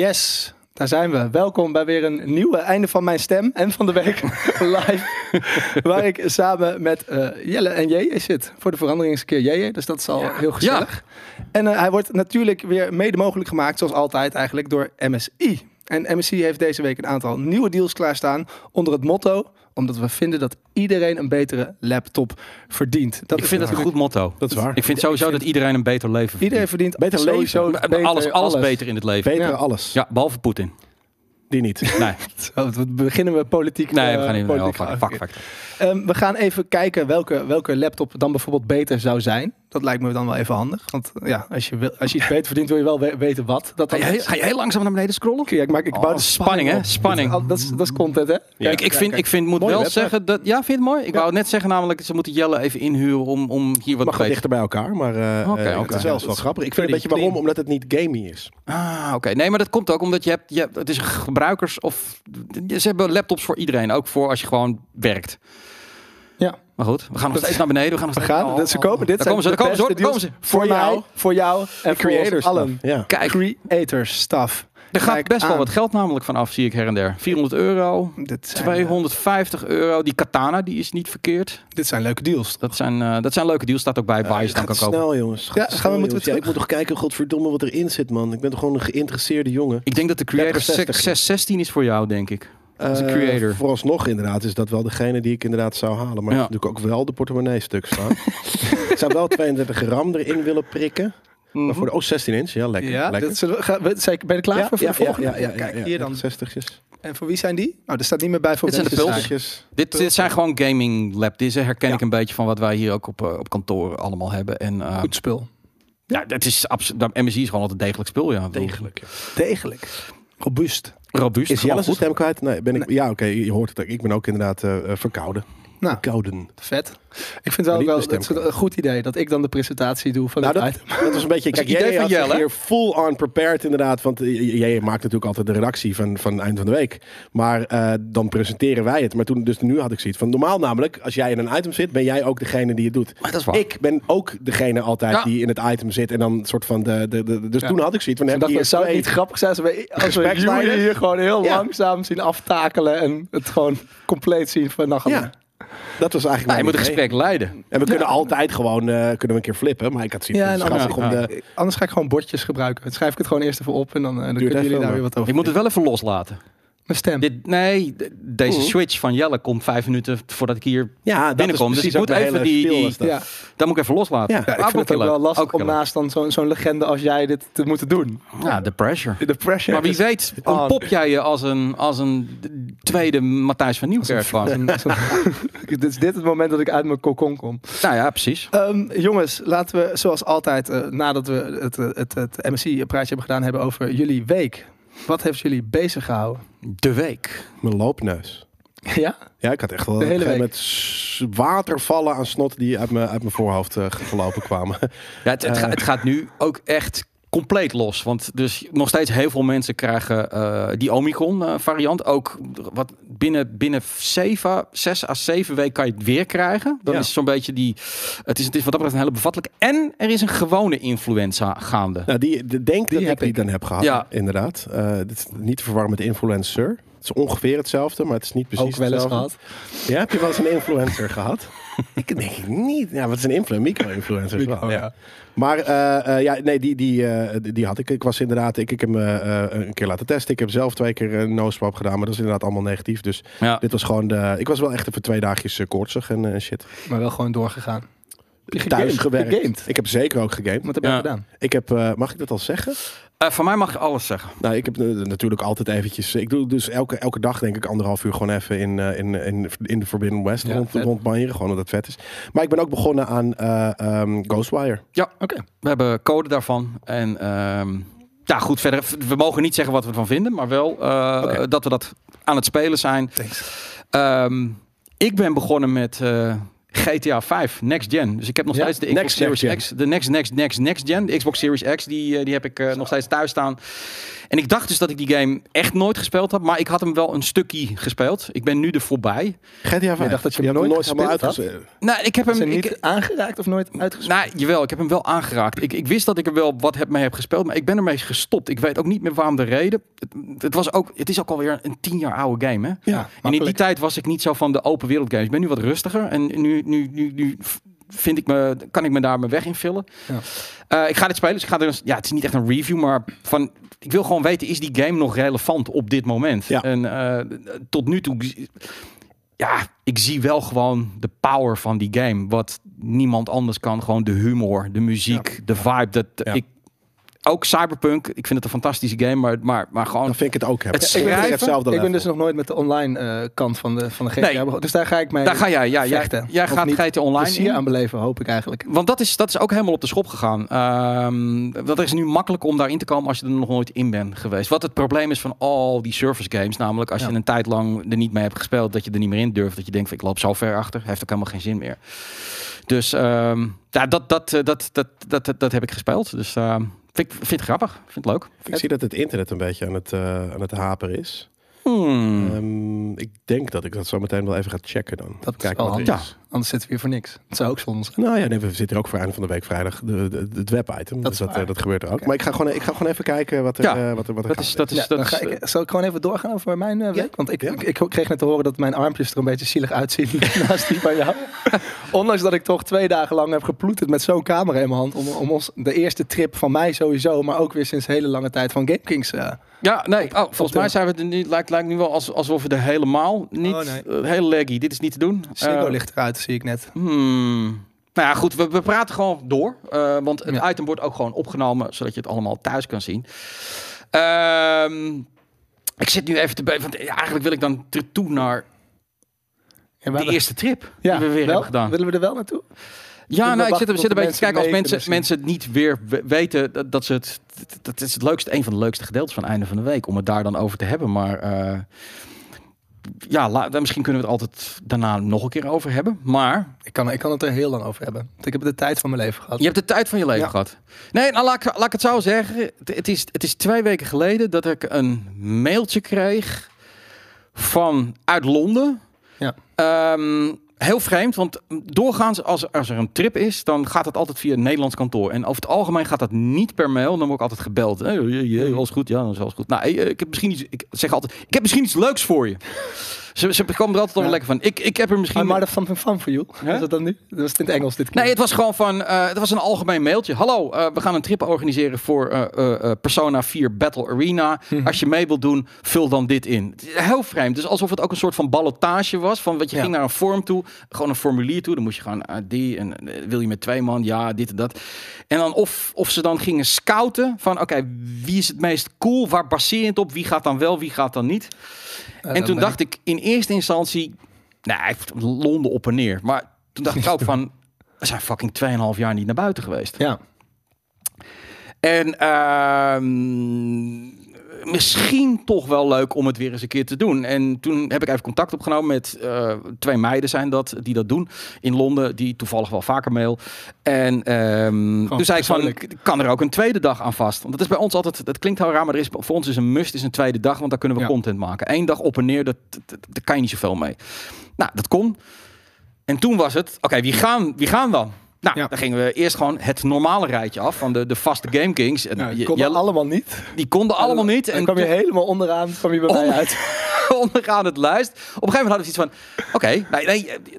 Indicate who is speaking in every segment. Speaker 1: Yes, daar zijn we. Welkom bij weer een nieuwe Einde van Mijn Stem en van de Week live. waar ik samen met eh, Jelle en JJ zit. Voor de verandering is een keer JJ, dus dat is al heel gezellig. En eh, hij wordt natuurlijk weer mede mogelijk gemaakt, zoals altijd eigenlijk, door MSI. En MSI heeft deze week een aantal nieuwe deals klaarstaan onder het motto omdat we vinden dat iedereen een betere laptop verdient. Dat
Speaker 2: Ik
Speaker 1: is
Speaker 2: vind dat een
Speaker 1: natuurlijk-
Speaker 2: goed motto.
Speaker 3: Dat is waar.
Speaker 2: Ik vind sowieso dat iedereen een beter leven
Speaker 1: Iedereen
Speaker 2: verdient.
Speaker 1: verdient
Speaker 3: Beter leven.
Speaker 1: sowieso
Speaker 2: Maar- maar alles, alles, beter in het leven.
Speaker 3: Beter
Speaker 1: Ja.
Speaker 3: alles.
Speaker 2: Ja, behalve Poetin.
Speaker 3: Die niet.
Speaker 2: Nee,
Speaker 1: Oh, we beginnen we politiek.
Speaker 2: nee we
Speaker 1: eh,
Speaker 2: gaan niet.
Speaker 1: politiek
Speaker 2: Oh, fuck, fuck, fuck.
Speaker 1: Ehm, we gaan even kijken welke, welke laptop dan bijvoorbeeld beter zou zijn. Dat lijkt me dan wel even handig. Want eh, ja, als je, wil, als je iets beter verdient, wil je wel we- weten wat. Dat
Speaker 2: Ga
Speaker 1: dan
Speaker 2: je, heel-
Speaker 1: is.
Speaker 2: ga je heel langzaam naar beneden scrollen?
Speaker 1: Ja, ik, maak, ik bouw
Speaker 2: Oh,
Speaker 1: de
Speaker 2: spanning, hè?
Speaker 1: op.
Speaker 2: Spanning.
Speaker 1: Dat, dat, is, dat is content, hè?
Speaker 3: Ja.
Speaker 2: ik, ik, vind,
Speaker 1: kijk.
Speaker 2: ik vind, moet
Speaker 3: Mooie
Speaker 2: wel
Speaker 3: website.
Speaker 2: zeggen dat. Ja, vind je het mooi? Ik
Speaker 1: Ja.
Speaker 2: wou net zeggen, namelijk, ze moeten Jelle even inhuren om, om hier wat
Speaker 3: Mag
Speaker 2: beter
Speaker 3: wel dichter bij elkaar, maar eh,
Speaker 2: Oké,
Speaker 3: eh,
Speaker 2: oké.
Speaker 3: het is wel, het is wel grappig. Ik vind een beetje
Speaker 1: Pretty
Speaker 3: waarom, omdat het niet gamey is.
Speaker 2: Ah, oké. Nee, maar dat komt ook omdat je hebt, je hebt- het is gebruikers of ze hebben laptops voor iedereen, ook voor als je gewoon werkt.
Speaker 1: Ja.
Speaker 2: Maar goed, we gaan nog
Speaker 1: Dat-
Speaker 2: steeds naar beneden. We gaan nog
Speaker 1: We
Speaker 2: steeds.
Speaker 1: gaan.
Speaker 2: Oh,
Speaker 1: dat- ze komen. Dit
Speaker 2: daar komen ze,
Speaker 1: zijn
Speaker 2: daar komen ze,
Speaker 1: de
Speaker 2: daar komen
Speaker 1: beste
Speaker 2: ze.
Speaker 1: deals Voor jou, voor jou en voor ons
Speaker 3: Creators.
Speaker 1: allen.
Speaker 3: Ja.
Speaker 2: Kijk,
Speaker 1: Creator stuff.
Speaker 2: er gaat
Speaker 1: Kijk
Speaker 2: best wel
Speaker 1: aan.
Speaker 2: wat geld namelijk van af, zie ik her en der. 400 euro,
Speaker 1: Dit zijn, eh,
Speaker 2: 250 euro. Die katana, die is niet verkeerd.
Speaker 1: dit zijn leuke deals.
Speaker 2: Dat zijn, eh, dat zijn leuke deals. Staat ook bij waar je ze dan
Speaker 3: Gaat
Speaker 2: kan kopen.
Speaker 3: snel, jongens. Gaat
Speaker 1: Ja,
Speaker 3: snel,
Speaker 1: gaan we- moeten we
Speaker 3: jongens. Ja,
Speaker 1: terug?
Speaker 3: ik moet toch kijken, godverdomme, wat erin zit, man. Ik ben toch gewoon een geïnteresseerde jongen.
Speaker 2: Ik denk dat de Creator
Speaker 3: 30, 60.
Speaker 2: 616 is voor jou, denk ik. is een
Speaker 3: Eh,
Speaker 2: creator.
Speaker 3: vooralsnog inderdaad is dat wel degene die ik inderdaad zou halen. Maar
Speaker 2: Ja.
Speaker 3: ik heb natuurlijk ook wel de portemonnee stuk staan. ik zou wel 32 gram erin willen prikken.
Speaker 2: Mhm.
Speaker 3: Maar voor de, oh, 16 inch. Ja, lekker.
Speaker 1: Ja,
Speaker 3: lekker.
Speaker 1: dit zullen we, gaan, we- zijn, ben je er klaar
Speaker 3: Ja,
Speaker 1: voor? voor
Speaker 3: ja,
Speaker 1: de volgende?
Speaker 3: ja, ja, ja, ja, ja.
Speaker 1: Kijk, hier dan.
Speaker 3: 60'tjes.
Speaker 1: En voor wie zijn die? Nou, er staat niet meer bij voor
Speaker 2: Dit zijn de
Speaker 1: mensen.
Speaker 2: pulsen.
Speaker 3: Pulsjes.
Speaker 2: Dit, dit zijn gewoon gaming lab. Dit herken
Speaker 3: Ja.
Speaker 2: ik een beetje van wat wij hier ook op, eh, op kantoor allemaal hebben. En eh,
Speaker 1: Goed spul.
Speaker 2: ja, dat is absoluut. MSI is gewoon altijd degelijk spul. Ja, Ik bedoel,
Speaker 3: Degelijk. ja.
Speaker 1: Degelijk. Robuust.
Speaker 2: Robuust.
Speaker 3: Is
Speaker 2: gewoon
Speaker 3: Jelle zijn
Speaker 2: goed.
Speaker 3: stem kwijt? Nee, ben ik, Ja, oké, je hoort het. ook. Ik ben ook inderdaad eh, eh, verkouden.
Speaker 1: Nou.
Speaker 3: Verkouden.
Speaker 1: Vet. Ik vind wel,
Speaker 3: Niet
Speaker 1: wel
Speaker 3: de stem
Speaker 1: het is een goed idee dat ik dan de presentatie doe van
Speaker 3: Nou,
Speaker 1: het
Speaker 3: dat,
Speaker 1: item.
Speaker 3: dat was een beetje... Kijk,
Speaker 2: idee
Speaker 3: jij
Speaker 2: van
Speaker 3: had zich
Speaker 2: Jelle.
Speaker 3: hier full on prepared inderdaad. Want eh, jij maakt natuurlijk altijd de redactie van, van eind van de week. Maar eh, dan presenteren wij het. Maar toen, dus nu had ik zoiets van... Normaal namelijk, als jij in een item zit, ben jij ook degene die het doet.
Speaker 2: Maar dat is waar.
Speaker 3: Ik ben ook degene altijd
Speaker 2: Ja.
Speaker 3: die in het item zit. En dan soort van de... de, de dus
Speaker 1: Ja.
Speaker 3: toen had ik zoiets van...
Speaker 1: Ik
Speaker 3: Heb
Speaker 1: dacht,
Speaker 3: je
Speaker 1: het zou
Speaker 3: hier
Speaker 1: het niet
Speaker 3: twee...
Speaker 1: grappig zijn als we, als we
Speaker 3: Gespreksleider?
Speaker 1: jullie hier gewoon heel
Speaker 3: Ja.
Speaker 1: langzaam zien aftakelen en het gewoon compleet zien van nou, nacht.
Speaker 3: Ja, dat was eigenlijk
Speaker 2: Nou, je
Speaker 3: mijn
Speaker 2: moet het
Speaker 3: idee.
Speaker 2: gesprek leiden.
Speaker 3: En we kunnen altijd gewoon eh, kunnen we een keer flippen. Maar ik had zoiets
Speaker 1: Ja,
Speaker 3: van,
Speaker 1: en
Speaker 3: het is
Speaker 2: anders-
Speaker 3: grappig om de...
Speaker 1: Anders ga ik gewoon bordjes gebruiken. Dan schrijf ik het gewoon eerst even op en dan, eh, dan kunnen
Speaker 3: even
Speaker 1: jullie daar
Speaker 3: wel.
Speaker 1: weer wat over.
Speaker 2: Je moet het wel even loslaten.
Speaker 1: Mijn stem.
Speaker 2: Dit, nee, d- deze switch van Jelle komt vijf minuten voordat ik hier.
Speaker 3: Ja, dat
Speaker 2: binnenkomt. Dus
Speaker 3: is
Speaker 2: ik
Speaker 3: precies ook
Speaker 2: moet
Speaker 3: de
Speaker 2: even
Speaker 3: hele
Speaker 2: die-
Speaker 3: spiel
Speaker 2: die-
Speaker 3: is dat.
Speaker 1: ja.
Speaker 2: Dat moet ik even loslaten.
Speaker 3: Ja. Ja,
Speaker 1: Ja, ik vind het ook
Speaker 2: killer.
Speaker 1: wel lastig
Speaker 2: Ook
Speaker 1: om
Speaker 2: killer.
Speaker 1: naast dan zo'n zo'n legende als jij dit te moeten doen.
Speaker 2: Ja, de pressure.
Speaker 1: De pressure.
Speaker 2: Maar wie
Speaker 1: is-
Speaker 2: weet,
Speaker 1: on.
Speaker 2: ontpop jij je als een, als een d- tweede Matthijs van Nieuwkerk. gewoon.
Speaker 1: dit is dit het moment dat ik uit mijn kokon kom.
Speaker 2: Nou ja, precies.
Speaker 1: Ehm, jongens, laten we zoals altijd, eh, nadat we het, eh, het, het MSI-praatje hebben gedaan, hebben over jullie week. Wat heeft jullie bezig gehouden?
Speaker 2: De week.
Speaker 3: Mijn loopneus.
Speaker 1: ja?
Speaker 3: Ja, ik had echt wel
Speaker 1: De
Speaker 3: de
Speaker 1: hele
Speaker 3: hele met watervallen aan snot die uit mijn, uit mijn voorhoofd eh, gelopen kwamen.
Speaker 2: Ja, het, het, ga- het gaat nu ook echt compleet los. Want dus nog steeds heel veel mensen krijgen eh, die Omicron-variant. ook wat binnen, binnen zeven, zes à zeven weken kan je het weer krijgen. Dan
Speaker 3: Ja.
Speaker 2: is zo'n beetje die... Het is, het is wat dat betreft een hele bevattelijke. En er is een gewone influenza gaande.
Speaker 3: nou, die, de, denk
Speaker 1: Die
Speaker 3: dat
Speaker 1: heb
Speaker 3: ik die
Speaker 1: ik.
Speaker 3: dan heb gehad,
Speaker 2: Ja.
Speaker 3: inderdaad. Eh, dit is niet te verwarren met influencer. Het is ongeveer hetzelfde, maar het is niet precies
Speaker 1: ook wel eens
Speaker 3: hetzelfde.
Speaker 1: gehad.
Speaker 3: Ja, heb je wel eens een influencer gehad? Ik denk het niet. Ja, wat is een influencer? Micro-influencer is wel,
Speaker 1: Micro,
Speaker 3: ja.
Speaker 1: ja.
Speaker 3: Maar eh, eh, ja, nee, die, die, eh, die- die had ik. Ik was inderdaad, ik, ik heb me eh, een keer laten testen. Ik heb zelf twee keer een no-swap gedaan, maar dat is inderdaad allemaal negatief. Dus
Speaker 2: Ja.
Speaker 3: dit was gewoon de... Ik was wel echt even twee dagjes eh, koortsig en eh, shit.
Speaker 1: Maar wel gewoon doorgegaan.
Speaker 3: thuis gewerkt.
Speaker 1: Gegamed.
Speaker 3: Ik heb zeker ook gegamed.
Speaker 1: Wat heb jij
Speaker 2: Ja.
Speaker 1: gedaan?
Speaker 3: Ik heb, eh, mag ik dat al zeggen?
Speaker 2: Eh, van mij mag je alles zeggen.
Speaker 3: Nou, ik heb eh, natuurlijk altijd eventjes. Ik doe dus elke, elke dag, denk ik, anderhalf uur gewoon even in, eh, in, in, in de Forbidden West
Speaker 1: Ja,
Speaker 3: rond,
Speaker 1: vet.
Speaker 3: rondbanjeren. Gewoon omdat het vet is. Maar ik ben ook begonnen aan eh, ehm, Ghostwire.
Speaker 2: Ja,
Speaker 1: Oké.
Speaker 2: we hebben code daarvan. En ehm, ja, goed, verder. We mogen niet zeggen wat we ervan vinden, maar wel eh,
Speaker 3: Oké.
Speaker 2: dat we dat aan het spelen zijn.
Speaker 1: Thanks.
Speaker 2: Ehm, ik ben begonnen met eh, GTA 5, next gen. Dus ik heb nog
Speaker 3: Ja,
Speaker 2: steeds de Xbox
Speaker 3: next,
Speaker 2: Series
Speaker 3: next gen.
Speaker 2: X. De next, next, next, next gen. De Xbox Series X, die, eh, die heb ik eh, nog steeds thuis staan. En ik dacht dus dat ik die game echt nooit gespeeld had. Maar ik had hem wel een stukje gespeeld. Ik ben nu er voorbij.
Speaker 3: GTA 5.
Speaker 1: dacht dat je
Speaker 3: hebt
Speaker 1: hem nooit
Speaker 3: helemaal
Speaker 1: gespeeld had?
Speaker 3: uitgezet.
Speaker 2: Nou, ik heb hem...
Speaker 1: Ze niet
Speaker 2: ik-
Speaker 1: aangeraakt of nooit uitgespeeld?
Speaker 2: nou, jawel, ik heb hem wel aangeraakt. Ik, ik wist dat ik er wel wat heb mee heb gespeeld, maar ik ben ermee gestopt. Ik weet ook niet meer waarom de reden. Het, het was ook, het is ook alweer een tien jaar oude game, hè?
Speaker 1: Ja,
Speaker 2: En in die
Speaker 1: makkelijk.
Speaker 2: tijd was ik niet zo van de open wereld games. Ik ben nu wat rustiger en nu, nu, nu, nu v- vind ik me, kan ik me daar mijn weg in vullen.
Speaker 1: Ja.
Speaker 2: Eh, ik ga dit spelen, dus ik ga er eens- ja, het is niet echt een review, maar van, ik wil gewoon weten, is die game nog relevant op dit moment?
Speaker 3: Ja.
Speaker 2: En eh, tot nu toe, ja, ik zie wel gewoon de power van die game. Wat niemand anders kan, gewoon de humor, de muziek, de vibe. Dat
Speaker 3: Ja.
Speaker 2: ik, ook Cyberpunk, ik vind het een fantastische game, maar, maar, maar gewoon...
Speaker 3: Dan vind ik het ook hebben.
Speaker 2: Het
Speaker 1: Ik ben,
Speaker 2: Schrijven?
Speaker 1: dus-
Speaker 3: hetzelfde
Speaker 1: ik ben
Speaker 3: level.
Speaker 1: dus nog nooit met de online eh, kant van de, van de GTA
Speaker 2: Nee.
Speaker 1: begonnen. Dus daar ga ik mee
Speaker 2: Daar ga jij, ja, jij,
Speaker 1: vechten.
Speaker 2: jij
Speaker 1: Of
Speaker 2: gaat
Speaker 1: niet? Dus
Speaker 2: geiten online
Speaker 1: plezier
Speaker 2: in.
Speaker 1: aan beleven, hoop ik eigenlijk.
Speaker 2: Want dat is, dat is ook helemaal op de schop gegaan. Ehm, dat is nu makkelijk om daarin te komen als je er nog nooit in bent geweest. Wat het probleem is van al die service games. Namelijk als
Speaker 1: Ja.
Speaker 2: je een tijd lang er niet mee hebt gespeeld. Dat je er niet meer in durft. Dat je denkt van ik loop zo ver achter. Heeft ook helemaal geen zin meer. Dus ehm, ja, dat, dat, eh, dat, dat, dat, dat, dat heb ik gespeeld. Dus ehm, vind, ik- vind het grappig. Vind het leuk.
Speaker 3: Ik zie dat het internet een beetje aan het, eh aan het haperen is.
Speaker 2: Hmm.
Speaker 3: Ehm, ik denk dat ik dat zo meteen wel even ga checken dan.
Speaker 1: Dat is
Speaker 3: Kijken
Speaker 1: wel
Speaker 3: wat er
Speaker 2: handig.
Speaker 3: is.
Speaker 1: Anders zitten we hier voor niks. Het zou ook zonde zijn.
Speaker 3: Nou ja, nee, we zitten hier ook voor einde van de week vrijdag. De, de, het webitem.
Speaker 1: Dat
Speaker 3: Dat,
Speaker 1: is
Speaker 3: dus dat, eh,
Speaker 1: waar.
Speaker 3: dat gebeurt er ook.
Speaker 1: Oké.
Speaker 3: Maar ik ga, gewoon, ik ga gewoon even kijken wat er,
Speaker 2: Ja,
Speaker 3: eh, wat er, wat er
Speaker 2: Dat
Speaker 3: gaande
Speaker 2: is, dat is,
Speaker 1: Ja,
Speaker 2: Dus dat
Speaker 1: dan
Speaker 2: is- eh,
Speaker 1: ga ik, zal ik gewoon even doorgaan over mijn eh, week? Want ik,
Speaker 3: Ja.
Speaker 1: ik, ik kreeg net te horen dat mijn armpjes er een beetje zielig uitzien naast die van jou. Ondanks dat ik toch twee dagen lang heb geploeterd met zo'n camera in mijn hand. Om, om ons de eerste trip van mij sowieso, maar ook weer sinds hele lange tijd van GameKings. eh
Speaker 2: Ja, nee. Oh, volgens
Speaker 1: de-
Speaker 2: mij zijn we het er nu, lijkt, lijkt nu wel als- alsof we er helemaal niet...
Speaker 1: Oh, nee.
Speaker 2: eh, heel laggy. Dit is niet te doen.
Speaker 1: Ziggo
Speaker 2: Eh,
Speaker 1: ligt eruit, zie ik net.
Speaker 2: Hmm. Nou ja, goed, we, we praten gewoon door. eh, want het
Speaker 1: Ja.
Speaker 2: item wordt ook gewoon opgenomen, zodat je het allemaal thuis kan zien. Ehm, ik zit nu even te be- want eigenlijk wil ik dan ter- toe naar
Speaker 1: En we
Speaker 2: de
Speaker 1: hebben-
Speaker 2: eerste trip
Speaker 1: ja,
Speaker 2: die we
Speaker 1: wel?
Speaker 2: weer hebben gedaan.
Speaker 1: Willen we er wel naartoe?
Speaker 2: Ja,
Speaker 1: we
Speaker 2: nou, ik
Speaker 1: wachten
Speaker 2: zit, er-
Speaker 1: tot
Speaker 2: zit een
Speaker 1: de
Speaker 2: beetje te kijken als
Speaker 1: mensen
Speaker 2: mensen,
Speaker 1: mee
Speaker 2: mensen het niet weer we- weten dat, dat ze het... Dat is het leukste, een van de leukste gedeeltes van het einde van de week, om het daar dan over te hebben. Maar eh, ja, la- misschien kunnen we het altijd daarna nog een keer over hebben. Maar
Speaker 1: Ik kan, ik kan het er heel lang over hebben. Want ik heb de tijd van mijn leven gehad.
Speaker 2: Je hebt de tijd van je leven
Speaker 1: Ja.
Speaker 2: gehad. Nee, nou, laat, ik- laat ik het zo zeggen. Het, het is, het is twee weken geleden dat ik een mailtje kreeg van uit Londen.
Speaker 1: Ja.
Speaker 2: Ehm, heel vreemd, want doorgaans als, als er een trip is, dan gaat het altijd via een Nederlands kantoor. En over het algemeen gaat dat niet per mail. Dan word ik altijd gebeld. Hey, je, je,
Speaker 1: Hmm.
Speaker 2: alles goed? Ja, dat is alles goed. Nou, hey, eh, ik heb misschien iets. Ik zeg altijd, ik heb misschien iets leuks voor je. Ze, ze komen er altijd wel
Speaker 1: Ja.
Speaker 2: lekker van. Ik, ik heb er
Speaker 1: I
Speaker 2: misschien.
Speaker 1: might have something fun for you.
Speaker 2: Hè?
Speaker 1: Is dat dan nu? Dat was het in het Engels dit keer.
Speaker 2: Ah, Nee, het was gewoon van. eh, het was een algemeen mailtje. Hallo, eh, we gaan een trip organiseren voor eh, eh, eh, Persona 4 Battle Arena.
Speaker 1: Mhm.
Speaker 2: Als je mee wilt doen, vul dan dit in. Het is Heel vreemd. Dus alsof het ook een soort van ballotage was. Van wat je
Speaker 1: Ja.
Speaker 2: ging naar een vorm toe, gewoon een formulier toe. Dan moest je gewoon eh, die en eh, wil je met twee man, ja, dit en dat. En dan of, of ze dan gingen scouten van oké, wie is het meest cool? Waar baseer je het op? Wie gaat dan wel, wie gaat dan niet?
Speaker 1: Eh,
Speaker 2: En
Speaker 1: dan
Speaker 2: toen
Speaker 1: ben
Speaker 2: dacht ik in eerste instantie, nou, hij heeft Londen op en neer. Maar toen dacht ik ook van, we zijn fucking 2,5 jaar niet naar buiten geweest.
Speaker 1: Ja.
Speaker 2: En ehm, misschien toch wel leuk om het weer eens een keer te doen. En toen heb ik even contact opgenomen met eh, twee meiden zijn dat, die dat doen in Londen. Die toevallig wel vaker mail. En ehm toen zei ik van,
Speaker 1: persoonlijk.
Speaker 2: k- kan er ook een tweede dag aan vast? Want dat is bij ons altijd, dat klinkt heel raar, maar er is, voor ons is een must is een tweede dag. Want daar kunnen we
Speaker 1: Ja.
Speaker 2: content maken. Eén dag op en neer, dat, dat, dat- daar kan je niet zoveel mee. Nou, dat kon. En toen was het, oké, wie, gaan, wie gaan dan? Nou,
Speaker 1: Ja.
Speaker 2: dan gingen we eerst gewoon het normale rijtje af van de, de vaste Game Kings. En
Speaker 1: Ja,
Speaker 2: je-
Speaker 1: kon
Speaker 2: jij-
Speaker 1: allemaal niet.
Speaker 2: die konden allemaal niet.
Speaker 1: En
Speaker 2: En Oh.
Speaker 1: kwam je
Speaker 2: toen-
Speaker 1: helemaal onderaan, kwam je bij mij
Speaker 2: Onder-
Speaker 1: uit.
Speaker 2: onderaan het lijst. Op een gegeven moment hadden we iets van... Oké, nee,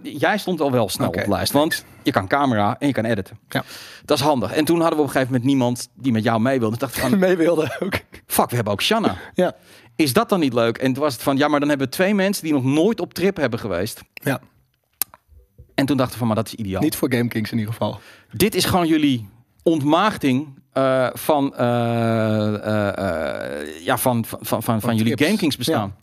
Speaker 2: nee, jij stond al wel snel
Speaker 1: Oké,
Speaker 2: op de lijst. Want je kan camera en je kan editen.
Speaker 1: Ja.
Speaker 2: Dat is handig. En toen hadden we op een gegeven moment niemand die met jou mee wilde. Toen dacht ik van,
Speaker 1: Mee wilde ook.
Speaker 2: fuck, we hebben ook Shanna.
Speaker 1: Ja.
Speaker 2: Is dat dan niet leuk? En toen was het van, ja, maar dan hebben we twee mensen... die nog nooit op trip hebben geweest.
Speaker 1: ja.
Speaker 2: En toen dachten we van, maar dat is ideaal.
Speaker 1: Niet voor GameKings in ieder geval.
Speaker 2: Dit is gewoon jullie ontmaagding eh, van, eh, eh, eh, ja, van, van, van, van, van jullie
Speaker 1: trips.
Speaker 2: GameKings bestaan.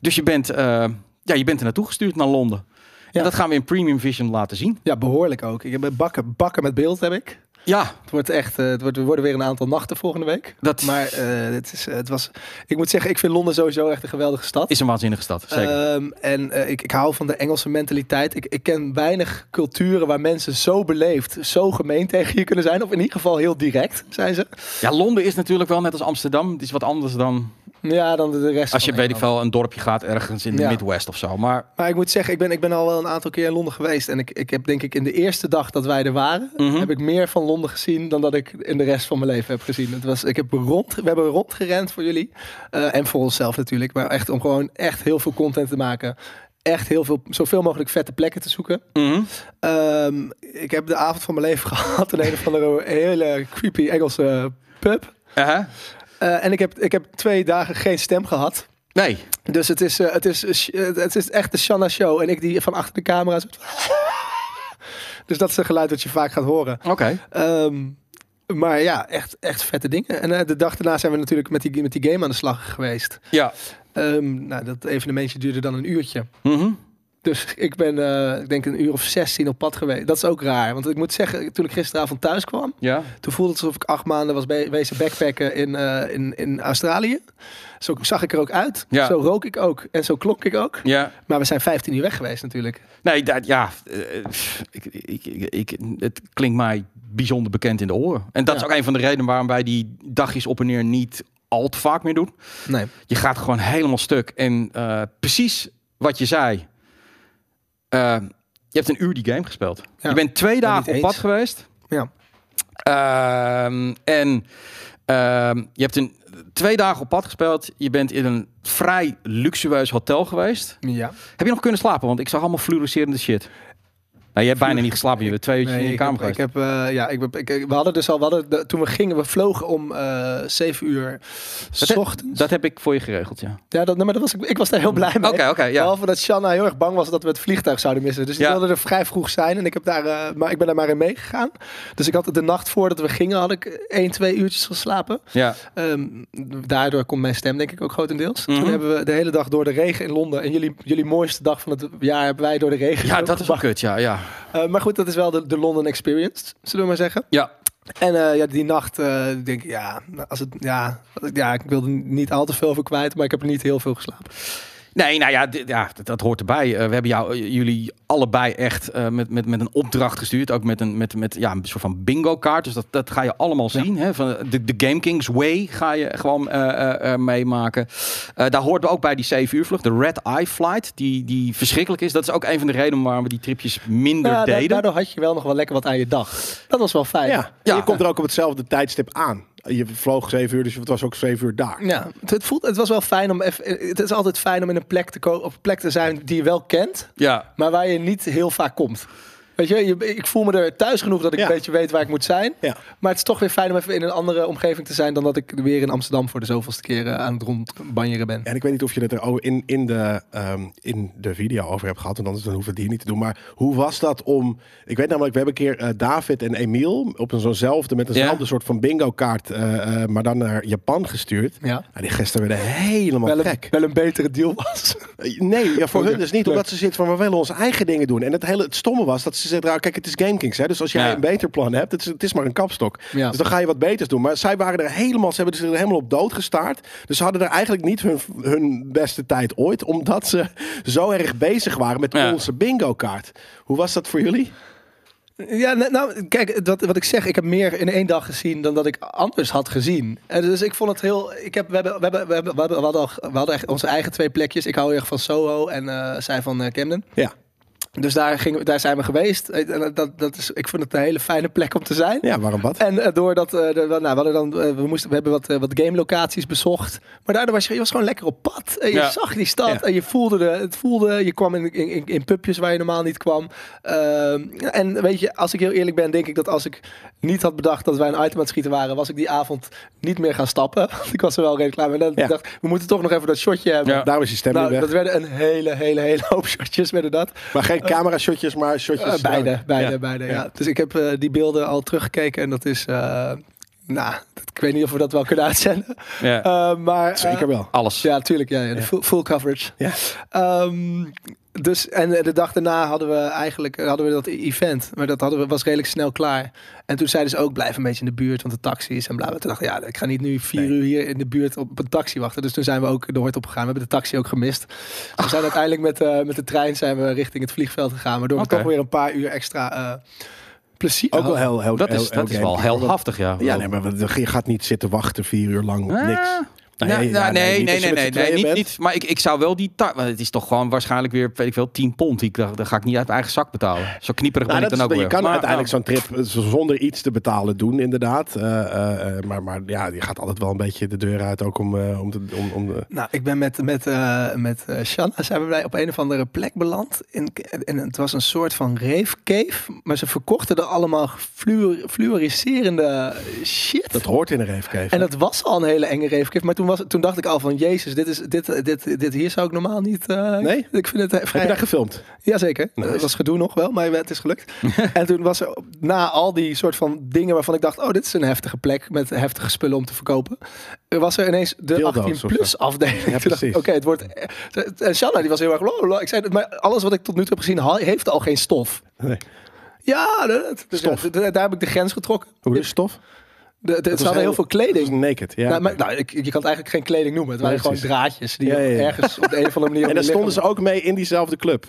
Speaker 2: Dus je bent, eh, ja, je bent er naartoe gestuurd naar Londen.
Speaker 1: Ja.
Speaker 2: En dat gaan we in Premium Vision laten zien.
Speaker 1: Ja, behoorlijk ook. Ik heb bakken, bakken met beeld heb ik.
Speaker 2: Ja,
Speaker 1: Het wordt echt, eh, het wordt, er worden weer een aantal nachten volgende week.
Speaker 2: dat
Speaker 1: Maar eh, het, is, eh, het was, ik moet zeggen, ik vind Londen sowieso echt een geweldige stad.
Speaker 2: is een waanzinnige stad. Zeker.
Speaker 1: Ehm, en eh, ik, ik hou van de Engelse mentaliteit. Ik, ik ken weinig culturen waar mensen zo beleefd, zo gemeen tegen je kunnen zijn. Of in ieder geval heel direct, zijn ze.
Speaker 2: ja, Londen is natuurlijk wel net als Amsterdam. Het is wat anders dan
Speaker 1: Ja, dan de de rest
Speaker 2: als je,
Speaker 1: van
Speaker 2: weet ik
Speaker 1: Engeland.
Speaker 2: veel, een dorpje gaat ergens in de
Speaker 1: Ja.
Speaker 2: Midwest of zo. Maar
Speaker 1: Maar ik moet zeggen, ik ben, ik ben al wel een aantal keer in Londen geweest. En ik, ik heb denk ik in de eerste dag dat wij er waren,
Speaker 2: Mhm.
Speaker 1: heb ik meer van Londen gezien dan dat ik in de rest van mijn leven heb gezien. Het was, ik heb rond, we hebben rondgerend voor jullie. Eh, en voor onszelf natuurlijk. Maar echt om gewoon echt heel veel content te maken. Echt heel veel, zoveel mogelijk vette plekken te zoeken.
Speaker 2: mhm.
Speaker 1: Ehm, ik heb de avond van mijn leven gehad in een of andere hele creepy Engelse pub.
Speaker 2: Eh,
Speaker 1: Eh, en ik heb, ik heb twee dagen geen stem gehad.
Speaker 2: nee.
Speaker 1: Dus het is, eh, het is, eh, sh- eh, het is echt de Shanna show. En ik die van achter de camera zo- dus dat is een geluid dat je vaak gaat horen.
Speaker 2: Oké.
Speaker 1: Ehm, maar ja, echt, echt vette dingen. En eh, de dag daarna zijn we natuurlijk met die, met die game aan de slag geweest.
Speaker 2: Ja.
Speaker 1: Ehm, nou, dat evenementje duurde dan een uurtje.
Speaker 2: Mhm.
Speaker 1: Dus ik ben, eh, ik denk, een uur of 16 op pad geweest. Dat is ook raar. Want ik moet zeggen, toen ik gisteravond thuis kwam,
Speaker 2: Ja.
Speaker 1: toen voelde het alsof ik acht maanden was be- wezen backpacken in, eh, in, in Australië. Zo zag ik er ook uit.
Speaker 2: Ja.
Speaker 1: Zo rook ik ook. En zo klonk ik ook.
Speaker 2: Ja.
Speaker 1: Maar we zijn 15 uur weg geweest natuurlijk.
Speaker 2: Nee, dat, ja. eh, pff, ik, ik, ik, ik- het klinkt mij bijzonder bekend in de oren. En dat is
Speaker 1: Ja.
Speaker 2: ook een van de redenen waarom wij die dagjes op en neer niet al te vaak meer doen.
Speaker 1: Nee.
Speaker 2: Je gaat gewoon helemaal stuk. En eh, precies wat je zei. Eh, je hebt een uur die game gespeeld.
Speaker 1: Ja.
Speaker 2: Je bent twee dagen op
Speaker 1: niet
Speaker 2: pad
Speaker 1: eens.
Speaker 2: geweest.
Speaker 1: Ja.
Speaker 2: Ehm, en ehm, je hebt een, twee dagen op pad gespeeld. Je bent in een vrij luxueus hotel geweest.
Speaker 1: Ja.
Speaker 2: Heb je nog kunnen slapen? Want ik zag allemaal fluorescerende shit. Nou, je hebt bijna niet geslapen. Je bent twee uurtjes
Speaker 1: Nee,
Speaker 2: in je
Speaker 1: ik
Speaker 2: kamer
Speaker 1: heb, ik
Speaker 2: geweest.
Speaker 1: heb, eh, ja, ik, heb- ik- ik- we hadden dus al, we hadden, de- toen we gingen, we vlogen om eh 7 uur
Speaker 2: Dat
Speaker 1: s
Speaker 2: heb-
Speaker 1: ochtends.
Speaker 2: Dat heb ik voor je geregeld, ja.
Speaker 1: Ja, dat, nee, maar dat was, ik, ik was daar heel blij
Speaker 2: Oké,
Speaker 1: mee.
Speaker 2: oké, ja.
Speaker 1: Behalve dat Shanna heel erg bang was dat we het vliegtuig zouden missen. Dus die
Speaker 2: Ja.
Speaker 1: wilde er vrij vroeg zijn. En ik, heb daar, eh, maar ik ben daar maar in meegegaan. Dus ik had de nacht voordat we gingen, had ik 1, 2 uurtjes geslapen.
Speaker 2: ja.
Speaker 1: Ehm, daardoor komt mijn stem denk ik ook grotendeels.
Speaker 2: Mhm.
Speaker 1: Toen hebben we de hele dag door de regen in Londen. En jullie, jullie mooiste dag van het jaar hebben wij door de regen.
Speaker 2: Ja,
Speaker 1: gelopen.
Speaker 2: dat is wel kut, ja. Ja.
Speaker 1: Eh, maar goed, dat is wel de, de London Experience, zullen we maar zeggen.
Speaker 2: ja.
Speaker 1: En eh, ja, die nacht, eh, ik denk ik, ja, als het, ja, als ik- ja, ik wilde niet al te veel voor kwijt, maar ik heb er niet heel veel geslapen.
Speaker 2: Nee, nou ja, dit- ja dat, dat hoort erbij. Eh, we hebben jou, eh, jullie allebei echt eh, met, met, met een opdracht gestuurd. Ook met een, met, met, ja, een soort van bingo-kaart. Dus dat, dat ga je allemaal zien. Hè? Van eh, de, de Game Kings Way ga je gewoon eh, eh, eh, meemaken. Eh, daar hoort ook bij die 7 uur vlucht. De Red Eye Flight, die, die verschrikkelijk is. Dat is ook een van de redenen waarom we die tripjes minder
Speaker 1: Ja, Nou, da-
Speaker 2: deden.
Speaker 1: daardoor had je wel nog wel lekker wat aan je dag. Dat was wel fijn.
Speaker 3: Ja,
Speaker 2: Ja.
Speaker 3: En je komt er ook op hetzelfde tijdstip aan. Je vloog zeven uur, dus het was ook zeven uur daar.
Speaker 1: Ja, het, het voelt, het was wel fijn om even, het is altijd fijn om in een plek te ko- op een plek te zijn die je wel kent,
Speaker 2: Ja.
Speaker 1: maar waar je niet heel vaak komt. Weet je, je- ik voel me er thuis genoeg dat ik
Speaker 3: Ja.
Speaker 1: een beetje weet waar ik moet zijn.
Speaker 3: Ja.
Speaker 1: Maar het is toch weer fijn om even in een andere omgeving te zijn dan dat ik weer in Amsterdam voor de zoveelste keer eh, aan het rondbanjeren ben.
Speaker 3: En ik weet niet of je het er over- in, in, de, ehm, in de video over hebt gehad, want anders dan hoeven we het hier niet te doen. Maar hoe was dat om... Ik weet namelijk, we hebben een keer eh, David en Emiel op een zo'nzelfde, met eenzelfde
Speaker 2: Ja.
Speaker 3: soort van bingo kaart, eh, eh, maar dan naar Japan gestuurd.
Speaker 1: Ja.
Speaker 3: Nou, die gisteren werden helemaal
Speaker 1: Wel een,
Speaker 3: gek.
Speaker 1: wel een betere deal was.
Speaker 3: Eh, Nee, ja, voor
Speaker 1: Oké,
Speaker 3: hun dus niet.
Speaker 1: leuk.
Speaker 3: Omdat ze zitten van, we willen onze eigen dingen doen. En het hele het stomme was dat ze zeiden, nou, kijk, het is GameKings. Hè, dus als jij
Speaker 2: Ja.
Speaker 3: een beter plan hebt, het is, het is maar een kapstok.
Speaker 1: Ja.
Speaker 3: Dus dan ga je wat beters doen. Maar zij waren er helemaal, ze hebben er helemaal op dood gestaard. Dus ze hadden er eigenlijk niet hun, hun beste tijd ooit. Omdat ze zo erg bezig waren met
Speaker 2: Ja.
Speaker 3: onze bingo kaart. Hoe was dat voor jullie?
Speaker 1: Ja, nou, nou, kijk, dat, wat ik zeg, ik heb meer in één dag gezien dan dat ik anders had gezien. En dus ik vond het heel. Ik heb, we, hebben, we, hebben, we, hebben, we, hadden, we hadden al- we hadden echt onze eigen twee plekjes. Ik hou heel erg van Soho en eh, zij van eh, Camden.
Speaker 3: Ja,
Speaker 1: Dus daar, gingen, we- daar zijn we geweest. Eh, en Dat, dat is, ik vond het een hele fijne plek om te zijn.
Speaker 3: ja waarom wat?
Speaker 1: En eh, doordat eh, de- nou, we, hadden dan, eh, we, moesten, we hebben wat, eh, wat game locaties bezocht. Maar daardoor was je, je was gewoon lekker op pad. En je
Speaker 2: Ja.
Speaker 1: zag die stad.
Speaker 3: Ja.
Speaker 1: En je voelde de, het voelde. Je kwam in, in, in- in pubjes waar je normaal niet kwam. Ehm, en weet je, als ik heel eerlijk ben, denk ik dat als ik niet had bedacht dat wij een item aan het schieten waren, was ik die avond niet meer gaan stappen. Want ik was er wel redelijk klaar mee. En dan
Speaker 3: Ja.
Speaker 1: dacht ik, we moeten toch nog even dat shotje hebben.
Speaker 2: Ja.
Speaker 3: Daar was je stem weer
Speaker 1: Nou,
Speaker 3: weg.
Speaker 1: dat werden een hele, hele, hele hoop shotjes, werden dat.
Speaker 3: Maar geen camera-shotjes, maar shotjes.
Speaker 1: Eh, beide, beide,
Speaker 3: Ja.
Speaker 1: beide. Ja.
Speaker 3: Ja.
Speaker 1: Dus ik heb eh, die beelden al teruggekeken en dat is. eh, nou, dat- ik weet niet of we dat wel kunnen uitzenden.
Speaker 2: Ja,
Speaker 1: Eh, maar, eh,
Speaker 3: Zeker wel.
Speaker 2: alles.
Speaker 1: ja, tuurlijk. Ja, ja, de
Speaker 3: Ja.
Speaker 1: Full, full coverage.
Speaker 3: Ja.
Speaker 1: Ehm, dus, en eh, de dag daarna hadden we eigenlijk eh, hadden we dat event. Maar dat hadden we, was redelijk snel klaar. En toen zeiden ze ook, blijf een beetje in de buurt, want de taxis en bla. bla. Toen dacht ik, ja, ik ga niet nu vier
Speaker 3: Nee.
Speaker 1: uur hier in de buurt op een taxi wachten. Dus toen zijn we ook de hoort opgegaan. We hebben de taxi ook gemist. We zijn uiteindelijk met, eh, met de trein zijn we richting het vliegveld gegaan. Waardoor
Speaker 2: Oké.
Speaker 1: we toch weer een paar uur extra eh, plezier
Speaker 3: Ook wel heel, heel
Speaker 2: dat is,
Speaker 3: heel-
Speaker 2: dat
Speaker 3: heel
Speaker 2: is wel
Speaker 3: gamepje.
Speaker 2: heldhaftig, ja.
Speaker 3: Ja, nee, maar wat- je gaat niet zitten wachten vier uur lang op
Speaker 2: Ah.
Speaker 3: niks.
Speaker 2: Nou, nou,
Speaker 3: ja,
Speaker 2: nee,
Speaker 3: niet
Speaker 2: nee,
Speaker 3: als je
Speaker 2: nee, nee,
Speaker 3: met z'n
Speaker 2: nee,
Speaker 3: tweeën
Speaker 2: niet,
Speaker 3: bent.
Speaker 2: niet. Maar ik, ik zou wel die taart... Het is toch gewoon waarschijnlijk weer, weet ik veel, 10 pond. Die, ik- daar, daar ga ik niet uit mijn eigen zak betalen. Zo knieperig
Speaker 3: Nou,
Speaker 2: ben
Speaker 3: dat
Speaker 2: ik
Speaker 3: is,
Speaker 2: dan ook
Speaker 3: je
Speaker 2: weer.
Speaker 3: kan
Speaker 2: Maar,
Speaker 3: uiteindelijk
Speaker 2: nou,
Speaker 3: zo'n trip eh, z- zonder iets te betalen doen, inderdaad. Eh, eh, eh, maar, maar ja, je gaat altijd wel een beetje de deur uit ook om, eh, om, te, om, om de-
Speaker 1: Nou, ik ben met, met, eh met eh, Shanna zijn wij op een of andere plek beland. In, en het was een soort van reefcave. Maar ze verkochten er allemaal fluor, fluoriserende shit.
Speaker 3: Dat hoort in een reefkeef.
Speaker 1: en dat was al een hele enge reefcave. Maar toen, was, toen dacht ik al van, jezus, dit, is, dit, dit, dit hier zou ik normaal niet... eh,
Speaker 3: Nee?
Speaker 1: Ik vind het eh,
Speaker 3: Heb je
Speaker 1: vrij...
Speaker 3: daar gefilmd?
Speaker 1: Jazeker.
Speaker 3: Nice.
Speaker 1: Dat was gedoe nog wel, maar het is gelukt. en toen was er na al die soort van dingen waarvan ik dacht... oh, dit is een heftige plek met heftige spullen om te verkopen. Er was er ineens de
Speaker 3: Dildo's
Speaker 1: 18-plus afdeling. Toen dacht ik,
Speaker 3: precies.
Speaker 1: Oké, het wordt... En Shanna, die was heel erg... "Lo, lo." Ik zei, maar alles wat ik tot nu toe heb gezien ha- heeft al geen stof.
Speaker 3: Nee.
Speaker 1: Ja, dat, dus ja,
Speaker 3: Stof.
Speaker 1: d- d- daar heb ik de grens getrokken.
Speaker 3: Hoe is stof?
Speaker 1: De, de-
Speaker 3: was
Speaker 1: ze hadden heel
Speaker 3: heel-
Speaker 1: veel
Speaker 3: Dat
Speaker 1: kleding.
Speaker 3: is naked, ja.
Speaker 1: nou, maar, nou, ik, je kan het eigenlijk geen kleding noemen. Het waren
Speaker 3: Nee,
Speaker 1: gewoon
Speaker 3: precies.
Speaker 1: draadjes die
Speaker 3: Ja, ja, ja.
Speaker 1: ergens op de een of andere manier...
Speaker 3: en
Speaker 1: om
Speaker 3: daar
Speaker 1: je
Speaker 3: stonden
Speaker 1: lichaam-
Speaker 3: ze ook mee in diezelfde club.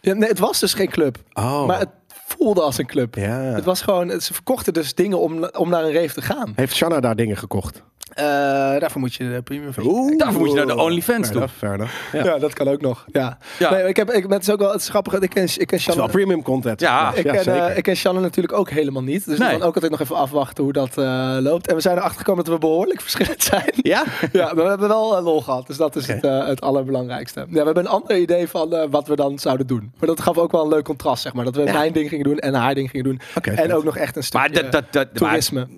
Speaker 1: Ja, nee, het was dus geen club.
Speaker 3: Oh,
Speaker 1: Maar het voelde als een club.
Speaker 3: ja.
Speaker 1: Het was gewoon, ze verkochten dus dingen om, om naar een rave te gaan.
Speaker 3: Heeft Shanna daar dingen gekocht?
Speaker 1: Eh, daarvoor moet je de premium versie kijken.
Speaker 2: daarvoor moet je naar de OnlyFans
Speaker 3: Fair
Speaker 2: doen.
Speaker 3: enough, fair enough. Ja.
Speaker 1: Ja. dat kan ook nog. Ja.
Speaker 2: Ja.
Speaker 1: Nee, ik heb, ik, maar het is ook wel het is grappig. Ik ken, ik ken
Speaker 3: Het is wel
Speaker 1: Shannon.
Speaker 3: premium content.
Speaker 2: Ja.
Speaker 1: Ik, ken,
Speaker 3: zeker.
Speaker 1: eh, ik ken Shannon natuurlijk ook helemaal niet. Dus
Speaker 2: Nee.
Speaker 1: we gaan ook altijd nog even afwachten hoe dat eh, loopt. En we zijn erachter gekomen dat we behoorlijk verschillend zijn.
Speaker 3: ja?
Speaker 1: ja, maar we hebben wel eh, lol gehad. Dus dat is
Speaker 3: Oké.
Speaker 1: het, eh, het allerbelangrijkste. Ja, we hebben een ander idee van eh, wat we dan zouden doen. Maar dat gaf ook wel een leuk contrast, zeg maar. Dat we mijn ding gingen doen en haar ding gingen doen.
Speaker 3: Oké,
Speaker 1: en
Speaker 3: vet.
Speaker 1: ook nog echt een stukje
Speaker 2: Maar dat, dat, dat, maar
Speaker 1: toerisme.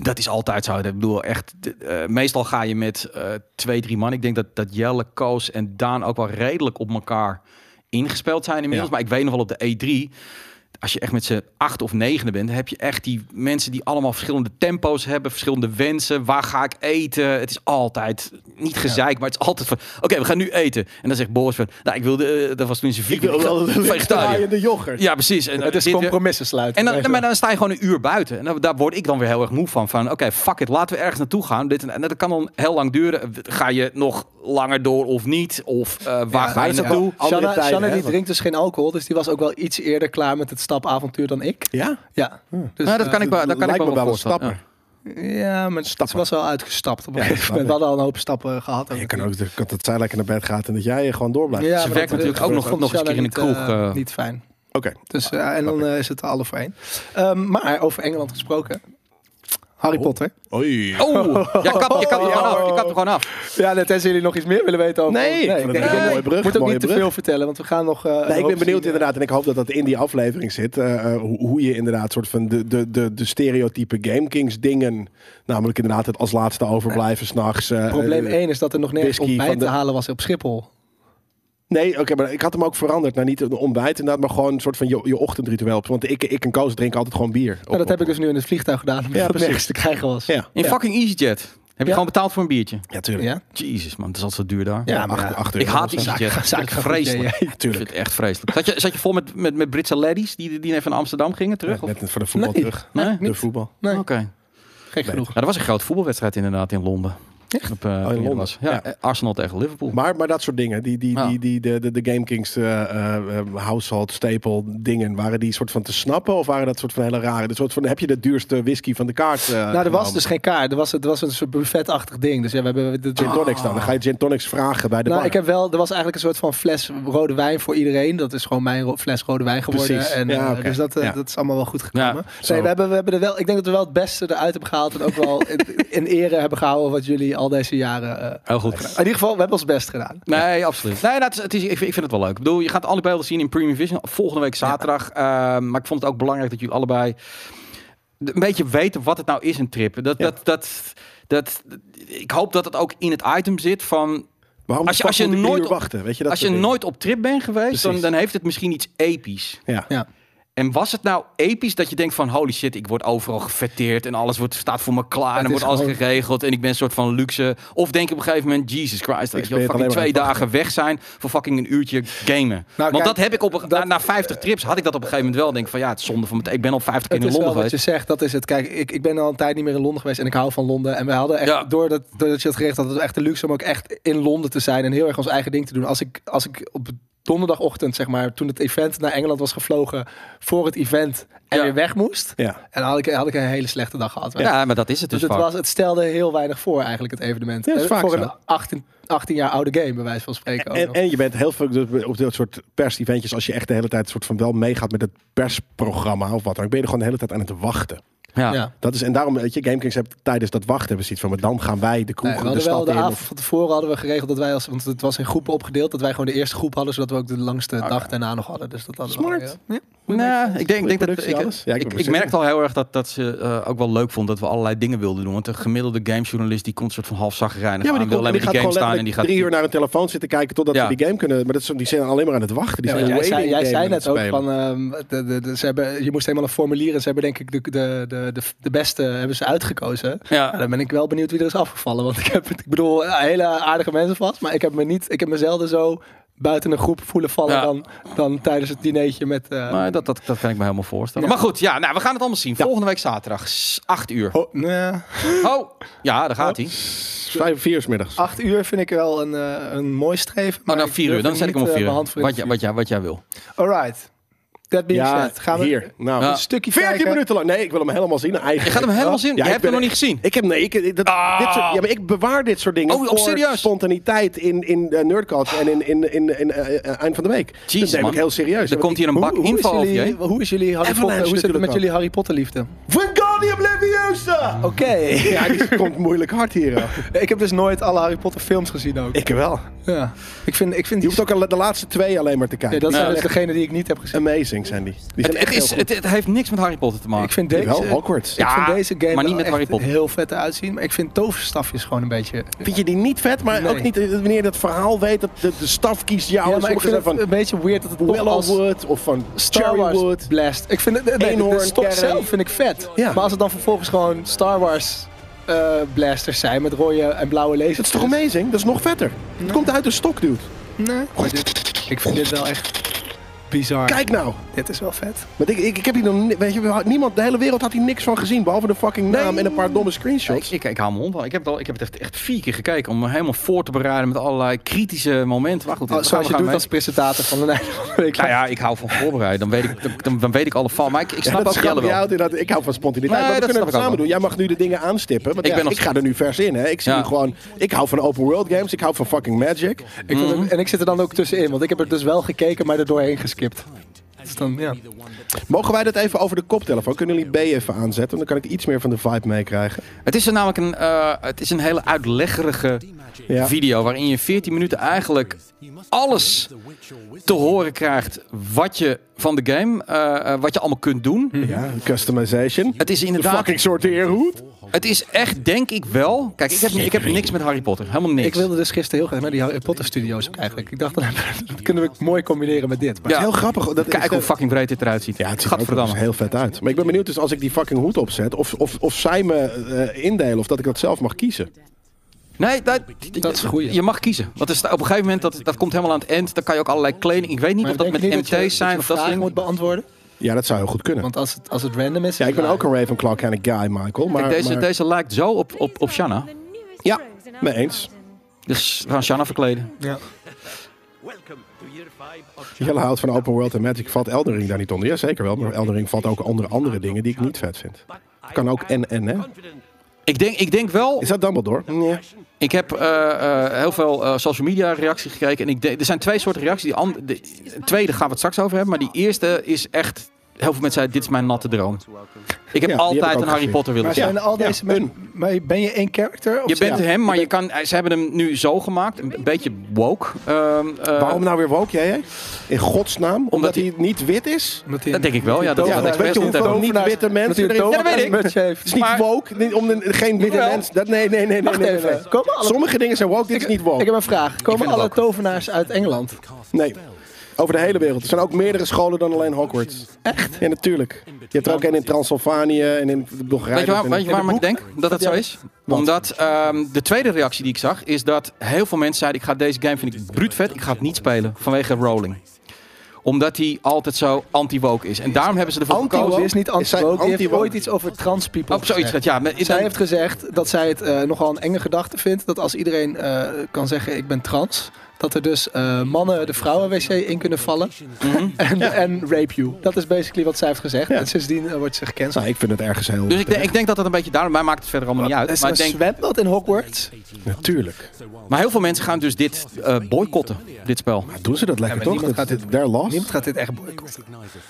Speaker 2: dat is altijd zo. Ik bedoel, echt, de- eh, meestal ga je met eh, twee, drie man. Ik denk dat, dat Jelle, Koos en Daan ook wel redelijk op elkaar ingespeeld zijn inmiddels.
Speaker 3: Ja.
Speaker 2: Maar ik weet nog wel op de E3... Als je echt met z'n acht of negende bent, heb je echt die mensen die allemaal verschillende tempo's hebben, verschillende wensen. Waar ga ik eten? Het is altijd niet gezeik, maar het is altijd van: oké, we gaan nu eten. En dan zegt Boris van: nou, ik wilde, eh, dat was toen zijn
Speaker 3: Ik wil wel een
Speaker 2: vegetariër.
Speaker 3: draaiende yoghurt.
Speaker 2: Ja, precies. En, eh,
Speaker 1: Het is
Speaker 2: dit-
Speaker 1: compromissen sluiten.
Speaker 2: en dan,
Speaker 1: Even.
Speaker 2: maar dan sta je gewoon een uur buiten. En dan- daar word ik dan weer heel erg moe van. Van oké, fuck it, laten we ergens naartoe gaan. Dit en, en dat kan dan heel lang duren. Ga je nog langer door of niet? Of eh, waar ga je
Speaker 3: dat is ook
Speaker 2: naartoe?
Speaker 3: wel- andere
Speaker 1: Shanna,
Speaker 3: tijden,
Speaker 1: Shanna
Speaker 3: hè,
Speaker 1: die
Speaker 3: want-
Speaker 1: drinkt dus geen alcohol, dus die was ook wel iets eerder klaar met het stapavontuur dan ik.
Speaker 3: Ja?
Speaker 1: Ja, dus,
Speaker 2: Nou, dat
Speaker 1: eh,
Speaker 2: kan ik wel, dat kan ik
Speaker 3: Lijkt
Speaker 2: wel,
Speaker 3: me wel een
Speaker 2: voorstellen.
Speaker 3: stapper.
Speaker 1: ja, maar ze was wel uitgestapt op een
Speaker 3: Ja,
Speaker 1: gegeven
Speaker 3: snap
Speaker 1: moment. We hadden al een hoop stappen eh, gehad.
Speaker 3: Je kan ook kan dat zij lekker naar bed gaat en dat jij gewoon door blijft.
Speaker 2: Ze werkt
Speaker 1: eh,
Speaker 2: natuurlijk ook nog- nog eens een keer in de kroeg, eh. Ah,
Speaker 1: niet fijn.
Speaker 3: Oké.
Speaker 1: Dus, eh, en dan eh, is het er alle voor één. Ehm, maar over Engeland gesproken.
Speaker 3: Oh.
Speaker 1: Harry Potter.
Speaker 3: Oei.
Speaker 2: Oh, ja, je kapt, je kapt er gewoon af. Je kapt er gewoon af.
Speaker 1: Ja, net tenzij jullie nog iets meer willen weten over.
Speaker 3: Nee, ik vond
Speaker 1: ik
Speaker 3: het
Speaker 1: denk- ik
Speaker 3: een
Speaker 1: denk-
Speaker 3: mooie brug,
Speaker 1: moet ook
Speaker 3: mooie
Speaker 1: niet te
Speaker 3: brug.
Speaker 1: veel vertellen, want we gaan nog. eh, een
Speaker 3: Nee, ik
Speaker 1: hoop
Speaker 3: ben benieuwd
Speaker 1: zien, eh,
Speaker 3: inderdaad. En ik hoop dat dat in die aflevering zit. eh, eh, hoe, hoe je inderdaad soort van de, de, de, de stereotype Game Kings dingen. Namelijk inderdaad het als laatste overblijven s'nachts. eh,
Speaker 1: Probleem
Speaker 3: eh,
Speaker 1: 1 is dat er nog nergens
Speaker 3: whisky
Speaker 1: ontbijt
Speaker 3: van de-
Speaker 1: te halen was op Schiphol.
Speaker 3: Nee, oké, maar ik had hem ook veranderd. Nou, niet een ontbijt inderdaad, maar gewoon een soort van je, je ochtendritueel. Want ik, ik en Koos drinken altijd gewoon bier.
Speaker 1: Nou, dat heb ik dus nu in het vliegtuig gedaan, omdat
Speaker 3: Ja,
Speaker 1: het
Speaker 3: precies.
Speaker 1: nergens te krijgen was.
Speaker 3: Ja,
Speaker 2: In
Speaker 3: ja.
Speaker 2: fucking EasyJet. Heb je
Speaker 1: Ja.
Speaker 2: gewoon betaald voor een biertje?
Speaker 3: ja, tuurlijk.
Speaker 1: Ja?
Speaker 2: Jezus man, dat is altijd zo duur daar.
Speaker 3: Ja,
Speaker 1: Ja, maar
Speaker 3: acht,
Speaker 1: ja.
Speaker 3: acht
Speaker 2: Ik
Speaker 3: euro
Speaker 2: haat
Speaker 3: of zo.
Speaker 2: EasyJet.
Speaker 1: Zaak-
Speaker 2: Ik vind het
Speaker 1: zaak-
Speaker 2: vreselijk.
Speaker 1: ja,
Speaker 2: Ik vind het echt vreselijk. Zat je, zat je vol met, met, met Britse ladies die, die even naar Amsterdam gingen terug?
Speaker 3: Ja,
Speaker 2: of?
Speaker 3: Net voor de voetbal
Speaker 1: Nee.
Speaker 3: terug.
Speaker 2: Nee?
Speaker 3: De voetbal.
Speaker 1: Nee,
Speaker 2: Oké.
Speaker 1: gek genoeg.
Speaker 2: Ja, er was een grote voetbalwedstrijd inderdaad in Londen. Echt? Op, eh, toen je er
Speaker 3: Oh, Londen.
Speaker 2: was. Ja,
Speaker 3: Ja.
Speaker 2: eh, Arsenal tegen Liverpool.
Speaker 3: Maar, maar dat soort dingen, die, die,
Speaker 2: Ja.
Speaker 3: die, die, de, de, de Game Kings eh, eh, eh, household staple dingen, waren die soort van te snappen of waren dat soort van hele rare? De soort van, heb je de duurste whisky van de kaart? eh,
Speaker 1: Nou, er was
Speaker 3: genomen?
Speaker 1: dus geen kaart. Er was, het was een soort buffetachtig ding. Dus ja, we hebben... De,
Speaker 3: gin tonics dan. Dan ga je gin tonics vragen bij Ah, de
Speaker 1: nou,
Speaker 3: bar.
Speaker 1: ik heb wel... Er was eigenlijk een soort van fles rode wijn voor iedereen. Dat is gewoon mijn ro- fles rode wijn geworden.
Speaker 3: Precies.
Speaker 1: En,
Speaker 3: Ja,
Speaker 1: eh,
Speaker 3: oké.
Speaker 1: Dus dat, eh,
Speaker 3: Ja.
Speaker 1: dat is allemaal wel goed gekomen.
Speaker 3: zo.
Speaker 1: nee, we hebben, we hebben er wel... Ik denk dat we wel het beste eruit hebben gehaald. En ook wel in, in ere hebben gehouden wat jullie al deze jaren... eh,
Speaker 2: Heel goed gedaan.
Speaker 1: in ieder geval, we hebben ons best gedaan.
Speaker 2: Nee, absoluut. Nee, dat is, het is, ik, vind, ik vind het wel leuk. Ik bedoel, je gaat alle beelden zien in Premium Vision volgende week zaterdag. Ehm, maar ik vond het ook belangrijk dat jullie allebei d- een beetje weten wat het nou is, een trip. Dat,
Speaker 3: Ja.
Speaker 2: dat, dat, dat, ik hoop dat het ook in het item zit van...
Speaker 3: Waarom
Speaker 2: als je-
Speaker 3: de
Speaker 2: als je
Speaker 3: fuck moet ik drie
Speaker 2: nooit
Speaker 3: uur
Speaker 2: op-
Speaker 3: wachten? Weet je, dat
Speaker 2: als je
Speaker 3: soort dingen.
Speaker 2: nooit op trip bent geweest, dan,
Speaker 3: Precies.
Speaker 2: dan heeft het misschien iets episch.
Speaker 3: Ja.
Speaker 1: Ja.
Speaker 2: En was het nou episch dat je denkt van holy shit, ik word overal gefetteerd en alles wordt, staat voor me klaar en
Speaker 1: Het
Speaker 2: dan
Speaker 1: is
Speaker 2: wordt alles
Speaker 1: gewoon-
Speaker 2: geregeld en ik ben een soort van luxe. Of denk je op een gegeven moment, Jesus Christ, dat je al
Speaker 3: Ik ben alleen
Speaker 2: fucking
Speaker 3: maar
Speaker 2: twee
Speaker 3: aan het Nou,
Speaker 2: dagen weg zijn voor fucking een uurtje gamen. Want
Speaker 1: kijk,
Speaker 2: dat heb ik op een- na,
Speaker 1: dat-
Speaker 2: na 50 trips had ik dat op een gegeven moment wel. Denk van ja, het is zonde van mijn tijd. Ik ben al 50 keer
Speaker 1: Het
Speaker 2: in
Speaker 1: is wel
Speaker 2: Londen
Speaker 1: wat
Speaker 2: geweest.
Speaker 1: je zegt, dat is het. Kijk, ik, ik ben al een tijd niet meer in Londen geweest en ik hou van Londen. En we hadden echt,
Speaker 2: Ja.
Speaker 1: doordat, doordat je het gericht had, het was echt de luxe om ook echt in Londen te zijn en heel erg ons eigen ding te doen. Als ik, als ik op donderdagochtend, zeg maar, toen het event naar Engeland was gevlogen voor het event en
Speaker 2: Ja.
Speaker 1: weer weg moest,
Speaker 3: Ja.
Speaker 1: en dan had ik, had ik een hele slechte dag gehad.
Speaker 2: Ja, maar dat is het dus.
Speaker 1: Dus het,
Speaker 2: vaak.
Speaker 1: was, het stelde heel weinig voor eigenlijk, het evenement.
Speaker 3: Ja, dat is
Speaker 1: En
Speaker 3: vaak
Speaker 1: voor
Speaker 3: zo.
Speaker 1: een 18, 18 jaar oude game, bij wijze van spreken. ook
Speaker 3: En,
Speaker 1: nog.
Speaker 3: en je bent heel veel dus op dit soort pers-eventjes, als je echt de hele tijd soort van wel meegaat met het persprogramma of wat dan ook, ben je er gewoon de hele tijd aan het wachten.
Speaker 2: ja.
Speaker 1: ja.
Speaker 3: Dat is, en daarom, weet je, GameKings hebt tijdens dat wachten hebben ze iets van, maar dan gaan wij de
Speaker 1: Nee,
Speaker 3: kroeg
Speaker 1: we
Speaker 3: in de
Speaker 1: hadden wel
Speaker 3: stad
Speaker 1: de
Speaker 3: in.
Speaker 1: avond
Speaker 3: of-
Speaker 1: van tevoren hadden we geregeld dat wij als want het was in groepen opgedeeld dat wij gewoon de eerste groep hadden zodat we ook de langste dag daarna nog hadden. Dus dat hadden we
Speaker 3: Ah, Smart.
Speaker 1: al, ja. Ja.
Speaker 2: Nou, ik denk, ik denk dat
Speaker 3: productie,
Speaker 2: ik,
Speaker 3: alles. Ja, ik
Speaker 2: ik,
Speaker 3: wou
Speaker 2: ik,
Speaker 3: zeggen.
Speaker 2: merkte al heel erg dat, dat ze eh, ook wel leuk vond dat we allerlei dingen wilden doen. Want de gemiddelde gamejournalist die komt soort van half zagrijnig
Speaker 3: Ja, maar
Speaker 2: aan, wil
Speaker 3: die, komt-
Speaker 2: alleen maar
Speaker 3: die
Speaker 2: die
Speaker 3: gaat
Speaker 2: game
Speaker 3: gewoon
Speaker 2: staan en die
Speaker 3: letterlijk
Speaker 2: gaat...
Speaker 3: drie uur naar een telefoon zitten kijken totdat
Speaker 2: Ja.
Speaker 3: ze die game kunnen. Maar dat is, die zijn alleen maar aan het wachten. Die
Speaker 1: Ja,
Speaker 3: zijn
Speaker 1: want jij
Speaker 3: een
Speaker 1: zei,
Speaker 3: waiting
Speaker 1: jij
Speaker 3: game
Speaker 1: zei
Speaker 3: aan het
Speaker 1: net ook
Speaker 3: spelen.
Speaker 1: van ehm, de, de, de- ze hebben, je moest helemaal een formulier en ze hebben denk ik de, de, de, de, de beste hebben ze uitgekozen. Ja,
Speaker 2: Ja,
Speaker 1: dan ben ik wel benieuwd wie er is afgevallen. Want ik heb, het- ik bedoel, eh, hele aardige mensen vast. Maar ik heb me niet, ik heb mezelf zo buiten een groep voelen vallen
Speaker 2: Ja.
Speaker 1: dan, dan tijdens het dinertje met. eh,
Speaker 2: maar dat, dat, dat kan ik me helemaal voorstellen.
Speaker 1: Ja.
Speaker 2: Maar goed, ja, nou, we gaan het allemaal zien. Volgende week zaterdag, s- 8 uur.
Speaker 1: ho- nee.
Speaker 2: Oh, ja, daar gaat hij.
Speaker 3: Vijf, vier uur middags.
Speaker 1: Acht uur vind ik wel een, eh, een mooi streven.
Speaker 2: Oh,
Speaker 1: maar
Speaker 2: dan
Speaker 1: ik
Speaker 2: 4
Speaker 1: durf
Speaker 2: uur. Dan
Speaker 1: er
Speaker 2: zet ik
Speaker 1: niet,
Speaker 2: hem op
Speaker 1: eh,
Speaker 2: 4 uur.
Speaker 1: mijn hand
Speaker 2: Wat,
Speaker 1: voor in het
Speaker 2: jij- wat, jij, wat jij wil.
Speaker 1: Alright. Dat being
Speaker 3: Ja,
Speaker 1: said, gaan we
Speaker 3: hier. Nou,
Speaker 2: Ja.
Speaker 1: een stukje
Speaker 3: 14
Speaker 1: kijken.
Speaker 3: minuten lang. Nee, ik wil hem helemaal zien. Eigenlijk.
Speaker 2: Je gaat hem helemaal zien.
Speaker 3: Ja,
Speaker 2: je
Speaker 3: ik
Speaker 2: hebt
Speaker 3: ben
Speaker 2: hem nog
Speaker 3: er-
Speaker 2: niet gezien.
Speaker 3: Ik heb nee, ik, ik- dat,
Speaker 2: Ah.
Speaker 3: dit soort, ja, maar ik bewaar dit soort dingen
Speaker 2: Oh, oh,
Speaker 3: voor
Speaker 2: serieus?
Speaker 3: spontaniteit in, in eh, nerdculture en in, in, in, in eh, eh, eind van de week. dat neem
Speaker 2: man.
Speaker 3: ik heel serieus.
Speaker 2: Er komt hier een
Speaker 1: Hoe-
Speaker 2: bak
Speaker 1: hoe,
Speaker 2: info
Speaker 1: is
Speaker 2: over je.
Speaker 1: jullie,
Speaker 2: heen.
Speaker 1: hoe is jullie Harry
Speaker 3: Avalanche
Speaker 1: Potter? Hoe zit het
Speaker 3: natuurlijk
Speaker 1: met
Speaker 3: ook.
Speaker 1: jullie Harry Potter liefde?
Speaker 3: Wingardium Leviosa!
Speaker 1: Oké.
Speaker 3: Ja, die komt moeilijk hard hier. eh.
Speaker 1: ik heb dus nooit alle Harry Potter films gezien ook.
Speaker 3: Ik wel.
Speaker 1: ja. Ik vind, ik vind
Speaker 3: Je
Speaker 1: die...
Speaker 3: hoeft ook al de laatste twee alleen maar te kijken.
Speaker 1: Nee, dat
Speaker 3: Die
Speaker 1: zijn
Speaker 3: zijn
Speaker 1: dus degene die ik niet heb gezien.
Speaker 3: echt amazing, zijn die. Die
Speaker 2: Het,
Speaker 3: zijn
Speaker 2: het
Speaker 3: echt
Speaker 2: is,
Speaker 3: heel goed.
Speaker 2: het, het heeft niks met Harry Potter te maken.
Speaker 1: Ik vind deze...
Speaker 3: Wel, awkward.
Speaker 1: Ik
Speaker 2: Ja,
Speaker 1: vind deze game
Speaker 2: maar niet
Speaker 1: wel
Speaker 2: met
Speaker 1: echt
Speaker 2: Harry Potter.
Speaker 1: heel vet uitzien. Maar ik vind toverstafjes gewoon een beetje...
Speaker 3: Vind je die niet vet, maar
Speaker 1: Nee.
Speaker 3: ook niet eh, wanneer je dat verhaal weet, dat de, de staf kiest jou.
Speaker 1: ja,
Speaker 3: en
Speaker 1: maar ik
Speaker 3: sommigen
Speaker 1: vind
Speaker 3: zijn
Speaker 1: het
Speaker 3: van
Speaker 1: een beetje weird dat het
Speaker 2: eh,
Speaker 1: toch als...
Speaker 3: Willowwood of van
Speaker 1: Star Wars
Speaker 3: Cherrywood.
Speaker 1: Blast. Ik vind het, nee, de- de
Speaker 3: Eenhoorn,
Speaker 1: stok
Speaker 3: Karen.
Speaker 1: zelf vind ik vet.
Speaker 3: Ja.
Speaker 1: Maar als het dan vervolgens gewoon Star Wars eh, blasters zijn met rode en blauwe lasers. dus-
Speaker 3: Dat is toch amazing? Dat is nog vetter. Het komt uit de stok, dude.
Speaker 1: Nee. Maar dit- ik vind dit wel echt bizar.
Speaker 3: Kijk nou.
Speaker 1: dit is wel vet.
Speaker 3: Want ik, ik, ik heb hier nog ni- weet je, we had- niemand, de hele wereld had hier niks van gezien, behalve de fucking naam
Speaker 2: Nee.
Speaker 3: en een paar domme
Speaker 2: Ik,
Speaker 3: screenshots.
Speaker 2: ik, ik hou mijn hond wel. Ik heb het, al, ik heb het echt, echt vier keer gekeken om me helemaal voor te bereiden met allerlei kritische momenten. Maar goed, we gaan-
Speaker 1: Oh, zoals
Speaker 2: we
Speaker 1: je
Speaker 2: gaan
Speaker 1: doet
Speaker 2: mee.
Speaker 1: als presentator van een einde van de week.
Speaker 2: Nou ja, ik hou van voorbereiden. Dan weet ik, dan- dan, dan weet ik alle van. Maar ik, ik
Speaker 3: Ja,
Speaker 2: snap
Speaker 3: dat
Speaker 2: ook Jelle
Speaker 3: schat me
Speaker 2: wel.
Speaker 3: uit, inderdaad. ik hou van spontaniteit,
Speaker 2: Nee,
Speaker 3: maar we
Speaker 2: dat
Speaker 3: kunnen
Speaker 2: snap ik
Speaker 3: het
Speaker 2: ook wel.
Speaker 3: samen doen. Jij mag nu de dingen aanstippen, want
Speaker 2: Ik
Speaker 3: ja,
Speaker 2: ben nog
Speaker 3: ik ga er nu vers in. Hè. Ik, zie
Speaker 2: Ja.
Speaker 3: nu gewoon, ik hou van open world games, ik hou van fucking Magic.
Speaker 1: Ik vind het- en ik zit er dan ook tussenin, want ik heb er dus wel gekeken, maar er doorheen geskipt. Dus dan, ja.
Speaker 3: Mogen wij dat even over de koptelefoon? Kunnen jullie B even aanzetten? Dan kan ik iets meer van de vibe meekrijgen.
Speaker 2: Het is er namelijk een, eh, het is een hele uitleggerige
Speaker 3: Ja.
Speaker 2: video waarin je 14 minuten eigenlijk alles te horen krijgt wat je van de game, eh, eh, wat je allemaal kunt doen.
Speaker 1: Hm.
Speaker 3: Ja, customization.
Speaker 2: Het is
Speaker 3: De
Speaker 2: inderdaad,
Speaker 3: fucking sorteerhoed.
Speaker 2: het is echt denk ik wel. Kijk, ik heb, ik heb niks met Harry Potter, helemaal niks.
Speaker 1: Ik wilde dus gisteren heel graag naar die Harry Potter studio's ook eigenlijk. Ik dacht, dat kunnen we mooi combineren met dit. Maar
Speaker 2: Ja.
Speaker 3: Heel grappig. Dat
Speaker 2: Kijk hoe fucking breed dit eruit ziet.
Speaker 3: Ja, het ziet er ook wel eens
Speaker 2: Gadverdamme.
Speaker 3: heel vet uit. Maar ik ben benieuwd dus als ik die fucking hoed opzet, of, of, of zij me eh, indelen, of dat ik dat zelf mag kiezen.
Speaker 2: Nee, dat,
Speaker 1: Dat is een goeie.
Speaker 2: Je mag kiezen. Dat is, op een gegeven moment, dat, dat komt helemaal aan het eind. Dan kan je ook allerlei kleding. Ik weet niet
Speaker 1: maar
Speaker 2: of dat
Speaker 1: denk
Speaker 2: met
Speaker 1: je niet
Speaker 2: MT's
Speaker 1: je-
Speaker 2: zijn
Speaker 1: je
Speaker 2: of dat soort
Speaker 1: vragen
Speaker 2: dingen.
Speaker 1: moet beantwoorden.
Speaker 3: Ja, dat zou heel goed kunnen.
Speaker 1: Want als het, als het random is...
Speaker 3: Ja, ik ben ook een Ravenclaw kind of guy, Michael. Maar,
Speaker 2: Kijk, deze,
Speaker 3: maar-
Speaker 2: deze lijkt zo op, op, op Shanna.
Speaker 3: Ja, mee eens.
Speaker 2: Dus we gaan Shanna verkleden.
Speaker 1: Ja.
Speaker 3: Jelle houdt van open world en magic. Valt Eldering daar niet onder? Ja, zeker wel. Maar Eldering valt ook onder andere dingen die ik niet vet vind. Kan ook en en, hè?
Speaker 2: Ik denk, ik denk wel...
Speaker 3: Is dat Dumbledore? Nee.
Speaker 2: Ik heb eh, eh, heel veel eh, social media reacties gekeken. En ik denk- er zijn twee soorten reacties. Die an- de, de tweede gaan we het straks over hebben. Maar die eerste is echt... Heel veel mensen zeiden, dit is mijn natte droom. Ik heb
Speaker 3: heb ik
Speaker 2: altijd een
Speaker 3: ook
Speaker 2: Harry
Speaker 3: gezien.
Speaker 2: Potter willen
Speaker 1: Maar
Speaker 2: zijn.
Speaker 1: zijn al
Speaker 3: Ja,
Speaker 1: deze
Speaker 3: een.
Speaker 1: men- Maar ben je één character? Of
Speaker 2: Je
Speaker 1: zijn-
Speaker 2: bent hem, maar je kan, eh, ze hebben hem nu zo gemaakt. Een beetje woke. Ehm, eh,
Speaker 3: Waarom nou weer woke jij? hè? In godsnaam? Omdat,
Speaker 2: Omdat
Speaker 3: hij niet wit is?
Speaker 1: Omdat hij
Speaker 2: Dat denk ik wel, ja. Dat,
Speaker 1: Ja,
Speaker 2: dat
Speaker 1: maar
Speaker 2: expres
Speaker 1: weet je
Speaker 2: doet
Speaker 1: hoeveel
Speaker 2: hebben.
Speaker 3: niet witte mensen
Speaker 1: Dat hij een
Speaker 3: erin-
Speaker 2: Ja, dat weet ik.
Speaker 1: tovermuts
Speaker 3: Het is
Speaker 1: heeft.
Speaker 3: niet
Speaker 2: Maar-
Speaker 3: woke. niet om de, geen witte
Speaker 2: Jawel.
Speaker 3: mensen. Dat, nee, nee, nee, nee.
Speaker 1: Wacht
Speaker 3: nee, nee,
Speaker 1: even.
Speaker 3: nee.
Speaker 1: Komen alle-
Speaker 3: Sommige dingen zijn woke, dit is niet
Speaker 1: Ik
Speaker 3: woke.
Speaker 1: heb een vraag.
Speaker 2: vind
Speaker 1: Komen
Speaker 2: het
Speaker 1: alle
Speaker 2: ook.
Speaker 1: tovenaars uit Engeland?
Speaker 3: Nee. Over de hele wereld. Er zijn ook meerdere scholen dan alleen Hogwarts. Echt? Ja, natuurlijk. Je hebt er ook één in Transylvanië en in Bulgarije.
Speaker 2: Weet je waar,
Speaker 3: en-
Speaker 2: weet je waarom
Speaker 1: boek-
Speaker 2: ik denk dat dat zo
Speaker 1: Ja.
Speaker 2: is? Omdat ehm, de tweede reactie die ik zag is dat heel veel mensen zeiden: ik ga deze game vind ik bruutvet, ik ga het niet spelen vanwege Rowling omdat hij altijd zo anti-woke is. En daarom hebben ze ervoor
Speaker 1: Anti-woke
Speaker 2: gekozen.
Speaker 1: is niet
Speaker 3: Is zij
Speaker 1: anti-woke. Die heeft
Speaker 3: anti-woke?
Speaker 1: ooit iets over trans people
Speaker 2: Op Oh, zoiets
Speaker 1: gezegd.
Speaker 2: dat ja. maar is
Speaker 1: Zij
Speaker 2: dan-
Speaker 1: heeft gezegd dat zij het eh, nogal een enge gedachte vindt. Dat als iedereen eh, kan zeggen ik ben trans. Dat er dus eh, mannen de vrouwenwc in kunnen vallen.
Speaker 2: Mhm.
Speaker 1: En, en rape you. Dat is basically wat zij heeft gezegd.
Speaker 3: Ja.
Speaker 1: En sindsdien eh, wordt ze gecanceld.
Speaker 3: Nou, ik vind het ergens heel...
Speaker 2: Dus ik, denk- ik denk dat dat een beetje daarom. Mij maakt het verder allemaal niet
Speaker 1: Er
Speaker 2: uit.
Speaker 1: is
Speaker 2: Maar, ik
Speaker 1: een
Speaker 2: denk,
Speaker 1: zwembad in Hogwarts.
Speaker 3: Natuurlijk.
Speaker 2: maar heel veel mensen gaan dus dit eh, boycotten, dit spel.
Speaker 3: Doen ze dat lekker,
Speaker 1: Ja, maar
Speaker 3: toch? Dat,
Speaker 1: niemand gaat
Speaker 3: dit, daar last.
Speaker 1: Niemand gaat dit echt boycotten.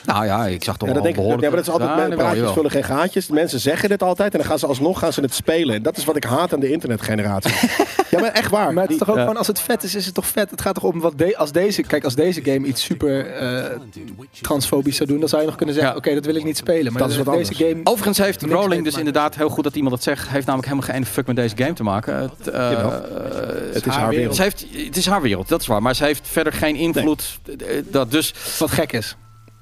Speaker 2: Nou ja, ik zag toch
Speaker 3: Ja,
Speaker 2: wel
Speaker 3: dat denk ik. ook.
Speaker 2: behoorlijk.
Speaker 3: Ja, maar dat is altijd
Speaker 2: Ja,
Speaker 3: met
Speaker 2: jawel,
Speaker 3: praatjes
Speaker 2: jawel.
Speaker 3: vullen geen gaatjes. Mensen zeggen dit altijd en dan gaan ze alsnog gaan ze het spelen. En dat is wat ik haat aan de internetgeneratie. ja, maar echt waar.
Speaker 1: Maar het is
Speaker 3: Die-
Speaker 1: toch ook
Speaker 2: Ja.
Speaker 1: gewoon, als het vet is, is het toch vet. Het gaat toch om wat de- als deze, kijk, als deze game iets super eh, transfobisch zou doen, dan zou je nog kunnen zeggen,
Speaker 2: Ja.
Speaker 1: oké, dat wil ik niet spelen. Maar
Speaker 3: Dat is wat
Speaker 1: deze game.
Speaker 2: Overigens heeft
Speaker 1: Niks mee
Speaker 2: Rowling
Speaker 1: te
Speaker 2: dus inderdaad heel goed dat iemand dat zegt. Heeft namelijk helemaal geen ene fuck met deze game te maken. Het, eh,
Speaker 3: Jawel.
Speaker 2: eh,
Speaker 3: het is
Speaker 1: haar
Speaker 3: haar wereld.
Speaker 2: ze heeft, het is haar wereld, dat is waar. Maar ze heeft verder geen invloed. eh, Dat dus,
Speaker 1: Wat gek is,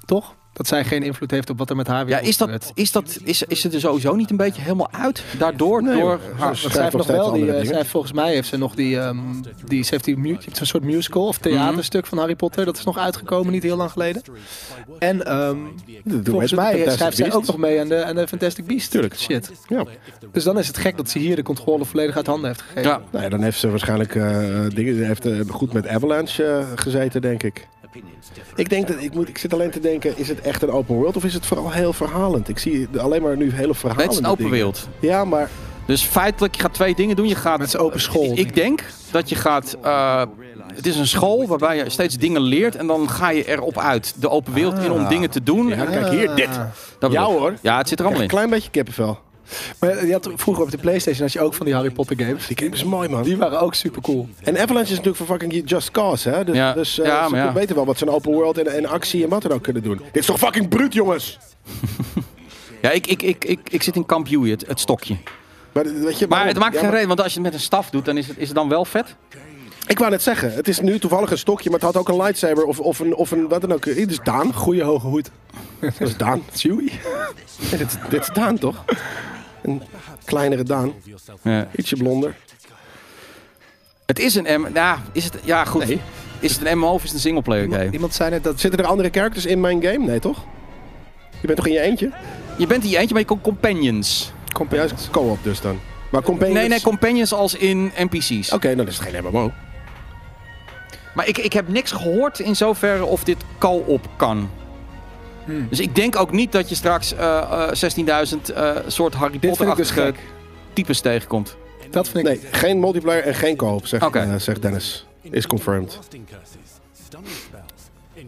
Speaker 1: toch? Dat zij geen invloed heeft op wat er met haar weer
Speaker 2: ja, is, dat, is, dat, is, is ze er sowieso niet een beetje helemaal uit daardoor? door
Speaker 1: Want
Speaker 2: haar,
Speaker 1: zij heeft nog
Speaker 3: Schrijft nog
Speaker 1: wel
Speaker 3: steeds
Speaker 1: die,
Speaker 3: andere
Speaker 1: eh,
Speaker 3: dingen.
Speaker 1: zij heeft- volgens mij heeft ze nog die, ehm, die, ze heeft die mu- je hebt zo'n soort musical
Speaker 2: Mhm.
Speaker 1: of theaterstuk van Harry Potter. Dat is nog uitgekomen, niet heel lang geleden. En ehm, volgens
Speaker 3: het,
Speaker 1: mij
Speaker 2: eh,
Speaker 3: Fantastic
Speaker 1: schrijft zij
Speaker 3: Beasts.
Speaker 1: ook nog mee aan de, aan de Fantastic Beasts.
Speaker 3: Tuurlijk.
Speaker 1: Shit.
Speaker 3: Ja.
Speaker 1: Dus dan is het gek dat ze hier de controle volledig uit handen heeft gegeven.
Speaker 2: ja,
Speaker 3: Nou ja, dan heeft ze waarschijnlijk eh, dingen, heeft, eh, goed met Avalanche eh, gezeten, denk ik. Ik, denk dat, ik, moet, ik zit alleen te denken, is het echt een open world of is het vooral heel verhalend? Ik zie alleen maar nu hele verhalen.
Speaker 2: het is een open wereld.
Speaker 3: Ja, maar
Speaker 2: Dus feitelijk, je gaat twee dingen doen. Je gaat,
Speaker 1: Met z'n open school.
Speaker 2: Ik, ik denk dat je gaat... eh, het is een school waarbij je steeds dingen leert en dan ga je erop uit. De open wereld in om dingen te doen.
Speaker 3: Ah. ja,
Speaker 2: En
Speaker 3: kijk hier, dit.
Speaker 2: dat
Speaker 3: Ja
Speaker 2: bedoel ik.
Speaker 3: hoor.
Speaker 2: Ja, het zit er allemaal
Speaker 3: Een
Speaker 2: in.
Speaker 3: klein beetje kippenvel.
Speaker 1: Maar je had vroeger op de PlayStation had je ook van die Harry Potter games.
Speaker 3: Die game is mooi, man.
Speaker 1: Die waren ook super cool.
Speaker 3: En Avalanche is natuurlijk voor fucking Just Cause, hè? Dus,
Speaker 2: Ja.
Speaker 3: dus eh,
Speaker 2: Ja, maar
Speaker 3: ze
Speaker 2: ja.
Speaker 3: weten wel wat ze een open world en, en actie en wat dan ook kunnen doen. Dit is toch fucking bruut, jongens?
Speaker 2: Ja, ik, ik, ik, ik, ik zit in kamp Huey, het, het stokje.
Speaker 3: Maar, eh, weet je,
Speaker 2: Maar
Speaker 3: waarom?
Speaker 2: het maakt
Speaker 3: Ja,
Speaker 2: geen
Speaker 3: maar-
Speaker 2: reden, want als je het met een staf doet, dan is het, is het dan wel vet.
Speaker 3: Ik wou net zeggen, het is nu toevallig een stokje, maar het had ook een lightsaber of, of, een, of een wat dan ook. Dit is Daan.
Speaker 1: Goeie hoge hoed.
Speaker 3: Dat is Daan.
Speaker 1: Chewie.
Speaker 3: Ja, dit, dit is Daan, toch? Een kleinere Daan.
Speaker 2: Ja.
Speaker 3: Ietsje blonder.
Speaker 2: Het is een M. Ja, is het, ja goed.
Speaker 3: Nee.
Speaker 2: Is het een MMO of is het een singleplayer game?
Speaker 1: Iemand zei net dat
Speaker 3: Zitten er andere characters in mijn game? Nee, toch? Je bent toch in je eentje?
Speaker 2: Je bent die eentje, maar je komt companions.
Speaker 1: Companions.
Speaker 3: Juist co-op dus dan. Maar companions...
Speaker 2: Nee, nee, companions als in NPC's.
Speaker 3: Oké, dan is het geen MMO.
Speaker 2: Maar ik, ik heb niks gehoord in zoverre of dit call-op kan.
Speaker 1: Hmm.
Speaker 2: Dus ik denk ook niet dat je straks eh, eh, 16.000 eh, soort Harry
Speaker 1: Dit vind ik dus
Speaker 2: Potter-achtige
Speaker 1: gek.
Speaker 2: types tegenkomt.
Speaker 1: Dat vind ik.
Speaker 3: Nee, geen multiplayer en geen co-op, zegt,
Speaker 2: Oké.
Speaker 3: eh, zegt Dennis. Is confirmed.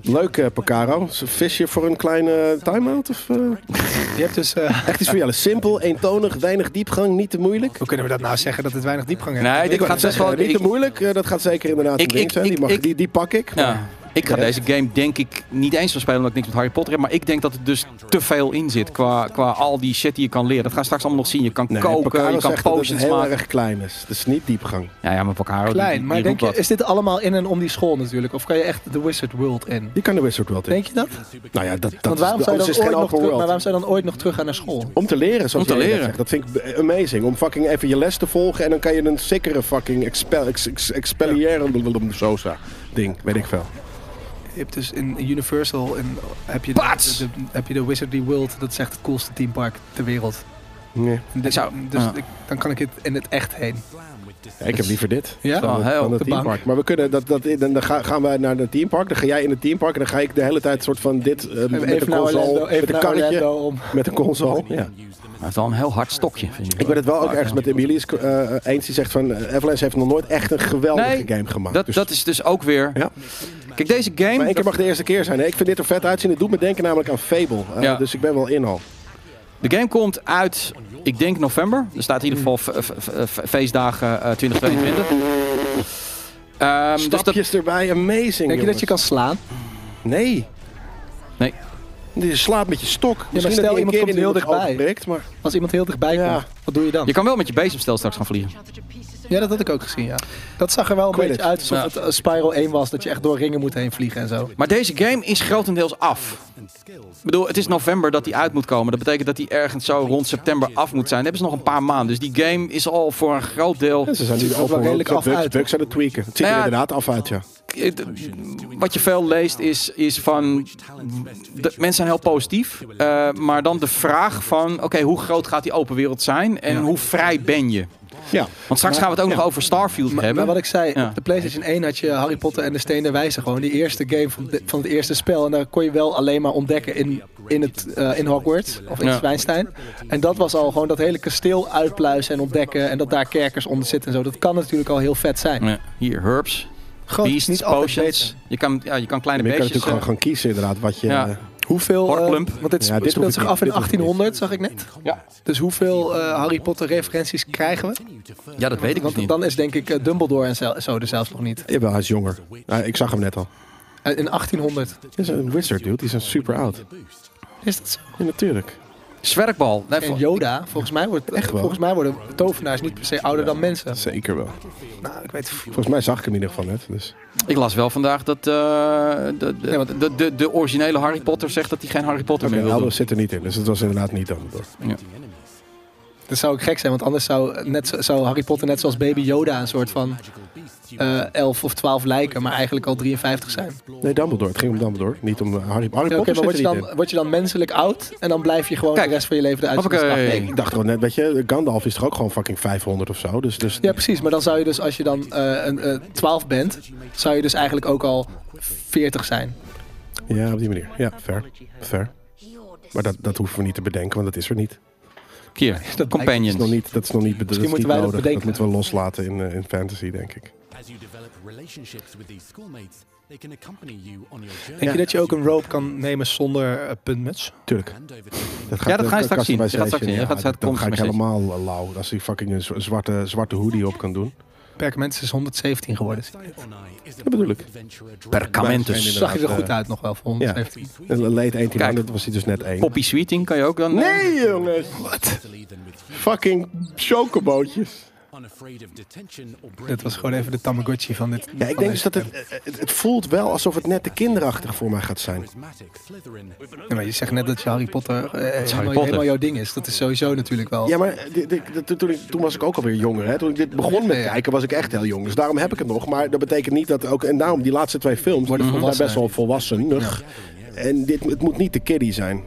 Speaker 3: Leuk, eh Pacaro. Vis je voor een kleine time-out? Of, eh?
Speaker 1: Je hebt dus. eh,
Speaker 3: Echt iets voor jou. Simpel, eentonig, weinig diepgang, niet te moeilijk.
Speaker 1: hoe kunnen we dat nou zeggen dat het weinig diepgang heeft?
Speaker 2: Nee, dit
Speaker 3: Ik wou
Speaker 2: gaat
Speaker 3: net
Speaker 2: best wel...
Speaker 3: zeggen, niet
Speaker 2: ik-
Speaker 3: te moeilijk, eh, dat gaat zeker inderdaad
Speaker 2: Ik-
Speaker 3: een ding
Speaker 2: ik-
Speaker 3: zijn. Die,
Speaker 2: ik-
Speaker 3: mag,
Speaker 2: ik-
Speaker 3: die, die pak ik. maar-
Speaker 2: Ja. Ik ga
Speaker 3: De
Speaker 2: deze
Speaker 3: rest?
Speaker 2: game denk ik niet eens van spelen omdat ik niks met Harry Potter heb. Maar ik denk dat het dus te veel in zit qua, qua al die shit die je kan leren. Dat gaan we straks allemaal nog zien. Je kan
Speaker 3: Nee,
Speaker 2: koken,
Speaker 3: Pacaro
Speaker 2: je kan
Speaker 3: zegt dat het
Speaker 2: potions
Speaker 3: heel
Speaker 2: maken.
Speaker 3: erg klein is. Dus niet diepgang.
Speaker 2: Ja, ja, maar Pacaro, die,
Speaker 1: Klein,
Speaker 2: die,
Speaker 1: maar
Speaker 2: die
Speaker 1: denk je,
Speaker 2: roept wat.
Speaker 1: is dit allemaal in en om die school natuurlijk? Of kan je echt de Wizard World in?
Speaker 3: Die kan de Wizard World in.
Speaker 1: Denk je dat?
Speaker 3: Nou ja, dat, dat
Speaker 1: Want waarom
Speaker 3: is,
Speaker 1: zou je dan,
Speaker 3: anders is geen
Speaker 1: ooit nog
Speaker 3: open
Speaker 1: terug, maar
Speaker 3: world.
Speaker 1: waarom zou je dan ooit nog terug gaan naar school?
Speaker 3: Om te leren, zoals
Speaker 2: Om te
Speaker 3: jij net
Speaker 2: leren.
Speaker 3: zegt. Dat vind ik b- amazing. Om fucking even je les te volgen en dan kan je een sikkere fucking expel, ex, ex, expelliarem- blablabla- sosa ding, weet ik veel.
Speaker 1: Je hebt dus in Universal in, heb, je
Speaker 2: Pats!
Speaker 1: de, heb je de Wizardry World, dat is echt het coolste teampark ter wereld.
Speaker 3: Nee.
Speaker 1: En dit-
Speaker 2: zou-
Speaker 1: dus
Speaker 2: ja.
Speaker 1: ik- dan kan ik het in het echt heen.
Speaker 3: Ja, ik heb liever dit.
Speaker 1: Ja?
Speaker 2: wel heel
Speaker 3: dan
Speaker 2: op
Speaker 1: de
Speaker 3: het teampark.
Speaker 1: bank.
Speaker 3: Maar we kunnen dat, dat, dan dan ga- gaan wij naar het teampark. Dan ga jij in het teampark. En dan ga ik de hele tijd soort van dit eh, met een
Speaker 1: even naar Orlando,
Speaker 3: console. Met
Speaker 1: even
Speaker 3: een
Speaker 1: naar
Speaker 3: karretje.
Speaker 1: Orlando om.
Speaker 3: Met een console. Ja.
Speaker 2: Maar het is wel een heel hard stokje, vind ik.
Speaker 3: Ik ben het wel ook ergens met Emilius eh, eens. Die zegt van eh, Avalanche heeft nog nooit echt een geweldige
Speaker 2: Nee,
Speaker 3: game gemaakt.
Speaker 2: Dat,
Speaker 3: Dus-
Speaker 2: dat is dus ook weer...
Speaker 3: Ja.
Speaker 2: Kijk, deze game...
Speaker 3: maar één keer mag de eerste keer zijn. hè. Ik vind dit er vet uitzien. Het doet me denken namelijk aan Fable. Eh,
Speaker 2: Ja.
Speaker 3: Dus ik ben wel in al.
Speaker 2: De game komt uit, ik denk november. Er staat in ieder geval f- f- f- feestdagen eh, 2022. Ehm, dus dat-
Speaker 3: Stapjes erbij. Amazing.
Speaker 1: Denk je dat je kan slaan?
Speaker 3: Nee.
Speaker 2: Nee.
Speaker 3: Je slaapt met je stok. Misschien
Speaker 1: stel
Speaker 3: dat
Speaker 1: iemand
Speaker 3: die een keer
Speaker 1: komt
Speaker 3: in
Speaker 1: heel
Speaker 3: iemands oog
Speaker 1: dichtbij.
Speaker 3: prikt, maar
Speaker 1: Als iemand heel dichtbij
Speaker 3: Ja.
Speaker 1: komt, wat doe je dan?
Speaker 2: je kan wel met je bezemstel straks gaan vliegen.
Speaker 1: Ja, dat had ik ook gezien, ja. Dat zag er wel een
Speaker 3: Quidditch.
Speaker 1: beetje uit alsof
Speaker 2: Ja.
Speaker 1: het eh, Spiral 1 was. Dat je echt door ringen moet heen vliegen en zo.
Speaker 2: Maar deze game is grotendeels af. Ik bedoel, het is november dat die uit moet komen. Dat betekent dat die ergens zo rond september af moet zijn. Dan hebben ze nog een paar maanden. Dus die game is al voor een groot deel...
Speaker 3: Ja, ze zijn nu
Speaker 1: ziet er ook
Speaker 3: al
Speaker 1: wel redelijk af
Speaker 3: bugs,
Speaker 1: uit,
Speaker 3: bugs aan het tweaken. Het ziet
Speaker 2: Nou
Speaker 3: er
Speaker 2: ja,
Speaker 3: inderdaad af uit, ja.
Speaker 2: Het- Wat je veel leest is, is van... De, mensen zijn heel positief. eh, maar dan de vraag van... Oké, hoe groot gaat die open wereld zijn? En hoe vrij ben je?
Speaker 3: ja.
Speaker 2: Want straks gaan we het ook nog over Starfield hebben.
Speaker 1: Maar wat ik zei,
Speaker 2: Ja.
Speaker 1: op de PlayStation 1 had je Harry Potter en de Steen der Wijze gewoon. Die eerste game van, de- van het eerste spel. En daar kon je wel alleen maar ontdekken in, in, het, eh, in Hogwarts of in
Speaker 2: Ja.
Speaker 1: Zwijnstein. En dat was al gewoon dat hele kasteel uitpluizen en ontdekken. En dat daar kerkers onder zitten en zo. Dat kan natuurlijk al heel vet zijn.
Speaker 2: Ja, Hier, herbs,
Speaker 1: Gewoon
Speaker 2: beasts,
Speaker 1: niet altijd
Speaker 2: potions.
Speaker 1: weten.
Speaker 2: Je kan, ja, je kan
Speaker 3: En
Speaker 2: kleine
Speaker 3: je
Speaker 2: beestjes...
Speaker 3: kan natuurlijk gewoon
Speaker 2: eh,
Speaker 3: gaan kiezen inderdaad wat je...
Speaker 2: Ja.
Speaker 3: eh,
Speaker 1: Hoeveel, eh,
Speaker 2: Horklump.
Speaker 1: want dit
Speaker 3: Ja, dit hoef
Speaker 1: speelt
Speaker 3: ik
Speaker 1: zich
Speaker 3: niet.
Speaker 1: af in
Speaker 3: Dit hoef ik niet.
Speaker 1: 1800, zag ik net.
Speaker 2: Ja.
Speaker 1: Dus hoeveel eh, Harry Potter referenties krijgen we?
Speaker 2: ja, dat weet ik dus
Speaker 1: Want
Speaker 2: niet.
Speaker 1: dan is denk ik eh, Dumbledore en zo- zo er zelfs nog niet.
Speaker 3: Jawel, hij is jonger. Ah, ik zag hem net al.
Speaker 1: Eh, In 1800.
Speaker 3: Dit is een wizard, dude. Die is een super oud.
Speaker 1: Is dat zo?
Speaker 3: Ja, natuurlijk.
Speaker 2: Zwerkbal. Nee,
Speaker 1: En
Speaker 2: vol-
Speaker 1: Yoda, volgens mij, wordt,
Speaker 3: Echt wel?
Speaker 1: volgens mij worden tovenaars niet per se ouder dan mensen.
Speaker 3: Zeker wel.
Speaker 1: Nou, ik weet het.
Speaker 3: Volgens mij zag ik hem in ieder geval net. Dus.
Speaker 2: Ik las wel vandaag dat eh, de, de,
Speaker 1: Ja, want- nou,
Speaker 2: de, de, de originele Harry Potter zegt dat hij geen Harry Potter
Speaker 3: Oké,
Speaker 2: meer wil doen.
Speaker 3: Albus zit er niet in. Dus het was inderdaad niet Dumbledore.
Speaker 1: Dat zou ook gek zijn, want anders zou, eh, net, zo- zou Harry Potter net zoals baby Yoda een soort van eh 11 of 12 lijken, maar eigenlijk al 53 zijn. Oké,
Speaker 3: Nee, Dumbledore. Het ging om Dumbledore. Niet om eh, Harry, Harry Potter
Speaker 1: maar word je,
Speaker 3: zit er niet
Speaker 1: dan, word je dan menselijk oud en dan blijf je gewoon
Speaker 2: Kijk.
Speaker 1: de rest van je leven eruit zien als
Speaker 2: Hoppakee.
Speaker 1: krachtmeting?
Speaker 3: in. Ik dacht gewoon net, weet je, Gandalf is toch ook gewoon fucking 500 of zo. Dus, dus
Speaker 1: Ja, precies. Maar dan zou je dus, als je dan eh, een, eh, 12 bent, zou je dus eigenlijk ook al 40 zijn.
Speaker 3: ja, op die manier. Ja, fair. Fair. Maar dat, dat hoeven we niet te bedenken, want dat is er niet.
Speaker 2: Hier,
Speaker 1: Dat
Speaker 3: Dat is nog
Speaker 2: Companions.
Speaker 3: niet, dat is nog niet, dat is
Speaker 1: Misschien moeten
Speaker 3: niet
Speaker 1: wij dat
Speaker 3: nodig. Dat,
Speaker 1: bedenken.
Speaker 3: moeten we loslaten in, eh, in fantasy, denk ik.
Speaker 1: Eh.
Speaker 4: As you develop relationships with these schoolmates, they can accompany you on your journey.
Speaker 1: Denk je dat je ook een rope kan nemen zonder eh, puntmuts?
Speaker 3: Tuurlijk.
Speaker 4: Hand over to them.
Speaker 3: Dat
Speaker 2: Ja, dat ga je
Speaker 3: kan-
Speaker 2: straks
Speaker 3: kan
Speaker 2: zien.
Speaker 3: bij
Speaker 2: Je gaat straks
Speaker 3: Session,
Speaker 2: zien. Je
Speaker 3: ja,
Speaker 2: gaat-
Speaker 3: dat-
Speaker 2: het
Speaker 3: dan
Speaker 2: komt
Speaker 3: ga ik
Speaker 2: bij Session.
Speaker 3: helemaal eh, lauw. Als ik fucking een z- zwarte, zwarte hoodie op kan doen.
Speaker 1: Perkament is 117 geworden.
Speaker 4: Diaphonai is a
Speaker 3: Dat bedoel ik.
Speaker 4: adventurer drawn
Speaker 3: Ja,
Speaker 1: Zag
Speaker 2: Perkamentus.
Speaker 1: je er
Speaker 3: inderdaad, eh,
Speaker 1: goed uit nog wel voor 117?
Speaker 3: Een Late 1800,
Speaker 2: Kijk.
Speaker 3: dat was hij dus net één.
Speaker 2: Poppy Sweeting kan je ook dan... eh,
Speaker 3: Nee, jongens.
Speaker 4: easily than with you,
Speaker 3: Fucking chocobootjes.
Speaker 4: unafraid of detention or
Speaker 1: Dit was gewoon even de Tamagotchi van dit.
Speaker 3: Ja, ik denk dus dat het, het, het voelt wel alsof het net te kinderachtig voor mij gaat zijn.
Speaker 4: charismatic Slytherin.
Speaker 1: Ja, maar je zegt net dat je Harry Potter, eh, helemaal,
Speaker 2: Potter.
Speaker 1: helemaal jouw ding is. Dat is sowieso natuurlijk wel.
Speaker 3: Ja, maar dit- dit- dit- toen, ik- toen was ik ook alweer jonger. Hè? Toen ik dit begon met kijken, was ik echt heel jong. Dus daarom heb ik het nog. Maar dat betekent niet dat ook... En daarom, die laatste twee
Speaker 1: Worden
Speaker 3: films worden volgens mij best wel volwassenig. En dit, het moet niet te kiddie zijn.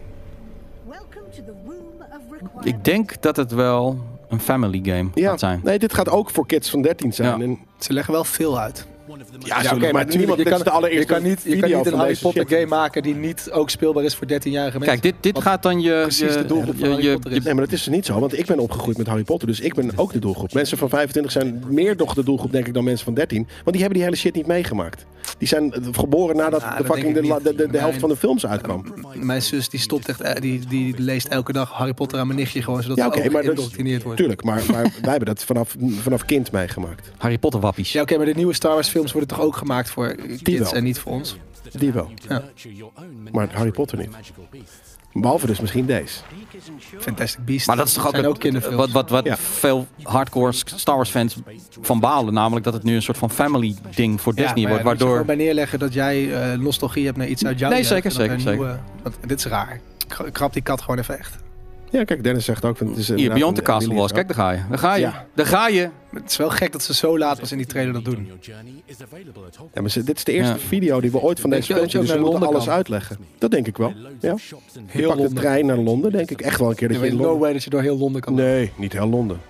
Speaker 2: Ik denk dat het wel een family game
Speaker 3: Ja,
Speaker 2: gaat zijn.
Speaker 3: nee, dit gaat ook voor kids van 13 zijn.
Speaker 2: Ja.
Speaker 3: En,
Speaker 1: Ze leggen wel veel uit.
Speaker 4: One of the
Speaker 3: ja,
Speaker 4: most
Speaker 3: sorry, maar, niemand,
Speaker 1: je
Speaker 3: dit
Speaker 1: kan,
Speaker 3: is de
Speaker 1: je
Speaker 3: allereerste
Speaker 1: kan niet, je kan
Speaker 3: video
Speaker 1: niet een
Speaker 3: van
Speaker 1: Harry
Speaker 3: deze
Speaker 1: Potter
Speaker 3: shit.
Speaker 1: game maken die niet ook speelbaar is voor 13-jarige mensen.
Speaker 2: Kijk, dit, dit
Speaker 1: Wat
Speaker 2: gaat dan je...
Speaker 1: precies
Speaker 2: je-
Speaker 1: de doelgroep van
Speaker 2: je-
Speaker 1: Harry
Speaker 2: je-
Speaker 1: Potter is.
Speaker 3: Nee, maar dat is niet zo, want ik ben opgegroeid met Harry Potter, dus ik ben ook de doelgroep. Mensen van 25 zijn meer nog de doelgroep, denk ik, dan mensen van 13. Want die hebben die hele shit niet meegemaakt. Die zijn eh, geboren nadat
Speaker 1: Nou,
Speaker 3: de
Speaker 1: dat denk
Speaker 3: fucking de,
Speaker 1: ik
Speaker 3: la-
Speaker 1: niet.
Speaker 3: de, de, de helft
Speaker 1: Nee.
Speaker 3: van de films uitkwam.
Speaker 1: Mijn zus die stopt echt, eh, die, die leest elke dag Harry Potter aan mijn nichtje gewoon, zodat
Speaker 3: Ja,
Speaker 1: ze
Speaker 3: oké,
Speaker 1: ook
Speaker 3: maar dat-
Speaker 1: geïndoctrineerd wordt.
Speaker 3: Tuurlijk, maar, maar wij hebben dat vanaf, vanaf kind meegemaakt.
Speaker 2: Harry Potter wappies.
Speaker 1: Ja, oké, maar de nieuwe Star Wars films worden toch ook gemaakt voor eh, kids
Speaker 3: wel.
Speaker 1: en niet voor ons?
Speaker 3: Die wel.
Speaker 1: Ja.
Speaker 4: nurture your own
Speaker 3: Maar Harry Potter niet.
Speaker 4: magical beasts.
Speaker 3: Behalve dus misschien deze.
Speaker 1: Fantastic Beasts.
Speaker 2: Maar dat is toch ook,
Speaker 1: Zijn
Speaker 2: het-
Speaker 1: ook kinderfilms.
Speaker 2: wat, wat, wat
Speaker 3: Ja.
Speaker 2: veel hardcore Star Wars fans van balen. Namelijk dat het nu een soort van family ding voor
Speaker 1: maar
Speaker 2: Disney wordt.
Speaker 1: ja, dan moet je
Speaker 2: Waardoor...
Speaker 1: gewoon bij neerleggen dat jij eh, nostalgie hebt naar iets uit jouw
Speaker 2: Nee,
Speaker 1: jeugd
Speaker 2: zeker,
Speaker 1: en dat
Speaker 2: zeker,
Speaker 1: er nieuwe- want dit is raar. Kra- Krap die kat gewoon even echt.
Speaker 3: Ja, kijk, Dennis zegt ook... van Het is
Speaker 2: Hier,
Speaker 3: inderdaad
Speaker 2: Beyond the
Speaker 3: een-
Speaker 2: Castle
Speaker 3: een-
Speaker 2: Wars. Kijk, daar ga je. Daar ga je.
Speaker 3: Ja.
Speaker 2: Daar ga je.
Speaker 1: Het is wel gek dat ze zo laat pas in die trailer dat doen.
Speaker 4: Your journey is available at Hogwarts.
Speaker 3: Ja, maar ze- dit is de eerste
Speaker 2: Ja.
Speaker 3: video die we ooit van
Speaker 1: Weet
Speaker 3: deze
Speaker 1: je-
Speaker 3: film
Speaker 1: weet je
Speaker 3: zien, dus
Speaker 1: ook naar
Speaker 3: we moeten
Speaker 1: Londen
Speaker 3: alles
Speaker 1: kan?
Speaker 3: uitleggen. Dat denk ik wel,
Speaker 4: Loads
Speaker 3: ja.
Speaker 4: of shops and
Speaker 3: Je pakt de
Speaker 1: Londen.
Speaker 3: trein naar Londen, denk ik. Echt wel een keer dat
Speaker 1: Er
Speaker 3: je
Speaker 1: is
Speaker 3: in
Speaker 1: no
Speaker 3: Londen...
Speaker 1: way dat je door heel Londen kan.
Speaker 3: Nee, niet heel Londen.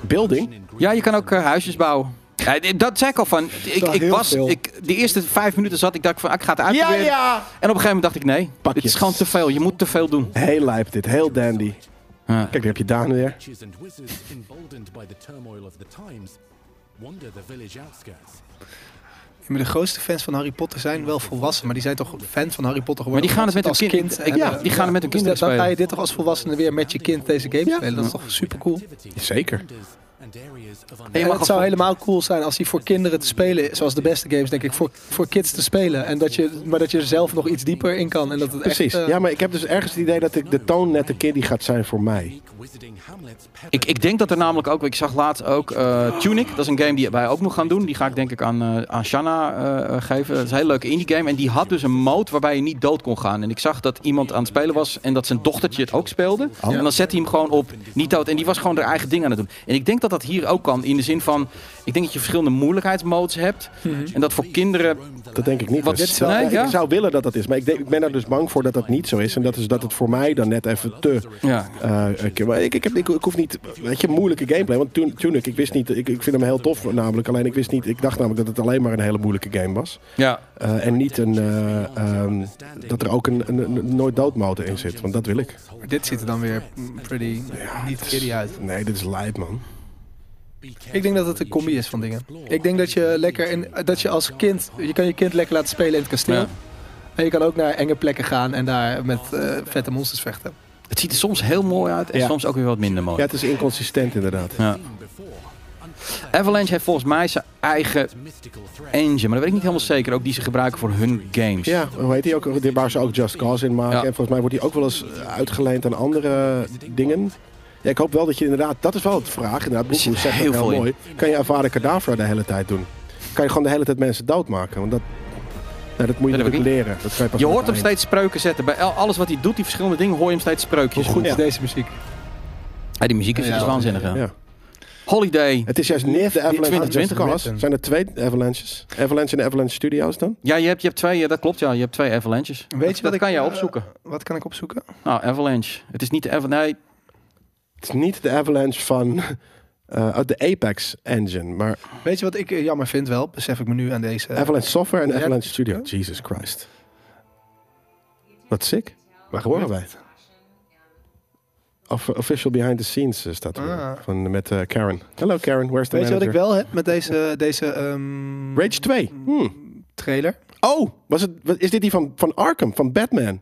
Speaker 3: Building?
Speaker 4: in
Speaker 2: Ja, je kan ook eh, huisjes bouwen. Ja, d- dat zei ik al van. Ik,
Speaker 1: wel
Speaker 2: ik
Speaker 1: heel
Speaker 2: was,
Speaker 1: veel.
Speaker 2: ik, de eerste vijf minuten zat ik dacht van, ah, ik ga het uitproberen. En op een gegeven moment dacht ik, nee,
Speaker 3: Pak
Speaker 2: dit
Speaker 3: je.
Speaker 2: is gewoon te veel. Je moet te veel doen.
Speaker 3: Heel lijp dit, heel dandy.
Speaker 2: Ja.
Speaker 3: Kijk, daar heb je Daan weer.
Speaker 4: witches and wizards emboldened by the turmoil of the times wander the village outskirts.
Speaker 1: Maar de grootste fans van Harry Potter zijn wel volwassen, maar die zijn toch fan van Harry Potter
Speaker 2: Maar
Speaker 1: geworden.
Speaker 2: die gaan het met hun
Speaker 1: als
Speaker 2: kind. ik- ja,
Speaker 1: hebben.
Speaker 2: die gaan het met hun
Speaker 1: Dus
Speaker 2: kinderen
Speaker 1: dan ga je
Speaker 2: spelen.
Speaker 1: dit toch als volwassene weer met je kind deze game spelen. Dat is toch super cool.
Speaker 3: Zeker.
Speaker 4: And areas
Speaker 1: En
Speaker 2: Je mag
Speaker 1: het zou
Speaker 2: ook-
Speaker 1: helemaal cool zijn als die voor kinderen te spelen, zoals de beste games denk ik, voor, voor kids te spelen. En dat je, maar dat je er zelf nog iets dieper in kan. En dat het
Speaker 3: Precies.
Speaker 1: Echt, eh,
Speaker 3: ja, maar ik heb dus ergens het idee dat ik de toon net de kiddie gaat zijn voor mij.
Speaker 2: Ik, ik denk dat er namelijk ook, ik zag laatst ook eh, Tunic. Dat is een game die wij ook nog gaan doen. Die ga ik denk ik aan, eh, aan Shanna eh, eh, geven. Dat is een hele leuke indie game. En die had dus een mode waarbij je niet dood kon gaan. En ik zag dat iemand aan het spelen was en dat zijn dochtertje het ook speelde.
Speaker 3: Oh.
Speaker 2: En dan zette hij hem gewoon op niet dood. En die was gewoon haar eigen ding aan het doen. En ik denk dat dat hier ook kan. In de zin van, ik denk dat je verschillende moeilijkheidsmodes hebt. En dat voor kinderen...
Speaker 3: Dat denk ik niet.
Speaker 2: Wat-
Speaker 3: Dus. Terwijl
Speaker 2: Nee, ja.
Speaker 3: Ik zou willen dat dat is, maar ik, denk, ik ben er dus bang voor dat dat niet zo is. En dat is dat het voor mij dan net even te...
Speaker 2: Ja,
Speaker 3: eh, ik, maar ik, ik, heb, ik, ik hoef niet, weet je, moeilijke gameplay. Want toen, toen ik, ik wist niet, ik, ik vind hem heel tof namelijk. Alleen ik wist niet, ik dacht namelijk dat het alleen maar een hele moeilijke game was.
Speaker 2: ja.
Speaker 3: Eh, en niet een, eh, ehm, dat er ook een, een, een nooit doodmotor in zit. Want dat wil ik.
Speaker 1: maar dit ziet er dan weer mm, pretty niet kiddie uit.
Speaker 3: Nee, dit is lijp, man.
Speaker 1: Ik denk dat het een combi is van dingen. Ik denk dat je lekker in, dat je als kind, je kan je kind lekker laten spelen in het kasteel.
Speaker 2: Ja.
Speaker 1: En je kan ook naar enge plekken gaan en daar met eh, vette monsters vechten.
Speaker 2: Het ziet er soms heel mooi uit en
Speaker 3: Ja.
Speaker 2: soms ook weer wat minder mooi.
Speaker 3: Ja, het is inconsistent inderdaad.
Speaker 2: Ja. Avalanche heeft volgens mij zijn eigen engine, maar dat weet ik niet helemaal zeker. Ook die ze gebruiken voor hun games.
Speaker 3: Ja, hoe heet die ook? Waar ze ook Just Cause in maken.
Speaker 2: Ja.
Speaker 3: En volgens mij wordt die ook wel eens uitgeleend aan andere dingen. Ja, ik hoop wel dat je inderdaad... Dat is wel het vraag. Inderdaad,
Speaker 2: Er zit
Speaker 3: Boekhoes zegt dat
Speaker 2: heel
Speaker 3: heel
Speaker 2: veel in.
Speaker 3: mooi. Kan je Avada Kedavra de hele tijd doen? Kan je gewoon de hele tijd mensen doodmaken? Want dat, nou, dat moet je
Speaker 2: Dat heb ik
Speaker 3: natuurlijk leren. Dat kan je pas
Speaker 2: Je
Speaker 3: aan
Speaker 2: hoort
Speaker 3: het
Speaker 2: hem
Speaker 3: eind.
Speaker 2: steeds spreuken zetten. Bij al- alles wat hij doet, die verschillende dingen, hoor je hem steeds
Speaker 1: Hoe
Speaker 2: spreukjes.
Speaker 1: goed
Speaker 3: Ja.
Speaker 1: is deze muziek?
Speaker 2: Ja, die muziek is,
Speaker 1: Ja.
Speaker 2: is waanzinnig. Ja.
Speaker 3: Ja.
Speaker 2: Holiday.
Speaker 3: Het is juist niet de Avalanche van
Speaker 2: 2020
Speaker 3: Just Cause.
Speaker 1: al.
Speaker 3: Zijn er twee Avalanches? Avalanche en Avalanche Studios dan?
Speaker 2: Ja, je hebt, je hebt twee, ja, dat klopt. Ja, je hebt twee avalanches.
Speaker 1: Weet je
Speaker 2: dat,
Speaker 1: wat
Speaker 2: dat
Speaker 1: ik,
Speaker 2: kan jij
Speaker 1: eh,
Speaker 2: opzoeken.
Speaker 1: Wat kan ik opzoeken?
Speaker 2: Nou, avalanche. Het is niet de avalanche. Nee,
Speaker 3: Het is niet de Avalanche van... eh, uit de Apex engine, maar
Speaker 1: Weet je wat ik eh, jammer vind wel? Besef ik me nu aan deze.
Speaker 3: Avalanche Software en
Speaker 1: Ja.
Speaker 3: Avalanche Studio. Jesus Christ. Wat sick. Waar horen wij? Of, official behind the scenes eh, staat er
Speaker 1: Ah.
Speaker 3: van, met eh, Karen. Hello Karen, where's the
Speaker 1: Weet je wat ik
Speaker 3: manager?
Speaker 1: wel heb met deze, deze ehm,
Speaker 3: Rage 2. Hmm.
Speaker 1: trailer?
Speaker 3: Oh, was het, wat- is dit die van, van Arkham, van Batman?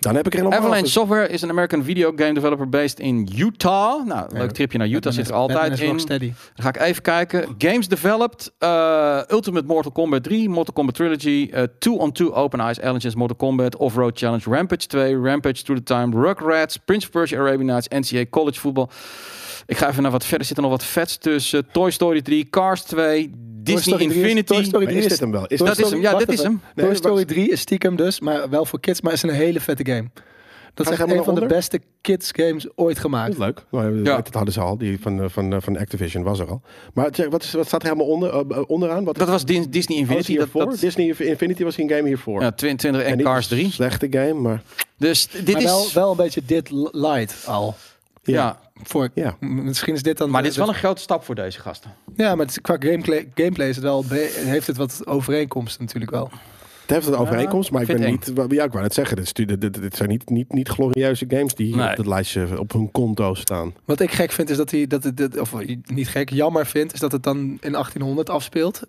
Speaker 3: Dan heb ik er helemaal
Speaker 2: Avalanche
Speaker 3: over.
Speaker 2: Software is een American video game developer based in Utah. Nou, leuk tripje naar Utah zit er altijd in.
Speaker 1: Steady.
Speaker 2: Dan ga ik even kijken. Games developed. eh, Ultimate Mortal Kombat 3, Mortal Kombat Trilogy, eh, 2-on-2 Open Eyes, Aliens, Mortal Kombat, Off-Road Challenge, Rampage 2, Rampage Through the Time, Rugrats, Prince of Persia, Arabian Nights, NCAA College Voetbal. Ik ga even naar wat verder. Er zitten nog wat vets tussen. Toy Story 3, Cars 2, Disney
Speaker 1: Story 3 is-
Speaker 2: Infinity.
Speaker 1: Toy Story
Speaker 3: Maar is dit hem wel? Is
Speaker 2: Dat
Speaker 3: dit-
Speaker 2: is hem. Ja,
Speaker 3: wacht
Speaker 2: dit is
Speaker 3: even.
Speaker 2: hem.
Speaker 3: Nee,
Speaker 1: Toy Story
Speaker 3: wacht.
Speaker 1: 3 is stiekem dus, maar wel voor kids, maar is een hele vette game. Dat is
Speaker 3: Gaat
Speaker 1: echt
Speaker 3: helemaal
Speaker 1: een van de
Speaker 3: onder?
Speaker 1: beste kids games ooit
Speaker 3: Dat
Speaker 1: gemaakt.
Speaker 3: is leuk. Nou,
Speaker 2: Ja.
Speaker 3: Dat hadden ze al. Die van, eh, van, eh, van Activision was er al. Maar zeg, wat, is, wat staat er helemaal onder, eh, onderaan? Wat
Speaker 2: Dat was Dis- Disney
Speaker 1: Oh,
Speaker 2: Infinity.
Speaker 3: Infinity
Speaker 2: Dat,
Speaker 3: hiervoor?
Speaker 2: dat,
Speaker 3: Disney Infinity was geen game hiervoor.
Speaker 2: ja, 22 en
Speaker 3: niet
Speaker 2: Cars
Speaker 3: een
Speaker 2: 3.
Speaker 3: Slechte game, maar
Speaker 2: Dus dit
Speaker 1: maar
Speaker 2: is...
Speaker 1: wel, wel een beetje dit li- light al.
Speaker 2: ja.
Speaker 1: Voor,
Speaker 3: Ja.
Speaker 1: m- Misschien is dit dan...
Speaker 2: Maar dit is wel een grote stap voor deze gasten.
Speaker 1: Ja, maar het is- qua gameplay, gameplay is het wel, be- heeft het wat overeenkomsten natuurlijk wel.
Speaker 3: Het heeft een overeenkomst, maar ik
Speaker 2: vind
Speaker 3: ben
Speaker 2: ik
Speaker 3: niet. wa- Ja, ik wou net zeggen, dit, stu- dit, dit- dit zijn niet, niet, niet glorieuze games die
Speaker 2: Nee.
Speaker 3: op het lijstje op hun konto staan.
Speaker 1: Wat ik gek vind is dat hij, dat het, dat- of niet gek, jammer vind, is dat het dan in 1800 afspeelt.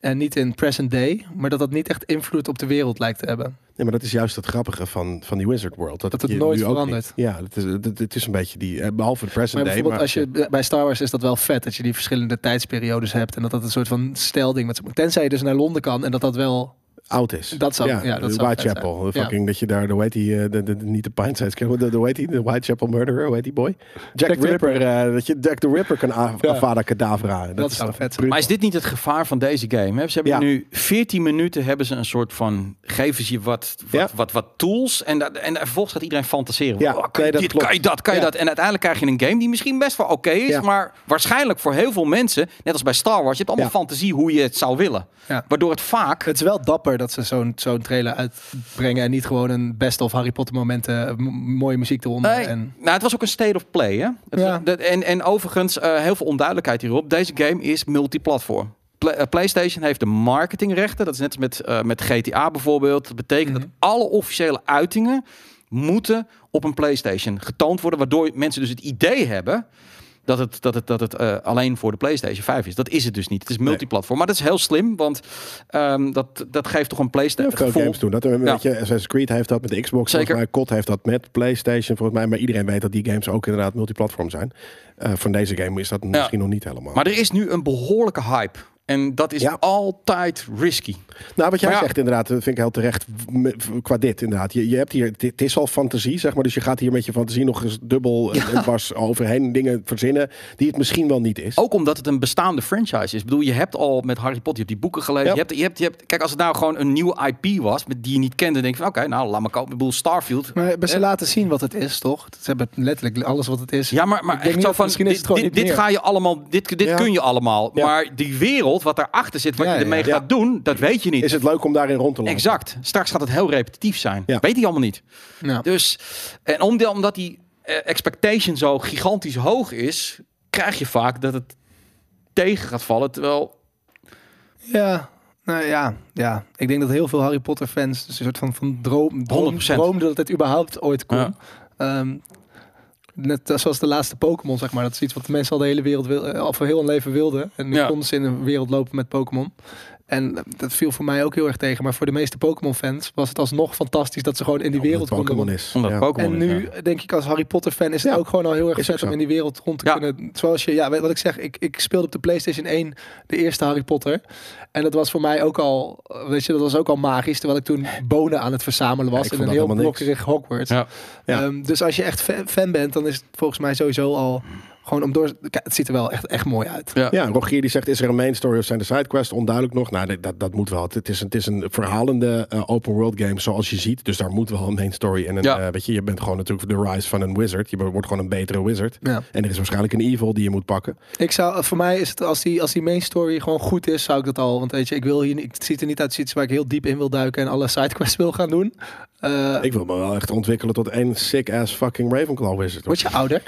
Speaker 1: En niet in present day, maar dat dat niet echt invloed op de wereld lijkt te hebben.
Speaker 3: Nee, maar dat is juist het grappige van, van die Wizard World. Dat,
Speaker 1: Dat het
Speaker 3: je
Speaker 1: nooit
Speaker 3: nu ook
Speaker 1: verandert.
Speaker 3: niet- Ja, het is, het, het is een beetje die, eh, behalve het
Speaker 1: Maar
Speaker 3: present day.
Speaker 1: bijvoorbeeld
Speaker 3: Maar
Speaker 1: als je, bij Star Wars is dat wel vet, dat je die verschillende tijdsperiodes hebt. En dat dat een soort van stelding met z'n- Tenzij je dus naar Londen kan en dat dat wel...
Speaker 3: oud is.
Speaker 1: dat zou- ja, dat
Speaker 3: de
Speaker 1: zou vet
Speaker 3: Whitechapel.
Speaker 1: zijn.
Speaker 3: Fucking dat je daar, de, hoe heet die, eh, de, de, de- niet de Pine Sides, Club, de, de, hoe heet die, de Whitechapel Murderer, hoe heet die boy? Jack,
Speaker 1: Jack
Speaker 3: the
Speaker 1: the
Speaker 3: Ripper, eh, dat je Jack the Ripper kan a-
Speaker 1: Ja.
Speaker 3: Avada Kedavra.
Speaker 1: Dat zou
Speaker 3: toch
Speaker 1: vet zijn.
Speaker 2: Maar is dit niet het gevaar van deze game? Hè? Ze hebben
Speaker 3: Ja.
Speaker 2: nu 14 minuten hebben ze een soort van geven ze je wat, wat,
Speaker 3: Ja.
Speaker 2: wat, wat tools. En, da- en vervolgens gaat iedereen fantaseren.
Speaker 3: Ja,
Speaker 2: Oh, kan,
Speaker 3: nee,
Speaker 2: je
Speaker 3: dat
Speaker 2: dit,
Speaker 3: klopt.
Speaker 2: kan je dat, kan je
Speaker 3: Ja.
Speaker 2: dat. En uiteindelijk krijg je een game die misschien best wel oké is.
Speaker 3: Ja.
Speaker 2: Maar waarschijnlijk voor heel veel mensen, net als bij Star Wars, je hebt allemaal
Speaker 3: Ja.
Speaker 2: fantasie hoe je het zou willen.
Speaker 1: Ja.
Speaker 2: Waardoor het vaak.
Speaker 1: Het is wel dapper dat ze zo'n zo'n trailer uitbrengen en niet gewoon een best of Harry Potter momenten, eh, m- mooie muziek eronder.
Speaker 2: Nee,
Speaker 1: En,
Speaker 2: nou, het was ook een state of play. Hè? Het-
Speaker 1: Ja.
Speaker 2: dat- en, en overigens, eh, heel veel onduidelijkheid hierop. Deze game is multiplatform. Pla- eh, PlayStation heeft de marketingrechten. Dat is net als met, eh, met GTA bijvoorbeeld. Dat betekent dat alle officiële uitingen moeten op een PlayStation getoond worden. Waardoor mensen dus het idee hebben dat het, dat het, dat het eh, alleen voor de PlayStation 5 is. Dat is het dus niet. Het is multiplatform. Maar dat is heel slim, want ehm, dat, dat geeft toch een PlayStation.
Speaker 3: Veel games doen dat. Weet je, Assassin's Creed heeft dat met de Xbox,
Speaker 2: Zeker.
Speaker 3: volgens mij. COD heeft dat met PlayStation, volgens mij. Maar iedereen weet dat die games ook inderdaad multiplatform zijn. Eh van deze game is dat misschien nog niet helemaal.
Speaker 2: Maar er is nu een behoorlijke hype. En dat is
Speaker 3: Ja.
Speaker 2: altijd risky.
Speaker 3: Nou, wat jij
Speaker 2: Maar ja.
Speaker 3: zegt inderdaad, dat vind ik heel terecht m- m- qua dit inderdaad. Je, je hebt hier, het is al fantasie, zeg maar. Dus je gaat hier met je fantasie nog eens dubbel en en dwars overheen dingen verzinnen die het misschien wel niet is.
Speaker 2: Ook omdat het een bestaande franchise is. Ik bedoel, je hebt al met Harry Potter, je hebt die boeken gelezen.
Speaker 3: Ja.
Speaker 2: Je hebt, je hebt, je hebt, kijk, als het nou gewoon een nieuwe IP was, met die je niet kende, denk je van oké, nou laat maar kopen. Ik bedoel, Starfield.
Speaker 1: Maar hebben ze laten zien wat het is, toch? Ze hebben letterlijk alles wat het is.
Speaker 2: Ja, maar, maar
Speaker 1: Ik denk niet
Speaker 2: echt zo
Speaker 1: dat-
Speaker 2: van,
Speaker 1: misschien is
Speaker 2: dit,
Speaker 1: het gewoon
Speaker 2: dit,
Speaker 1: niet
Speaker 2: dit
Speaker 1: meer.
Speaker 2: ga je allemaal, dit, dit
Speaker 3: Ja.
Speaker 2: kun je allemaal.
Speaker 3: Ja.
Speaker 2: Maar die wereld, wat daarachter zit, wat
Speaker 1: Ja,
Speaker 2: je
Speaker 1: ja,
Speaker 2: ermee
Speaker 3: ja.
Speaker 2: gaat doen, dat weet je niet.
Speaker 3: Is het leuk om daarin rond te lopen?
Speaker 2: Exact. Straks gaat het heel repetitief zijn.
Speaker 3: Ja.
Speaker 2: Weet hij allemaal niet.
Speaker 1: Nou,
Speaker 2: Dus, en om- omdat die eh, expectation zo gigantisch hoog is, krijg je vaak dat het tegen gaat vallen. Terwijl,
Speaker 1: ja, nou ja, ja. Ik denk dat heel veel Harry Potter fans dus een soort van, van droom, droom
Speaker 2: 100%.
Speaker 1: droomden dat dit überhaupt ooit kon.
Speaker 2: Ja.
Speaker 1: Ehm, net als- zoals de laatste Pokémon, zeg maar. Dat is iets wat de mensen al de hele wereld wil, eh, al voor heel hun leven wilden. En nu
Speaker 2: Ja.
Speaker 1: konden ze in een wereld lopen met Pokémon. En eh, dat viel voor mij ook heel erg tegen. Maar voor de meeste Pokémon-fans was het alsnog fantastisch dat ze gewoon in die
Speaker 3: Omdat
Speaker 1: wereld
Speaker 3: het
Speaker 1: konden
Speaker 3: Pokémon is.
Speaker 2: omdat
Speaker 3: Ja.
Speaker 2: Pokémon
Speaker 1: En
Speaker 2: is,
Speaker 1: nu
Speaker 2: ja.
Speaker 1: denk ik als Harry Potter fan is het
Speaker 3: Ja.
Speaker 1: ook gewoon al heel erg
Speaker 3: Is ook
Speaker 1: vet om
Speaker 3: zo.
Speaker 1: in die wereld rond te
Speaker 2: Ja.
Speaker 1: kunnen. Zoals je, ja, weet wat ik zeg, ik, ik speelde op de PlayStation 1 de eerste Harry Potter. En dat was voor mij ook al, eh, weet je, dat was ook al magisch. Terwijl ik toen bonen aan het verzamelen was
Speaker 3: ik
Speaker 1: in
Speaker 3: vond
Speaker 1: een
Speaker 3: dat
Speaker 1: heel
Speaker 3: helemaal niks.
Speaker 1: blokkerig Hogwarts.
Speaker 2: Ja.
Speaker 3: Ja.
Speaker 1: Ehm, dus als je echt fa- fan bent, dan is het volgens mij sowieso al gewoon om door. Kijk, Het ziet er wel echt, echt mooi uit.
Speaker 2: Ja.
Speaker 3: Ja, Rogier die zegt, is er een main story of zijn er sidequests? Onduidelijk nog. Nou, nee, dat, dat moet wel. Het- Het is, een- het is een verhalende eh, open world game zoals je ziet. Dus daar moet wel een main story en een,
Speaker 2: Ja.
Speaker 3: eh, weet je, je bent gewoon natuurlijk de rise van een wizard. Je wordt gewoon een betere wizard.
Speaker 1: Ja.
Speaker 3: En er is waarschijnlijk een evil die je moet pakken.
Speaker 1: Ik zou, voor mij is het als die, als die main story gewoon goed is, zou ik dat al. Want weet je, ik wil hier, niet- het ziet er niet uit als iets waar ik heel diep in wil duiken en alle sidequests wil gaan doen. Eh,
Speaker 3: Ik wil me wel echt ontwikkelen tot één sick ass fucking Ravenclaw wizard.
Speaker 1: Word je ouder?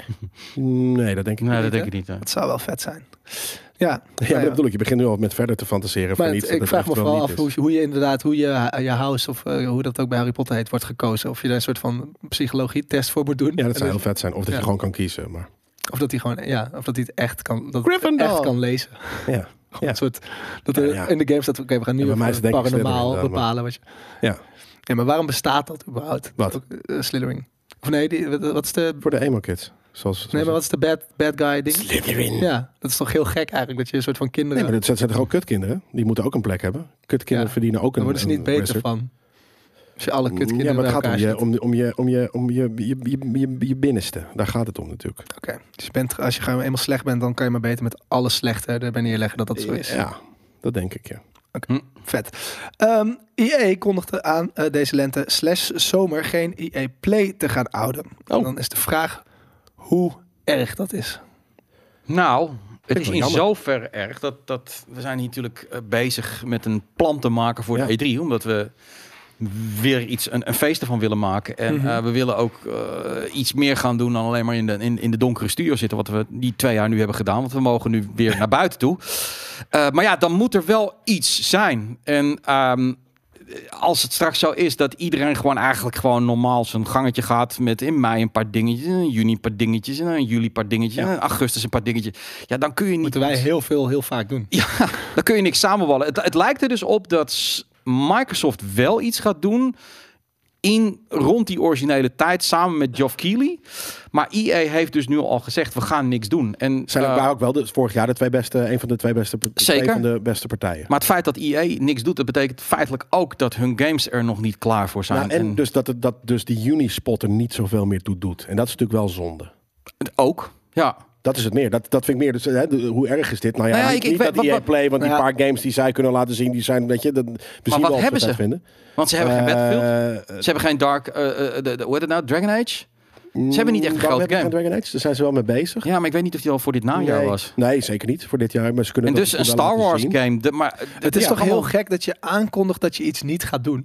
Speaker 3: Nee, dat denk ik
Speaker 2: Nee,
Speaker 3: niet.
Speaker 2: dat denk ik niet. hè.
Speaker 1: Dat zou wel vet zijn. Ja,
Speaker 3: Ja,
Speaker 1: nou
Speaker 3: maar
Speaker 1: ja.
Speaker 3: dat bedoel ik. Je begint nu al met verder te fantaseren.
Speaker 1: Maar
Speaker 3: van
Speaker 1: het-
Speaker 3: iets dat
Speaker 1: ik
Speaker 3: het
Speaker 1: vraag
Speaker 3: echt
Speaker 1: me
Speaker 3: wel
Speaker 1: vooral
Speaker 3: niet dus.
Speaker 1: af
Speaker 3: is.
Speaker 1: hoe, hoe je inderdaad, hoe je je house of eh, hoe dat ook bij Harry Potter heet, wordt gekozen. Of je daar een soort van psychologie-test voor moet doen.
Speaker 3: Ja,
Speaker 1: En dus-
Speaker 3: dat zou heel vet zijn. Of dat
Speaker 1: Ja.
Speaker 3: je gewoon kan kiezen. Maar
Speaker 1: Of dat hij gewoon, ja, of dat hij het echt kan, dat het
Speaker 3: Gryffindor.
Speaker 1: echt kan lezen. Gewoon
Speaker 3: ja, Ja.
Speaker 1: Een soort, dat er
Speaker 3: Ja, ja.
Speaker 1: in de game staat, oké, we gaan nu
Speaker 3: Ja, bij mij is
Speaker 1: even
Speaker 3: het denk ik
Speaker 1: paranormaal
Speaker 3: Slytherin dan, maar-
Speaker 1: bepalen. Wat je,
Speaker 3: ja.
Speaker 1: ja, maar waarom bestaat dat überhaupt?
Speaker 3: Wat?
Speaker 1: Ook, eh, Slytherin. Of nee, die, wat, wat is de,
Speaker 3: voor de emo kids. Zoals,
Speaker 1: nee,
Speaker 3: zoals-
Speaker 1: maar wat is de bad, bad guy ding?
Speaker 3: Slytherin.
Speaker 1: Ja, dat is toch heel gek eigenlijk, dat je een soort van kinderen,
Speaker 3: Nee, maar dat zijn zijn toch ook kutkinderen? Die moeten ook een plek hebben. Kutkinderen
Speaker 1: Ja.
Speaker 3: verdienen ook een
Speaker 1: daar worden ze
Speaker 3: een
Speaker 1: niet beter
Speaker 3: wizard.
Speaker 1: van. Als je alle kutkinderen
Speaker 3: Ja, maar
Speaker 1: bij
Speaker 3: het gaat om
Speaker 1: elkaar
Speaker 3: je,
Speaker 1: zet.
Speaker 3: om, om je, om je, om je, je, je, je, je binnenste. Daar gaat het om natuurlijk.
Speaker 1: Oké, dus je bent, als je gewoon eenmaal slecht bent, dan kan je maar beter met alle slechte erbij neerleggen dat dat zo is.
Speaker 3: Ja, dat denk ik, ja.
Speaker 1: Vet. Ehm EA kondigde aan eh, deze lente slash zomer geen EA Play te gaan houden. En dan is de vraag hoe erg dat is.
Speaker 2: Nou, het
Speaker 3: ik
Speaker 2: is
Speaker 3: wel
Speaker 2: in
Speaker 3: jammer.
Speaker 2: zoverre erg dat, dat we zijn hier natuurlijk eh, bezig met een plan te maken voor
Speaker 3: Ja.
Speaker 2: de E3, omdat we weer iets een, een feest ervan willen maken en
Speaker 1: Mhm.
Speaker 2: eh, we willen ook eh, iets meer gaan doen dan alleen maar in de, in, in de donkere studio zitten wat we die twee jaar nu hebben gedaan want we mogen nu weer naar buiten toe Eh, maar ja dan moet er wel iets zijn en ehm, als het straks zo is dat iedereen gewoon eigenlijk gewoon normaal zijn gangetje gaat met in mei een paar dingetjes, in juni een paar dingetjes, en in juli een paar dingetjes, en in augustus een paar dingetjes. Ja, dan kun je niet.
Speaker 1: Moeten wij heel veel, heel vaak doen.
Speaker 2: Ja, dan kun je niks samenballen. Het, het lijkt er dus op dat s- Microsoft wel iets gaat doen in rond die originele tijd samen met Geoff Keighley. Maar EA heeft dus nu al gezegd we gaan niks doen. En
Speaker 3: Zijn
Speaker 2: eh,
Speaker 3: ook- waren ook wel de, vorig jaar de twee beste, een van de twee beste,
Speaker 2: Zeker.
Speaker 3: twee van de beste partijen.
Speaker 2: maar het feit dat EA niks doet, dat betekent feitelijk ook dat hun games er nog niet klaar voor zijn.
Speaker 3: Nou, en, dus dat, het- dat dus die Unispotter niet zoveel meer toe doet. En dat is natuurlijk wel zonde.
Speaker 2: ook. Ja.
Speaker 3: Dat is het meer. Dat, dat vind ik meer. Dus, hè, de- hoe erg is dit? Nou ja,
Speaker 2: Nou ja,
Speaker 3: niet,
Speaker 2: ik- ik
Speaker 3: niet
Speaker 2: weet-
Speaker 3: dat
Speaker 2: wat-
Speaker 3: EA
Speaker 2: wat-
Speaker 3: Play, want
Speaker 1: Ja.
Speaker 3: die paar games die zij kunnen laten zien, die zijn, weet je, dat, we zien
Speaker 2: wat
Speaker 3: wel of
Speaker 2: hebben
Speaker 3: dat
Speaker 2: ze?
Speaker 3: vinden.
Speaker 2: Want ze hebben geen Battlefield.
Speaker 3: Eh,
Speaker 2: Ze hebben geen Dark, eh, eh, de, de- hoe heet het nou? Dragon Age? Ze hebben niet echt een
Speaker 3: waarom
Speaker 2: grote
Speaker 3: hebben ze
Speaker 2: game.
Speaker 3: geen Dragon Age? Daar zijn ze wel mee bezig.
Speaker 2: Ja, maar ik weet niet of die al voor dit najaar
Speaker 3: nee.
Speaker 2: was.
Speaker 3: nee, zeker niet voor dit jaar. Maar ze kunnen
Speaker 2: En
Speaker 3: dat
Speaker 2: dus een
Speaker 3: natuurlijk wel
Speaker 2: Star
Speaker 3: laten
Speaker 2: Wars
Speaker 3: zien.
Speaker 2: game. de- maar eh,
Speaker 1: Het is
Speaker 2: ja,
Speaker 1: toch
Speaker 2: allemaal-
Speaker 1: heel gek dat je aankondigt dat je iets niet gaat doen.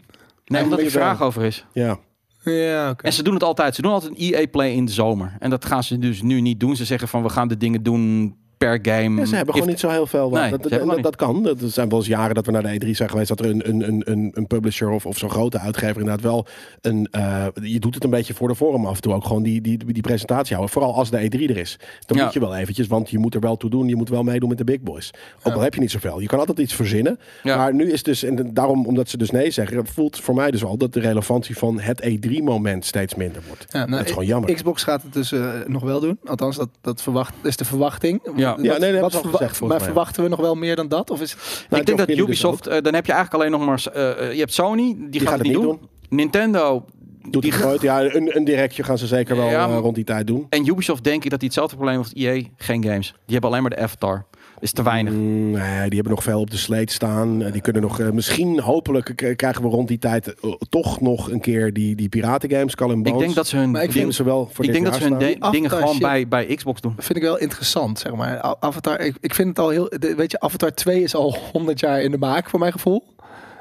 Speaker 2: Nee, omdat er
Speaker 3: Eigenlijk
Speaker 2: vraag over is.
Speaker 3: Ja.
Speaker 1: Ja, oké.
Speaker 2: En ze doen E het altijd. Ze doen altijd een EA-play in de zomer. En dat gaan ze dus nu niet doen. Ze zeggen van, we gaan de dingen doen per game.
Speaker 3: Ja, ze hebben gewoon
Speaker 2: heeft-
Speaker 3: niet zo heel veel. wat-
Speaker 2: Nee,
Speaker 3: dat,
Speaker 2: ze hebben
Speaker 3: dat,
Speaker 2: gewoon
Speaker 3: dat kan. Dat zijn wel eens jaren dat we naar de E3 zijn geweest. Dat er een, een, een, een, een publisher of, of zo'n grote uitgever inderdaad wel een. eh, je doet het een beetje voor de vorm af en toe ook gewoon die, die, die presentatie houden. Vooral als de E3 er is. Dan
Speaker 2: Ja.
Speaker 3: moet je wel eventjes, want je moet er wel toe doen. Je moet wel meedoen met de big boys. Ook al heb je niet zoveel. Je kan altijd iets verzinnen.
Speaker 2: Ja.
Speaker 3: Maar nu is dus, en daarom omdat ze dus nee zeggen, voelt voor mij dus al dat de relevantie van het E3-moment steeds minder wordt.
Speaker 1: Ja, nou,
Speaker 3: dat is gewoon jammer.
Speaker 1: Xbox gaat het dus eh, nog wel doen. Althans, dat, dat verwacht, is de verwachting.
Speaker 2: Ja.
Speaker 1: Wat-
Speaker 3: Ja, nee, dat hebben
Speaker 1: wat
Speaker 3: ze al
Speaker 1: verwa-
Speaker 3: gezegd, volgens
Speaker 1: Maar
Speaker 3: mij.
Speaker 1: verwachten we nog wel meer dan dat? Of is het...
Speaker 3: Nou,
Speaker 2: ik denk dat
Speaker 3: Geoff Keighley dus
Speaker 2: Ubisoft, eh, dan heb je eigenlijk alleen nog maar... eh, eh, je hebt Sony, die, gaat,
Speaker 3: gaat
Speaker 2: het niet
Speaker 3: het
Speaker 2: doen.
Speaker 3: niet
Speaker 2: Nintendo
Speaker 3: Doet
Speaker 2: die
Speaker 3: het nooit. Ja, een, een directje gaan ze zeker wel
Speaker 2: Ja,
Speaker 3: eh,
Speaker 2: maar-
Speaker 3: rond die tijd doen.
Speaker 2: En Ubisoft denk ik dat die hetzelfde probleem heeft als EA. Geen games. Die hebben alleen maar de Avatar. Is te weinig.
Speaker 3: Mm, nee, die hebben nog veel op de sleet staan. Eh, die kunnen nog, eh, misschien, hopelijk k- krijgen we rond die tijd eh, toch nog een keer die, die piratengames, Call and Bones.
Speaker 2: Ik denk dat ze hun,
Speaker 1: Maar
Speaker 3: ik vind
Speaker 2: ding-
Speaker 3: ze wel voor
Speaker 2: ik
Speaker 3: dit
Speaker 2: denk dat
Speaker 3: jaar
Speaker 2: ze hun
Speaker 3: staan.
Speaker 2: de-
Speaker 1: Die
Speaker 2: dingen
Speaker 1: Avatar
Speaker 2: gewoon
Speaker 1: shit.
Speaker 2: bij, bij Xbox doen.
Speaker 1: vind ik wel interessant, zeg maar. A- Avatar, ik, ik vind het al heel... de- Weet je, Avatar 2 is al 100 jaar in de maak, voor mijn gevoel.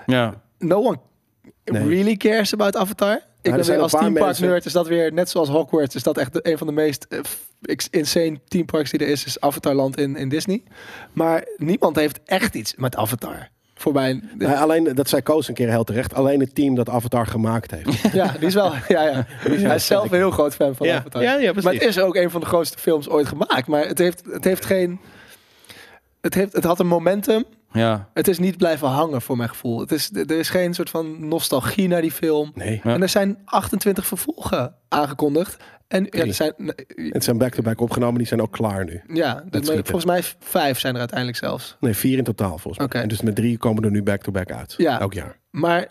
Speaker 2: Ja.
Speaker 1: No one
Speaker 3: Nee.
Speaker 1: really cares about Avatar. Ik
Speaker 3: er
Speaker 1: ben
Speaker 3: zijn
Speaker 1: weer
Speaker 3: een
Speaker 1: als
Speaker 3: paar
Speaker 1: teampark
Speaker 3: mensen-
Speaker 1: nerd, is dat weer, net zoals Hogwarts, is dat echt de- een van de meest eh, f- ex- insane teamparks die er is, is Avatarland in, in Disney. Maar niemand heeft echt iets met Avatar. Voor mijn...
Speaker 3: Nee, alleen, dat zei Koos een keer heel terecht, alleen het team dat Avatar gemaakt heeft.
Speaker 1: Ja, die is wel. Ja, ja. Hij is zelf een heel groot fan van
Speaker 3: Ja,
Speaker 1: Avatar.
Speaker 3: ja, ja, precies.
Speaker 1: maar het is ook een van de grootste films ooit gemaakt. Maar het heeft, het heeft geen. Het, heeft, het had een momentum.
Speaker 2: Ja.
Speaker 1: Het is niet blijven hangen voor mijn gevoel. Het is, er is geen soort van nostalgie naar die film.
Speaker 3: Nee,
Speaker 2: Ja.
Speaker 1: En er zijn 28 vervolgen aangekondigd. En ja, er zijn.
Speaker 3: het zijn back-to-back opgenomen, die zijn ook klaar nu.
Speaker 1: Ja, dus
Speaker 3: schieten.
Speaker 1: volgens mij vijf zijn er uiteindelijk zelfs.
Speaker 3: Nee, vier in totaal volgens mij.
Speaker 1: Oké.
Speaker 3: En dus met drie komen er nu back-to-back uit,
Speaker 1: Ja.
Speaker 3: elk jaar.
Speaker 1: Maar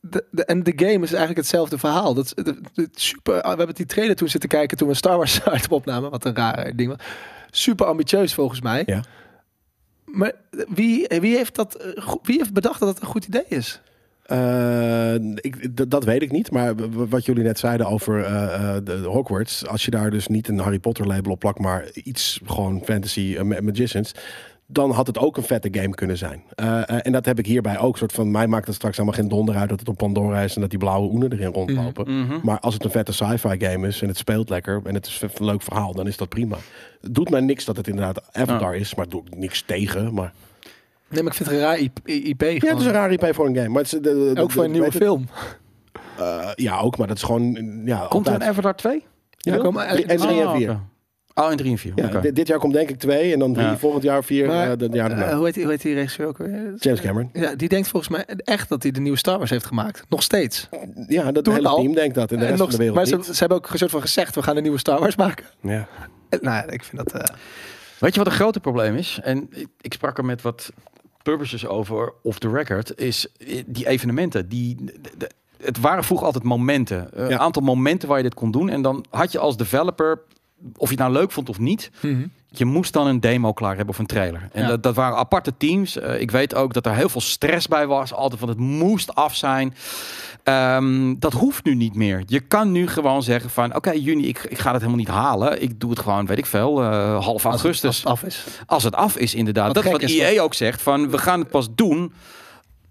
Speaker 1: de, de, en de game is eigenlijk hetzelfde verhaal. Dat, is- de- de- super, we hebben die trailer toen zitten kijken toen we Star Wars uit opnamen. Wat een raar ding was. Super ambitieus volgens mij.
Speaker 3: Ja.
Speaker 1: Maar wie, wie, heeft dat, eh, go- wie heeft bedacht dat het een goed idee is?
Speaker 3: Eh, ik, d- dat weet ik niet, maar w- w- wat jullie net zeiden over eh, eh, de de Hogwarts, als je daar dus niet een Harry Potter label op plakt, maar iets gewoon fantasy eh, ma- magicians, dan had het ook een vette game kunnen zijn. Eh, eh, en dat heb ik hierbij ook. Soort van, mij maakt het straks helemaal geen donder uit dat het op Pandora is en dat die blauwe oenen
Speaker 1: Mhm,
Speaker 3: erin rondlopen. Maar als het een vette sci-fi game is en het speelt lekker en het is een leuk verhaal, dan is dat prima. Het doet mij niks dat het inderdaad Avatar is, maar doe ik niks tegen. Maar... Ah.
Speaker 1: Nee, maar ik vind het een raar IP. IP
Speaker 3: Ja,
Speaker 1: gewoon.
Speaker 3: het is een raar IP voor een game. Maar het is, eh, de- de- de-
Speaker 1: Ook voor
Speaker 3: de-
Speaker 1: een nieuwe
Speaker 3: weet het-
Speaker 1: film.
Speaker 3: eh, ja, ook, maar dat is gewoon. Ja,
Speaker 2: Komt er
Speaker 3: altijd.
Speaker 2: een Avatar 2?
Speaker 1: Ja,
Speaker 3: Ja,
Speaker 1: komen
Speaker 3: drie- en drie en
Speaker 2: Ah,
Speaker 3: vier.
Speaker 2: oké. Oh, en 3 en 4.
Speaker 3: Ja, dit, dit jaar komt denk ik twee en dan drie,
Speaker 2: Ja.
Speaker 3: volgend jaar vier,
Speaker 1: Maar,
Speaker 3: eh, dat jaar daarna.
Speaker 1: Eh, hoe, heet die, hoe heet die regisseur ook weer?
Speaker 3: James Cameron.
Speaker 1: Ja, die denkt volgens mij echt dat hij de nieuwe Star Wars heeft gemaakt. Nog steeds.
Speaker 3: Ja, dat
Speaker 1: Toen
Speaker 3: hele
Speaker 1: al.
Speaker 3: team denkt dat en de rest
Speaker 1: nog,
Speaker 3: van de wereld
Speaker 1: maar ze,
Speaker 3: niet.
Speaker 1: ze hebben ook een soort van gezegd, we gaan een nieuwe Star Wars maken.
Speaker 3: Ja.
Speaker 1: Eh, Nou ja, ik vind dat... eh,
Speaker 2: Weet je wat een grote probleem is? En ik, ik sprak er met wat publishers over, off the record, is eh, die evenementen. Die, de- de- het waren vroeger altijd momenten. Eh, Een
Speaker 3: Ja.
Speaker 2: aantal momenten waar je dit kon doen. En dan had je als developer, of je het nou leuk vond of niet,
Speaker 1: Mhm.
Speaker 2: je moest dan een demo klaar hebben of een trailer. En
Speaker 1: Ja.
Speaker 2: dat, dat waren aparte teams. Eh, ik weet ook dat er heel veel stress bij was. Altijd van het moest af zijn. Ehm, dat hoeft nu niet meer. Je kan nu gewoon zeggen van... Oké, juni, ik, ik ga het helemaal niet halen. Ik doe het gewoon, weet ik veel, eh, half
Speaker 1: als het-
Speaker 2: augustus.
Speaker 1: als het af is.
Speaker 2: Als het af is, inderdaad.
Speaker 1: Wat
Speaker 2: dat is
Speaker 1: gek
Speaker 2: wat
Speaker 1: is,
Speaker 2: EA ook zegt. Van, we gaan het pas doen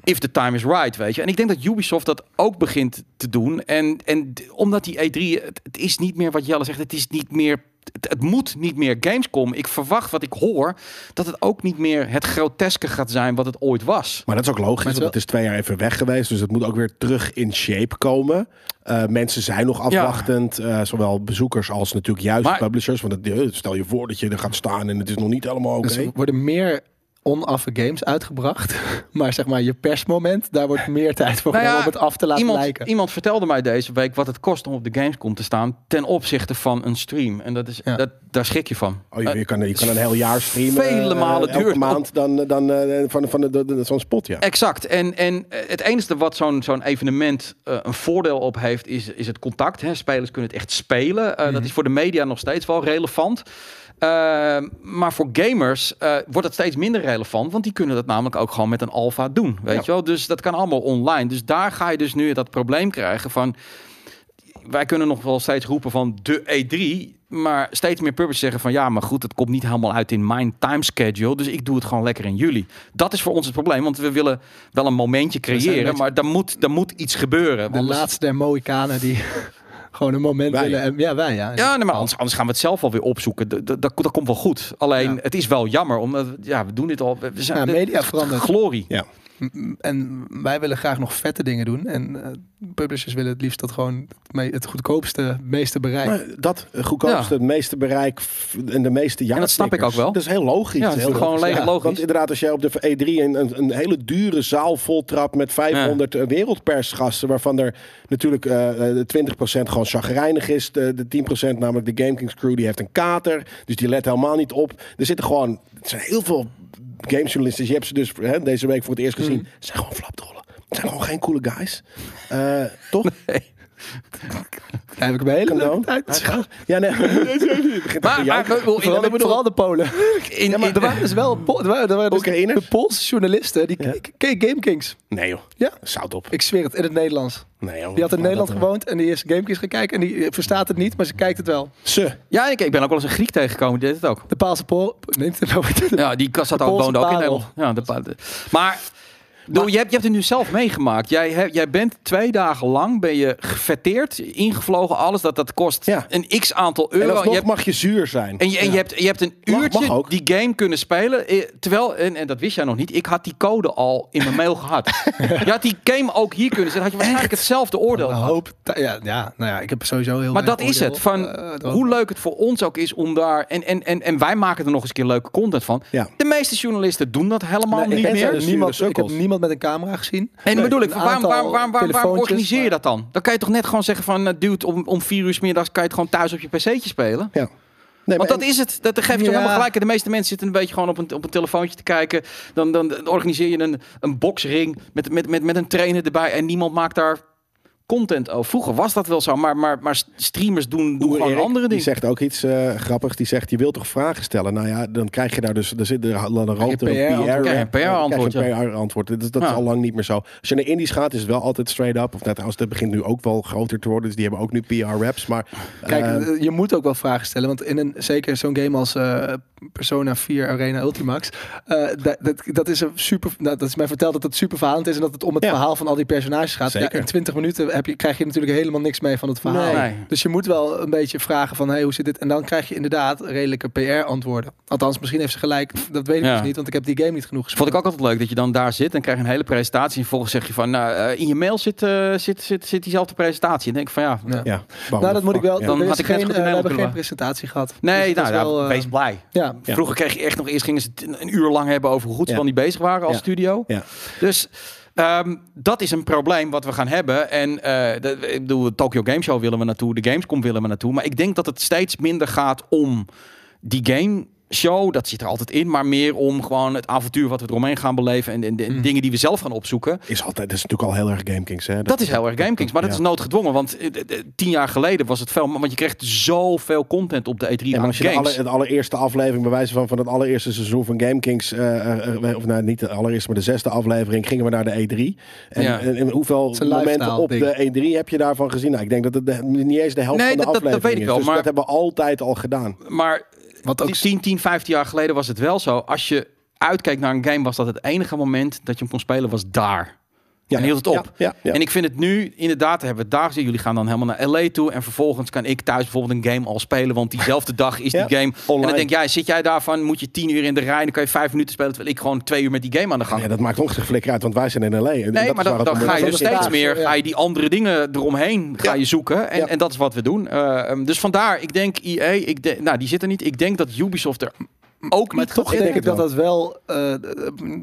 Speaker 2: if the time is right, weet je. En ik denk dat Ubisoft dat ook begint te doen. En, en d- omdat die E3, het, het is niet meer wat Jelle zegt. Het is niet meer... Het, het moet niet meer Gamescom. Ik verwacht wat ik hoor, dat het ook niet meer het groteske gaat zijn wat het ooit was.
Speaker 3: Maar dat is ook logisch,
Speaker 1: het
Speaker 3: want het is twee jaar even weg geweest. Dus het moet ook weer terug in shape komen. Eh, mensen zijn nog afwachtend. eh, zowel bezoekers als natuurlijk juist
Speaker 2: Maar-
Speaker 3: publishers. Want het, eh, stel je voor dat je er gaat staan en het is nog niet helemaal oké.
Speaker 1: Dus er worden meer onaffe games uitgebracht. Maar zeg maar, je persmoment, daar wordt meer tijd voor
Speaker 2: Nou ja,
Speaker 1: genomen om het af te laten
Speaker 2: iemand,
Speaker 1: lijken.
Speaker 2: Iemand vertelde mij deze week wat het kost om op de Gamescom te staan ten opzichte van een stream. En dat is,
Speaker 1: Ja.
Speaker 2: dat, daar schrik je van.
Speaker 3: Oh, je, je kan, je kan een heel jaar streamen.
Speaker 2: Vele
Speaker 3: eh,
Speaker 2: malen
Speaker 3: elke
Speaker 2: duurder.
Speaker 3: maand dan, eh, dan eh, van, van de, de- de- zo'n spot, ja.
Speaker 2: Exact. En, en eh, het enige wat zo'n zo'n evenement eh, een voordeel op heeft, is, is het contact. Hè. Spelers kunnen het echt spelen. Eh, Dat is voor de media nog steeds wel relevant. Eh, maar voor gamers eh, wordt het steeds minder relevant, want die kunnen dat namelijk ook gewoon met een alfa doen. Weet je wel? Dus dat kan allemaal online. Dus daar ga je dus nu dat probleem krijgen van. Wij kunnen nog wel steeds roepen van de E3. Maar steeds meer pubers zeggen van ja, maar goed, het komt niet helemaal uit in mijn time schedule. Dus ik doe het gewoon lekker in juli. Dat is voor ons het probleem, want we willen wel een momentje
Speaker 1: zijn een
Speaker 2: creëren.
Speaker 1: beetje-
Speaker 2: Maar daar moet, daar moet iets gebeuren.
Speaker 1: De
Speaker 2: anders-
Speaker 1: laatste der Mohikanen die Gewoon een moment
Speaker 3: Wij.
Speaker 1: willen. En, ja, wij. Ja,
Speaker 2: Ja, nee, maar anders, anders gaan we het zelf alweer opzoeken. Dat, dat, dat, dat komt wel goed. Alleen,
Speaker 1: Ja.
Speaker 2: het is wel jammer, omdat we- ja, we doen dit al. We we zijn,
Speaker 1: Ja,
Speaker 2: de-
Speaker 1: media verandert.
Speaker 2: Glorie.
Speaker 3: Ja.
Speaker 1: M- En wij willen graag nog vette dingen doen. En eh, publishers willen het liefst dat gewoon het me- het goedkoopste, meeste bereik.
Speaker 3: Maar dat eh, goedkoopste, het meeste bereik f- en de meeste ja.
Speaker 2: dat snap ik ook wel.
Speaker 3: Dat is heel logisch.
Speaker 2: Ja, dat is
Speaker 3: heel
Speaker 2: gewoon
Speaker 3: logisch.
Speaker 2: alleen logisch.
Speaker 3: Want inderdaad, als jij op de E3 een, een, een hele dure zaal voltrapt met 500 wereldpersgasten, waarvan er natuurlijk eh, de 20% gewoon chagrijnig is, de, de 10% namelijk de GameKings crew, die heeft een kater, dus die let helemaal niet op. Er zitten gewoon, er zijn heel veel gamejournalisten, je hebt ze dus hè, deze week voor het eerst
Speaker 2: Mm.
Speaker 3: gezien, Ze zijn gewoon flapdrollen. Het zijn gewoon geen coole guys. Eh, toch?
Speaker 1: Daar heb ik mijn hele
Speaker 3: Condoom?
Speaker 1: leuke tijd.
Speaker 3: Ja, nee. Begint
Speaker 2: Maar,
Speaker 3: te
Speaker 2: maar
Speaker 3: janken.
Speaker 2: ik bedoel, in,
Speaker 1: Vooral,
Speaker 2: in,
Speaker 1: de, vooral de Polen.
Speaker 2: in,
Speaker 1: Ja, maar er waren dus wel Po- er waren, er waren dus
Speaker 3: Oekraïners?
Speaker 1: de Poolse journalisten. Die
Speaker 3: Ja.
Speaker 1: keek keek GameKings.
Speaker 3: Nee joh.
Speaker 1: Ja.
Speaker 3: Zout op.
Speaker 1: Ik zweer het, in het Nederlands.
Speaker 3: Nee, joh.
Speaker 1: Die had in
Speaker 3: Wat
Speaker 1: Nederland
Speaker 3: dat-
Speaker 1: gewoond en die is GameKings gaan kijken. En die eh, verstaat het niet, maar ze kijkt het wel.
Speaker 3: Ze.
Speaker 2: ja ik, ik ben ook wel eens een Griek tegengekomen, die deed het ook.
Speaker 1: De Paalse Pool neemt nou, het over.
Speaker 2: Ja, die kast zat
Speaker 1: De
Speaker 2: ook,
Speaker 1: Poolse
Speaker 2: woonde ook in
Speaker 1: parel.
Speaker 2: Nederland. Ja, de, pa- de- maar bedoel, je, hebt, je hebt het nu zelf meegemaakt. Jij, hebt- jij bent twee dagen lang ben je gefetteerd, ingevlogen, alles. Dat, dat kost
Speaker 3: Ja.
Speaker 2: een x aantal euro.
Speaker 3: En
Speaker 2: je
Speaker 3: alsnog
Speaker 2: hebt,
Speaker 3: mag je zuur zijn.
Speaker 2: en je, en je, hebt, je hebt een
Speaker 3: Mag-
Speaker 2: uurtje
Speaker 3: mag ook.
Speaker 2: die game kunnen spelen. eh, Terwijl, en, en dat wist jij nog niet, ik had die code al in mijn mail gehad. Je had die game ook hier kunnen zetten. Had je waarschijnlijk hetzelfde oordeel
Speaker 1: Een
Speaker 3: Oh,
Speaker 2: gehad.
Speaker 1: hoop. ta- Ja, ja, nou ja, ik heb sowieso heel
Speaker 2: Maar
Speaker 1: weinig
Speaker 2: dat is
Speaker 1: oordeel.
Speaker 2: het. Van
Speaker 1: Eh, dat-
Speaker 2: hoe leuk het voor ons ook is om daar. En, en, en, en wij maken er nog eens een keer leuke content van.
Speaker 3: Ja.
Speaker 2: De meeste journalisten doen dat helemaal
Speaker 3: Nee,
Speaker 2: niet
Speaker 1: ik,
Speaker 3: en
Speaker 2: meer.
Speaker 3: zijn
Speaker 1: heb
Speaker 3: dus
Speaker 1: niemand,
Speaker 3: zure
Speaker 1: ik heb
Speaker 3: sukkels.
Speaker 1: niemand met een camera gezien.
Speaker 2: En
Speaker 1: Nee,
Speaker 2: bedoel ik,
Speaker 1: een
Speaker 2: waarom, waarom,
Speaker 1: aantal
Speaker 2: waarom, waarom, waarom
Speaker 1: telefoontjes,
Speaker 2: organiseer je
Speaker 1: maar-
Speaker 2: dat dan? Dan kan je toch net gewoon zeggen van, eh, dude, om, om vier uur 's middags kan je het gewoon thuis op je pc'tje spelen?
Speaker 3: Ja. Nee,
Speaker 2: Want
Speaker 3: maar-
Speaker 2: dat is het. Dat geeft je
Speaker 1: Ja.
Speaker 2: helemaal gelijk. De meeste mensen zitten een beetje gewoon op een, op een telefoontje te kijken. Dan, dan, dan organiseer je een, een boxring met, met, met, met een trainer erbij. En niemand maakt daar content over. Vroeger was dat wel zo. Maar, maar, maar streamers doen, doen
Speaker 3: Boer
Speaker 2: gewoon
Speaker 3: Erik,
Speaker 2: andere dingen.
Speaker 3: Die zegt ook iets eh, grappigs. Die zegt, je wilt toch vragen stellen? Nou ja, dan krijg je daar dus... Er zit er, dan rookt er
Speaker 1: PR
Speaker 3: een
Speaker 1: antwoord.
Speaker 3: PR-antwoord.
Speaker 2: Ja, een PR-antwoord,
Speaker 3: PR-antwoord. Dat, is- dat
Speaker 2: Ja. Ah.
Speaker 3: is al lang niet meer zo. Als je naar Indisch gaat, is het wel altijd straight up. Of net als dat begint nu ook wel groter te worden. Dus die hebben ook nu PR-raps. Maar
Speaker 1: Kijk,
Speaker 3: eh,
Speaker 2: Ehm,
Speaker 1: eh, je moet ook wel vragen stellen. Want in een, zeker zo'n game als eh, Persona 4 Arena Ultimax. eh, dat, dat, dat is een super. nou, dat is mij verteld dat het super verhalend is. En dat het om het
Speaker 3: Ja.
Speaker 1: verhaal van al die personages gaat. Ja,
Speaker 3: Zeker.
Speaker 1: in 20 minuten heb je, krijg je natuurlijk helemaal niks mee van het verhaal.
Speaker 2: Nee.
Speaker 1: Dus je moet wel een beetje vragen van hey, hoe zit dit? En dan krijg je inderdaad redelijke PR-antwoorden. Althans, misschien heeft ze gelijk. Dat weet ik
Speaker 2: Ja. Dus
Speaker 1: dus niet, want ik heb die game niet genoeg gespeeld.
Speaker 2: Vond ik ook altijd leuk dat je dan daar zit en krijg je een hele presentatie. En vervolgens zeg je van, nou, eh, in je mail zit, eh, zit, zit, zit diezelfde presentatie. En denk ik van ja.
Speaker 1: Ja.
Speaker 3: ja.
Speaker 1: Nou, dat moet ik wel.
Speaker 3: Ja.
Speaker 1: Dan
Speaker 2: Dan
Speaker 1: had
Speaker 2: had
Speaker 1: ik
Speaker 2: ik net
Speaker 1: geen,
Speaker 2: goed in
Speaker 1: eh, we
Speaker 2: Nederland
Speaker 1: hebben geen
Speaker 2: kunnen
Speaker 1: presentatie gehad.
Speaker 2: Nee,
Speaker 1: Dus dat
Speaker 2: nou,
Speaker 1: is
Speaker 2: ja,
Speaker 1: wel, eh,
Speaker 2: wees blij.
Speaker 1: ja.
Speaker 3: Ja.
Speaker 2: Vroeger kreeg je echt nog eerst gingen ze het een uur lang hebben over hoe goed ze
Speaker 3: Ja.
Speaker 2: dan niet bezig waren als
Speaker 3: Ja.
Speaker 2: studio.
Speaker 3: Ja.
Speaker 2: Dus ehm, dat is een probleem wat we gaan hebben. En eh de, ik bedoel, de Tokyo Game Show willen we naartoe, de Gamescom willen we naartoe. Maar ik denk dat het steeds minder gaat om die game show, dat zit er altijd in, maar meer om gewoon het avontuur wat we eromheen gaan beleven en, en de
Speaker 3: Mm.
Speaker 2: dingen die we zelf gaan opzoeken.
Speaker 3: Is altijd, dat is natuurlijk al heel erg GameKings. Hè?
Speaker 2: Dat is heel erg GameKings, maar dat
Speaker 3: ja.
Speaker 2: is noodgedwongen, want eh, eh, tien jaar geleden was het veel, want je kreeg zoveel content op de E3
Speaker 3: En
Speaker 2: aan
Speaker 3: als je de
Speaker 2: Nou, games.
Speaker 3: alle, de allereerste aflevering, bij wijze van, van het allereerste seizoen van Game Kings, eh, eh, eh, of nou niet de allereerste, maar de zesde aflevering, gingen we naar de E3. En,
Speaker 2: Ja.
Speaker 3: en- en hoeveel
Speaker 1: is een
Speaker 3: momenten
Speaker 1: lifestyle
Speaker 3: op
Speaker 1: ding.
Speaker 3: de E3 heb je daarvan gezien? Nou, ik denk dat het de- niet eens de helft
Speaker 2: Nee,
Speaker 3: van de
Speaker 2: dat- dat- dat
Speaker 3: aflevering
Speaker 2: weet ik
Speaker 3: is.
Speaker 2: wel,
Speaker 3: Dus
Speaker 2: maar-
Speaker 3: dat hebben we altijd al gedaan.
Speaker 2: Maar
Speaker 1: Wat ook
Speaker 2: 10, 10, 15 jaar geleden was het wel zo. Als je uitkijkt naar een game, was dat het enige moment dat je hem kon spelen, was daar.
Speaker 3: Ja.
Speaker 2: En hield het op.
Speaker 3: Ja, ja, ja.
Speaker 2: En ik vind het nu, inderdaad, daar hebben we het daar gezien. Jullie gaan dan helemaal naar LA toe. En vervolgens kan ik thuis bijvoorbeeld een game al spelen. Want diezelfde dag is die
Speaker 3: Ja,
Speaker 2: game. En
Speaker 3: online.
Speaker 2: dan denk jij, zit jij daarvan? Moet je tien uur in de rij? Dan kan je vijf minuten spelen. Terwijl ik gewoon twee uur met die game aan de gang
Speaker 3: Ja, dat maakt ons geen flikker uit, want wij zijn in L.A. En
Speaker 2: Nee,
Speaker 3: dat
Speaker 2: maar
Speaker 3: is
Speaker 2: dan,
Speaker 3: waar het
Speaker 2: dan
Speaker 3: om-
Speaker 2: ga je
Speaker 1: dat
Speaker 2: dus
Speaker 1: is
Speaker 2: steeds
Speaker 1: waar.
Speaker 2: meer,
Speaker 1: Ja.
Speaker 2: ga je die andere dingen eromheen ga
Speaker 3: Ja.
Speaker 2: je zoeken. En,
Speaker 3: Ja.
Speaker 2: en dat is wat we doen. Eh, ehm, dus vandaar, ik denk EA, ik denk, nou die zit er niet. Ik denk dat Ubisoft er ook
Speaker 1: Maar
Speaker 2: niet
Speaker 1: toch
Speaker 2: gaat
Speaker 1: denk ik
Speaker 3: het
Speaker 1: dat
Speaker 3: wel.
Speaker 1: dat wel, eh, eh,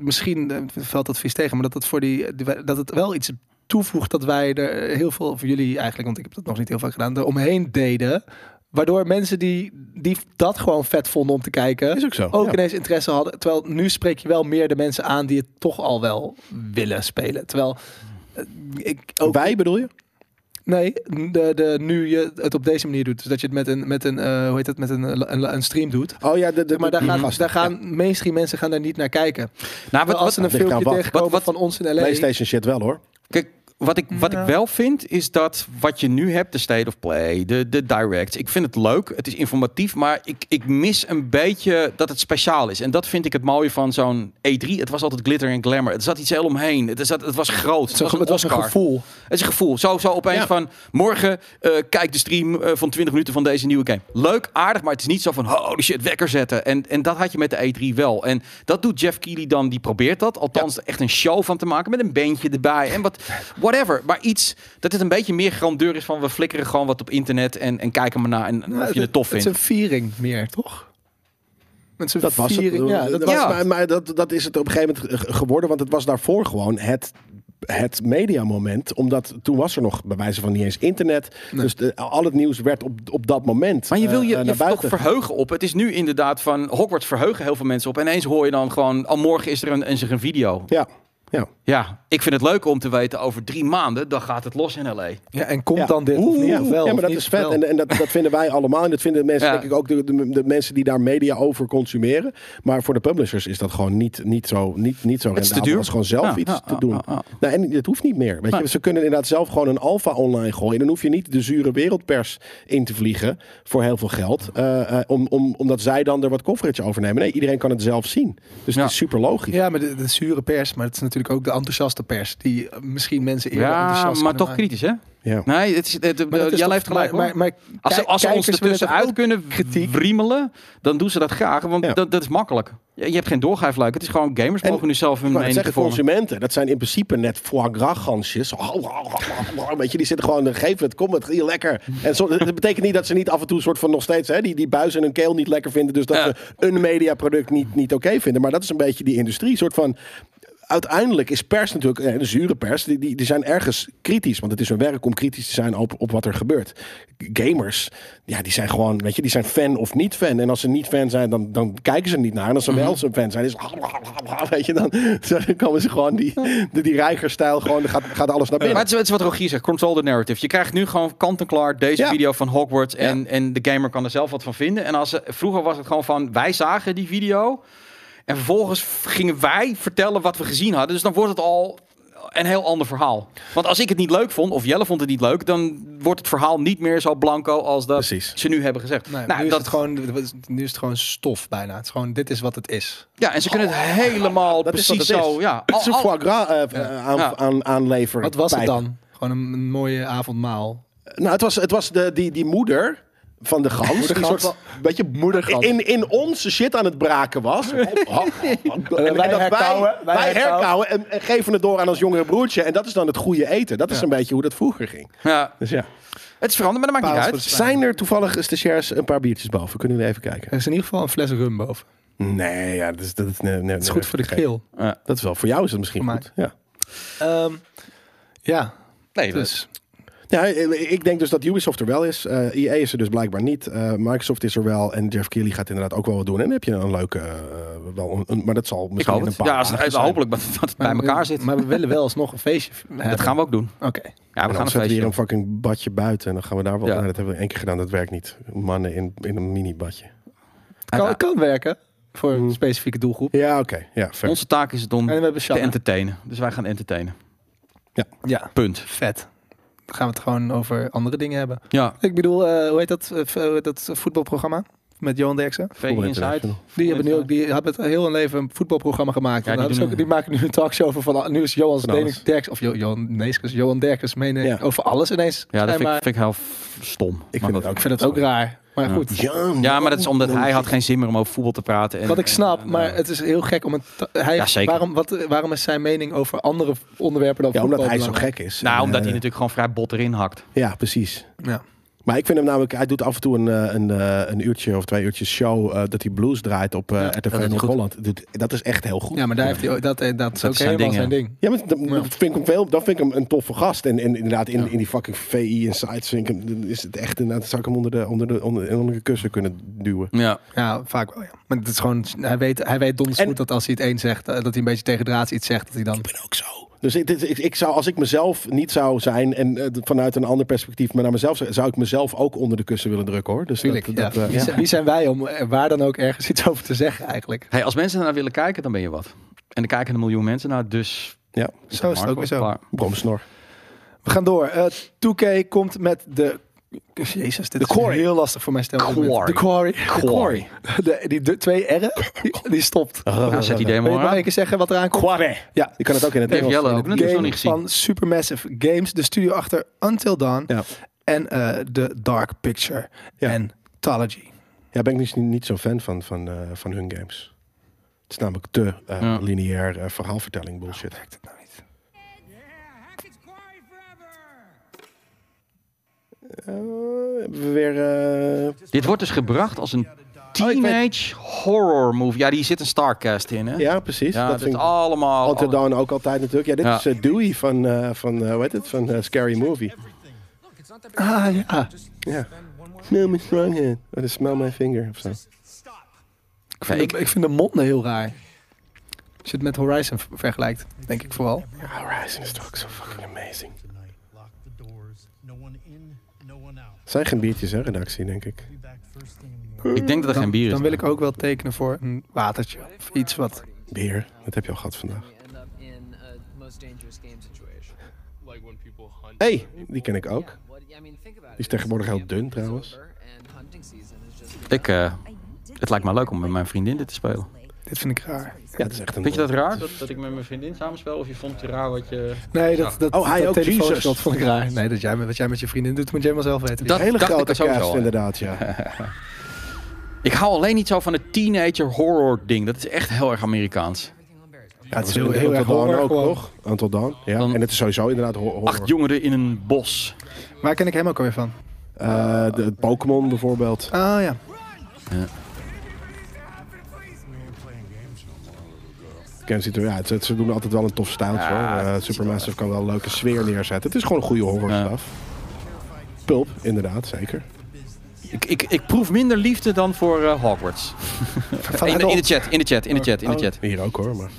Speaker 1: misschien eh, valt advies tegen, maar dat het voor die, die- dat het wel iets toevoegt dat wij er heel veel, voor jullie eigenlijk, want ik heb dat nog niet heel vaak gedaan, er omheen deden. Waardoor mensen die, die dat gewoon vet vonden om te kijken,
Speaker 3: Is ook zo, ja.
Speaker 1: ineens interesse hadden. Terwijl nu spreek je wel meer de mensen aan die het toch al wel willen spelen. Terwijl eh, ik ook
Speaker 3: Wij bedoel je?
Speaker 1: Nee, de, de, nu je het op deze manier doet. Dus dat je het met een, met een eh, hoe heet dat, met een, een, een stream doet.
Speaker 3: Oh ja, de, de,
Speaker 1: Maar daar
Speaker 3: die
Speaker 1: gaan,
Speaker 3: gasten.
Speaker 1: daar
Speaker 2: Mhm.
Speaker 1: gaan mainstream mensen gaan daar niet naar kijken.
Speaker 2: Nou, wat,
Speaker 1: als
Speaker 2: wat,
Speaker 1: ze een
Speaker 3: ligt aan
Speaker 1: filmpje
Speaker 3: wat.
Speaker 1: tegenkomen
Speaker 2: Wat- wat-
Speaker 1: van ons in LA.
Speaker 3: PlayStation shit wel hoor.
Speaker 2: kijk, wat ik, wat ik wel vind, is dat wat je nu hebt, de State of Play, de, de Direct. Ik vind het leuk, het is informatief, maar ik, ik mis een beetje dat het speciaal is. En dat vind ik het mooie van zo'n E3. Het was altijd glitter en glamour. Er zat iets heel omheen. Het, zat, het was groot. Het,
Speaker 1: Het,
Speaker 2: was,
Speaker 1: was, het was een
Speaker 2: Oscar.
Speaker 1: gevoel.
Speaker 2: Het is een gevoel. Zo, zo opeens
Speaker 3: Ja.
Speaker 2: van, morgen eh, kijk de stream eh, van 20 minuten van deze nieuwe game. Leuk, aardig, maar het is niet zo van, holy shit, wekker zetten. En, en dat had je met de E3 wel. En dat doet Jeff Keighley dan, die probeert dat. Althans, er echt een show van te maken met een bandje erbij. En wat, whatever. Maar iets, dat het een beetje meer grandeur is van, we flikkeren gewoon wat op internet en, en kijken maar naar en, en of je het tof
Speaker 1: nou, Het is
Speaker 2: vindt.
Speaker 1: een viering meer, toch? Met zijn
Speaker 3: Dat was het.
Speaker 1: viering. Ja, dat
Speaker 2: was-
Speaker 1: was...
Speaker 2: Ja.
Speaker 3: Maar, maar dat, dat is het op een gegeven moment ge- geworden. Want het was daarvoor gewoon het, het mediamoment. Omdat toen was er nog bij wijze van niet eens internet. Dus de- al het nieuws werd op, op dat moment
Speaker 2: Maar je wil
Speaker 3: eh,
Speaker 2: je,
Speaker 3: eh,
Speaker 2: je
Speaker 3: naar
Speaker 2: toch
Speaker 3: buiten.
Speaker 2: verheugen op. Het is nu inderdaad van Hogwarts verheugen heel veel mensen op. En ineens hoor je dan gewoon, al morgen is er een, is er een video.
Speaker 3: Ja, ja.
Speaker 2: Ja, ik vind het leuk om te weten over drie maanden, dan gaat het los in L.A.
Speaker 1: Ja, en komt
Speaker 3: Ja.
Speaker 1: dan dit of niet?
Speaker 3: ja.
Speaker 1: Of wel,
Speaker 3: ja, maar
Speaker 1: of
Speaker 3: dat
Speaker 1: niet
Speaker 3: is
Speaker 1: of
Speaker 3: vet.
Speaker 1: wel?
Speaker 3: En, en dat, dat vinden wij allemaal. En dat vinden mensen,
Speaker 2: Ja.
Speaker 3: denk ik, ook de, de, de mensen die daar media over consumeren. Maar voor de publishers is dat gewoon niet, niet zo, niet, niet zo
Speaker 2: is te
Speaker 3: rendabel.
Speaker 2: duur.
Speaker 3: als gewoon zelf
Speaker 2: Ja,
Speaker 3: iets
Speaker 2: ja,
Speaker 3: te
Speaker 2: ja,
Speaker 3: doen.
Speaker 2: ja, ja.
Speaker 3: Nou, en het hoeft niet meer. Weet je? Ze kunnen inderdaad zelf gewoon een alfa online gooien. Dan hoef je niet de zure wereldpers in te vliegen voor heel veel geld. eh, eh, om, om, omdat zij dan er wat coverage over nemen. Nee, iedereen kan het zelf zien. Dus
Speaker 2: Ja.
Speaker 3: het is super logisch.
Speaker 1: Ja, maar de, de zure pers. Maar het is natuurlijk ook de enthousiaste pers. Die eh, misschien mensen eerder enthousiast
Speaker 2: Ja, maar
Speaker 1: kunnen
Speaker 2: toch
Speaker 1: maken.
Speaker 2: kritisch, hè?
Speaker 3: Ja.
Speaker 2: Nee, het is, het, het-
Speaker 1: Maar dat is
Speaker 2: jij
Speaker 1: toch-
Speaker 2: leeft gelijk,
Speaker 1: maar,
Speaker 2: hoor.
Speaker 1: maar, maar
Speaker 2: als ze,
Speaker 1: kijk-
Speaker 2: als ze ons
Speaker 1: kijkers willen toch
Speaker 2: ertussenuit
Speaker 1: ook-
Speaker 2: kunnen
Speaker 1: kritiek.
Speaker 2: vriemelen, dan doen ze dat graag. Want
Speaker 3: Ja.
Speaker 2: dat, dat is makkelijk. Je, je hebt geen doorgaafluik. Het is gewoon gamers
Speaker 3: En-
Speaker 2: mogen nu zelf hun
Speaker 3: Maar dat
Speaker 2: mening
Speaker 3: zeggen
Speaker 2: te vormen.
Speaker 3: consumenten. Dat zijn in principe net foie gras gansjes. Oh, Weet je, die zitten gewoon, eh, geef het, kom het, hier lekker. En zo, dat betekent niet dat ze niet af en toe een soort van nog steeds hè, die, die buis en hun keel niet lekker vinden. Dus dat
Speaker 2: Ja.
Speaker 3: ze een mediaproduct niet, niet oké vinden. Maar dat is een beetje die industrie. Een soort van, uiteindelijk is pers natuurlijk, eh, de zure pers, die, die, die zijn ergens kritisch. Want het is hun werk om kritisch te zijn op, op wat er gebeurt. Gamers, ja, die zijn gewoon, weet je, die zijn fan of niet fan. En als ze niet fan zijn, dan, dan kijken ze er niet naar. En als ze
Speaker 2: Mhm.
Speaker 3: wel zijn fan zijn, is weet je, dan, dan komen ze gewoon die, die, die reigerstijl, gewoon, dan gaat, gaat alles naar
Speaker 2: Maar
Speaker 3: binnen.
Speaker 2: het is, het is wat Rogier zegt, control the narrative. Je krijgt nu gewoon kant-en-klaar deze
Speaker 3: Ja.
Speaker 2: video van Hogwarts en, en de gamer kan er zelf wat van vinden. En als, ze- vroeger was het gewoon van, wij zagen die video en vervolgens gingen wij vertellen wat we gezien hadden. Dus dan wordt het al een heel ander verhaal. Want als ik het niet leuk vond, of Jelle vond het niet leuk, dan wordt het verhaal niet meer zo blanco als dat
Speaker 3: Precies.
Speaker 2: ze nu hebben gezegd.
Speaker 1: Nee,
Speaker 2: nou,
Speaker 1: nu,
Speaker 2: dat,
Speaker 1: is het gewoon, nu is het gewoon stof bijna. Het is gewoon, dit is wat het is.
Speaker 2: ja, en ze kunnen het helemaal
Speaker 3: Oh, Dat is wat
Speaker 2: precies
Speaker 3: het is.
Speaker 2: zo. Ja,
Speaker 3: Het is een
Speaker 2: al- al-
Speaker 3: foie gras eh, aan,
Speaker 2: Ja.
Speaker 3: aan, aanleveren.
Speaker 1: Wat was het
Speaker 3: Pijp.
Speaker 1: dan? Gewoon een, een mooie avondmaal.
Speaker 3: Nou, het was, het was de, die, die moeder van de gans. die
Speaker 1: Moedergans.
Speaker 3: soort van, weet je,
Speaker 1: Moedergans. Oh,
Speaker 3: In, in onze shit aan het braken was. En, dat
Speaker 1: wij herkauwen, wij
Speaker 3: Wij,
Speaker 1: herkauwen.
Speaker 3: herkauwen en, en geven het door aan ons jongere broertje. En dat is dan het goede eten. Dat is een beetje hoe dat vroeger ging.
Speaker 2: ja,
Speaker 3: Dus ja.
Speaker 2: het is veranderd, maar dat maakt niet
Speaker 1: Paals
Speaker 2: uit.
Speaker 1: voor
Speaker 3: Zijn er toevallig stagiairs een paar biertjes boven? Kunnen jullie even kijken?
Speaker 1: Er is in ieder geval een fles rum boven.
Speaker 3: Nee, ja, dat is, dat is, nee, nee,
Speaker 1: Het is goed voor de keel.
Speaker 3: Dat is wel, voor jou is het misschien
Speaker 1: Voor mij.
Speaker 3: goed. Ja.
Speaker 1: Ehm, ja,
Speaker 2: Nee, dat-
Speaker 1: dus.
Speaker 3: Ja, ik denk dus dat Ubisoft er wel is. Eh EA is er dus blijkbaar niet. Eh, Microsoft is er wel. En Jeff Keighley gaat inderdaad ook wel wat doen. En dan heb je een leuke... eh, wel een- een- maar dat zal
Speaker 2: ik
Speaker 3: misschien
Speaker 2: hoop
Speaker 3: in een
Speaker 2: het.
Speaker 3: paar
Speaker 2: Ja, als,
Speaker 3: dagen zijn.
Speaker 2: hopelijk dat het bij
Speaker 1: Maar-
Speaker 2: elkaar zit.
Speaker 1: ehm, Maar we willen wel alsnog een feestje
Speaker 2: Dat gaan we ook doen.
Speaker 1: Oké.
Speaker 2: Ja, we
Speaker 3: We
Speaker 2: gaan een
Speaker 3: gaan weer
Speaker 2: feestje
Speaker 3: een fucking badje buiten en dan gaan we daar wel.
Speaker 2: Ja.
Speaker 3: Nou, dat hebben we één keer gedaan, dat werkt niet. Mannen in, in een mini-badje.
Speaker 2: doen.
Speaker 1: Kan, kan werken voor
Speaker 2: Mm.
Speaker 1: een specifieke doelgroep.
Speaker 3: Ja, oké. Ja, fair.
Speaker 2: Onze taak is het om
Speaker 1: En we hebben
Speaker 2: te
Speaker 1: Shanna.
Speaker 2: entertainen. Dus wij gaan entertainen.
Speaker 1: Ja,
Speaker 2: Punt.
Speaker 1: vet. Dan gaan we het gewoon over andere dingen hebben.
Speaker 2: Ja.
Speaker 1: Ik bedoel, eh, hoe heet dat, eh, v- eh, dat voetbalprogramma met Johan Derksen?
Speaker 2: VI Inside.
Speaker 1: Die, hebben nu ook, die hebben het heel hun leven een voetbalprogramma gemaakt.
Speaker 2: Ja,
Speaker 1: En
Speaker 2: die
Speaker 1: die,
Speaker 2: doen
Speaker 1: ook,
Speaker 2: nu-
Speaker 1: die maken nu een talkshow over van ah, nu is Johan
Speaker 3: Van alles.
Speaker 1: Denik- Derks of Jo- Johan Neeskens, Johan Derkens menen
Speaker 3: Ja.
Speaker 1: over alles ineens.
Speaker 2: Ja, dat vind ik,
Speaker 1: schijnbaar.
Speaker 2: vind ik heel f- stom.
Speaker 3: Ik
Speaker 2: Maar
Speaker 3: vind het
Speaker 2: goed.
Speaker 3: ook.
Speaker 1: ik vind het ook raar. Maar
Speaker 2: Ja.
Speaker 1: goed,
Speaker 3: Ja,
Speaker 2: Ja, maar dat is omdat hij had geen zin meer om over voetbal te praten. En,
Speaker 1: wat ik snap,
Speaker 2: en, eh,
Speaker 1: maar het is heel gek om een. ta- Hij,
Speaker 2: Ja, zeker.
Speaker 1: Waarom, wat, waarom is zijn mening over andere onderwerpen dan
Speaker 3: Ja, omdat
Speaker 1: voetbal
Speaker 3: hij zo
Speaker 1: belangrijk?
Speaker 3: gek is.
Speaker 2: nou,
Speaker 3: En,
Speaker 2: omdat hij
Speaker 3: eh,
Speaker 2: natuurlijk gewoon vrij bot erin hakt.
Speaker 3: Ja, precies.
Speaker 1: Ja.
Speaker 3: Maar ik vind hem namelijk, hij doet af en toe een, eh, een, eh, een uurtje of twee uurtjes show eh, dat hij blues draait op eh
Speaker 1: Ja,
Speaker 3: RTV
Speaker 2: dat is goed.
Speaker 3: Noord-Holland. Doet- Dat is echt heel goed.
Speaker 1: ja, maar daar heeft hij, ook- dat, eh, dat is
Speaker 2: Dat
Speaker 1: ook
Speaker 2: is zijn
Speaker 1: helemaal
Speaker 2: ding,
Speaker 1: zijn ding.
Speaker 3: Ja, maar dan,
Speaker 1: Ja.
Speaker 3: dan vind ik hem veel, dan vind ik hem een toffe gast. En, en inderdaad, in, in die fucking VI en sites vind ik hem, dan is het echt inderdaad, zou ik hem onder de, onder de, onder, onder de kussen kunnen duwen.
Speaker 2: Ja.
Speaker 1: Ja, vaak wel. Ja. Maar het is gewoon, hij weet, hij weet donders
Speaker 3: En-
Speaker 1: goed dat als hij het een zegt, eh, dat hij een beetje tegen draads iets zegt, dat hij dan.
Speaker 3: ben ook zo. Dus ik, dit- ik, ik zou, als ik mezelf niet zou zijn en eh, vanuit een ander perspectief, maar naar mezelf zou, zou ik mezelf ook onder de kussen willen drukken hoor. Dus
Speaker 1: Tuurlijk.
Speaker 3: dat,
Speaker 1: ja.
Speaker 3: dat, eh,
Speaker 1: wie, zijn, wie zijn wij om er waar dan ook ergens iets over te zeggen eigenlijk?
Speaker 2: Hey, als mensen naar willen kijken, dan ben je wat. En er kijken een miljoen mensen naar, dus...
Speaker 3: ja.
Speaker 1: Zo is het ook weer zo.
Speaker 2: Klaar.
Speaker 3: Bromsnor.
Speaker 1: We gaan door. Eh 2K komt met de... Jezus, dit
Speaker 3: De
Speaker 1: is
Speaker 3: Quarry.
Speaker 1: heel lastig voor mijn stem.
Speaker 2: Quarry.
Speaker 1: De quarry.
Speaker 2: Quarry.
Speaker 1: De, die de, twee R'en, die, die stopt.
Speaker 2: Nou, zet die
Speaker 1: Wil
Speaker 2: demo
Speaker 1: je maar
Speaker 2: aan.
Speaker 1: een keer zeggen wat eraan komt?
Speaker 3: Quarre.
Speaker 1: Ja,
Speaker 3: Je kan het ook in het
Speaker 2: Dave
Speaker 3: Engels.
Speaker 2: Jelle
Speaker 3: in
Speaker 2: ook,
Speaker 3: het-
Speaker 2: hè? Dat is nog niet gezien.
Speaker 1: van Supermassive Games, de studio achter Until Dawn
Speaker 3: Ja.
Speaker 1: en eh, The Dark Picture
Speaker 3: Ja.
Speaker 1: en Tology.
Speaker 3: Ja, ben ik niet, niet zo'n fan van, van, eh, van hun games. Het is namelijk te eh,
Speaker 2: Ja.
Speaker 3: lineair eh, verhaalvertelling bullshit.
Speaker 1: Werkt het nou niet?
Speaker 3: Eh, hebben we weer... eh,
Speaker 2: Dit wordt dus gebracht als
Speaker 3: Oh,
Speaker 2: een teenage horror movie. Ja, die zit een starcast in, hè?
Speaker 3: ja, precies.
Speaker 2: Ja,
Speaker 3: dat
Speaker 2: dit
Speaker 3: vind ik...
Speaker 2: allemaal...
Speaker 3: Until
Speaker 2: alle-
Speaker 3: Dawn ook altijd natuurlijk. Ja, dit
Speaker 2: Ja.
Speaker 3: is eh, Dewey van, eh, van eh, hoe heet het? Van eh, Scary Movie.
Speaker 1: Ah ja,
Speaker 3: Ja. Smell my strong hand. Of dus smell my finger of zo.
Speaker 1: ik vind,
Speaker 2: Ik-
Speaker 1: de, ik vind de monden heel raar. Als je het met Horizon ver- vergelijkt, denk ik vooral.
Speaker 3: Horizon is toch ook zo fucking amazing.
Speaker 5: tonight. Lock the doors. No one in, no one out.
Speaker 3: Zijn geen biertjes, hè, redactie, denk ik.
Speaker 5: Be back first thing in the morning.
Speaker 2: Ik denk dat er geen bier is.
Speaker 1: Dan wil ik ook wel tekenen voor een watertje of iets wat...
Speaker 3: Bier, dat heb je al gehad vandaag.
Speaker 6: We end up in a most dangerous game situation.
Speaker 7: like when people hunt.
Speaker 3: hey, die ken ik ook.
Speaker 6: What, I mean, think about it.
Speaker 3: is tegenwoordig heel dun, trouwens.
Speaker 2: Ik, eh, het lijkt me leuk om met mijn vriendin dit te spelen.
Speaker 1: Dit vind ik raar.
Speaker 3: Ja, dat is echt een...
Speaker 2: Vind je dat raar? Dat, dat ik met mijn vriendin samenspel? Of je vond het raar wat je...
Speaker 1: Nee, dat, dat,
Speaker 3: Oh, hij
Speaker 1: dat
Speaker 3: ook,
Speaker 1: telefoon-
Speaker 3: Jesus.
Speaker 1: dat vond ik raar. Nee, dat jij, met- wat jij met je vriendin doet, moet jij maar zelf weten.
Speaker 2: Dat
Speaker 3: Hele
Speaker 2: dacht ik
Speaker 3: grote
Speaker 2: er sowieso
Speaker 3: cast,
Speaker 2: al, hè.
Speaker 3: inderdaad, ja.
Speaker 2: Ik hou alleen niet zo van het teenager horror ding. Dat is echt heel erg Amerikaans.
Speaker 1: ja, het is
Speaker 3: Until
Speaker 1: heel, heel erg
Speaker 3: Dawn
Speaker 1: horror
Speaker 3: ook,
Speaker 1: gewoon.
Speaker 3: toch? Until Dawn, ja.
Speaker 2: Dan-
Speaker 3: en het is sowieso inderdaad ho- horror.
Speaker 2: Acht jongeren in een bos.
Speaker 1: Waar ken ik hem ook alweer van?
Speaker 3: Eh, de- Pokémon bijvoorbeeld.
Speaker 1: Ah ja.
Speaker 3: Ken ze, ja, ze, ze doen altijd wel een tof stijltje.
Speaker 2: Ja,
Speaker 3: hoor. Eh, Supermassive kan wel een leuke sfeer neerzetten. Het is gewoon een goede horror
Speaker 2: Ja.
Speaker 3: stuff. Pulp, inderdaad, zeker.
Speaker 2: Ik, ik, ik proef minder liefde dan voor eh, Hogwarts.
Speaker 1: Oh, Van
Speaker 2: In, de- in de
Speaker 1: Adult.
Speaker 2: chat, in de chat, in de chat, in
Speaker 1: Oh.
Speaker 2: de chat.
Speaker 3: Hier ook hoor, maar...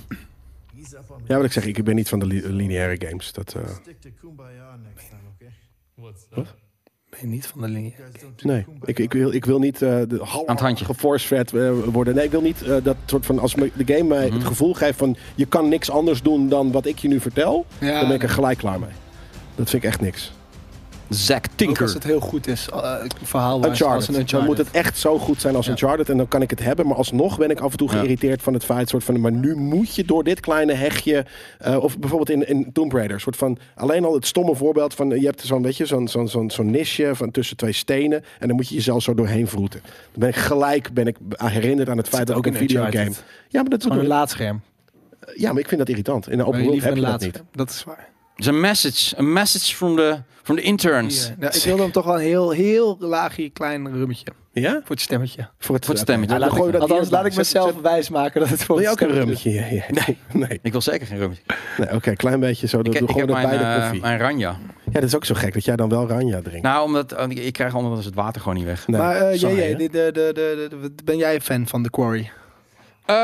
Speaker 3: Ja, wat ik zeg, ik ben niet van de li- lineaire games. Dat, eh,
Speaker 5: Stick to Kumbaya next time, okay?
Speaker 7: What's up?
Speaker 1: Ben je niet van de linie?
Speaker 5: You guys don't do
Speaker 3: nee,
Speaker 5: Kumbaya.
Speaker 3: ik, ik, wil, ik wil niet eh de
Speaker 2: Aan het handje.
Speaker 3: geforcefed worden. Nee, ik wil niet eh, dat soort van... Als me de game mij
Speaker 2: Mhm.
Speaker 3: het gevoel geeft van... Je kan niks anders doen dan wat ik je nu vertel.
Speaker 1: Ja,
Speaker 3: dan ben
Speaker 1: nee.
Speaker 3: ik er gelijk klaar mee. Dat vind ik echt niks.
Speaker 2: Zack
Speaker 1: Ook als
Speaker 2: Tinker.
Speaker 1: het heel goed is, eh verhaal als een
Speaker 3: Uncharted. Dan moet het echt zo goed zijn als
Speaker 1: Ja.
Speaker 3: Uncharted. En dan kan ik het hebben. Maar alsnog ben ik af en toe
Speaker 2: Ja.
Speaker 3: geïrriteerd van het feit. Soort van, maar nu moet je door dit kleine hegje. eh, of bijvoorbeeld in, in Tomb Raider. Soort van, alleen al het stomme voorbeeld van. eh, Je hebt zo'n beetje zo'n zo'n zo'n zo'n nisje van tussen twee stenen. En dan moet je jezelf zo doorheen vroeten. Dan ben ik gelijk ben ik herinnerd aan het feit dat
Speaker 1: ook
Speaker 3: ik een
Speaker 1: in
Speaker 3: videogame.
Speaker 1: Uncharted.
Speaker 3: Ja maar, dat
Speaker 1: Gewoon een
Speaker 3: doe-
Speaker 1: laadscherm.
Speaker 3: ja, maar ik vind dat irritant. In een
Speaker 1: Maar
Speaker 3: open
Speaker 1: je
Speaker 3: world
Speaker 1: liever
Speaker 3: heb je
Speaker 1: een
Speaker 3: dat niet.
Speaker 1: laadscherm. Dat is waar.
Speaker 2: Het is een message. Een message from the, from the interns.
Speaker 1: Ja, Dus eh, nou, ik wilde hem toch wel een heel, heel laagje klein rummetje.
Speaker 3: Ja?
Speaker 1: Voor het stemmetje.
Speaker 3: Voor het,
Speaker 2: Voor het stemmetje.
Speaker 3: Ja, dan
Speaker 2: Laat
Speaker 3: gooi je dat
Speaker 1: Althans,
Speaker 3: eerst
Speaker 1: laat
Speaker 3: bij.
Speaker 1: ik
Speaker 3: Zet-
Speaker 1: mezelf
Speaker 3: zet-
Speaker 1: wijsmaken dat het voor
Speaker 3: Wil je
Speaker 1: het
Speaker 3: ook een
Speaker 1: stemmetje
Speaker 3: rummetje? Ja, ja.
Speaker 2: Nee.
Speaker 3: Nee.
Speaker 2: Ik wil zeker geen rummetje.
Speaker 3: Nee, Oké, klein beetje zo.
Speaker 2: Ik,
Speaker 3: doe- doe
Speaker 2: ik
Speaker 3: gewoon
Speaker 2: heb
Speaker 3: dat
Speaker 2: mijn,
Speaker 3: bij de
Speaker 2: eh,
Speaker 3: koffie.
Speaker 2: mijn ranja.
Speaker 3: Ja, dat is ook zo gek dat jij dan wel Ranja drinkt.
Speaker 2: Nou, omdat, eh, ik krijg anders het water gewoon niet weg.
Speaker 1: doet.
Speaker 3: Nee,
Speaker 1: Maar eh,
Speaker 3: saai,
Speaker 1: JJ,
Speaker 3: hè?
Speaker 1: dit, de, de, de, de- de- ben jij fan van The Quarry?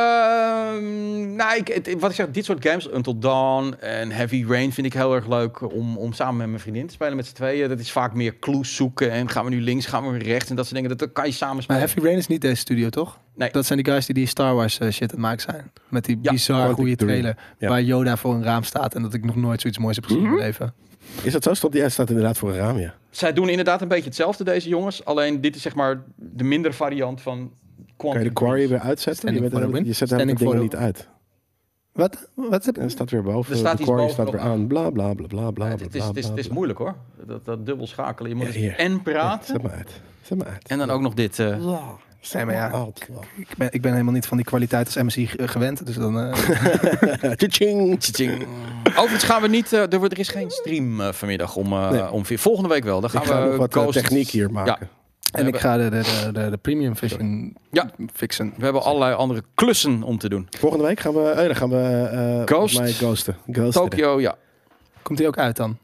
Speaker 2: Ehm, nou, ik, het- wat ik zeg, dit soort games, Until Dawn en Heavy Rain, vind ik heel erg leuk om, om samen met mijn vriendin te spelen met z'n tweeën. Dat is vaak meer clues zoeken en gaan we nu links, gaan we weer rechts en dat soort dingen. Dat, dat kan je samen
Speaker 1: Maar
Speaker 2: spelen.
Speaker 1: Heavy Rain is niet deze studio, toch?
Speaker 2: Nee.
Speaker 1: Dat zijn die guys die die Star Wars eh, shit aan het maken zijn. Met die
Speaker 2: Ja,
Speaker 1: bizar
Speaker 3: Quantic
Speaker 1: goede
Speaker 3: Dream.
Speaker 1: trailer.
Speaker 3: Ja.
Speaker 1: Waar Yoda voor een raam staat. En dat ik nog nooit zoiets moois heb gezien in mijn leven.
Speaker 3: Is dat zo? Stond, ja, staat inderdaad voor een raam, ja.
Speaker 2: Zij doen inderdaad een beetje hetzelfde, deze jongens. Alleen dit is zeg maar de mindere variant van
Speaker 3: Kan
Speaker 2: Quantum.
Speaker 3: je de quarry weer uitzetten? Je,
Speaker 1: Standing
Speaker 3: bent
Speaker 1: for the
Speaker 3: helemaal-
Speaker 1: win.
Speaker 3: je zet hem
Speaker 1: Standing
Speaker 3: dingen
Speaker 1: for
Speaker 3: niet
Speaker 1: the-
Speaker 3: uit.
Speaker 1: Wat? Wat heb ik?
Speaker 3: En staat weer boven.
Speaker 2: Er staat
Speaker 3: de
Speaker 2: iets
Speaker 3: quarry
Speaker 2: boven
Speaker 3: staat weer
Speaker 2: nog.
Speaker 3: aan. Bla, bla, bla, bla, bla,
Speaker 2: het, is, het,
Speaker 3: bla,
Speaker 2: is, het, is,
Speaker 3: bla,
Speaker 2: het is
Speaker 3: bla.
Speaker 2: moeilijk hoor. Dat, dat dubbel schakelen. Je moet
Speaker 3: Ja,
Speaker 2: dus
Speaker 3: hier.
Speaker 2: en praten
Speaker 3: Zet maar uit. Zet maar uit.
Speaker 2: en dan ook nog dit. eh.
Speaker 1: Nee, maar ja,
Speaker 3: Alt.
Speaker 1: Oh, ik ben, ik ben helemaal niet van die kwaliteit als MSI g- gewend. Dus dan... eh,
Speaker 3: Tjing.
Speaker 2: Tjing. Overigens gaan we niet, eh, er, wordt- er is geen stream eh, vanmiddag om, eh
Speaker 3: Nee.
Speaker 2: om vier. Volgende week wel. Dan gaan
Speaker 3: Ik ga
Speaker 2: we
Speaker 3: nog wat eh,
Speaker 2: Ghosts-
Speaker 3: techniek hier maken.
Speaker 1: En ik ga de, de, de, de, de premium vision
Speaker 2: Ja.
Speaker 1: fixen.
Speaker 2: We hebben allerlei andere klussen om te doen.
Speaker 3: Volgende week gaan we... eh, dan gaan we... eh, volgens
Speaker 2: Ghost.
Speaker 3: mij ghosten. Ghosten.
Speaker 2: Tokio, ja.
Speaker 1: Komt die ook uit dan?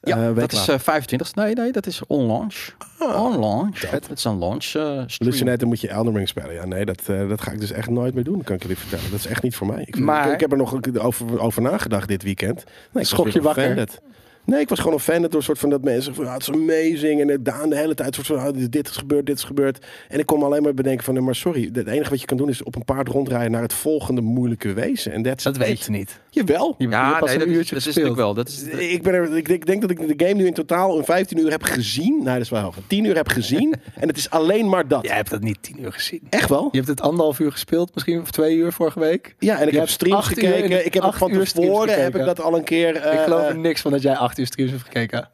Speaker 2: ja
Speaker 3: Eh, week
Speaker 2: dat is
Speaker 3: later.
Speaker 2: eh 25. Nee, nee, dat is on-launch.
Speaker 3: Ah.
Speaker 2: On-launch. Het is een launch eh, stream.
Speaker 3: Lucinator moet je Elden Ring spelen. Ja, nee, dat, eh, dat ga ik dus echt nooit meer doen, kan ik jullie vertellen. Dat is echt niet voor mij. Ik, vind-
Speaker 1: Maar-
Speaker 3: ik, ik heb er nog over, over nagedacht dit weekend. Nee, ik was
Speaker 1: Schok je
Speaker 3: weer
Speaker 1: wakker?
Speaker 3: offended. Nee, ik was gewoon een fan door een soort van dat mensen zeggen van, ah, het is amazing. En eh, Daan de hele tijd soort van, ah, dit is gebeurd, dit is gebeurd. En ik kon me alleen maar bedenken van, nee, maar sorry. Het enige wat je kan doen is op een paard rondrijden naar het volgende moeilijke wezen. En that's
Speaker 1: Dat
Speaker 3: it.
Speaker 1: weet je niet.
Speaker 3: Jawel.
Speaker 1: Je, je hebt pas
Speaker 2: nee,
Speaker 1: een
Speaker 2: dat, is,
Speaker 1: uurtje
Speaker 2: dat is
Speaker 1: gespeeld.
Speaker 2: natuurlijk wel. Dat is,
Speaker 3: Ik, ben er, ik, ik denk dat ik de game nu in totaal in 15 uur heb gezien. Nee, dat is wel heel veel. 10 uur heb gezien. en het is alleen maar dat.
Speaker 1: Jij hebt dat niet tien uur gezien.
Speaker 3: Echt wel?
Speaker 1: Je hebt het anderhalf uur gespeeld, misschien of twee uur vorige week.
Speaker 3: Ja, en ik
Speaker 1: Je
Speaker 3: heb
Speaker 1: hebt
Speaker 3: streams
Speaker 1: acht uur in-
Speaker 3: gekeken. ik heb het
Speaker 1: acht
Speaker 3: van
Speaker 1: uur streams
Speaker 3: tevoren heb ik
Speaker 1: gekeken.
Speaker 3: dat al een keer. eh,
Speaker 1: ik geloof
Speaker 3: eh,
Speaker 1: er niks van dat jij acht uur streams hebt gekeken.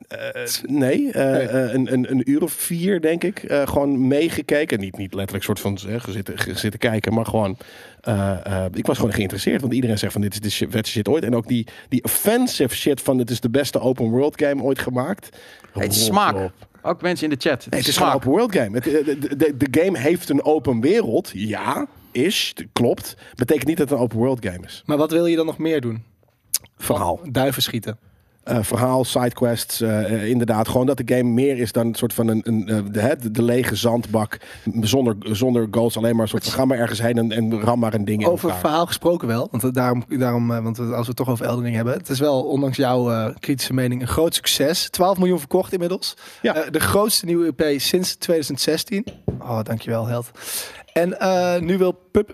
Speaker 3: nee, eh, eh, een, een, een uur of vier, denk ik. eh, gewoon meegekeken. Niet, niet letterlijk soort van eh, gezitten, gezitten kijken, maar gewoon. eh, eh, ik was gewoon geïnteresseerd. Want iedereen zegt van dit is de shit- vetste shit ooit. En ook die, die offensive shit van dit is de beste open world game ooit gemaakt.
Speaker 2: het is
Speaker 3: Rot
Speaker 2: smaak.
Speaker 3: op.
Speaker 2: Ook mensen in de chat. Het
Speaker 3: Nee,
Speaker 2: is
Speaker 3: het is gewoon
Speaker 2: smaak.
Speaker 3: een open world game. Het, eh, de, de, de game heeft een open wereld. Ja, is. t- Klopt. Betekent niet dat het een open world game is.
Speaker 1: Maar wat wil je dan nog meer doen?
Speaker 3: Verhaal.
Speaker 1: Duiven schieten.
Speaker 3: Eh, verhaal, sidequests. eh, eh, inderdaad, gewoon dat de game meer is dan een soort van een, een, eh, de, hè, de, de lege zandbak. Zonder, zonder goals, alleen maar een soort van ga maar ergens heen en, en ram maar een ding in
Speaker 1: Over
Speaker 3: elkaar.
Speaker 1: verhaal gesproken wel, want het- daarom, daarom eh, want het- als we het toch over Elden Ring hebben. Het is wel, ondanks jouw eh, kritische mening, een groot succes. 12 miljoen verkocht inmiddels.
Speaker 3: Ja.
Speaker 1: Eh, de grootste nieuwe EP sinds 2016. Oh, dankjewel, held. En eh, nu wil pub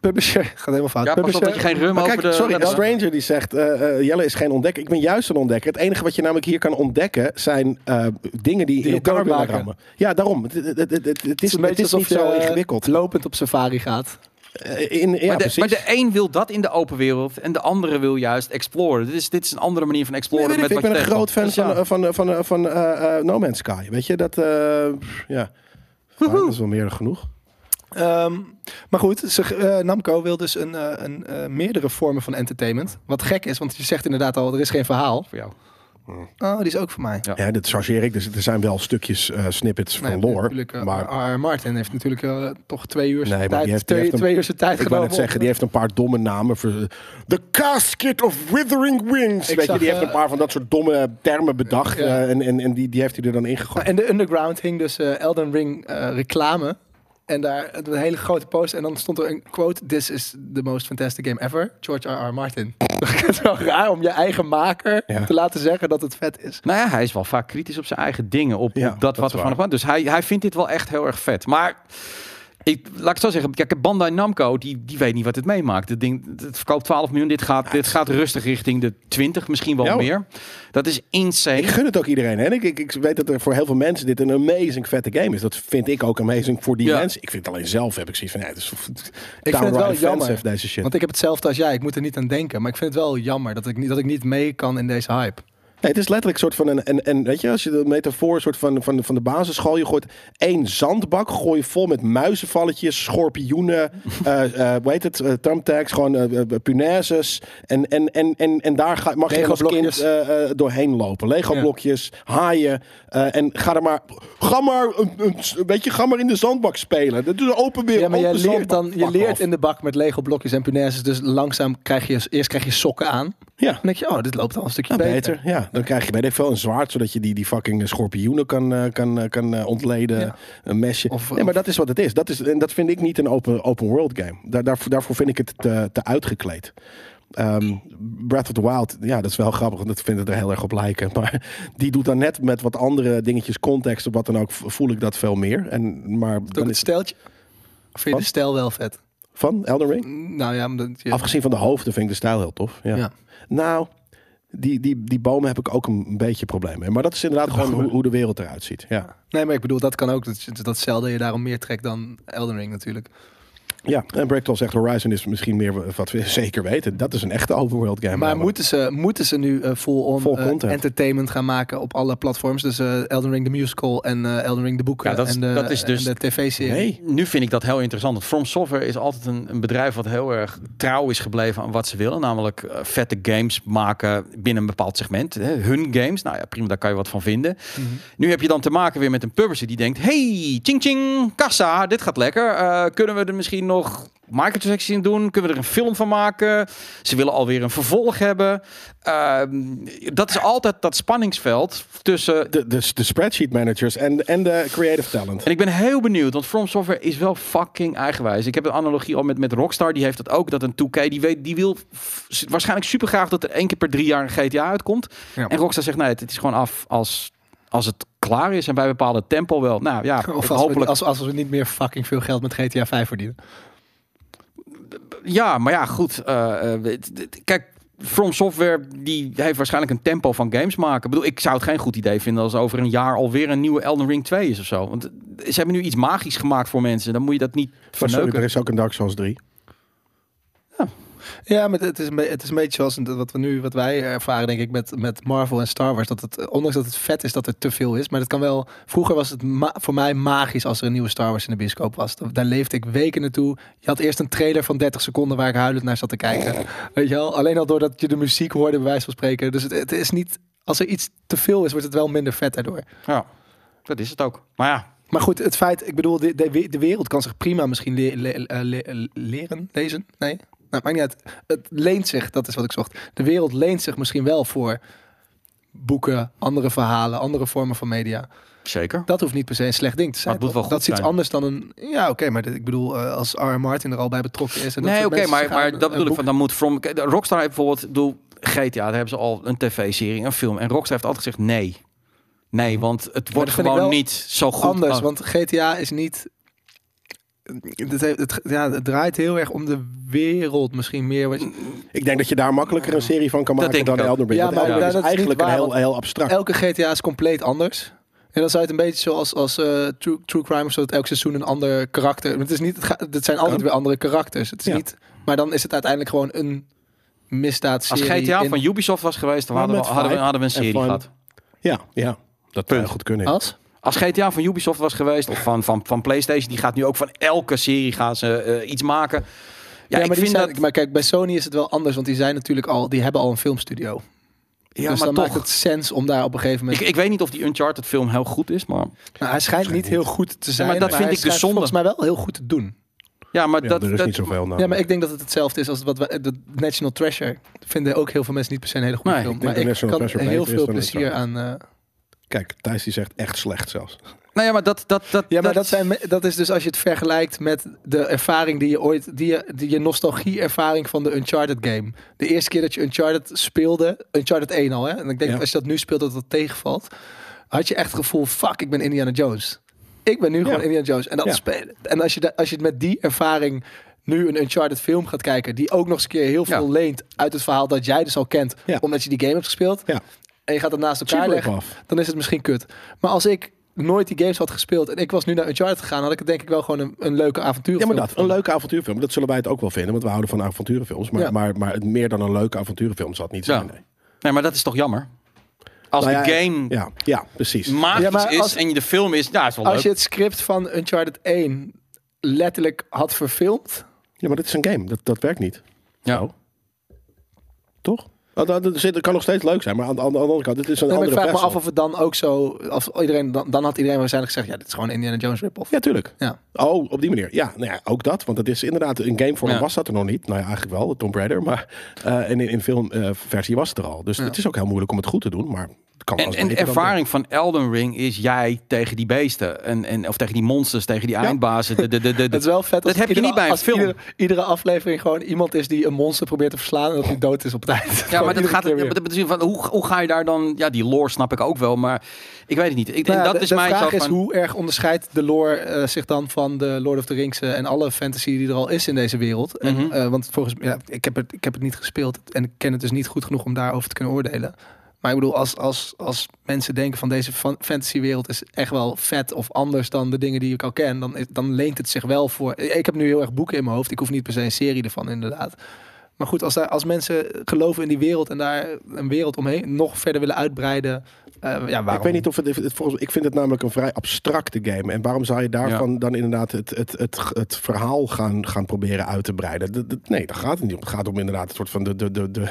Speaker 1: Publisher... Gaat helemaal fout.
Speaker 2: Ja, pas op
Speaker 1: publisher,
Speaker 2: dat je geen rum
Speaker 3: Maar
Speaker 2: over
Speaker 3: kijk,
Speaker 2: de...
Speaker 3: sorry,
Speaker 2: dat-
Speaker 3: de Stranger die zegt, eh, eh, Jelle is geen ontdekker. Ik ben juist een ontdekker. Het enige wat je namelijk hier kan ontdekken zijn eh, dingen die, in
Speaker 1: je
Speaker 3: elkaar willen
Speaker 1: doormaken.
Speaker 3: rammen. Ja, daarom. Het, het, het, het-
Speaker 1: Het
Speaker 3: het is,
Speaker 1: is een
Speaker 3: het
Speaker 1: beetje
Speaker 3: is niet
Speaker 1: alsof je
Speaker 3: zo
Speaker 1: eh,
Speaker 3: ingewikkeld.
Speaker 1: lopend op safari gaat.
Speaker 3: Eh, in, ja,
Speaker 2: maar, de,
Speaker 3: precies.
Speaker 2: maar de een wil dat in de open wereld en de andere wil juist exploren. Dit is, dit is een andere manier van
Speaker 3: Nee,
Speaker 2: exploren.
Speaker 3: weet ik,
Speaker 2: met
Speaker 3: ik
Speaker 2: wat
Speaker 3: ben
Speaker 2: je
Speaker 3: een groot fan
Speaker 2: tegenkomt.
Speaker 3: van,
Speaker 2: Dus ja.
Speaker 3: eh, van, eh, van, eh, van eh, eh, No Man's Sky. Weet je, dat, eh, pff, ja. Fijn, dat is wel meer dan genoeg.
Speaker 1: Ehm, maar goed, ze, eh, Namco wil dus een, eh, een, eh, meerdere vormen van entertainment. Wat gek is, want je zegt inderdaad al, er is geen verhaal.
Speaker 2: voor jou.
Speaker 1: Oh, die is ook voor mij.
Speaker 2: Ja.
Speaker 3: Ja, dat chargeer ik. Dus er zijn wel stukjes eh, snippets
Speaker 1: Nou
Speaker 3: van
Speaker 1: ja,
Speaker 3: lore.
Speaker 1: natuurlijk, eh,
Speaker 3: maar
Speaker 1: R.R. Martin heeft natuurlijk eh, toch twee uur
Speaker 3: Nee,
Speaker 1: zijn
Speaker 3: maar
Speaker 1: tijd,
Speaker 3: die heeft- die
Speaker 1: twee,
Speaker 3: heeft hem-
Speaker 1: twee uur zijn tijd
Speaker 3: ik wou
Speaker 1: genomen.
Speaker 3: net zeggen, die heeft een paar domme namen. Voor, The Casket of Withering Wings.
Speaker 1: Ik
Speaker 3: weet je,
Speaker 1: zag,
Speaker 3: die heeft
Speaker 1: eh,
Speaker 3: een paar van dat soort domme termen bedacht.
Speaker 1: Ja.
Speaker 3: eh, en en, en die, die heeft hij er dan ingegooid.
Speaker 1: En de Underground hing dus eh, Elden Ring eh, reclame. En daar een hele grote post. En dan stond er een quote: This is the most fantastic game ever. George R.R. Martin. Het is wel raar om je eigen maker
Speaker 3: Ja.
Speaker 1: te laten zeggen dat het vet is.
Speaker 2: Nou ja, hij is wel vaak kritisch op zijn eigen dingen. Op,
Speaker 3: Ja,
Speaker 2: op
Speaker 3: dat
Speaker 2: dat
Speaker 3: is
Speaker 2: wat er
Speaker 3: waar.
Speaker 2: van kwam. Dus hij, hij vindt dit wel echt heel erg vet. Maar ik, laat ik het zo zeggen. Kijk, Bandai Namco, die, die weet niet wat het meemaakt. Het, ding, het verkoopt 12 miljoen. Dit gaat, dit gaat rustig richting de 20, misschien wel
Speaker 3: Ja, hoor.
Speaker 2: meer. Dat is
Speaker 1: Ah,
Speaker 2: insane.
Speaker 3: Ik gun het ook iedereen. En ik, ik, ik weet dat er voor heel veel mensen dit een amazing vette game is. Dat vind ik ook amazing voor die
Speaker 2: Ja.
Speaker 3: mensen. Ik vind het alleen zelf heb ik zoiets van... Ja, het is,
Speaker 1: Ik vind het wel
Speaker 3: downright
Speaker 1: jammer.
Speaker 3: offensive, deze shit.
Speaker 1: Want ik heb hetzelfde als jij. Ik moet er niet aan denken. Maar ik vind het wel jammer dat ik niet, dat ik niet mee kan in deze hype.
Speaker 3: Nee, het is letterlijk soort van een, en en weet je, als je de metafoor soort van, van, van de basisschool, je gooit één zandbak, gooi je vol met muizenvalletjes, schorpioenen, eh eh hoe heet het, eh, thumbtacks, gewoon eh, eh, punaises. En, en, en, en, en daar ga, mag je als kind
Speaker 1: Lego-blokjes.
Speaker 3: eh, eh, doorheen lopen. Lego-blokjes, haaien, eh, en ga er maar, ga maar, een, een, weet je, ga maar in de zandbak spelen. Dat is een open wereld,
Speaker 1: Ja, maar je
Speaker 3: open
Speaker 1: leert,
Speaker 3: zandbak.
Speaker 1: dan, je
Speaker 3: Fuck
Speaker 1: leert
Speaker 3: off.
Speaker 1: in de bak met Lego blokjes en punaises. Dus langzaam krijg je eerst krijg je sokken aan.
Speaker 3: Ja.
Speaker 1: Dan denk je, oh, dit loopt al een stukje
Speaker 3: Ja,
Speaker 1: beter.
Speaker 3: Nou, beter. Ja, dan krijg je weet ik veel een zwaard zodat je die, die fucking schorpioenen kan, eh, kan, eh, kan eh, ontleden.
Speaker 1: Ja.
Speaker 3: Een mesje.
Speaker 1: Of-
Speaker 3: nee, maar dat is wat het is. Dat is en dat vind ik niet een open, open world game. Daar, daarvoor, daarvoor vind ik het te, te uitgekleed. Ehm, Breath of the Wild, ja, dat is wel grappig, want dat vind ik er heel erg op lijken. Maar die doet dan net met wat andere dingetjes, context of wat dan ook, v- voel ik dat veel meer. En, maar
Speaker 1: Ook
Speaker 3: dan
Speaker 1: het
Speaker 3: is het
Speaker 1: steltje. Of vind je de stijl wel vet?
Speaker 3: van Elden Ring?
Speaker 1: Nou ja, omdat je...
Speaker 3: Afgezien van de hoofden vind ik de stijl heel tof. Ja.
Speaker 1: Ja.
Speaker 3: Nou, die, die, die bomen heb ik ook een beetje probleem mee. Maar dat is inderdaad gewoon hoe, hoe de wereld eruit ziet. Ja,
Speaker 1: Nee, maar ik bedoel, dat kan ook. Dat, dat Zelda je daarom meer trekt dan Elden Ring natuurlijk.
Speaker 3: ja. en Breakdoll zegt Horizon is misschien meer wat we zeker weten. Dat is een echte overworld game.
Speaker 1: Maar
Speaker 3: namelijk.
Speaker 1: moeten ze, moeten ze nu eh, full-on
Speaker 3: Vol
Speaker 1: eh,
Speaker 3: content.
Speaker 1: entertainment gaan maken op alle platforms? Dus eh, Elden Ring de musical en eh, Elden Ring de boeken
Speaker 2: Ja, dat is-
Speaker 1: en de,
Speaker 2: dat is dus-
Speaker 1: en de tv-serie.
Speaker 3: Nee.
Speaker 2: Nu vind ik dat heel interessant. Want From Software is altijd een, een bedrijf wat heel erg trouw is gebleven aan wat ze willen. Namelijk eh, vette games maken binnen een bepaald segment. Hè. Hun games, nou ja, prima, daar kan je wat van vinden. Nu heb je dan te maken weer met een publisher die denkt... Hey, ching ching, kassa, dit gaat lekker. Eh, kunnen we er misschien nog nog microtransacties in doen? Kunnen we er een film van maken? Ze willen alweer een vervolg hebben. Ehm, dat is altijd dat spanningsveld tussen...
Speaker 3: De, de, de spreadsheet managers en, en de creative talent.
Speaker 2: En ik ben heel benieuwd, want From Software is wel fucking eigenwijs. Ik heb een analogie al met, met Rockstar, die heeft dat ook, dat een 2K, die, weet, die wil f- waarschijnlijk super graag dat er één keer per drie jaar een GTA uitkomt.
Speaker 1: Ja.
Speaker 2: En Rockstar zegt, nee, het, het is gewoon af als, als het klaar is en bij een bepaalde tempo wel. Nou ja,
Speaker 1: Of als we,
Speaker 2: hopelijk.
Speaker 1: als, als we niet meer fucking veel geld met GTA 5 verdienen.
Speaker 2: Ja, maar ja, goed. eh, eh, het- het- kijk, From Software die heeft waarschijnlijk een tempo van games maken. Ik bedoel, ik zou het geen goed idee vinden als over een jaar alweer een nieuwe Elden Ring 2 is of zo. Want ze hebben nu iets magisch gemaakt voor mensen. Dan moet je dat niet
Speaker 3: Maar sorry, er
Speaker 2: verneuken.
Speaker 3: is ook een Dark Souls 3.
Speaker 1: Ja, maar het is, een be- het is een beetje zoals wat, we nu, wat wij ervaren, denk ik, met, met Marvel en Star Wars. Dat het, eh, ondanks dat het vet is dat er te veel is, maar dat kan wel... Vroeger was het ma- voor mij magisch als er een nieuwe Star Wars in de bioscoop was. Da- Daar leefde ik weken naartoe. Je had eerst een trailer van 30 seconden waar ik huilend naar zat te kijken. Weet je wel? Alleen al doordat je de muziek hoorde, bij wijze van spreken. Dus het, het is niet... Als er iets te veel is, wordt het wel minder vet daardoor.
Speaker 2: Ja, dat is het ook. Maar ja,
Speaker 1: Maar goed, het feit, ik bedoel, de, de, we- de wereld kan zich prima misschien le- le- eh, le- leren, lezen. Nee, nou, maakt niet uit. Het leent zich, dat is wat ik zocht. De wereld leent zich misschien wel voor boeken, andere verhalen, andere vormen van media.
Speaker 2: zeker.
Speaker 1: Dat hoeft niet per se een slecht ding te zijn.
Speaker 2: Maar het moet wel
Speaker 1: toch?
Speaker 2: goed
Speaker 1: dat is iets
Speaker 2: zijn.
Speaker 1: anders dan een. Ja, oké, maar dit- ik bedoel, eh, als R.R. Martin er al bij betrokken is. En dat
Speaker 2: Nee,
Speaker 1: soort
Speaker 2: oké,
Speaker 1: mensen
Speaker 2: maar,
Speaker 1: zich aan
Speaker 2: maar
Speaker 1: een-
Speaker 2: dat
Speaker 1: een
Speaker 2: bedoel ik.
Speaker 1: boek-
Speaker 2: Van, dan moet From... kijk, Rockstar heeft bijvoorbeeld... Doe, GTA, daar hebben ze al een tv-serie, een film. En Rockstar heeft altijd gezegd nee. Nee, want het wordt
Speaker 1: vind ik wel
Speaker 2: gewoon niet zo goed.
Speaker 1: anders,
Speaker 2: Oh,
Speaker 1: want GTA is niet. Het, heeft- het, ja, het draait heel erg om de wereld misschien meer. Wat je,
Speaker 3: Ik denk dat je daar makkelijker een serie van kan
Speaker 2: Dat
Speaker 3: maken
Speaker 2: denk ik
Speaker 3: dan
Speaker 2: ook.
Speaker 3: Elden Ring.
Speaker 1: Ja,
Speaker 3: want
Speaker 1: maar
Speaker 3: Elden Ring
Speaker 1: dat
Speaker 3: is
Speaker 1: is niet
Speaker 3: eigenlijk een
Speaker 1: waar,
Speaker 3: heel,
Speaker 1: want
Speaker 3: heel abstract.
Speaker 1: elke GTA is compleet anders. En dan zou je het een beetje zoals als, eh, true, true Crime of zo, dat elk seizoen een ander karakter. want Het, is niet, het, gaat- het zijn altijd weer andere karakters. Het is
Speaker 3: Ja.
Speaker 1: niet, maar dan is het uiteindelijk gewoon een misdaad.
Speaker 2: Als GTA van Ubisoft was geweest, dan
Speaker 3: Maar
Speaker 2: hadden we,
Speaker 3: met
Speaker 2: hadden, we,
Speaker 3: vibe
Speaker 2: hadden we een
Speaker 3: en
Speaker 2: serie
Speaker 3: fun.
Speaker 2: gehad.
Speaker 3: Ja, ja. Dat zou goed kunnen. ja.
Speaker 1: Als?
Speaker 2: Als GTA van Ubisoft was geweest, of van, van, van PlayStation, die gaat nu ook van elke serie gaan ze eh, iets maken. Ja,
Speaker 1: Ja,
Speaker 2: ik
Speaker 1: maar, die
Speaker 2: vind
Speaker 1: zijn,
Speaker 2: dat.
Speaker 1: maar kijk, bij Sony is het wel anders, want die zijn natuurlijk al, die hebben al een filmstudio.
Speaker 2: ja,
Speaker 1: dus
Speaker 2: maar
Speaker 1: dan
Speaker 2: toch.
Speaker 1: maakt het sens om daar op een gegeven
Speaker 2: Ik,
Speaker 1: moment.
Speaker 2: ik weet niet of die Uncharted film heel goed is, maar.
Speaker 1: Nou, hij schijnt niet heel goed te zijn.
Speaker 2: maar dat vind
Speaker 1: hij
Speaker 2: ik dus
Speaker 1: schijnt
Speaker 2: zonde.
Speaker 1: Volgens mij wel heel goed te doen.
Speaker 2: Ja, maar
Speaker 3: Ja,
Speaker 2: dat.
Speaker 3: er is
Speaker 2: dat-
Speaker 3: niet zoveel naar.
Speaker 1: Ja, maar ik denk dat het hetzelfde is als wat we, de National Treasure. Vinden ook heel veel mensen niet per se een hele goede
Speaker 2: Nee,
Speaker 1: film.
Speaker 2: ik
Speaker 3: denk
Speaker 1: Maar
Speaker 3: dat
Speaker 1: ik
Speaker 3: National
Speaker 1: kan
Speaker 3: Treasure
Speaker 1: heel
Speaker 3: beter is
Speaker 1: veel
Speaker 3: dan
Speaker 1: plezier aan. eh,
Speaker 3: Kijk, Thijs die zegt echt slecht zelfs.
Speaker 2: nou ja, maar dat. dat, dat
Speaker 1: ja, maar dat, zijn, me- dat is dus als je het vergelijkt met de ervaring die je ooit, die je, die je nostalgie-ervaring van de Uncharted game. De eerste keer dat je Uncharted speelde, Uncharted 1 al, hè? En ik denk
Speaker 3: Ja.
Speaker 1: dat als je dat nu speelt, dat dat tegenvalt. Had je echt het gevoel, fuck, ik ben Indiana Jones. Ik ben nu gewoon Indiana Jones. En, dat
Speaker 3: Ja.
Speaker 1: spelen. en als, je da- als je met die ervaring nu een Uncharted film gaat kijken, die ook nog eens een keer heel veel
Speaker 2: Ja.
Speaker 1: leent uit het verhaal dat jij dus al kent,
Speaker 3: Ja.
Speaker 1: omdat je die game hebt gespeeld.
Speaker 3: Ja.
Speaker 1: En je gaat dat naast elkaar
Speaker 3: Super
Speaker 1: leggen
Speaker 3: af.
Speaker 1: dan is het misschien kut. Maar als ik nooit die games had gespeeld en ik was nu naar Uncharted gegaan, had ik het denk ik wel gewoon een, een leuke avontuur.
Speaker 3: Ja, maar dat. Een leuke avontuurfilm. Dat zullen wij het ook wel vinden, want we houden van avonturenfilms. Maar,
Speaker 1: Ja.
Speaker 3: maar, maar meer dan een leuke avonturenfilm zal het niet
Speaker 2: Ja.
Speaker 3: zijn. nee.
Speaker 2: Nee, maar dat is toch jammer? Als
Speaker 3: Nou
Speaker 2: de
Speaker 3: ja,
Speaker 2: game
Speaker 3: Ja, ja precies.
Speaker 2: magisch
Speaker 1: Ja, maar
Speaker 2: is
Speaker 1: als-
Speaker 2: en je de film is. Ja, is wel leuk.
Speaker 1: Als je het script van Uncharted 1 letterlijk had verfilmd,
Speaker 3: Ja, maar dit is een game. Dat, dat werkt niet.
Speaker 2: ja.
Speaker 3: Nou. Toch? Dat, dat, dat- dat kan nog steeds leuk zijn, maar aan, de- aan de andere kant, dit is een
Speaker 1: nee, maar ik
Speaker 3: andere
Speaker 1: vraag me
Speaker 3: vessel.
Speaker 1: af of het dan ook zo, of iedereen, dan, dan had iedereen waarschijnlijk gezegd, ja, dit is gewoon Indiana Jones rip-off.
Speaker 3: Ja, tuurlijk.
Speaker 1: Ja.
Speaker 3: Oh, op die manier. Ja, nou ja, ook dat. Want het is inderdaad, in gamevorm
Speaker 2: Ja.
Speaker 3: was dat er nog niet. Nou ja, eigenlijk wel, Tomb Raider. Maar eh, en in, in filmversie was het er al. Dus het is ook heel moeilijk om het goed te doen, maar het kan wel
Speaker 2: En,
Speaker 3: eens
Speaker 2: en de
Speaker 3: beter dan dit.
Speaker 2: ervaring van Elden Ring is jij tegen die beesten. En, en, of tegen die monsters, tegen die eindbazen. De, de, de, de,
Speaker 1: Dat is wel vet.
Speaker 2: Dat
Speaker 1: als
Speaker 2: heb je
Speaker 1: iedere-
Speaker 2: niet bij een
Speaker 1: als
Speaker 2: film.
Speaker 1: Iedere, iedere aflevering gewoon iemand is die een monster probeert te verslaan en dat hij dood is op tijd.
Speaker 2: Ja, maar dat gaat. ja, maar dat betekent van, hoe, hoe ga je daar dan. Ja, die lore snap ik ook wel. Maar ik weet het niet. Ik, en
Speaker 1: Nou ja,
Speaker 2: dat
Speaker 1: de,
Speaker 2: is
Speaker 1: de
Speaker 2: mijn
Speaker 1: vraag
Speaker 2: zo
Speaker 1: is
Speaker 2: van-
Speaker 1: hoe erg onderscheidt de lore eh, zich dan van de Lord of the Rings eh, en alle fantasy die er al is in deze wereld. En,
Speaker 2: Mhm.
Speaker 1: eh, want volgens ja, ik heb het, ik heb het niet gespeeld en ik ken het dus niet goed genoeg om daarover te kunnen oordelen. Maar ik bedoel, als, als, als mensen denken van deze fan- fantasywereld is echt wel vet of anders dan de dingen die ik al ken, dan, is- dan leent het zich wel voor. Ik heb nu heel erg boeken in mijn hoofd. Ik hoef niet per se een serie ervan, inderdaad. Maar goed, als, daar, als mensen geloven in die wereld en daar een wereld omheen nog verder willen uitbreiden, eh, Eh, ja, waarom?
Speaker 3: Ik weet niet of het, het volgens, ik vind het namelijk een vrij abstracte game. En waarom zou je daarvan dan inderdaad het, het, het, het verhaal gaan, gaan proberen uit te breiden? Dat- dat- nee, daar gaat het niet om. Het gaat om inderdaad een soort van de, de, de, de,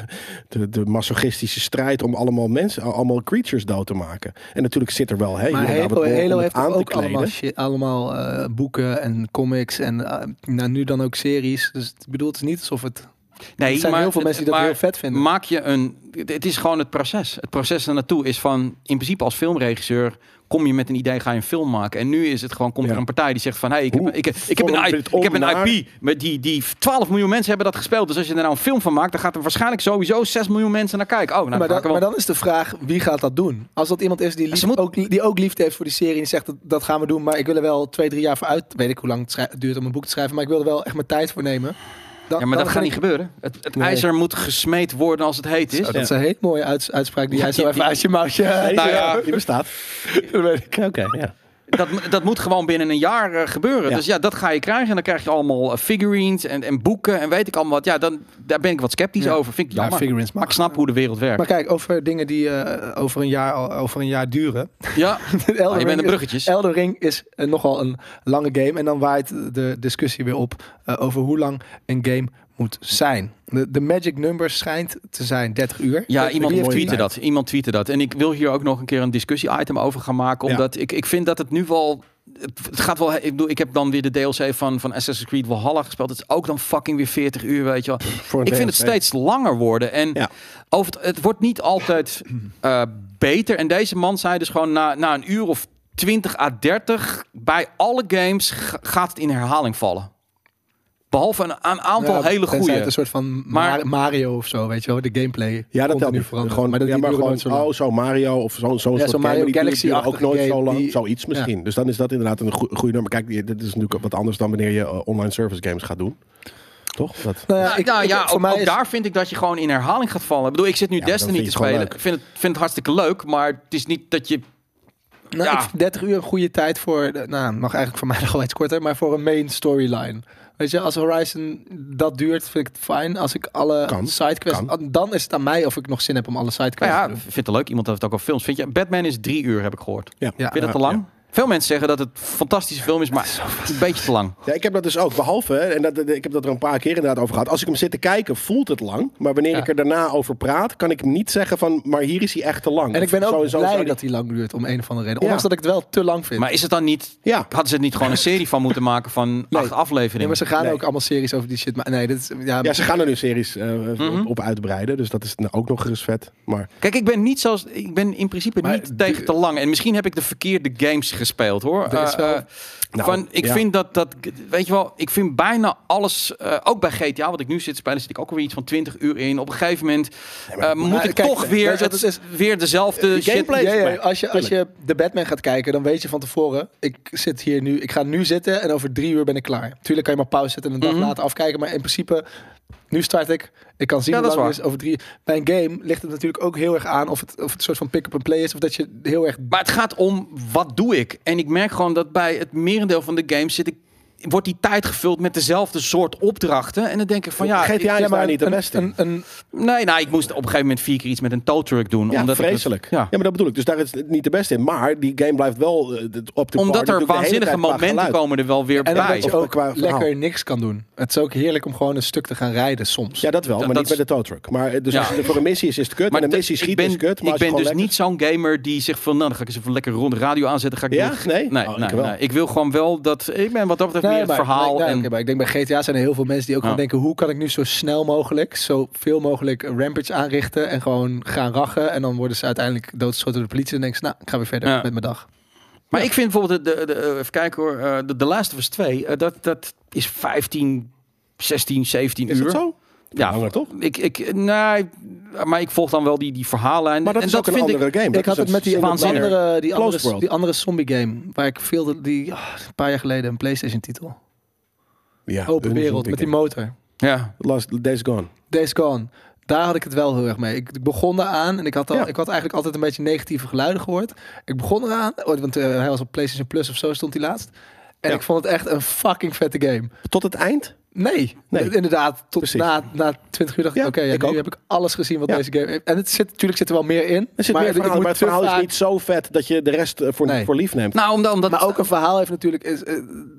Speaker 3: de, de masochistische strijd om allemaal mensen, allemaal creatures dood te maken. En natuurlijk zit er wel hè, hier en
Speaker 1: Maar
Speaker 3: daar wat
Speaker 1: Halo,
Speaker 3: lol om
Speaker 1: Halo
Speaker 3: het
Speaker 1: heeft
Speaker 3: aan te
Speaker 1: ook
Speaker 3: kleden.
Speaker 1: allemaal, shit- allemaal eh, boeken en comics en eh, nou, nu dan ook series. Dus ik bedoel, het is niet alsof het...
Speaker 2: Nee,
Speaker 1: Er zijn heel veel mensen die dat
Speaker 2: maar
Speaker 1: heel vet vinden.
Speaker 2: Maak je een. Het is gewoon het proces. Het proces naartoe is van. In principe als filmregisseur. Kom je met een idee, ga je een film maken. En nu is het gewoon, komt
Speaker 3: Ja.
Speaker 2: er een partij die zegt van... Hey, ik,
Speaker 3: Hoe
Speaker 2: heb, ik, ik, heb
Speaker 3: vormt
Speaker 2: een,
Speaker 3: dit
Speaker 2: I- ik heb
Speaker 3: om
Speaker 2: een IP. Met die, die 12 miljoen mensen hebben dat gespeeld. Dus als je er nou een film van maakt... dan gaat er waarschijnlijk sowieso 6 miljoen mensen naar kijken. Oh, nou,
Speaker 1: maar,
Speaker 2: dan ga
Speaker 1: dan,
Speaker 2: ik er wel-
Speaker 1: maar dan is de vraag, wie gaat dat doen? Als dat iemand is die, lief,
Speaker 2: Ze moet-
Speaker 1: ook, die ook liefde heeft voor die serie en zegt, dat, dat gaan we doen. Maar ik wil er wel twee, drie jaar voor uit. Weet ik hoe lang het schrij- duurt om een boek te schrijven. Maar ik wil er wel echt mijn tijd voor nemen. Dan,
Speaker 2: Ja, maar
Speaker 1: dan
Speaker 2: dat
Speaker 1: ga
Speaker 2: gaat
Speaker 1: ik-
Speaker 2: niet gebeuren. Het, het
Speaker 3: Nee.
Speaker 2: ijzer moet gesmeed worden als het heet is.
Speaker 1: Oh, Dat is een hele mooie uits- uitspraak die jij zo even uit je mouwtje...
Speaker 3: Nee,
Speaker 2: Nou ja.
Speaker 3: die bestaat. Oké, ja.
Speaker 2: Dat, dat moet gewoon binnen een jaar eh, gebeuren.
Speaker 3: Ja.
Speaker 2: Dus ja, dat ga je krijgen. En dan krijg je allemaal eh, figurines en, en boeken en weet ik allemaal wat. Ja, dan, daar ben ik wat sceptisch
Speaker 1: Ja.
Speaker 2: over. Vind ik
Speaker 1: Ja,
Speaker 2: jammer.
Speaker 1: figurines
Speaker 2: maar ik
Speaker 1: mag.
Speaker 2: snap hoe de wereld werkt.
Speaker 1: Maar kijk, over dingen die eh, over, een jaar, al- over een jaar duren.
Speaker 2: ja,
Speaker 1: Elden
Speaker 2: Ah, je bent
Speaker 1: Ring
Speaker 2: de
Speaker 1: is-
Speaker 2: bruggetjes.
Speaker 1: Elden Ring is eh, nogal een lange game. En dan waait de discussie weer op eh, over hoe lang een game moet zijn. De, de magic number schijnt te zijn 30 uur.
Speaker 2: Ja,
Speaker 1: Wie
Speaker 2: iemand
Speaker 1: heeft
Speaker 2: tweette
Speaker 1: die-
Speaker 2: dat. Iemand tweette dat. En ik wil hier ook nog een keer een discussie-item over gaan maken.
Speaker 3: Ja.
Speaker 2: Omdat ik, ik vind dat het nu wel... Het het gaat wel, ik, bedoel, ik heb dan weer de DLC van, van Assassin's Creed Valhalla gespeeld. Het is ook dan fucking weer 40 uur, weet je wel.
Speaker 3: Voor een
Speaker 2: Ik vind het
Speaker 3: DLC.
Speaker 2: steeds langer worden. En
Speaker 3: Ja.
Speaker 2: over het, het wordt niet altijd eh, beter. En deze man zei dus gewoon na, na een uur of 20 à 30... bij alle games g- gaat het in herhaling vallen. Behalve een, een aantal
Speaker 1: Ja,
Speaker 2: hele
Speaker 1: tenzij
Speaker 2: goede.
Speaker 1: het Een soort van
Speaker 2: Maar-
Speaker 1: Mar- Mario of zo, weet je wel. De gameplay.
Speaker 3: Ja, dat
Speaker 1: continu
Speaker 3: helpt niet.
Speaker 1: verandert.
Speaker 3: Gewoon, maar
Speaker 1: dat
Speaker 3: ja,
Speaker 1: die
Speaker 3: maar
Speaker 1: duren
Speaker 3: gewoon,
Speaker 1: nooit zo lang.
Speaker 3: oh, zo'n Mario of zo'n zo'n soort
Speaker 1: zo'n
Speaker 3: game,
Speaker 1: Mario
Speaker 3: maar die duren-
Speaker 1: Galaxy-achtige
Speaker 3: duren ook nooit
Speaker 1: game,
Speaker 3: zo lang.
Speaker 1: die-
Speaker 3: Zoiets misschien. Dus dan is dat inderdaad een goe- goede nummer. Kijk, dit is natuurlijk wat anders dan wanneer je eh, online service games gaat doen. Toch? Dat,
Speaker 1: Nou
Speaker 2: Ja, nou ja,
Speaker 1: voor
Speaker 2: ook,
Speaker 1: mij
Speaker 2: ook
Speaker 1: is-
Speaker 2: daar vind ik dat je gewoon in herhaling gaat vallen. Ik bedoel, ik zit nu
Speaker 3: maar dan
Speaker 2: Destiny
Speaker 3: vind
Speaker 2: te
Speaker 3: je het gewoon
Speaker 2: spelen. Ik vind het, vind het hartstikke leuk, maar het is niet dat je...
Speaker 1: Nou,
Speaker 2: Ja.
Speaker 1: ik vind 30 uur een goede tijd voor, de- nou, mag eigenlijk voor mij nog wel iets korter, maar voor een main storyline. Weet je, als Horizon dat duurt, vind ik het fijn. Als ik alle
Speaker 3: Kan,
Speaker 1: sidequests, dan is het aan mij of ik nog zin heb om alle
Speaker 2: Nou
Speaker 1: sidequests
Speaker 2: ja,
Speaker 1: te doen.
Speaker 2: ik vind het leuk. Iemand heeft het ook al films. Vind je, Batman is drie uur, heb ik gehoord.
Speaker 3: ja.
Speaker 1: Ja.
Speaker 2: vind je dat te lang? Veel mensen zeggen dat het een fantastische film is, maar het is een beetje te lang.
Speaker 3: Ja, ik heb dat dus ook. Behalve, hè, en dat, dat- ik heb dat er een paar keer inderdaad over gehad. Als ik hem zit te kijken, voelt het lang. Maar wanneer
Speaker 1: Ja.
Speaker 3: ik er daarna over praat, kan ik hem niet zeggen van... maar hier is hij echt te lang.
Speaker 1: En ik ben
Speaker 3: Of
Speaker 1: ook
Speaker 3: sowieso
Speaker 1: blij
Speaker 3: zou die-
Speaker 1: dat die lang duurt, om een of andere reden.
Speaker 3: Ja.
Speaker 1: Ondanks dat ik het wel te lang vind.
Speaker 2: Maar is het dan niet...
Speaker 3: Ja,
Speaker 2: Hadden ze het niet gewoon een serie van moeten maken van
Speaker 1: Nee.
Speaker 2: acht
Speaker 1: Nee, maar
Speaker 2: afleveringen?
Speaker 1: ze gaan
Speaker 3: Nee.
Speaker 1: ook allemaal series over die shit. Maar nee, dit is, ja,
Speaker 3: ja, ze gaan er nu series eh,
Speaker 2: Mhm.
Speaker 3: op, op uitbreiden. Dus dat is nou ook nog eens vet. Maar
Speaker 2: Kijk, ik ben niet zoals... Ik ben in principe
Speaker 1: Maar
Speaker 2: niet
Speaker 1: de-
Speaker 2: tegen te lang. En misschien heb ik de verkeerde games gespeeld, hoor.
Speaker 1: Er is
Speaker 2: Eh,
Speaker 1: wel-
Speaker 2: eh,
Speaker 3: Nou,
Speaker 2: van, ik
Speaker 3: ja.
Speaker 2: vind dat, dat, weet je wel, ik vind bijna alles, eh, ook bij GTA, wat ik nu zit te spelen, zit ik ook alweer iets van 20 uur in. Op een gegeven moment eh, moet
Speaker 1: maar
Speaker 2: ik
Speaker 1: kijk,
Speaker 2: toch
Speaker 1: weet je
Speaker 2: weer,
Speaker 1: wat
Speaker 2: het,
Speaker 1: het is? Eh,
Speaker 2: weer dezelfde shit.
Speaker 3: gameplay
Speaker 1: Ja, ja,
Speaker 3: erbij.
Speaker 1: als, je, als je de Batman gaat kijken, dan weet je van tevoren. Ik zit hier nu, ik ga nu zitten en over drie uur ben ik klaar. Tuurlijk kan je maar pauze zetten en een dag
Speaker 2: Mhm.
Speaker 1: later afkijken. Maar in principe, nu start ik. Ik kan zien
Speaker 2: Ja,
Speaker 1: hoe
Speaker 2: dat
Speaker 1: lang
Speaker 2: is
Speaker 1: het is over drie. Bij een game ligt het natuurlijk ook heel erg aan of het, of het een soort van pick-up and play is. Of dat je heel erg.
Speaker 2: Maar het gaat om, wat doe ik? En ik merk gewoon dat bij het merendeel van de games zit ik, wordt die tijd gevuld met dezelfde soort opdrachten. En dan denk ik van, ja,
Speaker 3: GTA
Speaker 2: ik-
Speaker 3: is daar niet de
Speaker 1: een,
Speaker 3: beste.
Speaker 1: Een, een,
Speaker 2: nee, nou, ik moest op een gegeven moment vier keer iets met een tow truck doen.
Speaker 3: Ja,
Speaker 2: omdat ik het-
Speaker 3: vreselijk. ja.
Speaker 2: ja.
Speaker 3: maar dat bedoel ik. Dus daar is het niet de beste in. Maar die game blijft wel eh, op de
Speaker 2: Omdat er waanzinnige momenten
Speaker 3: komen.
Speaker 2: komen er wel weer
Speaker 1: en
Speaker 2: bij.
Speaker 1: dat je
Speaker 3: Of
Speaker 1: ook
Speaker 3: qua verhaal.
Speaker 1: lekker niks kan doen. Het is ook heerlijk om gewoon een stuk te gaan rijden soms.
Speaker 3: Ja, dat wel, maar
Speaker 2: dat
Speaker 3: niet
Speaker 2: is-
Speaker 3: met de towtruck. Maar eh, dus
Speaker 2: Ja.
Speaker 3: als het voor een missie is, is het kut. Maar en een
Speaker 2: dat-
Speaker 3: missie
Speaker 2: ik
Speaker 3: schiet
Speaker 2: ben,
Speaker 3: is kut. Maar
Speaker 2: ik
Speaker 3: als je
Speaker 2: ben dus
Speaker 3: gewoon
Speaker 2: niet zo'n gamer die zegt van... nou, dan ga ik eens even lekker rond de radio aanzetten. Ga ik
Speaker 3: Ja?
Speaker 2: weer-
Speaker 3: Nee?
Speaker 2: Nee,
Speaker 3: Oh, ik
Speaker 2: nee,
Speaker 3: wel.
Speaker 2: nee. Ik wil gewoon wel dat... Ik ben wat dat betreft meer het
Speaker 1: maar-
Speaker 2: verhaal.
Speaker 1: nee, nee,
Speaker 2: en,
Speaker 1: oké, maar ik denk bij GTA zijn er heel veel mensen die ook
Speaker 2: Ja.
Speaker 1: gewoon denken: hoe kan ik nu zo snel mogelijk, zo veel mogelijk een rampage aanrichten en gewoon gaan rachen. En dan worden ze uiteindelijk doodgeschoten door de politie. En denken ze: nou, ik ga weer verder
Speaker 2: Ja.
Speaker 1: met mijn dag.
Speaker 2: maar ik vind bijvoorbeeld... De, de, de- even kijken hoor. eh, de, de Last of Us 2, eh, dat, dat is 15, 16, 17
Speaker 3: Is
Speaker 2: uur.
Speaker 3: dat zo?
Speaker 2: Ja.
Speaker 3: Langer toch?
Speaker 2: Ik, ik, nee, maar ik volg dan wel die, die verhaallijn.
Speaker 3: Maar dat
Speaker 2: en
Speaker 3: is
Speaker 2: dat
Speaker 3: ook een
Speaker 2: vind ik...
Speaker 3: andere game.
Speaker 1: ik had het met die
Speaker 2: waanzinnig.
Speaker 1: andere, die,
Speaker 3: Close
Speaker 1: andere,
Speaker 3: World.
Speaker 1: die andere zombie game. Waar ik veel de- die ah, een paar jaar geleden een PlayStation titel. Open wereld met die motor.
Speaker 2: Ja.
Speaker 3: Last Days Gone.
Speaker 1: Days Gone. Daar had ik het wel heel erg mee. Ik ik begon eraan en ik had, al,
Speaker 3: Ja.
Speaker 1: ik had eigenlijk altijd een beetje negatieve geluiden gehoord. Ik begon eraan, oh, want eh, hij was op PlayStation Plus of zo stond hij laatst. En
Speaker 3: Ja.
Speaker 1: ik vond het echt een fucking vette game.
Speaker 3: Tot het eind?
Speaker 1: Nee,
Speaker 3: Nee.
Speaker 1: inderdaad. Tot
Speaker 3: Precies.
Speaker 1: na, na 20 uur dacht ik,
Speaker 3: Ja,
Speaker 1: oké, ja,
Speaker 3: ik
Speaker 1: nu
Speaker 3: ook.
Speaker 1: heb ik alles gezien wat
Speaker 3: Ja.
Speaker 1: deze game heeft. En het zit, natuurlijk zit er wel meer in.
Speaker 3: Er zit meer
Speaker 1: ik
Speaker 3: verhaal,
Speaker 1: moet
Speaker 3: maar het
Speaker 1: te
Speaker 3: verhaal is
Speaker 1: vaak-
Speaker 3: niet zo vet dat je de rest eh, voor,
Speaker 1: Nee.
Speaker 3: voor lief neemt.
Speaker 2: Nou, omdat... omdat
Speaker 1: Maar ook een verhaal heeft natuurlijk is, eh,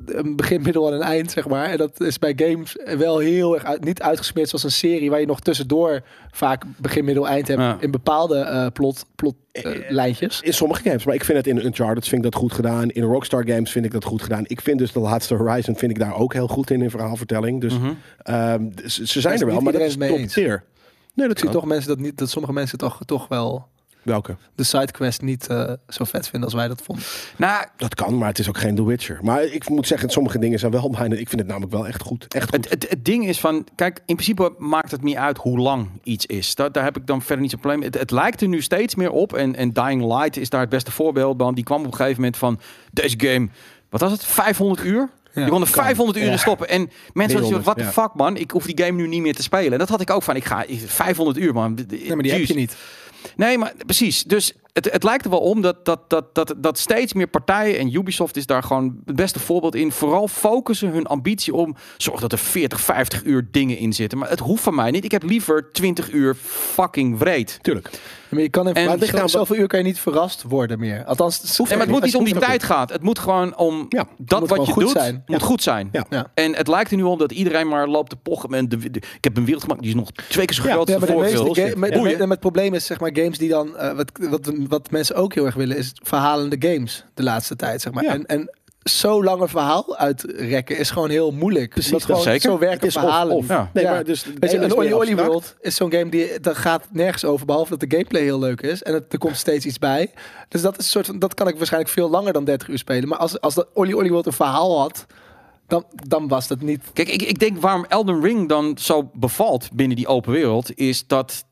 Speaker 1: een begin, middel en een eind, zeg maar. En dat is bij games wel heel erg uit- niet uitgesmeerd zoals een serie... waar je nog tussendoor vaak begin, middel, eind hebt...
Speaker 2: Ja.
Speaker 1: in bepaalde eh, plot, plot eh, lijntjes.
Speaker 3: In sommige games. Maar ik vind het in Uncharted vind ik dat goed gedaan. In Rockstar Games vind ik dat goed gedaan. Ik vind dus de laatste Horizon vind ik daar ook heel goed in, in verhaalvertelling. Dus ehm, d- ze ze zijn
Speaker 1: is
Speaker 3: er wel,
Speaker 1: niet
Speaker 3: maar dat is
Speaker 1: iedereen het mee
Speaker 3: top
Speaker 1: eens.
Speaker 3: tier. Nee, dat
Speaker 1: Ik zie
Speaker 3: kan.
Speaker 1: toch mensen dat, niet, dat sommige mensen toch, toch wel
Speaker 3: Welke?
Speaker 1: de sidequest niet eh, zo vet vinden als wij dat vonden.
Speaker 2: nou,
Speaker 3: Dat kan, maar het is ook geen The Witcher. Maar ik moet zeggen, sommige dingen zijn wel mijn... Ik vind het namelijk wel echt goed. Echt goed.
Speaker 2: Het, het, het ding is van, kijk, in principe maakt het niet uit hoe lang iets is. Daar, daar heb ik dan verder niet zo'n probleem mee. Het, het lijkt er nu steeds meer op. En, en Dying Light is daar het beste voorbeeld. Want die kwam op een gegeven moment van, deze game, wat was het, 500 uur? je kon er 500 uur in stoppen. En mensen hadden zoiets van, what the fuck man, ik hoef die game nu niet meer te spelen. En dat had ik ook van, ik ga 500 uur man.
Speaker 1: Nee, maar die heb je niet.
Speaker 2: Nee, maar precies. Dus het, het lijkt er wel om dat, dat, dat, dat, dat steeds meer partijen, en Ubisoft is daar gewoon het beste voorbeeld in, vooral focussen hun ambitie om, zorg dat er 40, 50 uur dingen in zitten. Maar het hoeft van mij niet. Ik heb liever 20 uur fucking wreed.
Speaker 3: Tuurlijk.
Speaker 1: Maar je kan in
Speaker 2: En-
Speaker 1: maar het ligt
Speaker 3: Zo-
Speaker 1: aan zoveel uur kan je niet verrast worden meer. Althans,
Speaker 2: En maar het moet niet om die tijd gaan. Het moet gewoon om
Speaker 3: Ja, het
Speaker 2: dat
Speaker 1: moet
Speaker 2: wat
Speaker 1: gewoon
Speaker 2: je
Speaker 1: goed
Speaker 2: doet,
Speaker 1: zijn.
Speaker 2: moet goed zijn.
Speaker 3: Ja.
Speaker 1: Ja.
Speaker 2: En het lijkt er nu om dat iedereen maar loopt te pochen. En de, de- ik heb een wereld gemaakt, die is nog twee keer zo
Speaker 3: Ja,
Speaker 2: groot
Speaker 1: Ja,
Speaker 2: als
Speaker 1: maar
Speaker 2: de
Speaker 1: de
Speaker 2: vorige.
Speaker 1: meeste ga- met,
Speaker 2: Boeien.
Speaker 1: met- met het probleem is zeg maar games die dan eh, wat, wat, wat mensen ook heel erg willen is verhalende games de laatste tijd zeg maar.
Speaker 3: Ja.
Speaker 1: En, en zo lang een verhaal uitrekken is gewoon heel moeilijk. Precies,
Speaker 3: dat
Speaker 1: gewoon
Speaker 2: zeker.
Speaker 1: zo werken
Speaker 3: Het is of-
Speaker 1: verhalen.
Speaker 3: of.
Speaker 1: Ja.
Speaker 3: Nee,
Speaker 1: Ja.
Speaker 3: maar dus de
Speaker 1: Weet je,
Speaker 3: ene is
Speaker 1: een Oli
Speaker 3: meer
Speaker 1: Oli
Speaker 3: abstract.
Speaker 1: World is zo'n game die daar gaat nergens over behalve dat de gameplay heel leuk is en het, er komt steeds iets bij. Dus dat is een soort van dat kan ik waarschijnlijk veel langer dan 30 uur spelen. Maar als als dat Oli Oli World een verhaal had, dan, dan was dat niet.
Speaker 2: Kijk, ik, ik denk waarom Elden Ring dan zo bevalt binnen die open wereld, is dat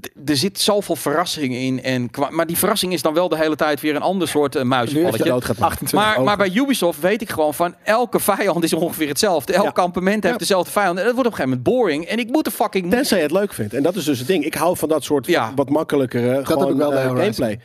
Speaker 2: d- er zit zoveel verrassing in. En kwa- maar die verrassing is dan wel de hele tijd weer een ander soort eh,
Speaker 1: Nu heb je
Speaker 2: muizenvalletje.
Speaker 3: dood gaat maken.
Speaker 1: 28
Speaker 2: Maar,
Speaker 1: ogen.
Speaker 2: maar bij Ubisoft weet ik gewoon van elke vijand is ongeveer hetzelfde. Elk
Speaker 3: Ja.
Speaker 2: kampement heeft dezelfde vijand. En dat wordt op een gegeven moment boring. En ik moet er fucking.
Speaker 3: Tenzij je het leuk vindt. En dat is dus het ding. Ik hou van dat soort
Speaker 2: Ja.
Speaker 3: wat makkelijkere gewoon,
Speaker 1: heb ik wel bij
Speaker 3: eh,
Speaker 1: Horizon.
Speaker 3: gameplay.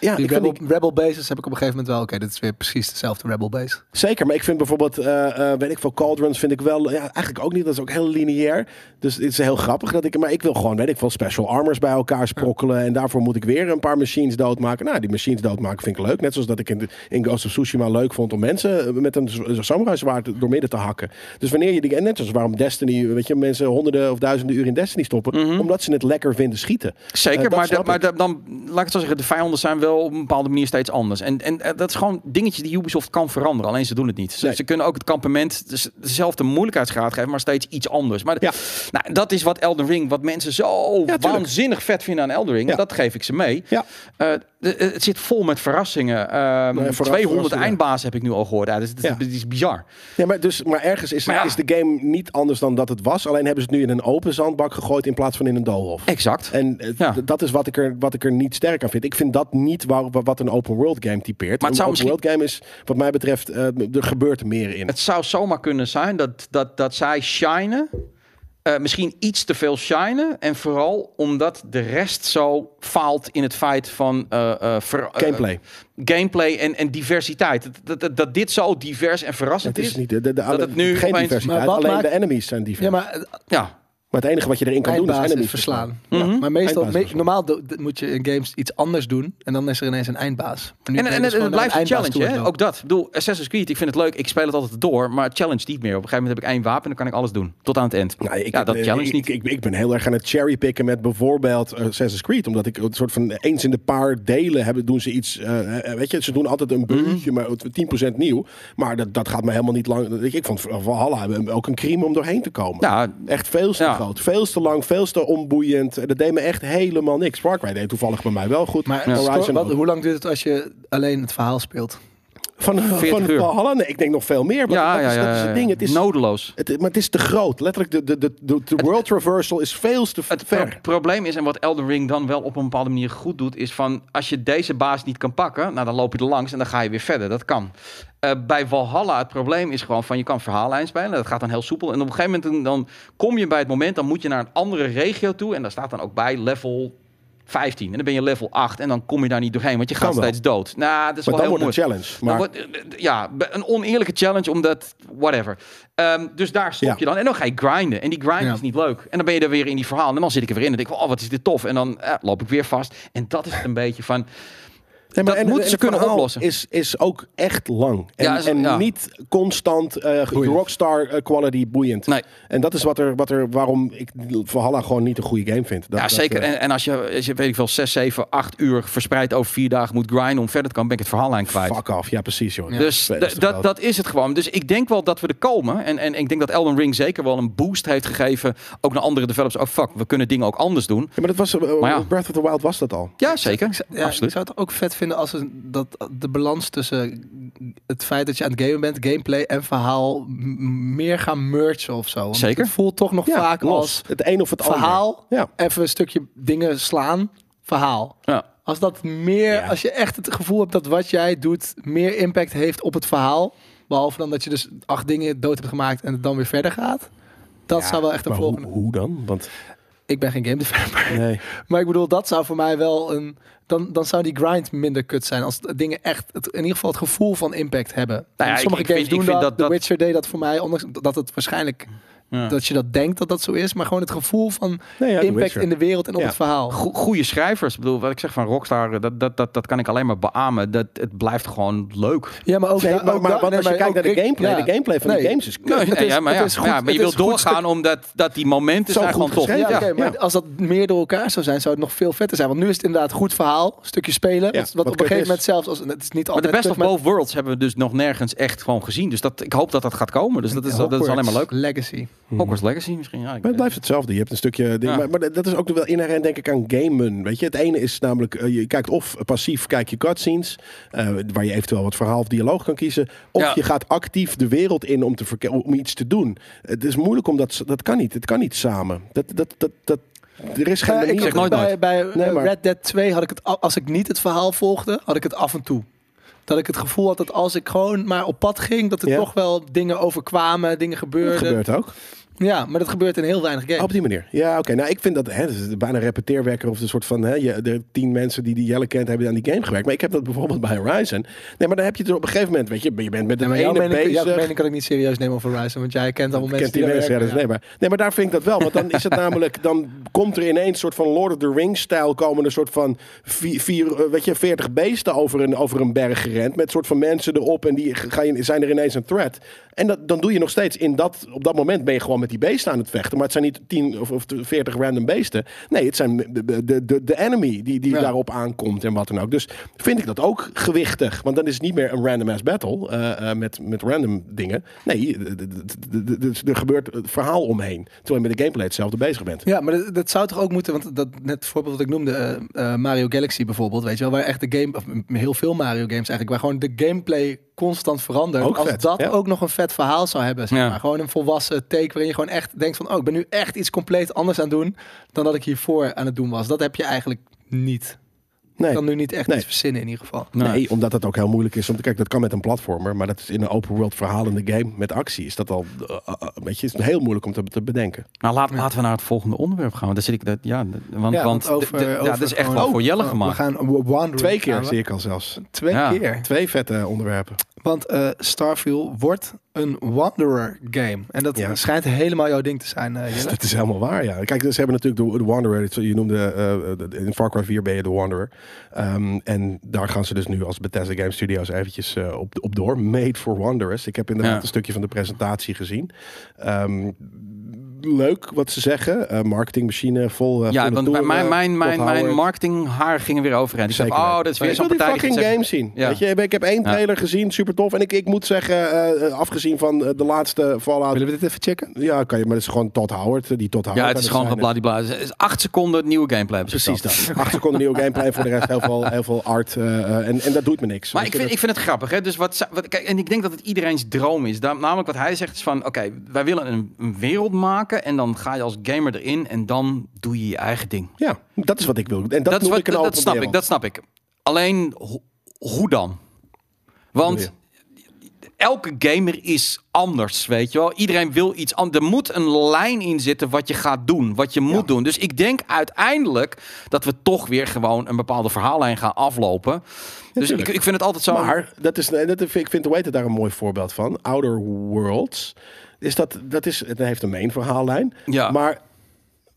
Speaker 3: Ja,
Speaker 1: Die
Speaker 3: ik vind
Speaker 1: Rebel,
Speaker 3: die-
Speaker 1: Rebel Bases heb ik op een gegeven moment wel. Oké, dit is weer precies dezelfde Rebel Base.
Speaker 3: Zeker, maar ik vind bijvoorbeeld, eh, eh, weet ik veel, Cauldrons vind ik wel, ja, eigenlijk ook niet, dat is ook heel lineair. Dus het is heel grappig dat ik, maar ik wil gewoon, weet ik veel, special armors bij elkaar sprokkelen. En daarvoor moet ik weer een paar machines doodmaken. Nou, die machines doodmaken vind ik leuk. Net zoals dat ik in, de- in Ghost of Tsushima leuk vond om mensen eh, met een z- samurai zwaard doormidden te hakken. Dus wanneer je die, en net zoals waarom Destiny, weet je, mensen honderden of duizenden uren in Destiny stoppen,
Speaker 2: Mhm.
Speaker 3: omdat ze het lekker vinden schieten.
Speaker 2: Zeker,
Speaker 3: Eh, dat
Speaker 2: maar, de-
Speaker 3: snap ik.
Speaker 2: maar de- dan, laat ik het zo zeggen, de vijanden zijn wel op een bepaalde manier steeds anders. En, en eh, dat is gewoon dingetje die Ubisoft kan veranderen, alleen ze doen het niet. Ze,
Speaker 3: Nee.
Speaker 2: ze kunnen ook het kampement dus dezelfde moeilijkheidsgraad geven, maar steeds iets anders. Maar
Speaker 3: Ja.
Speaker 2: nou, dat is wat Elden Ring, wat mensen zo
Speaker 3: tuurlijk.
Speaker 2: waanzinnig vet vinden aan Elden Ring,
Speaker 3: Ja.
Speaker 2: dat geef ik ze mee.
Speaker 3: Ja.
Speaker 2: Eh, de- eh, het zit vol met verrassingen. Ehm,
Speaker 3: verras-
Speaker 2: 200
Speaker 3: verrassingen.
Speaker 2: eindbazen heb ik nu al gehoord. Ja, dat, is- dat is-
Speaker 3: Ja.
Speaker 2: dat is bizar.
Speaker 3: Ja, maar, dus, maar ergens is,
Speaker 2: Maar ja.
Speaker 3: is de game niet anders dan dat het was. Alleen hebben ze het nu in een open zandbak gegooid in plaats van in een doolhof.
Speaker 2: Exact.
Speaker 3: En eh,
Speaker 2: Ja.
Speaker 3: d- dat is wat ik, er, wat ik er niet sterk aan vind. Ik vind dat niet waar, wa- wat een open world game typeert.
Speaker 2: Maar het
Speaker 3: een
Speaker 2: zou
Speaker 3: open world game is, wat mij betreft, eh, m- er gebeurt meer in.
Speaker 2: Het zou zomaar kunnen zijn dat, dat, dat zij shinen. eh, misschien iets te veel shinen. En vooral omdat de rest zo faalt in het feit van eh, eh, ver- eh,
Speaker 3: Gameplay.
Speaker 2: gameplay en, en diversiteit. Dat- Dat, dat, dat dit zo divers en verrassend
Speaker 3: het
Speaker 2: is.
Speaker 3: is niet de, de, de-
Speaker 2: dat het nu
Speaker 3: geen
Speaker 2: opeens-
Speaker 3: diversiteit.
Speaker 1: Maar wat
Speaker 3: Alleen
Speaker 1: maakt-
Speaker 3: de enemies zijn divers.
Speaker 1: Ja,
Speaker 3: maar,
Speaker 1: maar eh,
Speaker 2: Ja.
Speaker 3: het enige wat je erin kan doen is
Speaker 1: eindbaas
Speaker 3: enemies
Speaker 1: is verslaan.
Speaker 2: Mhm.
Speaker 1: Ja, Maar meestal,
Speaker 3: Eindbaas
Speaker 1: me-
Speaker 3: verslaan.
Speaker 1: normaal do- d- moet je in games iets anders doen. En dan is er ineens een eindbaas. Maar nu
Speaker 2: En,
Speaker 1: ben je
Speaker 2: en
Speaker 1: dus
Speaker 2: het, het
Speaker 1: gewoon naar
Speaker 2: blijft een
Speaker 1: eindbaas
Speaker 2: challenge, hè?
Speaker 1: toe aan
Speaker 2: Ook dat. Ik bedoel, Assassin's Creed, ik vind het leuk. Ik speel het altijd door, maar het challenge niet meer. Op een gegeven moment heb ik één wapen en dan kan ik alles doen. Tot aan het eind.
Speaker 3: Nou, ik,
Speaker 2: ja, dat
Speaker 3: eh,
Speaker 2: challenge
Speaker 3: ik,
Speaker 2: niet.
Speaker 3: Ik, ik ben heel erg aan het cherrypicken met bijvoorbeeld eh, Assassin's Creed. Omdat ik een soort van eens in de paar delen hebben, doen ze iets. eh, eh, weet je, ze doen altijd
Speaker 2: Mhm.
Speaker 3: een buurtje, maar het- 10% nieuw. Maar dat, dat gaat me helemaal niet lang. Ik, ik vond Valhalla ook een crime om doorheen te komen.
Speaker 2: Ja,
Speaker 3: Echt veel te
Speaker 2: Ja.
Speaker 3: groot, veel te lang, veel te onboeiend. Eh, Dat deed me echt helemaal niks. Far Cry deed toevallig bij mij wel goed.
Speaker 1: Maar
Speaker 3: Horizon
Speaker 1: sco- wat-
Speaker 3: ook.
Speaker 1: hoe lang duurt het als je alleen het verhaal speelt?
Speaker 3: van, van
Speaker 2: 40 uur.
Speaker 3: Valhalla, nee, ik denk nog veel meer. Maar
Speaker 2: ja,
Speaker 3: dat,
Speaker 2: ja,
Speaker 3: is,
Speaker 2: ja,
Speaker 3: dat is
Speaker 2: ja.
Speaker 3: het ding. Het is,
Speaker 2: Nodeloos.
Speaker 3: het, maar het is te groot. Letterlijk, de, de, de, de, de world traversal is veel te
Speaker 2: Het pro-
Speaker 3: ver.
Speaker 2: probleem is, en wat Elden Ring dan wel op een bepaalde manier goed doet, is van als je deze baas niet kan pakken, nou dan loop je er langs en dan ga je weer verder. Dat kan. Eh, bij Valhalla, het probleem is gewoon van je kan verhaallijn spelen. Dat gaat dan heel soepel. En op een gegeven moment dan- dan kom je bij het moment, dan moet je naar een andere regio toe. En daar staat dan ook bij level 15. En dan ben je level 8 en dan kom je daar niet doorheen, want je gaat
Speaker 3: Kan wel.
Speaker 2: steeds dood. Nou, dat is
Speaker 3: Maar
Speaker 2: wel
Speaker 3: dan
Speaker 2: heel
Speaker 3: wordt het
Speaker 2: moeilijk.
Speaker 3: een challenge. Maar
Speaker 2: Dan wordt- eh, ja, be- een oneerlijke challenge, omdat whatever. Ehm, dus daar stop
Speaker 3: Ja.
Speaker 2: je dan. En dan ga je grinden. En die grind
Speaker 1: Ja.
Speaker 2: is niet leuk. En dan ben je er weer in die verhaal. En dan zit ik er weer in. En denk ik, oh, wat is dit tof. En dan eh, loop ik weer vast. En dat is het een beetje van...
Speaker 3: Nee,
Speaker 2: Dat moeten ze
Speaker 3: het
Speaker 2: kunnen
Speaker 3: verhaal
Speaker 2: oplossen.
Speaker 3: Is, is ook echt lang. En,
Speaker 2: Ja, is-
Speaker 3: en
Speaker 2: ja.
Speaker 3: niet constant eh, ge-
Speaker 1: Boeiend.
Speaker 3: rockstar eh, quality boeiend.
Speaker 2: Nee.
Speaker 3: En dat is wat er, wat er, waarom ik Valhalla gewoon niet een goede game vind. Dat,
Speaker 2: Ja,
Speaker 3: dat,
Speaker 2: zeker.
Speaker 3: eh,
Speaker 2: En, en als, je, als je, weet ik veel, 6, 7, 8 uur verspreid over vier dagen moet grinden om verder te komen, ben ik het verhaal aan kwijt.
Speaker 3: fuck off. Ja, precies joh.
Speaker 2: Dus
Speaker 3: Ja,
Speaker 2: d- dat, dat is het gewoon. Dus ik denk wel dat we er komen. En, en ik denk dat Elden Ring zeker wel een boost heeft gegeven. Ook naar andere developers. Oh fuck, we kunnen dingen ook anders doen.
Speaker 3: Ja, maar dat was, eh,
Speaker 2: Maar ja.
Speaker 3: Breath of the Wild was dat al.
Speaker 2: Ja, zeker.
Speaker 1: Ja,
Speaker 2: Absoluut.
Speaker 1: Ik zou het ook vet vinden als het, dat de balans tussen het feit dat je aan het gamen bent, gameplay en verhaal m- meer gaan mergen of zo. Want
Speaker 2: Zeker.
Speaker 1: Het voelt toch nog
Speaker 3: Ja,
Speaker 1: vaak
Speaker 3: los.
Speaker 1: als
Speaker 3: het een of het
Speaker 1: verhaal,
Speaker 3: ander. Ja.
Speaker 1: even een stukje dingen slaan, verhaal.
Speaker 2: Ja.
Speaker 1: Als dat meer,
Speaker 3: Ja.
Speaker 1: als je echt het gevoel hebt dat wat jij doet meer impact heeft op het verhaal, behalve dan dat je dus acht dingen dood hebt gemaakt en het dan weer verder gaat. Dat zou wel echt een
Speaker 3: Maar hoe,
Speaker 1: volgende.
Speaker 3: hoe dan? Want
Speaker 1: Ik ben geen game developer.
Speaker 3: nee.
Speaker 1: Maar ik bedoel, dat zou voor mij wel een. Dan, dan zou die grind minder kut zijn. Als het- dingen echt het, in ieder geval het gevoel van impact hebben.
Speaker 2: ja,
Speaker 1: Want
Speaker 2: ik-
Speaker 1: Sommige
Speaker 2: ik
Speaker 1: games
Speaker 2: vind-
Speaker 1: doen
Speaker 2: ik vind
Speaker 1: dat,
Speaker 2: dat-
Speaker 1: The
Speaker 2: dat-
Speaker 1: Witcher deed dat voor mij. Ondanks dat het waarschijnlijk.
Speaker 2: Ja.
Speaker 1: Dat je dat denkt dat dat zo is. Maar gewoon het gevoel van
Speaker 3: Nee, ja, The
Speaker 1: impact
Speaker 3: Witcher.
Speaker 1: in de wereld en op
Speaker 3: Ja.
Speaker 1: het verhaal.
Speaker 2: Go- Goede schrijvers. Ik bedoel, wat ik zeg van Rockstar, eh, dat, dat, dat, dat kan ik alleen maar beamen. Dat, het blijft gewoon leuk.
Speaker 1: Ja, maar ook.
Speaker 3: Nee,
Speaker 1: da-
Speaker 3: maar,
Speaker 1: ook
Speaker 3: maar,
Speaker 1: da-
Speaker 3: want
Speaker 1: nee,
Speaker 3: als je
Speaker 1: maar
Speaker 3: kijkt
Speaker 1: ook
Speaker 3: naar de
Speaker 1: Rick-
Speaker 3: gameplay,
Speaker 1: ja.
Speaker 3: de gameplay van
Speaker 1: Nee.
Speaker 3: die games is kut.
Speaker 2: Nee,
Speaker 1: het
Speaker 2: nee,
Speaker 1: is-
Speaker 2: ja, maar,
Speaker 1: het
Speaker 2: ja,
Speaker 1: is
Speaker 2: maar
Speaker 1: goed-
Speaker 2: ja, maar je
Speaker 1: het is
Speaker 2: wilt
Speaker 1: goed
Speaker 2: doorgaan omdat dat die momenten
Speaker 3: Zo
Speaker 2: zijn
Speaker 3: goed
Speaker 2: gewoon tof.
Speaker 3: geschreven.
Speaker 1: Ja,
Speaker 2: Ja.
Speaker 1: oké, maar als dat meer door elkaar zou zijn, zou het nog veel vetter zijn. Want nu is het inderdaad goed verhaal, stukje spelen.
Speaker 3: Ja,
Speaker 1: wat,
Speaker 3: wat
Speaker 1: wat op een
Speaker 3: kut
Speaker 1: gegeven
Speaker 3: is.
Speaker 1: moment zelfs als het is niet
Speaker 2: Maar de
Speaker 1: altijd
Speaker 2: best
Speaker 1: kut,
Speaker 2: of both worlds hebben we dus nog nergens echt gewoon gezien. Dus dat, ik hoop dat dat gaat komen. Dus dat is, dat is alleen maar leuk.
Speaker 1: Legacy.
Speaker 2: Hogwarts Legacy misschien. Ja, ik-
Speaker 3: Maar het blijft hetzelfde. Je hebt een stukje. ding,
Speaker 2: Ja.
Speaker 3: maar, maar dat is ook wel inherent, denk ik, aan gamen. Weet je, het ene is namelijk. eh, je kijkt of passief kijk je cutscenes. eh, waar je eventueel wat verhaal of dialoog kan kiezen. Of
Speaker 2: Ja.
Speaker 3: je gaat actief de wereld in om, te verke- om iets te doen. Het is moeilijk om dat. s- Dat kan niet. Het kan niet samen. Dat, dat, dat, dat, er is geen.
Speaker 1: Ja, Eh, ik
Speaker 3: manier-
Speaker 2: zeg nooit
Speaker 1: bij, bij
Speaker 3: Nee,
Speaker 1: eh,
Speaker 3: maar-
Speaker 1: Red Dead 2 had ik het, al- als ik niet het verhaal volgde, had ik het af en toe. Dat ik het gevoel had dat als ik gewoon maar op pad ging, dat er
Speaker 3: Ja.
Speaker 1: toch wel dingen overkwamen, dingen
Speaker 3: dat
Speaker 1: gebeurden.
Speaker 3: gebeurt ook.
Speaker 1: Ja, maar dat gebeurt in heel weinig games.
Speaker 3: Op die manier. Ja, oké. Nou, ik vind dat, hè, dat is bijna repeteerwekker of een soort van hè, je, de tien mensen die die Jelle kent hebben aan die game gewerkt. Maar ik heb dat bijvoorbeeld bij Horizon. Nee, maar dan heb je het er op een gegeven moment, weet je, je bent met
Speaker 1: Ja,
Speaker 3: een
Speaker 1: maar jouw
Speaker 3: ene
Speaker 1: mening, jouw
Speaker 3: bezig.
Speaker 1: mening kan ik niet serieus nemen over Horizon, want jij kent allemaal mensen
Speaker 3: Kent die mensen, eh, ja,
Speaker 1: daar
Speaker 3: dat is
Speaker 1: werken.
Speaker 3: nee, maar, nee, maar daar vind ik dat wel. Want dan is het namelijk, dan komt er ineens een soort van Lord of the Rings-stijl komen een soort van vier, vier, eh, weet je, veertig beesten over een, over een berg gerend. Met soort van mensen erop en die ga je, zijn er ineens een threat. En dat, dan doe je nog steeds in dat, op dat moment ben je gewoon met die beesten aan het vechten. Maar het zijn niet tien of, of veertig random beesten. Nee, het zijn de, de, de, de enemy die, die
Speaker 1: Ja.
Speaker 3: daarop aankomt en wat dan ook. Dus vind ik dat ook gewichtig. Want dan is het niet meer een random ass battle eh, eh, met, met random dingen. Nee, d- d- d- d- d- er gebeurt het verhaal omheen. Terwijl je met de gameplay hetzelfde bezig bent.
Speaker 1: Ja, maar dat, dat zou toch ook moeten, want dat net voorbeeld dat ik noemde, eh, eh, Mario Galaxy bijvoorbeeld, weet je wel, waar echt de game, of m- heel veel Mario games eigenlijk, waar gewoon de gameplay constant verandert.
Speaker 3: Ook
Speaker 1: Als
Speaker 3: vet,
Speaker 1: dat
Speaker 3: ja.
Speaker 1: ook nog een vet verhaal zou hebben, zeg
Speaker 2: Ja.
Speaker 1: maar. gewoon een volwassen take waarin je gewoon echt denkt van, oh, ik ben nu echt iets compleet anders aan het doen dan dat ik hiervoor aan het doen was. Dat heb je eigenlijk niet. Ik
Speaker 3: Nee.
Speaker 1: kan nu niet echt
Speaker 3: Nee.
Speaker 1: iets verzinnen in ieder geval.
Speaker 3: Nee, omdat dat ook heel moeilijk is. Om te, kijk, dat kan met een platformer, maar dat is in een open world verhalende game met actie. Is dat al, eh, eh, eh, weet je, is heel moeilijk om te, te bedenken.
Speaker 2: Nou, laat, laten we naar het volgende onderwerp gaan. Want daar zit ik, dat, ja, dat- want,
Speaker 1: Ja,
Speaker 2: want
Speaker 1: want over-
Speaker 2: d- d- ja,
Speaker 1: over
Speaker 2: dat is echt
Speaker 1: gewoon-
Speaker 2: wel voor Jelle
Speaker 1: Oh,
Speaker 2: gemaakt.
Speaker 1: We gaan wandering
Speaker 3: Twee keer
Speaker 1: gaan we.
Speaker 3: zie ik al zelfs.
Speaker 1: Twee
Speaker 2: Ja.
Speaker 1: keer.
Speaker 3: Twee vette onderwerpen.
Speaker 1: Want eh, Starfield wordt een Wanderer game. En dat
Speaker 3: Ja.
Speaker 1: schijnt helemaal jouw ding te zijn, eh Jelle.
Speaker 3: Dus Dat is helemaal waar, ja. Kijk, ze hebben natuurlijk de, de Wanderer. Het- Je noemde, eh, de- in Far Cry 4 ben je de Wanderer. Ehm, en daar gaan ze dus nu als Bethesda Game Studios eventjes eh, op, op door. Made for Wanderers. Ik heb inderdaad
Speaker 2: Ja.
Speaker 3: een stukje van de presentatie gezien. Ehm, leuk wat ze zeggen. Eh, marketingmachine vol eh,
Speaker 2: Ja,
Speaker 3: volle
Speaker 2: want bij
Speaker 3: toeren,
Speaker 2: mijn, mijn, mijn,
Speaker 3: Todd
Speaker 2: mijn
Speaker 3: Howard.
Speaker 2: marketinghaar gingen weer overheen. Ik dacht,
Speaker 3: Zeker
Speaker 2: oh,
Speaker 3: weten.
Speaker 2: dat is
Speaker 3: Maar
Speaker 2: weer zo'n
Speaker 3: ik wil die
Speaker 2: partij. die
Speaker 3: fucking
Speaker 2: gaat zeggen-
Speaker 3: game zien.
Speaker 2: Ja.
Speaker 3: Weet je, ik heb één trailer gezien, super tof. En ik, ik moet zeggen, eh, eh, afgezien van eh, de laatste Fallout...
Speaker 1: Willen we dit even checken?
Speaker 3: Ja, kan je, maar dat is gewoon Todd Howard. eh, Die Todd Howard
Speaker 2: Ja,
Speaker 3: aan
Speaker 2: het is gewoon
Speaker 3: zijn is.
Speaker 2: gebladibla. Het is acht seconden nieuwe gameplay. hebben ze
Speaker 3: Precies
Speaker 2: verteld.
Speaker 3: dat. Acht seconden nieuwe gameplay. Voor de rest heel veel, heel veel art. eh, eh, en, en dat doet me niks.
Speaker 2: Maar ik
Speaker 3: Weet je,
Speaker 2: vind, ik vind het grappig. Hè? Dus wat, ze- wat, kijk, en ik denk dat het iedereen's droom is. Daar- namelijk wat hij zegt is van... Oké, wij willen een, een wereld maken. En dan ga je als gamer erin. En dan doe je je eigen ding.
Speaker 3: dat- ja, dat is wat ik wil. En dat,
Speaker 2: dat, is
Speaker 3: doe
Speaker 2: wat,
Speaker 3: ik in
Speaker 2: dat-
Speaker 3: open
Speaker 2: dat snap
Speaker 3: wereld.
Speaker 2: ik, dat snap ik. Alleen, ho- hoe dan?
Speaker 3: Hoe
Speaker 2: Want elke gamer is anders, weet je wel. Iedereen wil iets anders. Er moet een lijn in zitten wat je gaat doen, wat je moet doen. Dus ik denk uiteindelijk dat we toch weer gewoon een bepaalde verhaallijn gaan aflopen. dus ik,
Speaker 3: tuurlijk.
Speaker 2: ik vind het altijd zo...
Speaker 3: Maar dat is, nee, dat, vind- ik vind The Waited daar een mooi voorbeeld van. Outer Worlds. Is dat, dat is, het heeft een main verhaallijn.
Speaker 2: Ja.
Speaker 3: Maar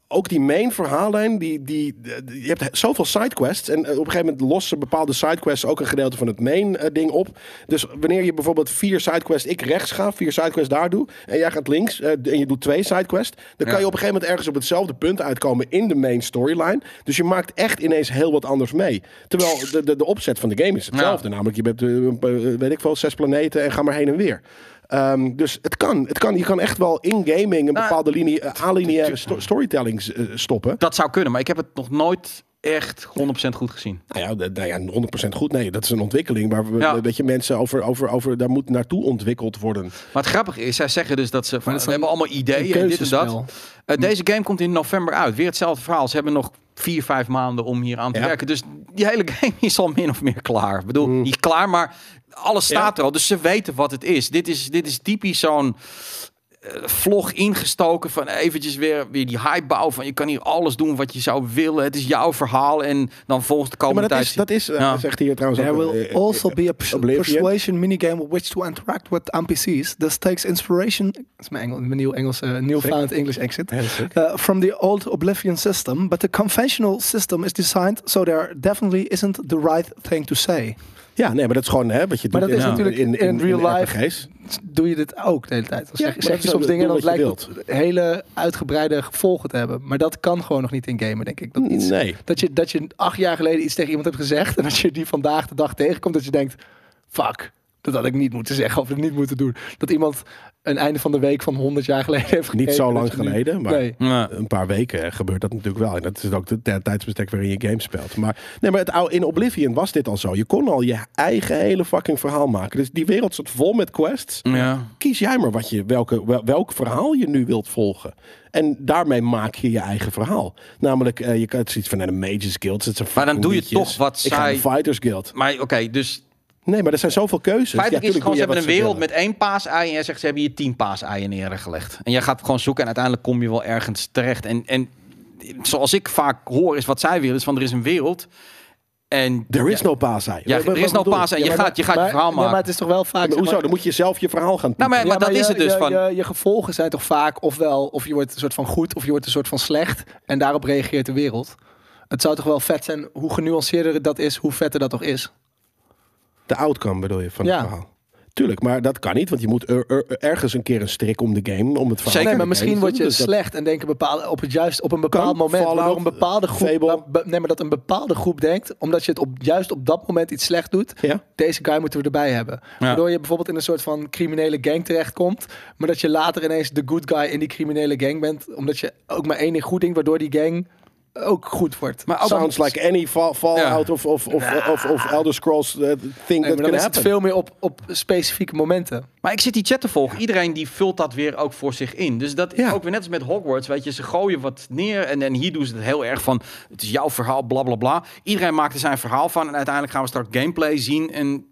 Speaker 3: ook die main verhaallijn, die, die, die- je hebt zoveel sidequests. En eh, op een gegeven moment lossen bepaalde sidequests ook een gedeelte van het main eh, ding op. Dus wanneer je bijvoorbeeld vier sidequests, ik rechts ga, vier sidequests daar doe. En jij gaat links eh, en je doet twee sidequests. Dan kan
Speaker 2: Ja.
Speaker 3: je op een gegeven moment ergens op hetzelfde punt uitkomen in de main storyline. Dus je maakt echt ineens heel wat anders mee. Terwijl de, de, de opzet van de game is hetzelfde. Namelijk, je hebt, eh, een pa- eh, weet ik veel, zes planeten en ga maar heen en weer. Ehm, dus het kan, het kan. Je kan echt wel in gaming een
Speaker 2: Nou,
Speaker 3: bepaalde linie, eh, alineaire sto- storytelling eh, stoppen.
Speaker 2: Dat zou kunnen, maar ik heb het nog nooit echt 100% goed gezien.
Speaker 3: Nou ja, d- nou ja, 100% goed. Nee, dat is een ontwikkeling waar we,
Speaker 2: Ja.
Speaker 3: weet je, mensen over, over, over, daar moet naartoe ontwikkeld worden.
Speaker 2: Maar het grappige is, zij zeggen dus dat ze van,
Speaker 1: dat is
Speaker 2: we hebben allemaal ideeën en dit en dat.
Speaker 1: keuzespel.
Speaker 2: Eh, deze game komt in november uit. Weer hetzelfde verhaal. Ze hebben nog vier, vijf maanden om hier aan te
Speaker 3: Ja. Mm.
Speaker 2: werken. Dus die hele game is al min of meer klaar. Ik bedoel, niet klaar, maar alles staat er al. Dus ze weten wat het is. Dit is, dit is typisch zo'n eh, vlog ingestoken van eventjes weer, weer die hype bouwen van je kan hier alles doen wat je zou willen. Het is jouw verhaal en dan volgens de
Speaker 3: Ja,
Speaker 2: komende
Speaker 3: maar dat
Speaker 2: tijd...
Speaker 3: is, dat is eh,
Speaker 2: Ja.
Speaker 3: zegt hier trouwens
Speaker 1: There
Speaker 3: ook,
Speaker 1: will
Speaker 3: eh, eh,
Speaker 1: also be a pers-
Speaker 3: Oblivion.
Speaker 1: persuasion minigame with which to interact with NPCs. This takes inspiration. Dat is mijn, Engel, mijn nieuw Engels, eh, newfound English accent. Uh, from the old Oblivion system, but the conventional system is designed so there definitely isn't the right thing to say.
Speaker 3: Ja, nee, maar dat is gewoon hè, wat je
Speaker 1: Maar
Speaker 3: doet
Speaker 1: dat is
Speaker 3: in,
Speaker 1: natuurlijk
Speaker 3: in, in,
Speaker 1: in real
Speaker 3: in
Speaker 1: life.
Speaker 3: RPG's.
Speaker 1: Doe je dit ook de hele tijd? Dan
Speaker 3: Ja,
Speaker 1: zeg,
Speaker 3: maar
Speaker 1: zeg
Speaker 3: dat
Speaker 1: je
Speaker 3: is
Speaker 1: soms
Speaker 3: wel-
Speaker 1: dingen en
Speaker 3: doe
Speaker 1: dat lijkt
Speaker 3: wat je
Speaker 1: het hele uitgebreide gevolgen te hebben. Maar dat kan gewoon nog niet in gamen, denk ik. Dat, iets,
Speaker 3: Nee.
Speaker 1: dat, je, dat je acht jaar geleden iets tegen iemand hebt gezegd en als je die vandaag de dag tegenkomt, dat je denkt, fuck, dat had ik niet moeten zeggen of niet moeten doen. Dat iemand een einde van de week van 100 jaar geleden heeft gekeken.
Speaker 3: Niet zo
Speaker 1: dat
Speaker 3: lang
Speaker 1: je nu-
Speaker 3: geleden, maar
Speaker 1: Nee.
Speaker 2: Ja.
Speaker 3: een paar weken eh, gebeurt dat natuurlijk wel. En dat is ook de de tijdsbestek waarin je game speelt. Maar, nee, maar het, oude- in Oblivion was dit al zo. Je kon al je eigen hele fucking verhaal maken. Dus die wereld zat vol met quests.
Speaker 2: Ja.
Speaker 3: Kies jij maar wat je, welke, wel- welk verhaal je nu wilt volgen. En daarmee maak je je eigen verhaal. Namelijk, eh, je kan het zoiets van een Mages Guild. Dat zijn
Speaker 2: Maar dan
Speaker 3: fucking
Speaker 2: doe je
Speaker 3: liedjes.
Speaker 2: toch wat
Speaker 3: Ik ga
Speaker 2: zij-
Speaker 3: een Fighters Guild.
Speaker 2: Maar oké, dus
Speaker 3: Nee, maar er zijn zoveel keuzes.
Speaker 2: Feitelijk is het
Speaker 3: tuurlijk
Speaker 2: gewoon, ze hebben
Speaker 3: doe jij
Speaker 2: een
Speaker 3: wat ze
Speaker 2: wereld
Speaker 3: willen.
Speaker 2: met één paasei en jij zegt, ze hebben hier tien paaseieren neergelegd. En jij gaat gewoon zoeken en uiteindelijk kom je wel ergens terecht. En, en zoals ik vaak hoor, is wat zij willen, is van er is een wereld en...
Speaker 3: There is no paasei.
Speaker 2: Ja, er is no paas en je gaat je, gaat je verhaal
Speaker 1: nee,
Speaker 2: maken.
Speaker 1: maar het is toch wel vaak...
Speaker 3: Maar
Speaker 1: zeg
Speaker 3: hoezo?
Speaker 1: maar-
Speaker 3: Dan moet je zelf je verhaal gaan
Speaker 2: nou, maar,
Speaker 1: Ja,
Speaker 2: maar dat
Speaker 1: je-
Speaker 2: is het dus
Speaker 1: je,
Speaker 2: van...
Speaker 1: Je, je gevolgen zijn toch vaak ofwel of je wordt een soort van goed of je wordt een soort van slecht en daarop reageert de wereld. Het zou toch wel vet zijn hoe genuanceerder dat is, hoe vetter dat toch is.
Speaker 3: De outcome bedoel je van
Speaker 1: Ja.
Speaker 3: het verhaal. Tuurlijk, maar dat kan niet, want je moet er- er- ergens een keer een strik om de game, om het verhaal.
Speaker 2: Zeker,
Speaker 3: van
Speaker 1: Nee,
Speaker 3: de
Speaker 1: maar
Speaker 3: game
Speaker 1: misschien
Speaker 3: te
Speaker 1: word je
Speaker 3: doen. Dus dat-
Speaker 1: slecht en denken bepaalde, op, het juist, op een bepaald
Speaker 3: Kan,
Speaker 1: moment
Speaker 3: Fallout,
Speaker 1: waardoor een bepaalde groep,
Speaker 3: Fable.
Speaker 1: waar- be- nee, maar dat een bepaalde groep denkt, omdat je het op, juist op dat moment iets slecht doet,
Speaker 3: Ja.
Speaker 1: deze guy moeten we erbij hebben. Waardoor je bijvoorbeeld in een soort van criminele gang terechtkomt, maar dat je later ineens de good guy in die criminele gang bent, omdat je ook maar één ding goed denkt, waardoor die gang ook goed wordt.
Speaker 2: Maar ook-
Speaker 3: Sounds like any fa- Fallout
Speaker 2: Ja.
Speaker 3: of, of, of, of, of Elder Scrolls eh, thing
Speaker 1: Nee,
Speaker 3: that
Speaker 1: maar dan
Speaker 3: can
Speaker 1: is het
Speaker 3: happen.
Speaker 1: veel meer op, op specifieke momenten.
Speaker 2: Maar ik zit die chat te volgen. Iedereen die vult dat weer ook voor zich in. Dus dat is ook weer net als met Hogwarts. Weet je, ze gooien wat neer. En, en hier doen ze het heel erg van. Het is jouw verhaal, bla bla bla. Iedereen maakt er zijn verhaal van. En uiteindelijk gaan we straks gameplay zien. En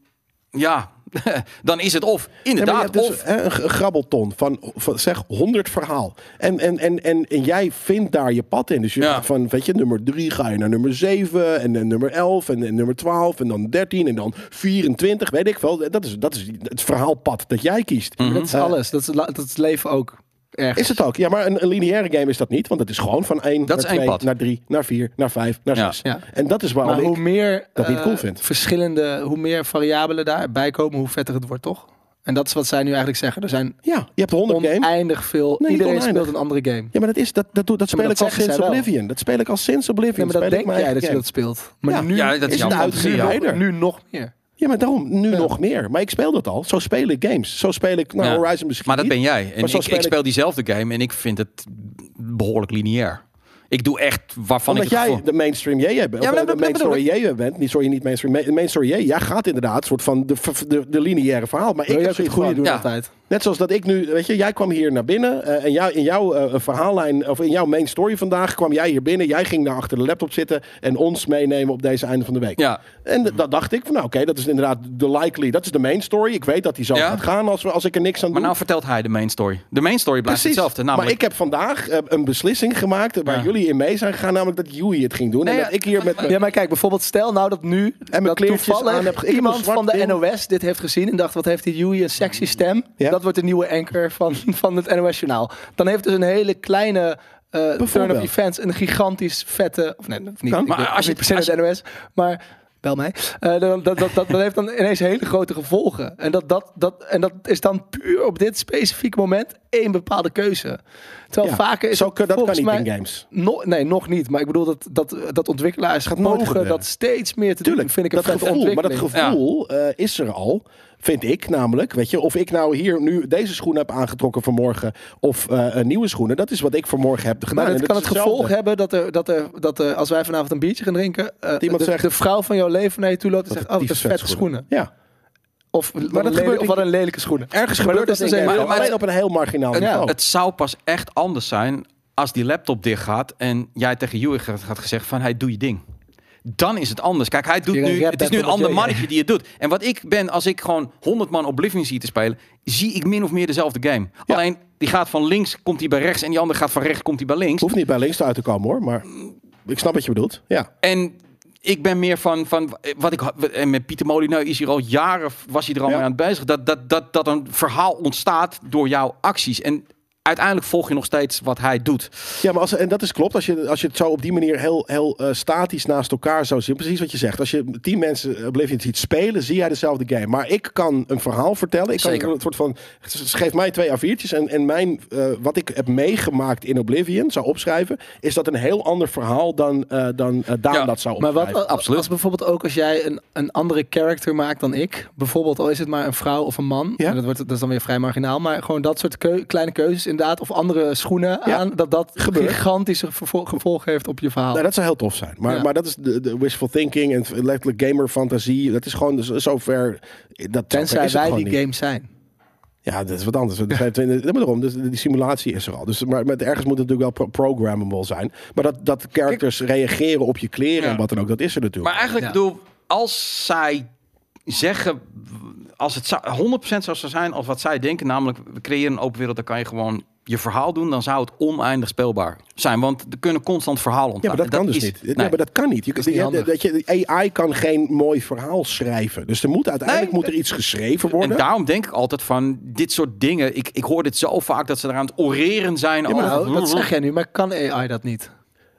Speaker 2: ja, dan is het of.
Speaker 3: Ja, maar je
Speaker 2: Inderdaad,
Speaker 3: hebt dus,
Speaker 2: of.
Speaker 3: hè, een g- een grabbelton van, van zeg 100 verhaal. En, en, en, en, en jij vindt daar je pad in. Dus je
Speaker 2: Ja.
Speaker 3: gaat van, weet je, nummer 3 ga je naar nummer 7 en, dan nummer 11 en, en nummer 12 en dan 13 en dan 24, weet ik wel. Dat is, dat is het verhaalpad dat jij kiest.
Speaker 2: Mhm.
Speaker 1: Dat is alles. Dat is, la- dat is leven ook. Erg.
Speaker 3: Is het ook? Ja, maar een, een lineaire game is dat niet, want het is gewoon van 1
Speaker 2: Dat
Speaker 3: naar
Speaker 2: is één
Speaker 3: 2
Speaker 2: pad.
Speaker 3: naar 3 naar 4 naar 5 naar
Speaker 2: Ja.
Speaker 3: 6.
Speaker 1: Ja.
Speaker 3: En dat is waarom
Speaker 1: Maar hoe
Speaker 3: ik
Speaker 1: meer
Speaker 3: dat niet
Speaker 1: eh,
Speaker 3: cool vind.
Speaker 1: verschillende, hoe meer variabelen daarbij komen, hoe vetter het wordt, toch? En dat is wat zij nu eigenlijk zeggen. Er zijn
Speaker 3: Ja, je hebt 100 games.
Speaker 1: oneindig veel.
Speaker 3: niet
Speaker 1: iedereen
Speaker 3: oneindig.
Speaker 1: speelt een andere game.
Speaker 3: Ja, maar dat, is, dat, dat, doe- dat
Speaker 1: maar
Speaker 3: speel
Speaker 1: dat
Speaker 3: ik al
Speaker 1: zeggen
Speaker 3: sinds
Speaker 1: zij wel.
Speaker 3: Oblivion. Dat speel ik al sinds Oblivion.
Speaker 1: Ja, maar dat
Speaker 3: Speel
Speaker 1: denk
Speaker 3: ik mijn
Speaker 1: jij
Speaker 3: eigen
Speaker 1: dat je
Speaker 3: game.
Speaker 1: dat speelt. Maar
Speaker 3: Ja.
Speaker 1: nu
Speaker 2: Ja, dat is
Speaker 1: is
Speaker 2: jouw
Speaker 1: het
Speaker 2: fantasie, ja.
Speaker 1: uitgebreider. Nu nog meer.
Speaker 3: Ja, maar daarom nu nog meer. Maar ik speel dat al. Zo speel ik games. Zo speel ik nou,
Speaker 2: Ja.
Speaker 3: Horizon misschien
Speaker 2: Maar dat
Speaker 3: niet.
Speaker 2: ben jij. En
Speaker 3: Maar
Speaker 2: ik,
Speaker 3: zo
Speaker 2: ik
Speaker 3: speel ik-
Speaker 2: speel diezelfde game en ik vind het behoorlijk lineair. Ik doe echt waarvan
Speaker 3: Omdat
Speaker 2: ik het
Speaker 3: jij
Speaker 2: gevoel-
Speaker 3: de mainstream jij bent.
Speaker 2: maar
Speaker 3: of
Speaker 2: dat-
Speaker 3: de
Speaker 2: dat
Speaker 3: main
Speaker 2: bedoel
Speaker 3: story jij bent. Niet, sorry, niet mainstream. ma- Main story jij. Jij gaat inderdaad soort van de, v- de, de lineaire verhaal. Maar ik
Speaker 1: Wil
Speaker 3: heb
Speaker 1: je ook het
Speaker 3: zoiets
Speaker 1: goede
Speaker 3: van-
Speaker 1: doen
Speaker 2: Ja.
Speaker 1: altijd?
Speaker 3: Net zoals dat ik nu, weet je, jij kwam hier naar binnen eh, en jou, in jouw eh, verhaallijn, of in jouw main story vandaag, kwam jij hier binnen. Jij ging daar achter de laptop zitten en ons meenemen op deze einde van de week.
Speaker 2: Ja.
Speaker 3: En d- dat dacht ik van, nou oké, dat is inderdaad de likely, dat is de main story. Ik weet dat die zo
Speaker 2: Ja.
Speaker 3: gaat gaan als, we- als ik er niks aan
Speaker 2: Maar
Speaker 3: doe.
Speaker 2: nou vertelt hij de main story. De main story blijft
Speaker 3: Precies.
Speaker 2: hetzelfde. Namelijk,
Speaker 3: Maar ik heb vandaag eh, een beslissing gemaakt eh, waar
Speaker 2: Ja.
Speaker 3: jullie in mee zijn gegaan, namelijk dat Yui het ging doen.
Speaker 2: Nee,
Speaker 3: en
Speaker 2: ja,
Speaker 3: dat ik hier met...
Speaker 1: Ja, maar kijk, bijvoorbeeld stel nou dat nu
Speaker 3: mijn
Speaker 1: dat
Speaker 3: kleertjes
Speaker 1: toevallig
Speaker 3: aan heb ge- ik heb een
Speaker 1: iemand
Speaker 3: zwart
Speaker 1: van de
Speaker 3: ding.
Speaker 1: NOS dit heeft gezien en dacht, wat heeft die Joey een sexy stem.
Speaker 3: Ja.
Speaker 1: Dat wordt de nieuwe anchor van, van het NOS Journaal. Dan heeft dus een hele kleine eh turn of
Speaker 3: Bijvoorbeeld.
Speaker 1: events een gigantisch vette, of nee, of niet,
Speaker 3: Kan.
Speaker 1: ik
Speaker 2: Maar
Speaker 1: weet
Speaker 2: als je-
Speaker 1: niet per se
Speaker 2: als
Speaker 1: het NOS, maar... Bel mij. Eh, dan, dat, dat, dat, dat heeft dan ineens hele grote gevolgen. En dat, dat, dat, en dat is dan puur op dit specifieke moment één bepaalde keuze. Terwijl
Speaker 3: Ja,
Speaker 1: vaker is
Speaker 3: zo,
Speaker 1: het
Speaker 3: kun- dat kan
Speaker 1: volgens
Speaker 3: niet
Speaker 1: mij,
Speaker 3: in games.
Speaker 1: No- nee, nog niet. Maar ik bedoel dat, dat, dat ontwikkelaars gaat mogen
Speaker 3: worden.
Speaker 1: dat steeds meer te
Speaker 3: Tuurlijk,
Speaker 1: doen. Vind ik een
Speaker 3: dat
Speaker 1: vette
Speaker 3: gevoel. Maar dat
Speaker 1: ontwikkeling.
Speaker 3: gevoel eh, is er al, vind ik namelijk. Weet je, of ik nou hier nu deze schoenen heb aangetrokken vanmorgen of eh, een nieuwe schoenen, dat is wat ik vanmorgen heb gedaan.
Speaker 1: Maar
Speaker 3: En
Speaker 1: het
Speaker 3: dat
Speaker 1: kan
Speaker 3: is
Speaker 1: het gevolg
Speaker 3: hetzelfde.
Speaker 1: hebben dat, er, dat, er, dat er, als wij vanavond een biertje gaan drinken, eh,
Speaker 3: iemand
Speaker 1: de,
Speaker 3: zegt-
Speaker 1: de vrouw van jouw leven naar je toe loopt en
Speaker 3: Wat
Speaker 1: zegt, oh,
Speaker 3: een
Speaker 1: dat is
Speaker 3: tyfus
Speaker 1: vette schoenen.
Speaker 3: Ja.
Speaker 1: Of, wat
Speaker 3: dat
Speaker 1: een lelijk-
Speaker 3: gebeurt
Speaker 1: of wat een lelijke schoenen.
Speaker 3: Ergens
Speaker 1: Maar
Speaker 3: gebeurt dus
Speaker 1: dat
Speaker 3: dat
Speaker 1: is dus
Speaker 3: in
Speaker 1: een-
Speaker 3: games,
Speaker 2: maar-
Speaker 3: alleen
Speaker 2: maar-
Speaker 3: op een heel marginaal
Speaker 1: Ja.
Speaker 3: niveau.
Speaker 2: Het zou pas echt anders zijn als die laptop dicht gaat en jij tegen Juwe had gezegd van, hij doe je ding. Dan is het anders. Kijk, hij doet
Speaker 1: Hier een
Speaker 2: nu,
Speaker 1: rap
Speaker 2: het is nu een
Speaker 1: battle
Speaker 2: ander
Speaker 1: met Jay.
Speaker 2: mannetje die het doet. En wat ik ben, als ik gewoon 100 man Oblivion zie te spelen, zie ik min of meer dezelfde game. Alleen, die gaat van links, komt hij bij rechts en die andere gaat van rechts, komt hij bij links.
Speaker 3: Hoeft niet bij links uit te komen hoor, maar ik snap wat je bedoelt. Ja.
Speaker 2: En ik ben meer van, van wat ik en met Pieter Molineu is hier al jaren was hij er al
Speaker 3: Ja.
Speaker 2: mee aan het bezig dat, dat, dat, dat een verhaal ontstaat door jouw acties en uiteindelijk volg je nog steeds wat hij doet.
Speaker 3: Ja, maar als, en dat is klopt. Als je, als je het zo op die manier heel, heel eh, statisch naast elkaar zou zien. Precies wat je zegt. Als je tien mensen eh, Oblivion ziet spelen, zie jij dezelfde game. Maar ik kan een verhaal vertellen. Ik
Speaker 2: Zeker.
Speaker 3: kan een soort van. Geef mij twee A4'tjes en, en mijn, eh, wat ik heb meegemaakt in Oblivion zou opschrijven. Is dat een heel ander verhaal dan, eh, dan eh, Daan
Speaker 2: Ja,
Speaker 3: dat zou
Speaker 1: Maar
Speaker 3: opschrijven.
Speaker 1: wat als-
Speaker 2: absoluut.
Speaker 1: als bijvoorbeeld ook als jij een, een andere character maakt dan ik. Bijvoorbeeld al is het maar een vrouw of een man.
Speaker 3: Ja.
Speaker 1: En Dat, wordt, dat is dan weer vrij marginaal. Maar gewoon dat soort keu- kleine keuzes inderdaad. Of andere schoenen
Speaker 3: Ja,
Speaker 1: aan. Dat dat
Speaker 3: gebeurt.
Speaker 1: gigantische vervol- gevolgen heeft op je verhaal.
Speaker 3: Nou, dat zou heel tof zijn. Maar,
Speaker 1: Ja.
Speaker 3: maar dat is de, de wishful thinking en letterlijk gamer fantasie. Dat is gewoon zo- zover. Dat zover
Speaker 1: Tenzij
Speaker 3: is het
Speaker 1: wij
Speaker 3: gewoon
Speaker 1: die
Speaker 3: niet.
Speaker 1: games zijn.
Speaker 3: Ja, dat is wat anders. Dat zijn twee- dat- maar daarom, dus die simulatie is er al. Dus, maar met, ergens moet het natuurlijk wel pro- programmable zijn. Maar dat, dat characters reageren op je kleren
Speaker 2: Ja.
Speaker 3: en wat dan ook, dat is er natuurlijk.
Speaker 2: Maar eigenlijk
Speaker 1: Ja.
Speaker 2: bedoel als zij zeggen als het zou- 100% zou zo zijn als wat zij denken, namelijk we creëren een open wereld, dan kan je gewoon je verhaal doen, dan zou het oneindig speelbaar zijn, want er kunnen constant verhalen
Speaker 3: ja,
Speaker 2: ontstaan.
Speaker 3: maar dat, kan dus
Speaker 2: is-
Speaker 3: niet.
Speaker 2: nee.
Speaker 3: Ja, maar dat kan niet. Je,
Speaker 1: is niet
Speaker 3: je-
Speaker 1: handig.
Speaker 3: dat je, de AI kan geen mooi verhaal schrijven. Dus er moet uiteindelijk
Speaker 2: Nee.
Speaker 3: moet er iets geschreven worden.
Speaker 2: En daarom denk ik altijd van dit soort dingen. Ik, ik hoor dit zo vaak dat ze eraan het oreren zijn. over-
Speaker 1: Nou, dat zeg jij nu, maar kan AI dat
Speaker 3: Oh,
Speaker 1: niet?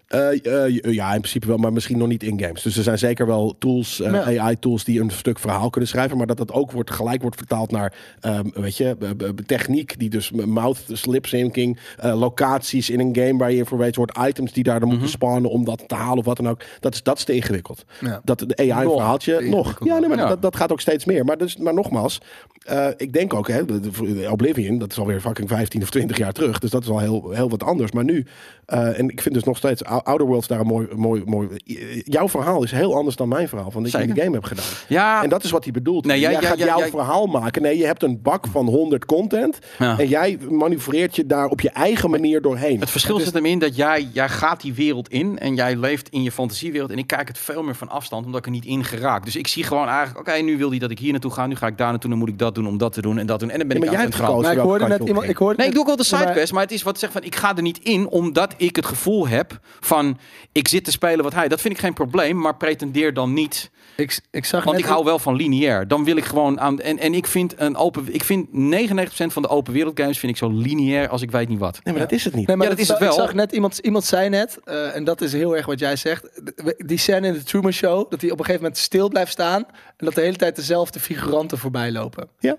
Speaker 3: Eh, eh, ja, in principe wel, maar misschien nog niet in games. Dus er zijn zeker wel tools, eh, AI-tools die een stuk verhaal kunnen schrijven, maar dat dat ook wordt, gelijk wordt vertaald naar, ehm, weet je, eh, eh, techniek die dus mouth, dus lip syncing, eh, locaties in een game waar je voor weet, soort items die daar dan
Speaker 1: Mhm.
Speaker 3: moeten spannen om dat te halen of wat dan ook. Dat is, dat is te ingewikkeld.
Speaker 1: Ja.
Speaker 3: Dat de AI
Speaker 1: Nog te
Speaker 3: verhaaltje nog.
Speaker 1: ingewikkeld.
Speaker 3: Ja, nee, maar
Speaker 2: Ja.
Speaker 3: Dat, dat gaat ook steeds meer. Maar, dus, maar nogmaals, eh, ik denk ook, hè, de- de- Oblivion, dat is alweer fucking 15 of 20 jaar terug. Dus dat is al heel, heel wat anders. Maar nu, eh, en ik vind dus nog steeds Ou- Outer Worlds daar een mooi, mooi, mooi. eh, Jouw verhaal is heel anders dan mijn verhaal van dat je in
Speaker 2: Zeker.
Speaker 3: de game hebt gedaan.
Speaker 2: Ja,
Speaker 3: En dat is wat hij bedoelt.
Speaker 2: Nee, jij-
Speaker 3: jij,
Speaker 2: jij-
Speaker 3: gaat
Speaker 2: jij-
Speaker 3: jouw
Speaker 2: jij-
Speaker 3: verhaal maken. Nee, je hebt een bak van 100 content.
Speaker 2: Ja.
Speaker 3: En jij manoeuvreert je daar op je eigen manier doorheen.
Speaker 2: het verschil zit hem in dat jij, jij gaat die wereld in en jij leeft in je fantasiewereld. En ik kijk het veel meer van afstand, omdat ik er niet in geraak. Dus ik zie gewoon eigenlijk, oké, nu wil hij dat ik hier naartoe ga. Nu ga ik daar naartoe, dan moet ik dat doen om dat te doen en dat doen. En dan ben
Speaker 3: Ja, maar
Speaker 2: ik
Speaker 3: jij
Speaker 2: aan
Speaker 3: hebt
Speaker 2: het gaan.
Speaker 3: gekozen.
Speaker 1: Maar ik
Speaker 3: welke
Speaker 1: hoorde net
Speaker 3: kant je op
Speaker 1: iemand.
Speaker 3: ging.
Speaker 1: Ik hoorde
Speaker 2: Nee, ik doe ook wel de
Speaker 1: maar-
Speaker 2: sidequest, maar het is wat zeg van ik ga er niet in omdat ik het gevoel heb van ik zit te spelen wat hij. Dat vind ik geen probleem, maar pretendeer dan niet
Speaker 1: Ik, ik zag
Speaker 2: Want
Speaker 1: net
Speaker 2: ik hou wel van lineair. Dan wil ik gewoon aan. En, en ik vind een open. Ik vind 99% van de open wereld games vind ik zo lineair als ik weet niet wat.
Speaker 3: Nee, maar dat is het niet.
Speaker 1: Nee, maar
Speaker 2: Ja, dat is het
Speaker 1: ik
Speaker 2: wel.
Speaker 1: zag net iemand, iemand zei net, eh, en dat is heel erg wat jij zegt. d- Die scène in de Truman Show, dat hij op een gegeven moment stil blijft staan. En dat de hele tijd dezelfde figuranten voorbij lopen.
Speaker 3: Ja.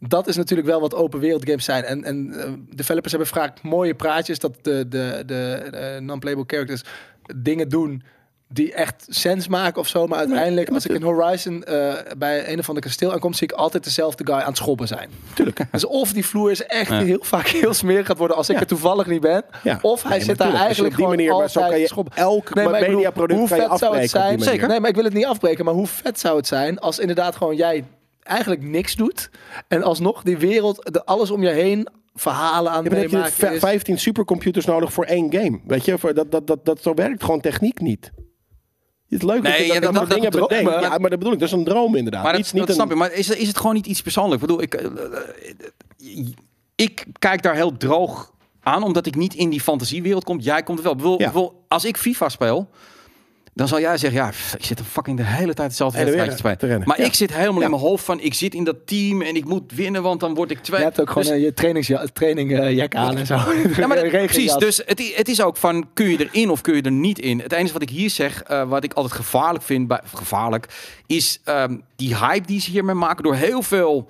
Speaker 1: Dat is natuurlijk wel wat open wereld games zijn. En, en eh, developers hebben vaak mooie praatjes dat de, de, de, eh, non-playable characters dingen doen die echt sens maken of zo. Maar uiteindelijk, als ik in Horizon eh, bij een of ander kasteel aankom, zie ik altijd dezelfde guy aan het schobben zijn. Tuurlijk. Dus of die vloer is echt heel vaak heel smerig gaat worden als ik er toevallig niet ben.
Speaker 3: Ja.
Speaker 1: Of hij
Speaker 3: Nee, maar
Speaker 1: zit daar
Speaker 3: tuurlijk, als je
Speaker 1: eigenlijk
Speaker 3: op die
Speaker 1: gewoon
Speaker 3: manier- maar
Speaker 1: altijd
Speaker 3: zo kan je
Speaker 1: te schobben.
Speaker 3: elk
Speaker 1: maar ik bedoel,
Speaker 3: mediaproduct
Speaker 1: hoe
Speaker 3: kan je
Speaker 1: vet zou het
Speaker 3: afbreken op
Speaker 1: zijn?
Speaker 3: die manier.
Speaker 1: Nee, maar ik wil het niet afbreken. Maar hoe vet zou het zijn als inderdaad gewoon jij eigenlijk niks doet en alsnog die wereld, de, alles om je heen verhalen aan het
Speaker 3: Ja, maar dan heb je
Speaker 1: meemaken
Speaker 3: ve-
Speaker 1: is.
Speaker 3: 15 supercomputers nodig voor één game. Weet je, voor dat, dat, dat, dat, zo werkt gewoon techniek niet. Het is leuk
Speaker 2: Nee,
Speaker 3: dat je
Speaker 2: ja,
Speaker 3: dat,
Speaker 2: dat-
Speaker 3: dat, soort
Speaker 2: dat-
Speaker 3: dingen
Speaker 2: dat-
Speaker 3: bedenkt.
Speaker 2: maar-
Speaker 3: Ja, maar dat bedoel ik, dat is een droom inderdaad.
Speaker 2: Maar dat,
Speaker 3: Iets niet
Speaker 2: dat snap
Speaker 3: een-
Speaker 2: je. Maar is, is het gewoon niet iets persoonlijks? Ik bedoel, ik, eh, eh, ik kijk daar heel droog aan, omdat ik niet in die fantasiewereld kom. Jij komt er wel. Ik bedoel,
Speaker 3: Ja.
Speaker 2: ik bedoel, als ik FIFA speel, dan zal jij zeggen, ja, pff, ik zit er fucking de hele tijd hetzelfde
Speaker 3: En er weer
Speaker 2: wedstrijdje te spelen.
Speaker 3: te rennen.
Speaker 2: Maar
Speaker 3: Ja.
Speaker 2: ik zit helemaal in mijn hoofd van, ik zit in dat team en ik moet winnen, want dan word ik twee.
Speaker 1: Je hebt ook gewoon
Speaker 2: Dus-
Speaker 1: eh, je trainingsja- trainingjak eh, aan en zo.
Speaker 2: ja, maar dat-
Speaker 1: Regenjas.
Speaker 2: precies. Dus het, i- het is ook van kun je erin of kun je er niet in. Het enige wat ik hier zeg, eh, wat ik altijd gevaarlijk vind, bij, of gevaarlijk, is ehm, die hype die ze hiermee maken door heel veel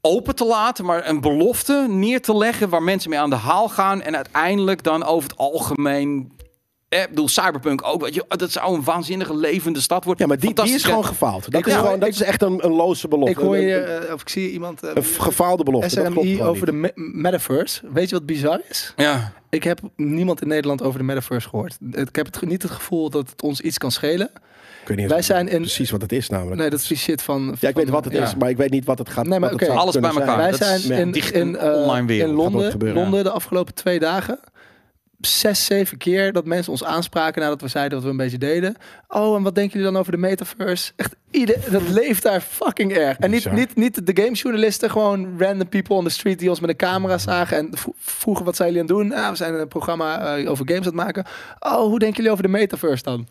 Speaker 2: open te laten, maar een belofte neer te leggen waar mensen mee aan de haal gaan en uiteindelijk dan over het algemeen. eh, Ik bedoel, Cyberpunk ook. Weet je, oh, dat zou een waanzinnige levende stad worden.
Speaker 3: Ja, maar die, die is
Speaker 2: Fantastische-
Speaker 3: gewoon gefaald. Dat,
Speaker 1: Ik
Speaker 3: is,
Speaker 1: hoor-
Speaker 3: gewoon, dat is echt een, een loze belofte.
Speaker 1: ik hoor je,
Speaker 3: Een-
Speaker 1: eh, of ik zie iemand eh,
Speaker 3: Een gefaalde belofte. dat klopt
Speaker 1: SNMI
Speaker 3: gewoon
Speaker 1: over de
Speaker 3: niet.
Speaker 1: me- metaverse. Weet je wat bizar is?
Speaker 2: Ja.
Speaker 1: Ik heb niemand in Nederland over de metaverse gehoord. Ik heb het, ge- niet het gevoel dat het ons iets kan schelen.
Speaker 3: Ik weet niet
Speaker 1: Wij
Speaker 3: eens
Speaker 1: zijn in...
Speaker 3: precies wat het is namelijk.
Speaker 1: Nee, dat is die shit van...
Speaker 3: ja, ik weet wat het
Speaker 1: ja.
Speaker 3: is, maar ik weet niet wat het gaat
Speaker 1: Nee, maar
Speaker 3: wat
Speaker 1: oké.
Speaker 3: het zou
Speaker 2: Alles bij
Speaker 3: kunnen
Speaker 2: elkaar.
Speaker 1: Wij
Speaker 2: Ah, dat is-
Speaker 1: zijn in,
Speaker 2: dicht-
Speaker 1: in, eh,
Speaker 2: online wereld
Speaker 1: in
Speaker 2: gaat
Speaker 1: Londen,
Speaker 3: dat gebeuren,
Speaker 1: Londen de afgelopen twee dagen. Zes, zeven keer dat mensen ons aanspraken nadat we zeiden wat we een beetje deden. Oh, en wat denken jullie dan over de metaverse? Echt, ieder, dat leeft daar fucking erg. En niet,
Speaker 3: Bizar.
Speaker 1: niet, niet de gamejournalisten, gewoon random people on the street die ons met een camera zagen en vro- vroegen wat zijn jullie aan het doen? Ah, we zijn een programma eh, over games aan het maken. Oh, hoe denken jullie over de metaverse dan?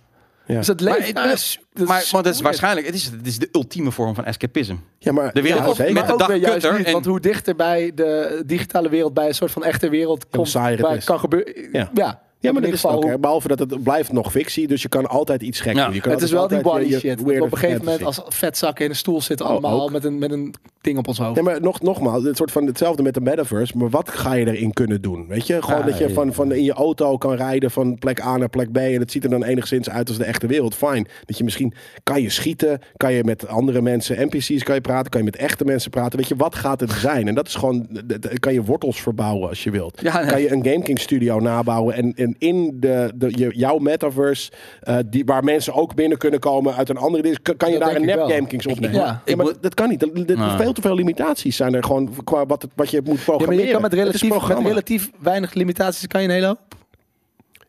Speaker 3: Ja.
Speaker 1: Dus dat
Speaker 2: Maar,
Speaker 1: leeft
Speaker 2: het-
Speaker 1: daar. Dat
Speaker 2: maar, want het is
Speaker 1: weird.
Speaker 2: waarschijnlijk, het is, het is de ultieme vorm van escapism.
Speaker 3: Ja, maar
Speaker 2: De wereld
Speaker 3: ja,
Speaker 2: op-
Speaker 3: zeker.
Speaker 2: met
Speaker 1: maar
Speaker 2: de
Speaker 1: ook
Speaker 2: dag
Speaker 1: weer juist
Speaker 2: kutter
Speaker 1: niet,
Speaker 2: en-
Speaker 1: want hoe dichter bij de digitale wereld, bij een soort van echte wereld komt,
Speaker 3: saai het
Speaker 1: waar
Speaker 3: is.
Speaker 1: het kan gebeuren.
Speaker 3: Ja.
Speaker 1: Ja.
Speaker 3: Ja, maar
Speaker 1: in
Speaker 3: dat
Speaker 1: ieder
Speaker 3: is het ook.
Speaker 1: geval
Speaker 3: hè. Behalve dat het blijft nog fictie, dus je kan altijd iets gek
Speaker 2: Ja.
Speaker 3: doen. Je kan
Speaker 1: hoe- Het is wel
Speaker 3: altijd
Speaker 1: die body
Speaker 3: je- je
Speaker 1: shit. dat we
Speaker 3: weirde
Speaker 1: op een gegeven moment
Speaker 3: fantasy. Oh,
Speaker 1: als vetzakken in een stoel zitten allemaal
Speaker 3: ook.
Speaker 1: met een, met een ding op ons hoofd.
Speaker 3: Nee, maar nog, nogmaals, het soort van hetzelfde met de metaverse. Maar wat ga je erin kunnen doen? Weet je, gewoon
Speaker 2: Ja,
Speaker 3: dat je
Speaker 2: ja,
Speaker 3: van, van in je auto kan rijden van plek A naar plek B. En het ziet er dan enigszins uit als de echte wereld. Fijn. Dat je misschien kan je schieten, kan je met andere mensen, NPC's kan je praten, kan je met echte mensen praten. Weet je, wat gaat het zijn? En dat is gewoon, d- d- kan je wortels verbouwen als je wilt.
Speaker 2: Ja, nee.
Speaker 3: Kan je een Game King studio nabouwen en, en in de, de, je- jouw metaverse, eh, die, waar mensen ook binnen kunnen komen uit een andere, dis- kan, kan je
Speaker 1: Dat
Speaker 3: daar een
Speaker 1: denk ik
Speaker 3: nep
Speaker 1: wel.
Speaker 3: Game Kings opnemen?
Speaker 1: Ja.
Speaker 3: Ja, maar
Speaker 2: Ik
Speaker 3: dat kan niet. Er- er-
Speaker 2: Ah.
Speaker 3: Veel te veel limitaties zijn er gewoon qua wat, het- wat je moet
Speaker 1: ja, maar
Speaker 3: programmeren.
Speaker 1: je kan met
Speaker 3: Het is een
Speaker 1: relatief, met
Speaker 3: programma.
Speaker 1: relatief weinig limitaties kan je een hele hoop.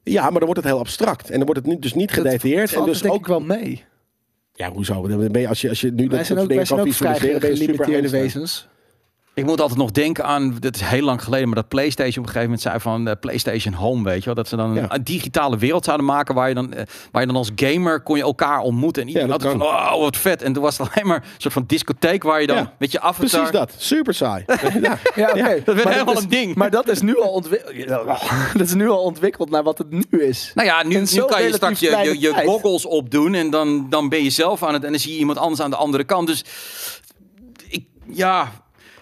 Speaker 3: Ja, maar dan wordt het heel abstract. En dan wordt het niet, dus niet gedetailleerd. En
Speaker 1: valt
Speaker 3: dus
Speaker 1: denk
Speaker 3: ook,
Speaker 1: ik wel mee.
Speaker 3: ja, hoezo? Dan ben je, als, je, als je nu
Speaker 1: Wij zijn
Speaker 3: dat soort
Speaker 1: ook,
Speaker 3: dingen
Speaker 1: wij zijn
Speaker 3: kan
Speaker 1: ook vrij
Speaker 3: visualiseren, ben je super
Speaker 1: gelimiteerde
Speaker 3: eindstaan.
Speaker 1: wezens.
Speaker 2: Ik moet altijd nog denken aan, dat is heel lang geleden, maar dat PlayStation op een gegeven moment zei van eh, PlayStation Home, weet je wel. Dat ze dan
Speaker 3: Ja.
Speaker 2: een, een digitale wereld zouden maken waar je, dan, eh, waar je dan als gamer kon je elkaar ontmoeten. En iedereen
Speaker 3: dat
Speaker 2: had van, oh wat vet. En toen was het alleen maar een soort van discotheek waar je dan
Speaker 3: Ja,
Speaker 2: met je avatar...
Speaker 3: Precies dat. Super saai. ja.
Speaker 1: Ja, oké.
Speaker 2: Dat werd
Speaker 1: Maar
Speaker 2: helemaal
Speaker 1: is-
Speaker 2: een ding.
Speaker 1: Maar dat is, nu al ontwikkeld, dat is nu al ontwikkeld naar wat het nu is.
Speaker 2: Nou ja, nu,
Speaker 1: In
Speaker 2: nu
Speaker 1: zo'n
Speaker 2: kan je
Speaker 1: relatief
Speaker 2: straks je, je,
Speaker 1: kleine
Speaker 2: je
Speaker 1: tijd.
Speaker 2: goggles opdoen en dan, dan ben je zelf aan het... En dan zie je iemand anders aan de andere kant. Dus ik, ja,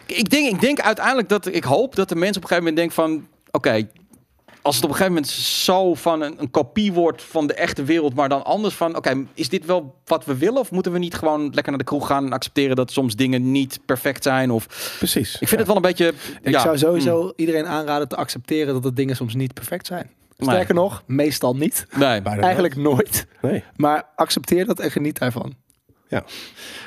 Speaker 2: ik denk, ik denk uiteindelijk dat... Ik hoop dat de mensen op een gegeven moment denken van... Oké, als het op een gegeven moment zo van een, een kopie wordt van de echte wereld... maar dan anders van... Oké, is dit wel wat we willen? Of moeten we niet gewoon lekker naar de kroeg gaan en accepteren... dat soms dingen niet perfect zijn? Of,
Speaker 3: Precies.
Speaker 2: ik vind het wel een beetje...
Speaker 1: Ik
Speaker 2: ja, Mm.
Speaker 1: zou sowieso iedereen aanraden te accepteren dat de dingen soms niet perfect zijn.
Speaker 2: Nee.
Speaker 1: Sterker nog, meestal niet.
Speaker 2: Nee,
Speaker 3: Bijna
Speaker 1: Eigenlijk nooit.
Speaker 3: nooit. Nee.
Speaker 1: Maar accepteer dat en geniet daarvan.
Speaker 3: Ja.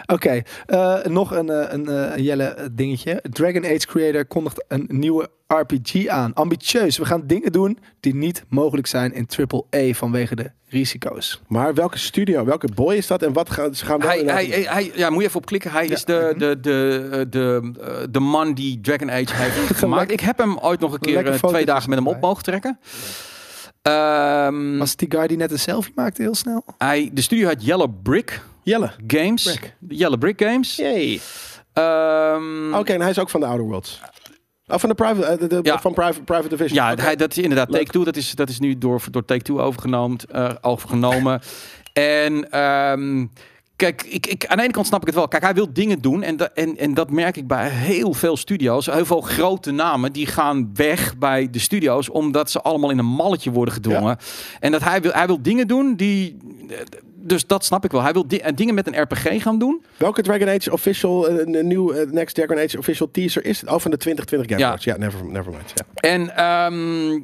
Speaker 1: Oké, eh, nog een, eh, een, eh, een Jelle eh, dingetje. Dragon Age Creator kondigt een nieuwe RPG aan. Ambitieus, we gaan dingen doen die niet mogelijk zijn in AAA vanwege de risico's.
Speaker 3: Maar welke studio, welke boy is dat? En wat gaan ze gaan wel
Speaker 2: Hij, hij,
Speaker 3: inderdaad-
Speaker 2: hij, hij- ja, moet je even op klikken. Hij is de, de, de, eh, de, eh, de man die Dragon Age heeft gemaakt. Ik heb hem ooit nog een keer
Speaker 1: Lekker
Speaker 2: eh, twee
Speaker 1: fotootjes
Speaker 2: dagen met hem op
Speaker 1: erbij.
Speaker 2: mogen trekken. Ehm,
Speaker 1: Was het die guy die net een selfie maakte heel snel?
Speaker 2: hij, de studio had Yellow Brick
Speaker 3: Jelle.
Speaker 2: Games. De Yellow Brick Games.
Speaker 3: Yay.
Speaker 2: Ehm,
Speaker 3: Oké, en hij is ook van de Outer Worlds. Oh, van de private, eh, de- de-
Speaker 2: Ja.
Speaker 3: van private, private Division.
Speaker 2: Ja,
Speaker 3: Oké.
Speaker 2: hij, dat is inderdaad.
Speaker 3: Leuk.
Speaker 2: Take Two, dat is, dat is nu door, door Take Two overgenomen. eh, overgenomen. en ehm, Kijk, ik, ik, aan de ene kant snap ik het wel. Kijk, hij wil dingen doen. En, da- en, en dat merk ik bij heel veel studio's. Heel veel grote namen die gaan weg bij de studio's. Omdat ze allemaal in een malletje worden gedwongen. En dat hij wil, hij wil dingen doen die. Dus dat snap ik wel. Hij wil di- eh, dingen met een RPG gaan doen.
Speaker 3: Welke Dragon Age official, eh, een nieuw eh, Next Dragon Age official teaser is het? Oh, van de 2020 Game
Speaker 2: Ja.
Speaker 3: Awards. Ja, never, never mind. Ja.
Speaker 2: En ehm,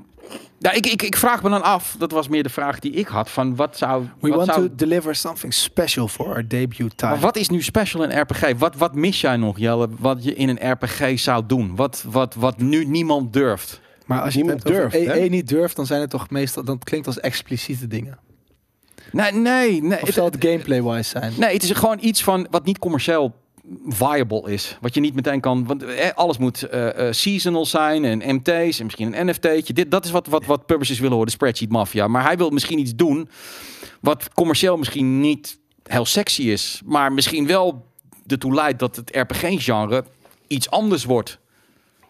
Speaker 2: ja, ik, ik, ik vraag me dan af. Dat was meer de vraag die ik had. Van wat zou.
Speaker 1: We
Speaker 2: wat
Speaker 1: want
Speaker 2: zou-
Speaker 1: to deliver something special for our debut time.
Speaker 2: Maar wat is nu special in RPG? Wat, wat mis jij nog, Jelle, wat je in een RPG zou doen? Wat, wat, wat nu niemand durft?
Speaker 1: Maar als je
Speaker 3: Niemand
Speaker 1: het hebt over
Speaker 3: durft, hè?
Speaker 1: EA niet durft, dan zijn het toch meestal, dan klinkt het als expliciete dingen.
Speaker 2: Nee, nee, nee.
Speaker 1: Of zal
Speaker 2: Het,
Speaker 1: het gameplay-wise zijn?
Speaker 2: nee, het is gewoon iets van wat niet commercieel viable is. Wat je niet meteen kan... Want eh, alles moet eh, eh, seasonal zijn en MT's en misschien een NFT'tje. Dit, dat is wat, wat, wat publishers willen horen, de spreadsheet mafia. Maar hij wil misschien iets doen wat commercieel misschien niet heel sexy is. Maar misschien wel ertoe leidt dat het RPG-genre iets anders wordt.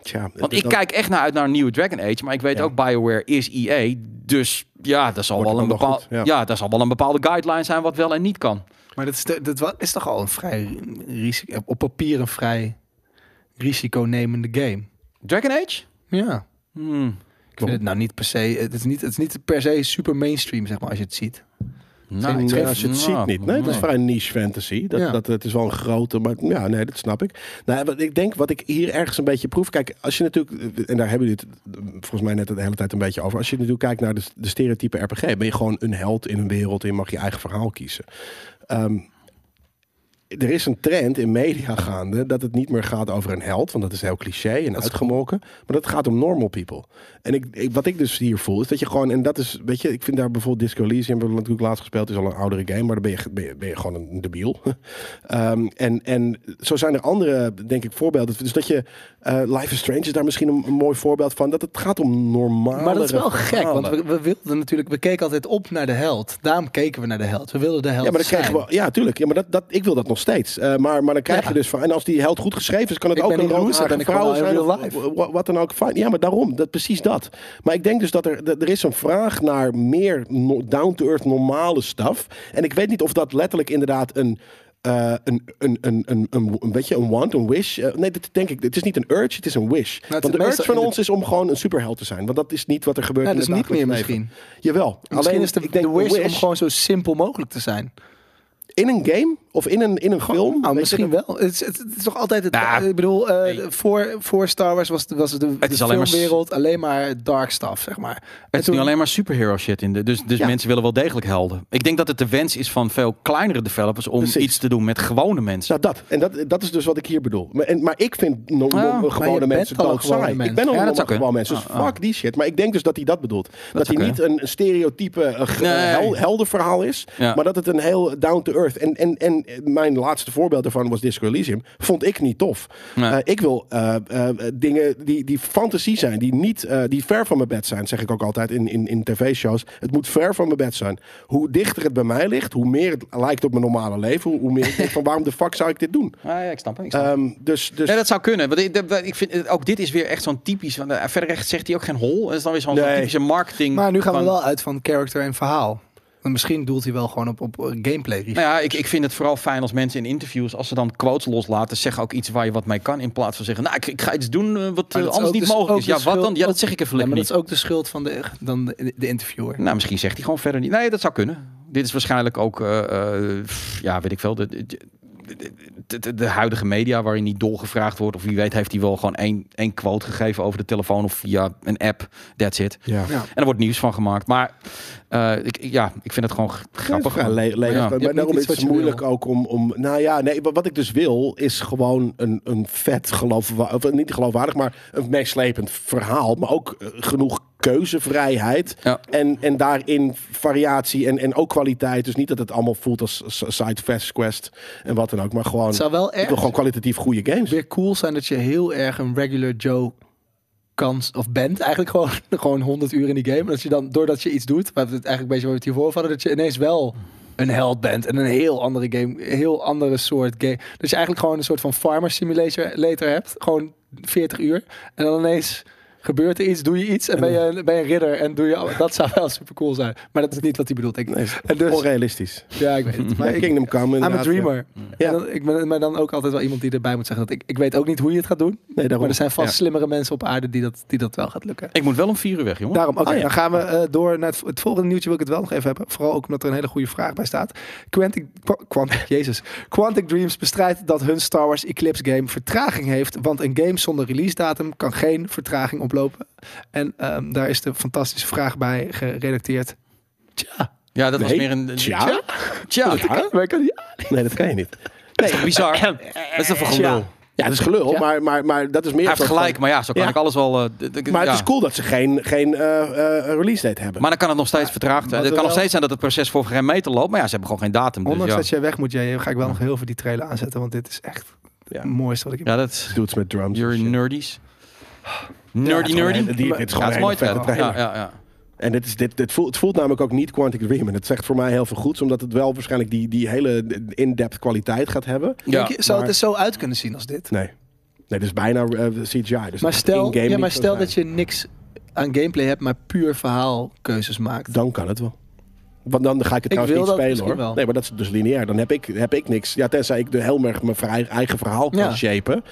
Speaker 3: Tja,
Speaker 2: Want
Speaker 3: dat-
Speaker 2: ik kijk echt naar uit naar een nieuwe Dragon Age, maar ik weet
Speaker 3: Ja.
Speaker 2: ook BioWare is EA, dus ja, dat zal
Speaker 3: Wordt
Speaker 2: wel een
Speaker 3: het dan wel
Speaker 2: bepaalde ja.
Speaker 3: goed, ja.
Speaker 2: dat zal wel een bepaalde guideline zijn wat wel en niet kan.
Speaker 1: Maar dat is, de- dat wa- is toch al een vrij risico, op papier een vrij risiconemende game.
Speaker 2: Dragon Age?
Speaker 1: Ja.
Speaker 2: Hmm,
Speaker 1: Ik vind het nou niet per se, het is niet, het is niet per se super mainstream, zeg maar, als je het ziet.
Speaker 2: nou,
Speaker 3: Nee,
Speaker 2: ik-
Speaker 3: als je
Speaker 2: nou,
Speaker 3: het ziet niet. Nee, dat is vrij niche fantasy. Dat,
Speaker 1: Ja.
Speaker 3: dat, het is wel een grote, maar ja, nee, dat snap ik. Nou, wat ik denk, wat ik hier ergens een beetje proef. Kijk, als je natuurlijk, en daar hebben jullie het eh, volgens mij net de hele tijd een beetje over. Als je natuurlijk kijkt naar de, de stereotype RPG, ben je gewoon een held in een wereld en je mag je eigen verhaal kiezen. Ehm, er is een trend in media gaande dat het niet meer gaat over een held, want dat is heel cliché en uitgemolken, maar dat gaat om normal people. En ik, ik- wat ik dus hier voel is dat je gewoon, en dat is, weet je, ik vind daar bijvoorbeeld Disco Elysium, hebben we natuurlijk laatst gespeeld, is al een oudere game, maar dan ben je, ben je, ben je gewoon een debiel. Ehm, en, en zo zijn er andere, denk ik, voorbeelden. Dus dat je, eh, Life is Strange is daar misschien een, een mooi voorbeeld van, dat het gaat om normale
Speaker 1: Maar dat is wel gek, want we, we wilden natuurlijk, we keken altijd op naar de held. Daarom keken we naar de held. We wilden de held
Speaker 3: Ja, maar dan
Speaker 1: zijn.
Speaker 3: krijg je wel, ja, tuurlijk. Ja, maar dat, dat, ik wil dat nog steeds. Eh, maar, maar dan krijg je dus van. En als die held goed geschreven is, kan het
Speaker 1: Ik
Speaker 3: ook
Speaker 1: ben
Speaker 3: een
Speaker 1: niet een loser,
Speaker 3: roodharige
Speaker 1: ben ik gewoon
Speaker 3: vrouw
Speaker 1: in
Speaker 3: zijn.
Speaker 1: real
Speaker 3: of
Speaker 1: life.
Speaker 3: wa- wa- wat dan ook. Fijn. Ja, maar daarom, dat, precies dat. Maar ik denk dus dat er, dat- er is een vraag naar meer no- down-to-earth normale stuff. En ik weet niet of dat letterlijk inderdaad een. eh, een, een, een, een, een, een beetje een want, een wish. Eh, nee, dat denk ik. Het is niet een urge, het is een wish.
Speaker 1: Nou, het
Speaker 3: Want
Speaker 1: is
Speaker 3: de urge
Speaker 1: meestal
Speaker 3: van
Speaker 1: in de-
Speaker 3: ons is om gewoon een superheld te zijn. Want dat is niet wat er gebeurt
Speaker 1: Ja,
Speaker 3: in
Speaker 1: dat
Speaker 3: het
Speaker 1: is niet meer
Speaker 3: dagelijks leven.
Speaker 1: misschien.
Speaker 3: Jawel.
Speaker 1: Misschien
Speaker 3: Alleen,
Speaker 1: is de,
Speaker 3: ik denk
Speaker 1: de wish, om gewoon zo simpel mogelijk te zijn.
Speaker 3: in een game of in een, in een film. weet
Speaker 1: Nou,
Speaker 3: je,
Speaker 1: misschien
Speaker 3: dat-
Speaker 1: wel. Het is, het, het is toch altijd het.
Speaker 2: Nou,
Speaker 1: ik bedoel, eh, voor, voor Star Wars was, het- was het de,
Speaker 2: Het is
Speaker 1: de
Speaker 2: alleen maar s-
Speaker 1: filmwereld alleen maar dark stuff, zeg maar.
Speaker 2: Het is nu alleen maar superhero shit in de, dus, dus
Speaker 3: Ja.
Speaker 2: mensen willen wel degelijk helden. Ik denk dat het de wens is van veel kleinere developers om
Speaker 3: Precies.
Speaker 2: iets te doen met gewone mensen.
Speaker 3: Nou, dat. En dat, dat is dus wat ik hier bedoel. Maar, en, maar ik vind no, no-
Speaker 2: Ja, maar
Speaker 1: je
Speaker 3: gewone
Speaker 1: bent
Speaker 3: mensen
Speaker 1: al een
Speaker 3: dood saai.
Speaker 1: gewone
Speaker 3: Ik
Speaker 1: mens.
Speaker 3: ben al
Speaker 2: Ja,
Speaker 3: een
Speaker 2: dat zou
Speaker 3: gewoon
Speaker 2: kunnen.
Speaker 3: mensen. Dus
Speaker 2: Ah, ah.
Speaker 3: fuck die shit. Maar ik denk dus dat hij dat bedoelt. Dat,
Speaker 2: zou
Speaker 3: hij niet een stereotype eh, ge-
Speaker 2: Nee.
Speaker 3: hel- heldenverhaal is.
Speaker 2: Ja.
Speaker 3: Maar dat het een heel down-to-earth. En, en, en mijn laatste voorbeeld daarvan was Disco Elysium. Vond ik niet tof.
Speaker 2: Nee.
Speaker 3: Eh, ik wil eh, eh, eh, dingen die, die fantasie zijn. Die, niet, eh, die ver van mijn bed zijn. Zeg ik ook altijd in, in, in tv-shows. Het moet ver van mijn bed zijn. Hoe dichter het bij mij ligt. Hoe meer het lijkt op mijn normale leven. Hoe, hoe meer ik denk van waarom de fuck zou ik dit doen?
Speaker 2: Ah, ja, ik snap het. ik snap het.
Speaker 3: Ehm, dus dus
Speaker 2: Nee, dat zou kunnen. Want ik, dat- ik vind, eh, ook dit is weer echt zo'n typisch. Want eh, verder recht zegt hij ook geen hol. Dat is dan weer zo'n zo'n
Speaker 3: Nee.
Speaker 2: typische marketing.
Speaker 1: Maar nu gaan we
Speaker 2: van-
Speaker 1: wel uit van character en verhaal. Want misschien doelt hij wel gewoon op, op eh, gameplay.
Speaker 2: Nou ja, ik, ik vind het vooral fijn als mensen in interviews, als ze dan quotes loslaten, zeggen ook iets waar je wat mee kan. In plaats van zeggen, nou, ik, ik ga iets doen eh, wat eh,
Speaker 1: Maar dat is
Speaker 2: anders
Speaker 1: ook
Speaker 2: niet
Speaker 1: de-
Speaker 2: mogelijk
Speaker 1: ook
Speaker 2: is.
Speaker 1: de
Speaker 2: Ja, wat
Speaker 1: schuld-
Speaker 2: dan? Ja, dat
Speaker 1: ook-
Speaker 2: zeg ik even
Speaker 1: Ja,
Speaker 2: lekker
Speaker 1: maar dat is
Speaker 2: niet.
Speaker 1: ook de schuld van de, dan de, de interviewer.
Speaker 2: Nou, misschien zegt hij gewoon verder niet. Nee, dat zou kunnen. Dit is waarschijnlijk ook, eh, eh, pff, ja, weet ik veel, de, de, de- de- de huidige media waarin niet dolgevraagd wordt. Of wie weet heeft hij wel gewoon één, één quote gegeven over de telefoon of via een app. That's it.
Speaker 3: Ja.
Speaker 1: Ja.
Speaker 2: En er wordt nieuws van gemaakt. Maar eh, ik, ik- ja, ik vind het gewoon g- grappig.
Speaker 3: Ja, le- le-
Speaker 2: Ja. Je
Speaker 3: Maar
Speaker 1: hebt niet
Speaker 3: daarom
Speaker 1: iets
Speaker 3: is
Speaker 1: wat
Speaker 3: het
Speaker 1: je
Speaker 3: moeilijk
Speaker 1: wil.
Speaker 3: ook om, om... Nou ja, nee, wa- wat ik dus wil is gewoon een, een vet geloofwaardig... Of niet geloofwaardig, maar een meeslepend verhaal. Maar ook eh, genoeg keuzevrijheid.
Speaker 2: Ja.
Speaker 3: En, en daarin variatie en, en ook kwaliteit. Dus niet dat het allemaal voelt als s- side fast quest en wat dan ook. Maar gewoon...
Speaker 1: Het zou wel
Speaker 3: ik wil
Speaker 1: echt
Speaker 3: gewoon kwalitatief goede games.
Speaker 1: weer cool zijn dat je heel erg een regular Joe kans of bent eigenlijk gewoon, gewoon 100 uur in die game. En Dat je dan, doordat je iets doet, waar we het eigenlijk een beetje waar we het hiervoor over hadden, dat je ineens wel een held bent en een heel andere game, een heel andere soort game. Dus je eigenlijk gewoon een soort van farmer simulator later hebt, gewoon 40 uur. En dan ineens Gebeurt er iets, doe je iets en ben je, een- ben je een ridder en doe je... Dat zou wel super cool zijn. Maar dat is niet wat hij bedoelt. Ik,
Speaker 3: Nee, is
Speaker 1: en dus,
Speaker 3: onrealistisch.
Speaker 1: ja, ik weet het. Maar
Speaker 3: Maar
Speaker 1: ik,
Speaker 3: Kingdom Come.
Speaker 1: I'm a
Speaker 3: inderdaad, ja.
Speaker 1: dreamer.
Speaker 3: Ja.
Speaker 1: En dan- ik ben maar dan ook altijd wel iemand die erbij moet zeggen dat ik, ik weet ook niet hoe je het gaat doen.
Speaker 3: Nee, daarom.
Speaker 1: Maar er zijn vast
Speaker 2: Ja.
Speaker 1: slimmere mensen op aarde die dat, die dat wel gaat lukken.
Speaker 2: Ik moet wel om vier uur weg, jongen.
Speaker 1: Daarom, oké,
Speaker 3: Ah, ja.
Speaker 1: dan gaan we eh, door naar het, het volgende nieuwtje. Wil ik het wel nog even hebben. Vooral ook omdat er een hele goede vraag bij staat. Quantic, Qua- Quantic, Jezus. Quantic Dreams bestrijdt dat hun Star Wars Eclipse game vertraging heeft. Want een game zonder release datum kan geen vertraging oplopen. En ehm, daar is de fantastische vraag bij geredacteerd. Tja,
Speaker 2: Ja, dat was
Speaker 3: Nee.
Speaker 2: meer een...
Speaker 3: Tja?
Speaker 2: Tja.
Speaker 1: wij kunnen die
Speaker 3: Nee, dat kan je niet.
Speaker 2: Nee, bizar. Dat is toch voor gelul.
Speaker 3: Ja, dat is gelul,
Speaker 1: Ja.
Speaker 3: maar, maar, maar dat is meer...
Speaker 2: Hij heeft
Speaker 3: een soort
Speaker 2: gelijk,
Speaker 3: van-
Speaker 2: maar ja, zo kan
Speaker 3: Ja.
Speaker 2: ik alles wel... eh, d- d-
Speaker 3: Maar
Speaker 2: ja.
Speaker 3: het is cool dat ze geen, geen eh, eh, release date hebben.
Speaker 2: Maar dan kan het nog steeds vertraagd
Speaker 1: wat
Speaker 2: zijn. Het
Speaker 1: we
Speaker 2: kan nog
Speaker 1: wel-
Speaker 2: steeds zijn dat het proces voor geen meter loopt. Maar ja, ze hebben gewoon geen datum. Dus
Speaker 1: Ondanks
Speaker 2: ja.
Speaker 1: dat jij weg moet, jij, ga ik wel nog heel veel die trailer aanzetten. Want dit is echt
Speaker 3: Ja.
Speaker 1: het mooiste wat ik heb.
Speaker 2: ja, dat is...
Speaker 3: Dudes met drums. en
Speaker 2: You're
Speaker 3: shit.
Speaker 2: nerdies. Nerdy,
Speaker 3: Ja, het
Speaker 2: nerdy.
Speaker 3: is gewoon een- die- dit is
Speaker 2: Ja,
Speaker 3: gewoon
Speaker 2: het is
Speaker 3: een
Speaker 2: mooi
Speaker 3: hele vette
Speaker 2: verder.
Speaker 3: trailer.
Speaker 2: Ja, ja, ja.
Speaker 3: En dit is, dit, dit voelt, het voelt namelijk ook niet Quantic Dream. En het zegt voor mij heel veel goeds, omdat het wel waarschijnlijk die, die hele in-depth kwaliteit gaat hebben.
Speaker 2: Ja.
Speaker 1: Denk je, zou
Speaker 3: maar-
Speaker 1: het er zo uit kunnen zien als dit?
Speaker 3: Nee. Nee, dus bijna eh, CGI. Dus
Speaker 1: Maar stel,
Speaker 3: in-game
Speaker 1: ja,
Speaker 3: niet
Speaker 1: maar
Speaker 3: zo
Speaker 1: stel
Speaker 3: zijn.
Speaker 1: dat je niks aan gameplay hebt, maar puur verhaalkeuzes maakt.
Speaker 3: Dan kan het wel. Want dan ga ik
Speaker 1: Ik
Speaker 3: het trouwens
Speaker 1: wil
Speaker 3: niet
Speaker 1: dat
Speaker 3: spelen
Speaker 1: misschien
Speaker 3: hoor.
Speaker 1: wel.
Speaker 3: Nee, maar dat is dus lineair. Dan heb ik, heb ik niks. Ja, tenzij ik de heel erg mijn vrij- eigen verhaal kan
Speaker 1: Ja.
Speaker 3: shapen.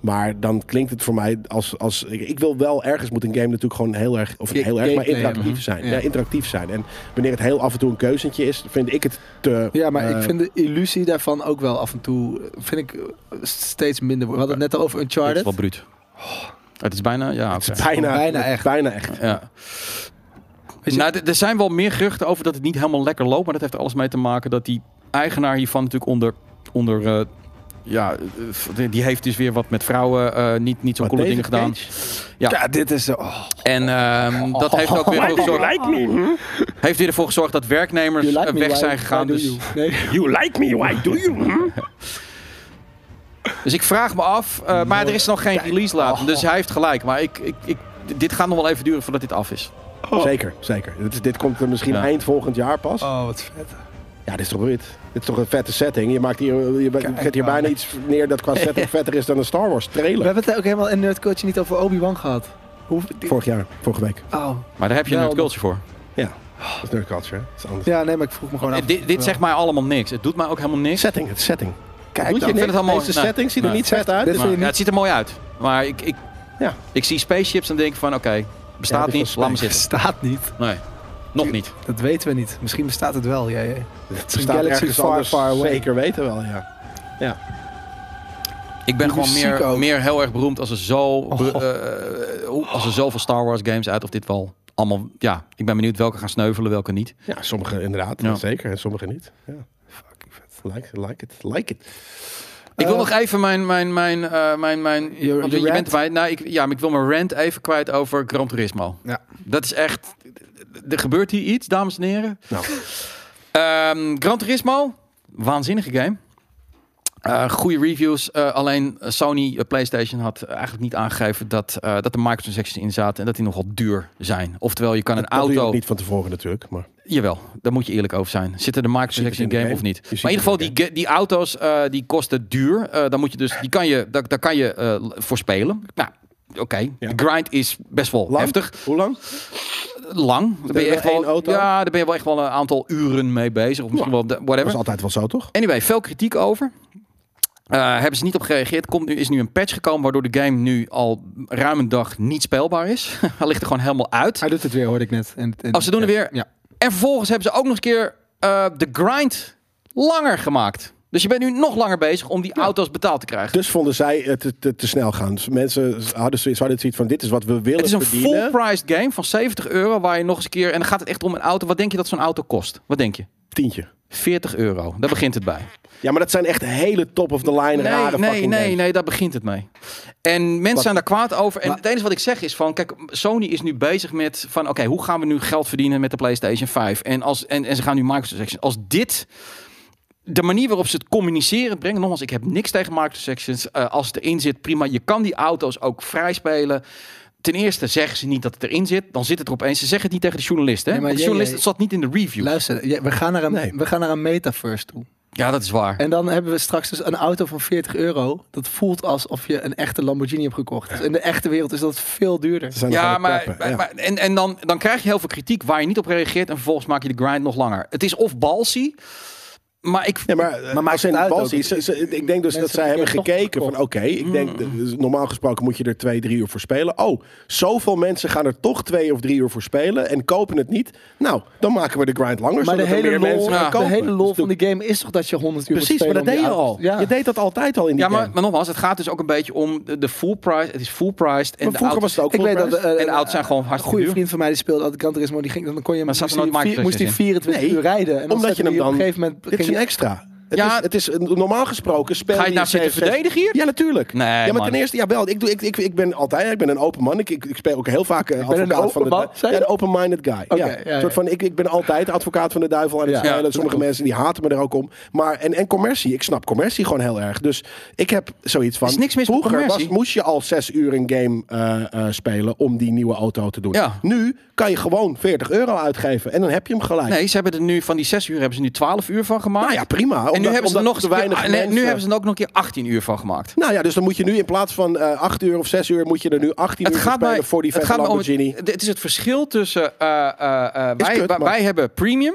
Speaker 3: Maar dan klinkt het voor mij als... als ik, ik wil wel ergens moet een game natuurlijk gewoon heel erg... Of
Speaker 1: Ga-
Speaker 3: heel erg, maar
Speaker 1: gameplay
Speaker 3: interactief
Speaker 1: hebben. Mhm.
Speaker 3: zijn.
Speaker 1: Ja.
Speaker 3: Ja. interactief zijn. En wanneer het heel af en toe een keuzentje is, vind ik het te...
Speaker 1: Ja, maar ik
Speaker 3: eh,
Speaker 1: vind de illusie daarvan ook wel af en toe eh, vind ik eh, steeds minder. worden. We hadden het net al over
Speaker 2: Het is
Speaker 1: Uncharted.
Speaker 2: wel bruut. Oh, Het is bijna... Ja,
Speaker 3: Het is
Speaker 2: oké.
Speaker 3: bijna,
Speaker 1: Bijna echt.
Speaker 3: Bijna echt.
Speaker 2: Ja.
Speaker 1: je-
Speaker 2: Nou, d- er zijn wel meer geruchten over dat het niet helemaal lekker loopt. Maar dat heeft er alles mee te maken dat die eigenaar hiervan natuurlijk onder... onder eh, ja, eh, f- die heeft dus weer wat met vrouwen eh, niet, niet zo
Speaker 3: Maar
Speaker 2: coole dingen
Speaker 3: David
Speaker 2: gedaan. Ja.
Speaker 1: dit is... Oh,
Speaker 2: En ehm, dat heeft ook weer ervoor gezorgd, heeft weer ervoor gezorgd dat werknemers
Speaker 1: you like
Speaker 2: eh,
Speaker 1: me,
Speaker 2: weg
Speaker 1: why-
Speaker 2: zijn
Speaker 1: why
Speaker 2: gegaan.
Speaker 1: do
Speaker 2: Dus,
Speaker 1: you? Nee.
Speaker 3: You like me, why do you?
Speaker 2: dus ik vraag me af. eh, maar er is nog geen release
Speaker 1: Oh.
Speaker 2: laten. Dus hij heeft gelijk. Maar ik, ik, ik, dit gaat nog wel even duren voordat dit af is.
Speaker 3: Zeker, zeker. Dit, is- dit komt er misschien
Speaker 2: Ja.
Speaker 3: eind volgend jaar pas.
Speaker 1: Oh, wat vet.
Speaker 3: Ja, dit is toch wit. Dit is toch een vette setting. Je maakt hier, je zet hier
Speaker 1: man.
Speaker 3: bijna iets neer dat qua setting vetter is dan een Star Wars
Speaker 1: We
Speaker 3: trailer.
Speaker 1: hebben het ook helemaal in Nerdcoach niet over Obi-Wan gehad. Hoe...
Speaker 3: Vorig jaar, vorige week.
Speaker 1: Oh.
Speaker 2: Maar daar heb je
Speaker 1: Wel.
Speaker 2: een culture voor.
Speaker 3: Ja, dat is nerd culture. hè? Dat is anders.
Speaker 1: Ja, nee, maar ik vroeg me gewoon af.
Speaker 2: Eh, dit dit zegt mij allemaal niks. Het doet mij ook helemaal niks.
Speaker 3: Setting, het setting.
Speaker 1: Kijk
Speaker 3: Doet
Speaker 1: dan.
Speaker 3: je niks?
Speaker 2: het allemaal-
Speaker 3: Deze
Speaker 2: nee.
Speaker 3: setting ziet er
Speaker 2: Nee.
Speaker 3: niet vet uit.
Speaker 1: Dit
Speaker 3: Dit
Speaker 2: Maar,
Speaker 1: vind je
Speaker 2: ja,
Speaker 1: niet-
Speaker 2: het ziet er mooi uit. Maar ik, ik,
Speaker 3: Ja.
Speaker 2: ik zie spaceships en denk van oké,
Speaker 3: Ja,
Speaker 2: bestaat
Speaker 3: dit is
Speaker 2: niet,
Speaker 3: wel
Speaker 2: laat me zitten.
Speaker 1: Bestaat niet.
Speaker 2: Nee, nog niet.
Speaker 1: Dat weten we niet. Misschien bestaat het wel. Ja, ja.
Speaker 3: het
Speaker 1: een
Speaker 3: staat
Speaker 1: galaxy
Speaker 3: ergens
Speaker 1: far,
Speaker 3: anders.
Speaker 1: far away.
Speaker 3: Zeker weten wel, ja.
Speaker 2: Ik ben
Speaker 1: Die
Speaker 2: gewoon
Speaker 1: muziek
Speaker 2: meer,
Speaker 1: ook. Oh.
Speaker 2: meer heel erg beroemd als er, zo, eh, hoe- als er zoveel Star Wars games uit of dit wel allemaal... Ja, ik ben benieuwd welke gaan sneuvelen, welke niet.
Speaker 3: Ja, sommige inderdaad,
Speaker 2: Ja.
Speaker 3: zeker. En sommige niet. Ja. Fucking vet. Like, like it, like it.
Speaker 2: Ik wil
Speaker 1: Eh,
Speaker 2: nog even mijn... mijn, mijn, eh, mijn, mijn
Speaker 1: je
Speaker 2: want je, je
Speaker 1: rant?
Speaker 2: bent erbij. Nou, ik, ja, maar ik wil mijn rant even kwijt over Gran Turismo.
Speaker 1: Ja.
Speaker 2: Dat is echt... Er gebeurt hier iets, dames en heren.
Speaker 3: Nou.
Speaker 2: Ehm, Gran Turismo, waanzinnige game. Eh, goede reviews. eh, alleen Sony eh, PlayStation had eigenlijk niet aangegeven dat, eh, dat er microtransactions in zaten en dat die nogal duur zijn. Oftewel, je kan een
Speaker 3: Dat doe je
Speaker 2: auto.
Speaker 3: ook niet van tevoren natuurlijk, maar...
Speaker 2: Jawel, daar moet je eerlijk over zijn. Zitten de
Speaker 3: Ziet het
Speaker 2: microtransactions in
Speaker 3: in
Speaker 2: de
Speaker 3: de
Speaker 2: game
Speaker 3: game.
Speaker 2: of niet?
Speaker 3: Je
Speaker 2: Maar in ieder
Speaker 3: ziet
Speaker 2: geval,
Speaker 3: het
Speaker 2: die,
Speaker 3: in de
Speaker 2: ga- die auto's eh, die kosten duur. Eh, dan moet je dus, die kan je, daar, daar kan je eh, voor spelen. Nou, oké.
Speaker 3: Ja.
Speaker 2: De grind is best wel
Speaker 3: Lang?
Speaker 2: heftig
Speaker 3: Hoe lang?
Speaker 2: lang. Daar ben je
Speaker 3: wel
Speaker 2: echt wel,
Speaker 3: één auto?
Speaker 2: Ja, daar ben je wel echt wel een aantal uren mee bezig. Of misschien wel
Speaker 3: Dat
Speaker 2: whatever.
Speaker 3: is altijd wel zo, toch?
Speaker 2: Anyway, veel kritiek over. Eh, hebben ze niet op gereageerd. Komt nu, is nu een patch gekomen waardoor de game nu al ruim een dag niet speelbaar is. Hij ligt er gewoon helemaal uit.
Speaker 1: Hij doet het weer, hoorde ik net. En, en,
Speaker 2: Oh, ze doen het weer.
Speaker 1: Ja.
Speaker 2: En vervolgens hebben ze ook nog eens een keer eh, de grind langer gemaakt. Dus je bent nu nog langer bezig om die auto's betaald te krijgen.
Speaker 3: Dus vonden zij het te, te, te snel gaan. Mensen hadden zoiets, hadden zoiets van dit is wat we willen
Speaker 2: het is een
Speaker 3: verdienen.
Speaker 2: full-priced game van 70 euro waar je nog eens een keer... En dan gaat het echt om een auto. Wat denk je dat zo'n auto kost? Wat denk je?
Speaker 3: Tientje.
Speaker 2: 40 euro. Daar begint het bij.
Speaker 3: Ja, maar dat zijn echt hele top of the line rare
Speaker 2: nee,
Speaker 3: fucking
Speaker 2: nee,
Speaker 3: games.
Speaker 2: nee, daar begint het mee. En mensen
Speaker 3: Wat-
Speaker 2: zijn daar kwaad over. En het enige wat ik zeg is van, kijk, Sony is nu bezig met van, oké, hoe gaan we nu geld verdienen met de PlayStation 5? En, als, en, en ze gaan nu microtransactions. Als dit de manier waarop ze het communiceren brengen, nogmaals, ik heb niks tegen microtransactions. Eh, als het erin zit, prima. Je kan die auto's ook vrij spelen. Ten eerste zeggen ze niet dat het erin zit, dan zit het er opeens. Ze zeggen het niet tegen de journalist, hè?
Speaker 1: Nee, maar
Speaker 2: Want de
Speaker 1: jij- jij-
Speaker 2: journalist het zat niet in de review.
Speaker 1: Luister, ja, we, gaan naar een,
Speaker 3: Nee.
Speaker 1: we gaan naar een metaverse toe.
Speaker 2: Ja, dat is waar.
Speaker 1: En dan hebben we straks dus een auto van 40 euro. Dat voelt alsof je een echte Lamborghini hebt gekocht. Dus in de echte wereld is dat veel duurder.
Speaker 3: Ze zijn nog
Speaker 2: ja,
Speaker 3: aan het
Speaker 2: maar,
Speaker 3: preppen, ja.
Speaker 2: maar- en, en dan, dan krijg je heel veel kritiek waar je niet op reageert. En vervolgens maak je de grind nog langer. Het is of balsy, maar ik...
Speaker 3: Ja, maar, eh,
Speaker 1: Maar maakt
Speaker 3: als
Speaker 1: het
Speaker 3: in
Speaker 1: uit
Speaker 3: Bals
Speaker 1: ook?
Speaker 3: is, ze- ze- ik denk dus
Speaker 1: Mensen
Speaker 3: dat zij hebben
Speaker 1: hebben toch
Speaker 3: gekeken van oké, ik
Speaker 2: Mm.
Speaker 3: denk dus normaal gesproken moet je er twee, drie uur voor spelen. Oh, zoveel mensen gaan er toch twee of drie uur voor spelen en kopen het niet. Nou, dan maken we de grind langer,
Speaker 1: Maar de
Speaker 3: zodat er
Speaker 1: hele,
Speaker 3: meer
Speaker 1: lol,
Speaker 3: mensen gaan
Speaker 1: de
Speaker 3: kopen.
Speaker 1: hele lol
Speaker 3: Dus
Speaker 1: van
Speaker 3: doe-
Speaker 1: die game is toch dat je 100 uur moet
Speaker 3: Precies, maar
Speaker 1: spelen
Speaker 3: dat deed
Speaker 1: om
Speaker 3: je
Speaker 1: die
Speaker 3: al.
Speaker 1: auto- Ja.
Speaker 3: Je deed dat altijd al in die
Speaker 2: ja, maar,
Speaker 3: game.
Speaker 2: maar nogmaals, het gaat dus ook een beetje om de, de full price. Het is full priced. En
Speaker 3: Maar
Speaker 2: de
Speaker 3: vroeger
Speaker 2: auto's-
Speaker 3: was het ook
Speaker 1: Ik
Speaker 3: full
Speaker 1: weet dat
Speaker 3: price.
Speaker 1: eh,
Speaker 2: en de auto's zijn gewoon
Speaker 1: een
Speaker 2: hartstikke
Speaker 1: goede
Speaker 2: duur.
Speaker 1: vriend van mij die speelde altijd Gran Turismo. Die ging, dan kon je
Speaker 2: Maar zat er
Speaker 1: moest
Speaker 2: nooit
Speaker 1: hij vier-
Speaker 2: microtransactions
Speaker 1: moest hij
Speaker 2: in?
Speaker 1: 24 uur
Speaker 3: Nee,
Speaker 1: rijden. En
Speaker 3: omdat je
Speaker 1: zette
Speaker 3: hem
Speaker 1: die op
Speaker 3: dan...
Speaker 1: een gegeven moment
Speaker 3: Dit is
Speaker 1: ging
Speaker 3: een
Speaker 1: je-
Speaker 3: extra. Het
Speaker 2: Ja.
Speaker 3: is, het is een- normaal gesproken speel
Speaker 2: Ga je
Speaker 3: in
Speaker 2: nou zitten
Speaker 3: 7-6.
Speaker 2: verdedigen hier?
Speaker 3: Ja, natuurlijk.
Speaker 2: Nee,
Speaker 3: ja, maar
Speaker 2: man.
Speaker 3: ten eerste, ja, wel. Ik, doe, ik, ik, ik ben altijd, ik ben een open man. Ik, ik, ik speel ook heel vaak eh, advocaat
Speaker 1: een open
Speaker 3: van de
Speaker 1: man,
Speaker 3: duivel.
Speaker 1: zei
Speaker 3: Ja,
Speaker 1: je?
Speaker 3: een open-minded guy.
Speaker 1: Oké,
Speaker 3: ja.
Speaker 1: ja,
Speaker 3: Een soort
Speaker 1: ja.
Speaker 3: van, ik, ik ben altijd advocaat van de duivel aan het
Speaker 1: Ja.
Speaker 3: spelen.
Speaker 1: Ja, dat
Speaker 3: Sommige
Speaker 1: klopt.
Speaker 3: mensen die haten me er ook om. Maar, en, en commercie, ik snap commercie gewoon heel erg. Dus ik heb zoiets van.
Speaker 2: Er is niks mis met
Speaker 3: vroeger
Speaker 2: commercie.
Speaker 3: was- moest je al zes uur een game eh, eh, spelen om die nieuwe auto te doen.
Speaker 2: Ja.
Speaker 3: Nu kan je gewoon 40 euro uitgeven en dan heb je hem gelijk.
Speaker 2: Nee, ze hebben er nu van die 6 uur hebben ze nu 12 uur van gemaakt.
Speaker 3: Nou ja, prima.
Speaker 2: en nu
Speaker 3: Omdat-
Speaker 2: hebben ze er
Speaker 3: omdat
Speaker 2: nog
Speaker 3: te
Speaker 2: eens een keer-
Speaker 3: weinig
Speaker 2: ah, nee, nu
Speaker 3: mensen-
Speaker 2: hebben ze er ook nog een keer 18 uur van gemaakt.
Speaker 3: Nou ja, dus dan moet je nu in plaats van eh 8 uur of 6 uur, moet je er nu 18 uur voor spelen voor die
Speaker 2: het
Speaker 3: vette
Speaker 2: gaat me om het-
Speaker 3: Lamborghini.
Speaker 2: Het, is het verschil tussen. eh, eh, eh,
Speaker 3: Is
Speaker 2: wij,
Speaker 3: kut,
Speaker 2: wij-
Speaker 3: maar-
Speaker 2: wij hebben premium.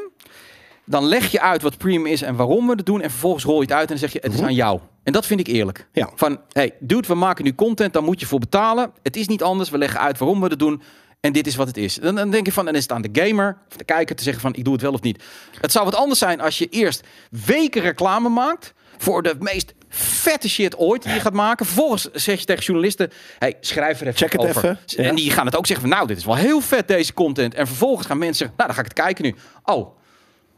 Speaker 2: Dan leg je uit wat premium is en waarom we het doen. En vervolgens rol je het uit en dan zeg je: het is aan jou. En dat vind ik eerlijk.
Speaker 3: Mhm. Ja.
Speaker 2: Van hey, dude, we maken nu content, daar moet je voor betalen. Het is niet anders. We leggen uit waarom we het doen. En dit is wat het is. Dan, dan denk je van, en is het aan de gamer of de kijker te zeggen van, ik doe het wel of niet. Het zou wat anders zijn als je eerst weken reclame maakt voor de meest vette shit ooit die je gaat maken. Vervolgens zeg je tegen journalisten, hey, schrijf er even
Speaker 3: Check het
Speaker 2: over.
Speaker 3: even, ja.
Speaker 2: En die gaan het ook zeggen van, nou, dit is wel heel vet deze content. En vervolgens gaan mensen zeggen, nou, dan ga ik het kijken nu. Oh,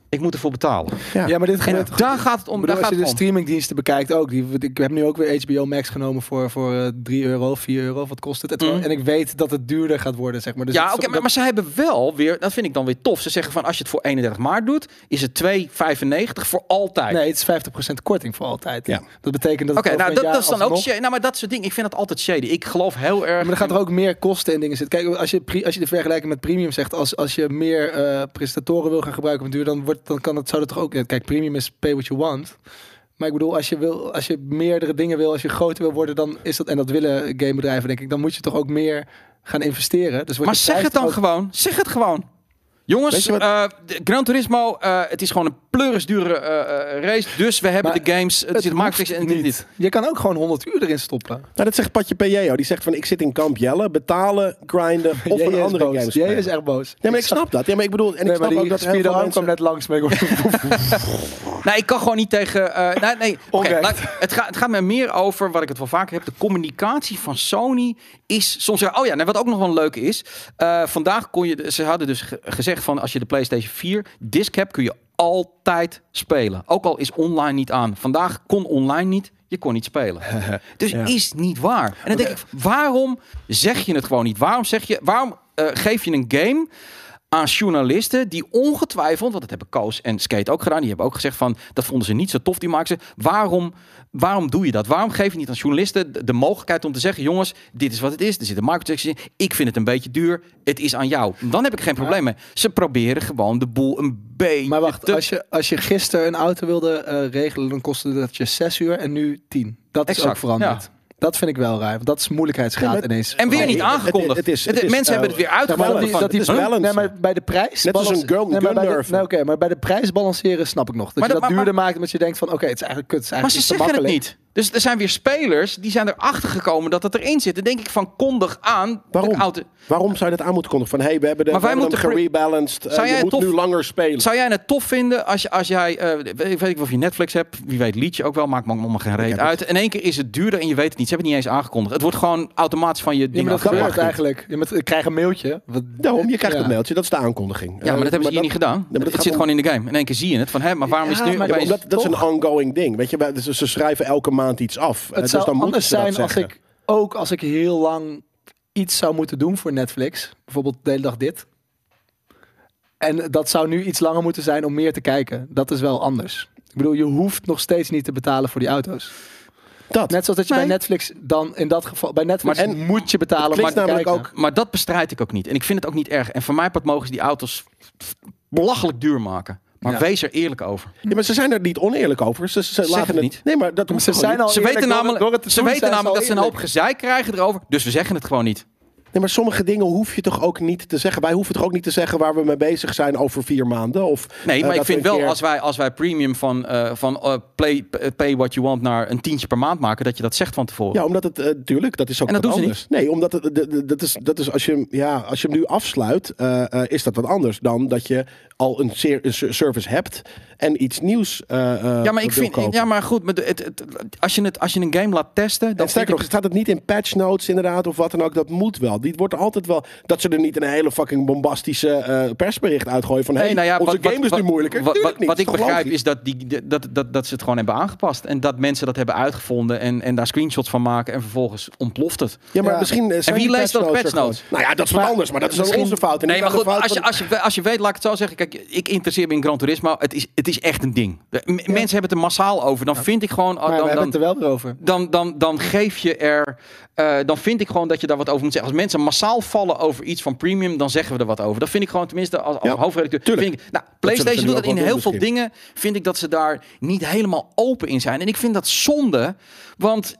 Speaker 2: ik moet ervoor betalen.
Speaker 3: Ja.
Speaker 1: Ja, maar dit
Speaker 2: En
Speaker 1: gebeurt
Speaker 2: daar gaat het om.
Speaker 1: Ik bedoel,
Speaker 2: daar
Speaker 1: als je dus
Speaker 2: gaat
Speaker 1: de
Speaker 2: het om.
Speaker 1: streamingdiensten bekijkt ook. Die, ik heb nu ook weer HBO Max genomen voor, voor eh, 3 euro, 4 euro. Wat kost het? Het-
Speaker 2: Mm.
Speaker 1: En ik weet dat het duurder gaat worden, zeg maar. Dus
Speaker 2: ja,
Speaker 1: het
Speaker 2: oké,
Speaker 1: is toch-
Speaker 2: maar, maar ze hebben wel weer, dat vind ik dan weer tof. Ze zeggen van als je het voor 31 maart doet, is het 2,95 voor altijd.
Speaker 1: Nee, het is 50% korting voor altijd.
Speaker 3: Ja.
Speaker 1: Dat betekent dat...
Speaker 2: Oké,
Speaker 1: het
Speaker 2: nou
Speaker 1: over
Speaker 2: dat,
Speaker 1: een
Speaker 2: dat is dan
Speaker 1: jaar
Speaker 2: ook
Speaker 1: alsnog-
Speaker 2: shady. Nou, maar dat soort dingen, ik vind dat altijd shady. Ik geloof heel erg.
Speaker 1: Maar er gaat er ook meer kosten in dingen zitten. Kijk, als je, pri- als je de vergelijking met premium zegt, als, als je meer eh, presentatoren wil gaan gebruiken op een duur, dan, wordt, dan kan dat, zou dat toch ook. ja, Kijk, premium is pay what you want. Maar ik bedoel, als je, wil, als je meerdere dingen wil, als je groter wil worden, dan is dat. En dat willen gamebedrijven, denk ik. Dan moet je toch ook meer gaan investeren. Dus wordt
Speaker 2: Maar
Speaker 1: je
Speaker 2: zeg
Speaker 1: prijs
Speaker 2: het dan
Speaker 1: ook-
Speaker 2: gewoon. Zeg het gewoon.
Speaker 3: Weet
Speaker 2: Jongens,
Speaker 3: je wat-
Speaker 2: eh, de Gran Turismo, eh, het is gewoon een pleurisdure eh, eh, race. Dus we hebben
Speaker 1: Maar
Speaker 2: de games, het,
Speaker 1: het
Speaker 2: zit marketing en
Speaker 1: hoeft
Speaker 2: dit, en
Speaker 1: niet.
Speaker 2: dit.
Speaker 1: Je kan ook gewoon 100 uur erin stoppen.
Speaker 3: Nou, dat zegt Patje P.J.O. Die zegt van, ik zit in kamp Jelle, betalen, grinden of
Speaker 1: Jij
Speaker 3: een andere
Speaker 1: is boos.
Speaker 3: game
Speaker 1: Jij
Speaker 3: spelen.
Speaker 1: is echt boos.
Speaker 3: Nee, maar ik snap dat. Ja, maar ik bedoel, en ik
Speaker 1: Nee, maar
Speaker 3: snap
Speaker 1: die
Speaker 3: ook dat heel
Speaker 1: gespierde
Speaker 3: veel
Speaker 1: arm
Speaker 3: mensen...
Speaker 1: kwam net langs. Maar ik
Speaker 2: Nee, ik kan gewoon niet tegen. eh, nee, nee. Oké,
Speaker 1: Oprecht.
Speaker 2: laat- het, gaat, het gaat mij meer over wat ik het wel vaker heb. De communicatie van Sony is soms. Oh ja, nee, wat ook nog wel een leuke is. eh, vandaag kon je. Ze hadden dus ge- gezegd van als je de PlayStation 4 disc hebt, kun je altijd spelen. Ook al is online niet aan. Vandaag kon online niet. Je kon niet spelen. Dus is niet waar. En dan denk ik, waarom zeg je het gewoon niet? Waarom zeg je, waarom eh, geef je een game aan journalisten die ongetwijfeld, want dat hebben Koos en Skate ook gedaan, die hebben ook gezegd van dat vonden ze niet zo tof, die maken ze. Waarom, waarom doe je dat? Waarom geef je niet aan journalisten de, de mogelijkheid om te zeggen, jongens, dit is wat het is, er zit een marketing in, ik vind het een beetje duur, het is aan jou. Dan heb ik geen probleem mee. Ze proberen gewoon de boel een beetje
Speaker 1: Maar wacht,
Speaker 2: te-
Speaker 1: als je, als je gisteren een auto wilde eh, regelen, dan kostte dat je 6 uur en nu 10. Dat is
Speaker 2: Exact,
Speaker 1: ook veranderd. Dat vind ik wel raar, want dat is moeilijkheidsgraad
Speaker 3: Ja, maar-
Speaker 1: ineens.
Speaker 2: En weer
Speaker 3: Nee,
Speaker 2: niet
Speaker 3: het-
Speaker 2: aangekondigd.
Speaker 3: het- het is-
Speaker 2: Het-
Speaker 3: het is,
Speaker 2: mensen
Speaker 3: eh,
Speaker 2: hebben het weer
Speaker 3: ja, maar
Speaker 2: uitgevallen.
Speaker 1: dat is,
Speaker 3: balance.
Speaker 1: dat is
Speaker 3: Het is
Speaker 1: balance. Nee,
Speaker 3: balancen.
Speaker 1: maar bij de prijs.
Speaker 3: Net als
Speaker 1: balance-
Speaker 3: een gun-
Speaker 1: nee, maar bij de,
Speaker 3: gunnerve.
Speaker 1: nee, oké, maar bij de prijs balanceren snap ik nog. Dat
Speaker 2: Maar
Speaker 1: je
Speaker 2: dat-
Speaker 1: dat
Speaker 2: maar-
Speaker 1: duurder maakt omdat je denkt van, oké, het is eigenlijk kut. Het is
Speaker 2: Maar ze
Speaker 1: eigenlijk
Speaker 2: zeggen
Speaker 1: te
Speaker 2: het
Speaker 1: makkelijk.
Speaker 2: niet. Dus er zijn weer spelers die zijn erachter gekomen dat het erin zit. Dan denk ik van kondig aan.
Speaker 3: Waarom?
Speaker 2: de auto-
Speaker 3: Waarom zou je dat aan moeten kondigen? Van, hey, we hebben, de,
Speaker 2: Maar
Speaker 3: we
Speaker 2: wij
Speaker 3: hebben hem
Speaker 2: moeten
Speaker 3: gerebalanced. eh,
Speaker 2: Zou jij
Speaker 3: je moet
Speaker 2: tof-
Speaker 3: nu langer spelen.
Speaker 2: Zou jij het tof vinden als, je, als jij, eh, weet, weet ik wel of je Netflix hebt, wie weet liedje ook wel, maakt me allemaal geen reet
Speaker 3: heb
Speaker 2: uit. In één keer is het duurder en je weet het niet. Ze hebben het niet eens aangekondigd. Het wordt gewoon automatisch van je
Speaker 1: Ja,
Speaker 2: ding
Speaker 1: maar dat
Speaker 2: afgewerkt.
Speaker 1: gebeurt eigenlijk. Je moet- ik krijg een mailtje. Wat,
Speaker 3: Daarom, je krijgt
Speaker 1: Ja.
Speaker 3: het mailtje. Dat is de aankondiging. Eh,
Speaker 2: Ja, maar dat hebben ze hier niet gedaan.
Speaker 3: maar dat
Speaker 2: het
Speaker 3: gaat
Speaker 2: zit
Speaker 3: om-
Speaker 2: gewoon in de game. In één keer zie je het van, hè, maar waarom
Speaker 1: Ja,
Speaker 2: is het nu
Speaker 1: maar
Speaker 3: Ja, maar
Speaker 2: opeens...
Speaker 3: omdat, dat is een ongoing ding. Weet je, wij- ze, ze schrijven elke maand iets af. Eh,
Speaker 1: Het zou
Speaker 3: dus dan moeten
Speaker 1: anders
Speaker 3: ze dat
Speaker 1: zijn als
Speaker 3: zeggen.
Speaker 1: ik ook als ik heel lang iets zou moeten doen voor Netflix. Bijvoorbeeld de hele dag dit. En dat zou nu iets langer moeten zijn om meer te kijken. Dat is wel anders. Ik bedoel, je hoeft nog steeds niet te betalen voor die auto's.
Speaker 3: Dat.
Speaker 1: Net zoals dat je bij
Speaker 2: Nee.
Speaker 1: Netflix dan in dat geval... Bij Netflix
Speaker 3: Maar- en-
Speaker 1: moet je betalen om
Speaker 3: klinkt
Speaker 1: te
Speaker 3: namelijk
Speaker 1: kijken.
Speaker 3: ook-
Speaker 2: Maar dat bestrijd ik ook niet. En ik vind het ook niet erg. En voor mij part mogen ze die auto's belachelijk duur maken. Maar
Speaker 3: Ja.
Speaker 2: wees er eerlijk over.
Speaker 3: Ja, maar ze zijn er niet oneerlijk over. Ze, ze laten
Speaker 2: het niet.
Speaker 3: Nee, maar dat
Speaker 1: ze
Speaker 3: hoeft
Speaker 1: zijn
Speaker 3: gewoon
Speaker 1: al
Speaker 2: Ze
Speaker 1: eerlijk,
Speaker 2: weten
Speaker 1: door het-
Speaker 2: namelijk,
Speaker 1: door het te
Speaker 2: ze
Speaker 1: doen
Speaker 2: weten
Speaker 1: zijn
Speaker 2: namelijk dat ze een
Speaker 1: al
Speaker 2: hoop
Speaker 1: eerlijk.
Speaker 2: gezeik krijgen erover. Dus we zeggen het gewoon niet.
Speaker 3: niet. Nee, maar sommige dingen hoef je toch ook niet te zeggen. Wij hoeven toch ook niet te zeggen waar we mee bezig zijn over vier maanden. Of,
Speaker 2: Nee,
Speaker 3: eh,
Speaker 2: maar ik
Speaker 3: dat we
Speaker 2: vind
Speaker 3: een
Speaker 2: wel
Speaker 3: keer-
Speaker 2: als wij, als wij premium van, eh, van eh, play, eh, pay what you want naar een tientje per maand maken, dat je dat zegt van tevoren.
Speaker 3: Ja, omdat het eh, tuurlijk, dat is ook
Speaker 2: En dat
Speaker 3: wat
Speaker 2: doen ze
Speaker 3: anders. Nee, omdat het, de- de- dat is, dat is als, je, hem- ja, als je hem nu afsluit, eh, eh, is dat wat anders dan dat je al een, ser- een ser- service hebt en iets nieuws. eh, eh,
Speaker 2: Ja, maar ik
Speaker 3: wil
Speaker 2: vind,
Speaker 3: kopen.
Speaker 2: ja, maar goed, maar de- het, het- als, je het, als je een game laat testen, dan
Speaker 3: En sterker nog,
Speaker 2: vind ik
Speaker 3: staat het niet in patch notes inderdaad of wat dan ook. Dat moet wel. Dit wordt altijd wel dat ze er niet een hele fucking bombastische eh, persbericht uitgooien van
Speaker 2: het-
Speaker 3: hey,
Speaker 2: Nee, nou ja,
Speaker 3: onze game is nu moeilijker.
Speaker 2: Wat,
Speaker 3: Tuurlijk
Speaker 2: wat,
Speaker 3: niet,
Speaker 2: wat
Speaker 3: is
Speaker 2: ik
Speaker 3: toch
Speaker 2: begrijp
Speaker 3: logisch?
Speaker 2: is dat, die, dat, dat, dat ze het gewoon hebben aangepast. En dat mensen dat hebben uitgevonden en, en daar screenshots van maken. En vervolgens ontploft het.
Speaker 3: Ja, maar
Speaker 1: Ja.
Speaker 3: misschien eh, zijn
Speaker 2: wie
Speaker 3: die
Speaker 2: leest dat
Speaker 3: patchnotes
Speaker 2: patch
Speaker 3: er gewoon.
Speaker 2: notes?
Speaker 3: Nou ja, dat is wat anders, maar dat is
Speaker 2: Misschien-
Speaker 3: misschien... onze fout. en
Speaker 2: Nee,
Speaker 3: niet
Speaker 2: maar
Speaker 3: aan de
Speaker 2: goed,
Speaker 3: fout
Speaker 2: als je,
Speaker 3: van-
Speaker 2: als, je, als je weet, laat ik het zo zeggen. Kijk, ik interesseer me in Gran Turismo. Het is, het is echt een ding. De- m- Mensen hebben het er massaal over. Dan vind ik gewoon...
Speaker 1: Maar we
Speaker 2: dan,
Speaker 1: hebben
Speaker 2: dan,
Speaker 1: het er wel weer over.
Speaker 2: dan, dan, dan geef je er. eh, dan vind ik gewoon dat je daar wat over moet zeggen. Als mensen massaal vallen over iets van premium, dan zeggen we er wat over. Dat vind ik gewoon, tenminste, als, als
Speaker 3: Ja,
Speaker 2: hoofdredacteur.
Speaker 3: tuurlijk.
Speaker 2: Vind ik, nou,
Speaker 3: zullen
Speaker 2: PlayStation
Speaker 3: ze nu
Speaker 2: doet
Speaker 3: ook
Speaker 2: dat in
Speaker 3: wel
Speaker 2: heel
Speaker 3: doen
Speaker 2: veel
Speaker 3: misschien.
Speaker 2: dingen. Vind ik dat ze daar niet helemaal open in zijn. En ik vind dat zonde, want.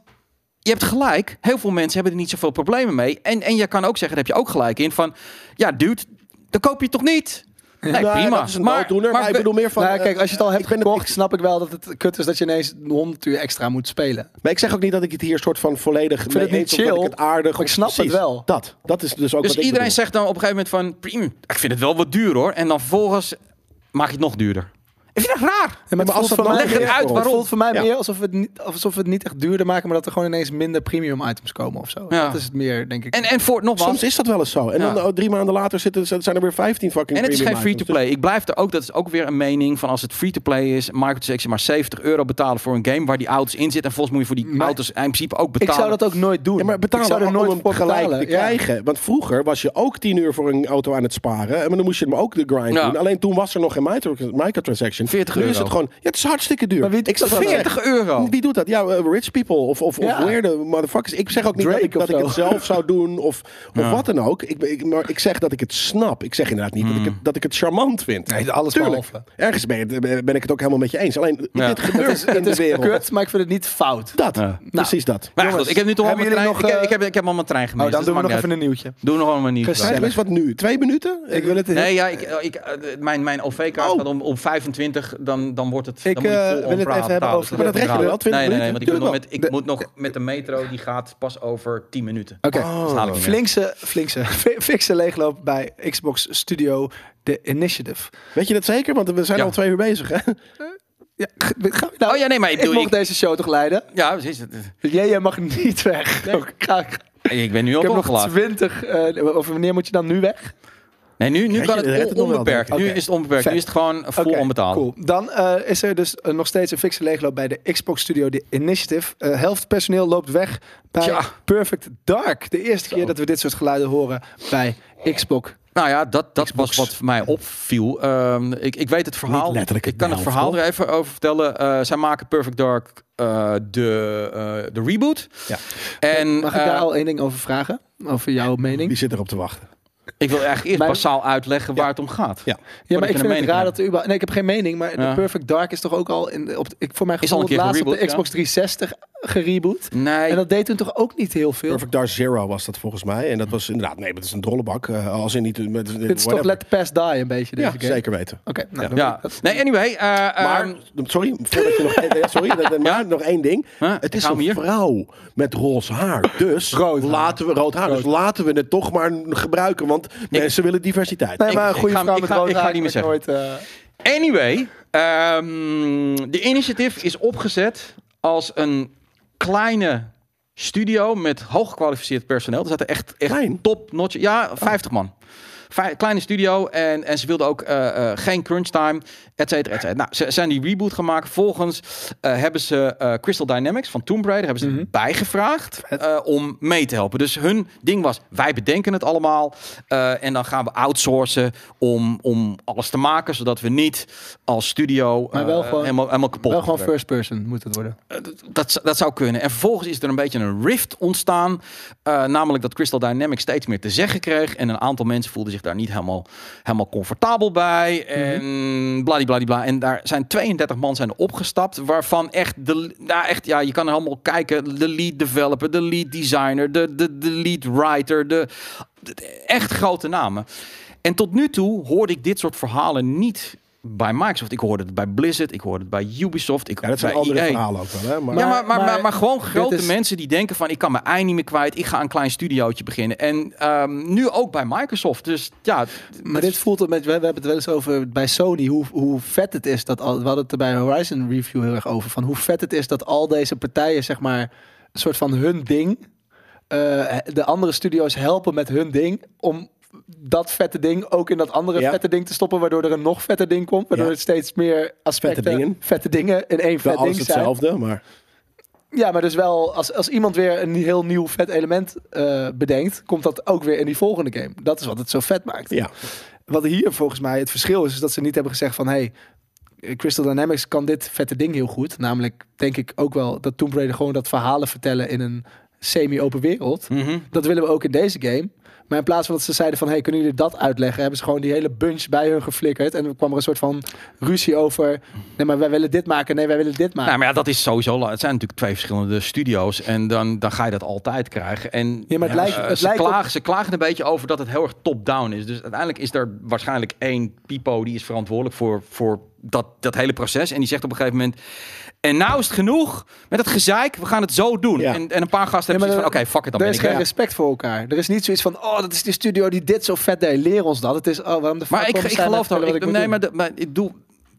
Speaker 2: Je hebt gelijk, heel veel mensen hebben er niet zoveel problemen mee. En, en je kan ook zeggen, daar heb je ook gelijk in, van... Ja, dude, dan koop je het toch niet? Nee,
Speaker 3: Nou,
Speaker 2: prima.
Speaker 3: dat is een dooddoener, maar, ik bedoel meer van...
Speaker 1: Nou, ja,
Speaker 3: eh,
Speaker 1: kijk, als je het al hebt
Speaker 3: ik ben het-
Speaker 1: gekocht, snap ik wel dat het kut is dat je ineens 100 uur extra moet spelen.
Speaker 3: Maar ik zeg ook niet dat ik het hier soort van volledig
Speaker 1: vind het
Speaker 3: mee
Speaker 1: niet
Speaker 3: eens, of dat
Speaker 1: chill,
Speaker 3: ik het aardig.
Speaker 1: maar ik
Speaker 3: of-
Speaker 1: snap het
Speaker 3: precies.
Speaker 1: wel.
Speaker 3: Dat, dat is dus
Speaker 2: Dus
Speaker 3: ook wat ik
Speaker 2: iedereen
Speaker 3: bedoel.
Speaker 2: zegt dan op een gegeven moment van... "Priem, Ik vind het wel wat duur hoor. En dan vervolgens maak je het nog duurder. Ik vind dat raar.
Speaker 1: Ja, maar
Speaker 3: als
Speaker 1: voelt
Speaker 3: dat
Speaker 1: voor
Speaker 3: nou
Speaker 1: mij-
Speaker 2: leg het
Speaker 1: het
Speaker 2: uit
Speaker 1: voelt
Speaker 2: waarom.
Speaker 1: voor mij
Speaker 3: Ja.
Speaker 1: meer alsof we, het niet, alsof we het niet echt duurder maken, maar dat er gewoon ineens minder premium items komen of zo.
Speaker 2: Ja.
Speaker 1: Dat is het meer, denk ik.
Speaker 2: En, en voor, nogmaals,
Speaker 3: Soms is dat wel eens zo. En
Speaker 2: Ja.
Speaker 3: dan oh, drie maanden later zitten, zijn er weer 15 fucking Dus
Speaker 2: En het is geen
Speaker 3: premium items.
Speaker 2: free-to-play.
Speaker 1: dus.
Speaker 2: Ik blijf er ook, dat is ook weer een mening van als het free-to-play is, Microtransactions maar 70 euro betalen voor een game waar die auto's in zitten. En volgens moet je voor die auto's in principe ook
Speaker 1: ik
Speaker 2: betalen.
Speaker 1: zou dat ook nooit doen.
Speaker 3: Ja, maar
Speaker 1: ik
Speaker 3: betalen
Speaker 1: zou er nooit
Speaker 3: om
Speaker 1: voor
Speaker 3: hem gelijk
Speaker 1: betalen.
Speaker 3: te
Speaker 1: Ja.
Speaker 3: krijgen. Want vroeger was je ook 10 uur voor een auto aan het sparen. En dan moest je hem ook de grind
Speaker 2: Ja.
Speaker 3: doen. Alleen toen was er nog geen micro- microtransaction.
Speaker 2: 40
Speaker 3: nu is
Speaker 2: euro.
Speaker 3: het gewoon... Ja, het is hartstikke duur.
Speaker 1: Maar wie doet
Speaker 3: ik zeg
Speaker 1: dat
Speaker 3: altijd,
Speaker 2: 40 euro.
Speaker 3: Wie doet dat? Ja, eh, rich people of, of,
Speaker 1: Ja.
Speaker 3: of weirde motherfuckers. Ik zeg ook niet
Speaker 1: Drake
Speaker 3: dat, ik, dat
Speaker 1: of
Speaker 3: ik het
Speaker 1: zo.
Speaker 3: zelf zou doen of, of wat dan ook. Ik, ben- ik, maar ik zeg dat ik het snap. Ik zeg inderdaad niet dat, ik
Speaker 2: Hmm.
Speaker 3: het, dat ik het charmant vind.
Speaker 1: Nee, alles
Speaker 3: Tuurlijk.
Speaker 1: behalve.
Speaker 3: Ergens ben, je het- ben ik het ook helemaal met je eens. Alleen,
Speaker 2: Ja.
Speaker 3: dit gebeurt in de
Speaker 1: Het is Nou.
Speaker 3: wereld. Oh,
Speaker 1: kut, maar ik vind het niet fout.
Speaker 3: Dat,
Speaker 2: Ja.
Speaker 3: precies dat.
Speaker 2: Maar
Speaker 1: Jongens,
Speaker 2: goed, ik heb nu toch al
Speaker 1: hebben
Speaker 2: mijn
Speaker 1: jullie
Speaker 2: trein, ik,
Speaker 1: nog,
Speaker 2: heb, ik, heb,
Speaker 1: eh,
Speaker 2: ik heb al mijn trein gemist.
Speaker 1: Oh, dan
Speaker 2: dus
Speaker 1: doen we
Speaker 2: dat
Speaker 1: nog
Speaker 2: maakt
Speaker 1: even
Speaker 2: niet
Speaker 1: een nieuwtje.
Speaker 2: uit. Doe nog allemaal niet.
Speaker 1: Gezellig.
Speaker 3: Zijn
Speaker 2: uit.
Speaker 3: het best wat nu? Twee minuten?
Speaker 1: Ik wil het
Speaker 2: Nee, ja, ik, ik, eh, mijn, mijn OV-kaart
Speaker 3: Oh.
Speaker 2: gaat om, om 25, dan, dan wordt het...
Speaker 1: Ik,
Speaker 2: dan moet je
Speaker 1: eh,
Speaker 2: full
Speaker 1: wil
Speaker 2: on
Speaker 1: het even
Speaker 2: praten,
Speaker 1: hebben
Speaker 2: betalen.
Speaker 1: over-
Speaker 2: Dus
Speaker 1: Maar
Speaker 3: dat
Speaker 2: is
Speaker 3: regelen we wel, 20
Speaker 2: Nee, nee, nee, want ik, moet nog,
Speaker 3: minuten?
Speaker 2: met, ik moet nog met de metro, die gaat pas over 10 minuten.
Speaker 1: Oké.
Speaker 2: Dat haal ik niet meer.
Speaker 1: Flinkse, flinkse, fikse leegloop bij Xbox Studio The Initiative.
Speaker 3: Weet je dat zeker? Want we zijn
Speaker 2: Ja.
Speaker 3: al twee uur bezig. Hè?
Speaker 1: Ja, g- gaan we nou-
Speaker 2: Oh ja, nee, maar ik
Speaker 1: ik
Speaker 2: bedoel,
Speaker 1: mocht
Speaker 2: ik-
Speaker 1: deze show toch leiden?
Speaker 2: Ja, precies. Het-
Speaker 1: Jij, jij mag niet weg. Ook, ga- ik
Speaker 2: Ik ben nu al
Speaker 1: heb nog
Speaker 2: opgelaten.
Speaker 1: 20. eh over wanneer moet je dan nu weg?
Speaker 2: Nee, nu, nu
Speaker 3: Red je-
Speaker 2: kan het,
Speaker 3: red het nog wel,
Speaker 2: onbeperkt.
Speaker 3: denk ik.
Speaker 2: Nu
Speaker 3: Oké.
Speaker 2: is het onbeperkt.
Speaker 1: Vet.
Speaker 2: Nu is het gewoon vol
Speaker 1: Oké,
Speaker 2: onbetaald.
Speaker 1: Cool. Dan eh, is er dus eh, nog steeds een fikse leegloop bij de Xbox Studio The Initiative. Eh, helft personeel loopt weg bij
Speaker 2: Tja.
Speaker 1: Perfect Dark. De eerste keer dat we dit soort geluiden horen bij Xbox.
Speaker 2: Nou ja, dat, dat
Speaker 1: Xbox.
Speaker 2: was wat mij opviel. Ehm, ik, ik weet het verhaal.
Speaker 3: Niet letterlijk
Speaker 2: ik kan
Speaker 3: het
Speaker 2: het verhaal
Speaker 3: helft,
Speaker 2: er even over vertellen. Eh, zij maken Perfect Dark eh, de, eh, de reboot.
Speaker 3: Ja.
Speaker 2: En
Speaker 1: Mag ik daar
Speaker 2: eh,
Speaker 1: al één ding over vragen? Over jouw mening?
Speaker 3: Die zit erop te wachten.
Speaker 2: ik wil eigenlijk eerst
Speaker 1: Mijn-
Speaker 2: basaal uitleggen waar het om gaat.
Speaker 3: Ja.
Speaker 1: Ja, maar
Speaker 2: je
Speaker 1: ik
Speaker 2: een
Speaker 1: vind het
Speaker 2: mening
Speaker 1: raar
Speaker 2: hebt.
Speaker 1: dat er überhaupt... Nee, ik heb geen mening, maar
Speaker 2: Ja.
Speaker 1: de Perfect Dark is toch ook al... In, op, ik, voor mij
Speaker 2: al
Speaker 1: gevoel
Speaker 2: een
Speaker 1: het
Speaker 2: keer
Speaker 1: laatst op de
Speaker 2: gereboot, ja.
Speaker 1: Xbox 360 gereboot.
Speaker 2: Nee,
Speaker 1: En dat deed toen toch ook niet heel veel?
Speaker 3: Perfect Dark Zero was dat volgens mij. En dat was inderdaad, nee, maar dat is een drollebak. Eh, als in niet. Met,
Speaker 1: Dit is toch Let the Past Die een beetje,
Speaker 3: Ja,
Speaker 1: deze game?
Speaker 3: zeker weten.
Speaker 1: Oké, nou, dan
Speaker 2: ja.
Speaker 1: weet ik dat.
Speaker 2: nee anyway. eh,
Speaker 3: Maar,
Speaker 2: ehm,
Speaker 3: sorry, voordat je nog, ja, sorry, dat- maar nog één ding.
Speaker 2: Huh?
Speaker 3: Het
Speaker 2: Ik
Speaker 3: is
Speaker 2: hou
Speaker 3: een
Speaker 2: hem hier.
Speaker 3: vrouw met roze haar. Dus
Speaker 1: Rood haar.
Speaker 3: laten we rood haar. Dus laten we het toch maar gebruiken, want mensen willen diversiteit.
Speaker 1: Nee, maar
Speaker 2: Ik-
Speaker 1: een goede
Speaker 2: ik ga-
Speaker 1: vrouw
Speaker 2: ik
Speaker 1: met
Speaker 2: ga-
Speaker 1: rood
Speaker 2: ik ga
Speaker 1: haar
Speaker 2: niet meer
Speaker 1: heb ik Nooit, eh,
Speaker 2: Anyway, ehm, de initiatief is opgezet als een kleine studio met hooggekwalificeerd personeel. Er zaten echt, echt
Speaker 3: Klein?
Speaker 2: top notch. Ja, 50 man. Vij- kleine studio en, en ze wilden ook eh, eh, geen crunch time, et cetera, et cetera. Nou, ze zijn die reboot gemaakt. Volgens eh, hebben ze eh, Crystal Dynamics van Tomb Raider hebben ze
Speaker 1: Mhm.
Speaker 2: bijgevraagd eh, om mee te helpen. Dus hun ding was, wij bedenken het allemaal eh, en dan gaan we outsourcen om, om alles te maken, zodat we niet als studio
Speaker 1: Maar wel
Speaker 2: eh,
Speaker 1: gewoon-
Speaker 2: helemaal, helemaal kapot
Speaker 1: wel gewoon
Speaker 2: worden.
Speaker 1: first person moet het worden.
Speaker 2: Eh, dat- dat, z- dat zou kunnen. En vervolgens is er een beetje een rift ontstaan. eh, namelijk dat Crystal Dynamics steeds meer te zeggen kreeg. En een aantal mensen voelden zich daar niet helemaal, helemaal comfortabel bij.
Speaker 3: Mhm.
Speaker 2: En bladibladibla. En daar zijn 32 man zijn er opgestapt. Waarvan echt, de, ja, echt ja, je kan er helemaal kijken. De lead developer, de lead designer, de, de, de lead writer. De, de- echt grote namen. En tot nu toe hoorde ik dit soort verhalen niet bij Microsoft. Ik hoorde het bij Blizzard, ik hoorde het bij Ubisoft. Ik,
Speaker 3: Ja, dat zijn
Speaker 2: bij E
Speaker 3: andere
Speaker 2: EA.
Speaker 3: verhalen ook wel. Hè? Maar,
Speaker 2: ja, maar, maar, maar,
Speaker 1: maar-
Speaker 2: maar gewoon grote
Speaker 1: is-
Speaker 2: mensen die denken van... ik kan mijn ei niet meer kwijt, ik ga een klein studiootje beginnen. En ehm, nu ook bij Microsoft. Dus ja, het-
Speaker 1: Maar dit voelt een beetje, we hebben het wel eens over bij Sony, hoe, hoe vet het is dat al, we hadden het er bij Horizon Review heel erg over, van hoe vet het is dat al deze partijen, zeg maar, een soort van hun ding, eh, de andere studio's helpen met hun ding, om dat vette ding ook in dat andere
Speaker 3: Ja.
Speaker 1: vette ding te stoppen, waardoor er een nog vetter ding komt, waardoor
Speaker 3: Ja.
Speaker 1: het steeds meer aspecten,
Speaker 3: Vette dingen.
Speaker 1: vette dingen in één
Speaker 3: wel
Speaker 1: vet
Speaker 3: alles
Speaker 1: ding zijn.
Speaker 3: hetzelfde, maar
Speaker 1: Ja, maar dus wel, als, als iemand weer een heel nieuw vet element eh, bedenkt, komt dat ook weer in die volgende game. Dat is wat het zo vet maakt
Speaker 3: ja.
Speaker 1: wat hier volgens mij het verschil is, is dat ze niet hebben gezegd van hey, Crystal Dynamics kan dit vette ding heel goed. Namelijk denk ik ook wel dat Tomb Raider gewoon dat verhalen vertellen in een semi-open
Speaker 2: Hm.
Speaker 1: wereld.
Speaker 2: Mhm.
Speaker 1: Dat willen we ook in deze game. Maar in plaats van dat ze zeiden van hey, kunnen jullie dat uitleggen, hebben ze gewoon die hele bunch bij hun geflikkerd en er kwam er een soort van ruzie over. Nee, maar wij willen dit maken. Nee, wij willen dit maken.
Speaker 2: nou, maar ja, dat is sowieso... la- Het zijn natuurlijk twee verschillende studio's. En dan, dan ga je dat altijd krijgen. En
Speaker 1: Ja, maar het lijkt-
Speaker 2: eh,
Speaker 1: het
Speaker 2: ze,
Speaker 1: lijkt op-
Speaker 2: klagen, ze klagen een beetje over dat het heel erg top-down is. Dus uiteindelijk is er waarschijnlijk één pipo... die is verantwoordelijk voor, voor dat, dat hele proces. En die zegt op een gegeven moment... En nou is het genoeg met het gezeik. We gaan het zo doen.
Speaker 3: Ja.
Speaker 2: En, en een paar gasten hebben
Speaker 1: Ja,
Speaker 2: zoiets
Speaker 1: maar
Speaker 2: van... Oké, fuck it, dan
Speaker 1: er
Speaker 2: ben
Speaker 1: is
Speaker 2: ik
Speaker 1: geen
Speaker 2: weg.
Speaker 1: respect voor elkaar. Er is niet zoiets van, oh, dat is die studio die dit zo vet deed. Leer ons dat. Het is, oh, waarom de fuck
Speaker 2: Maar ik,
Speaker 1: komen
Speaker 2: ik
Speaker 1: zij mij
Speaker 2: geloof dat.
Speaker 1: vertellen
Speaker 2: Ik,
Speaker 1: wat moet
Speaker 2: nee,
Speaker 1: doen?
Speaker 2: maar, de- maar ik doe.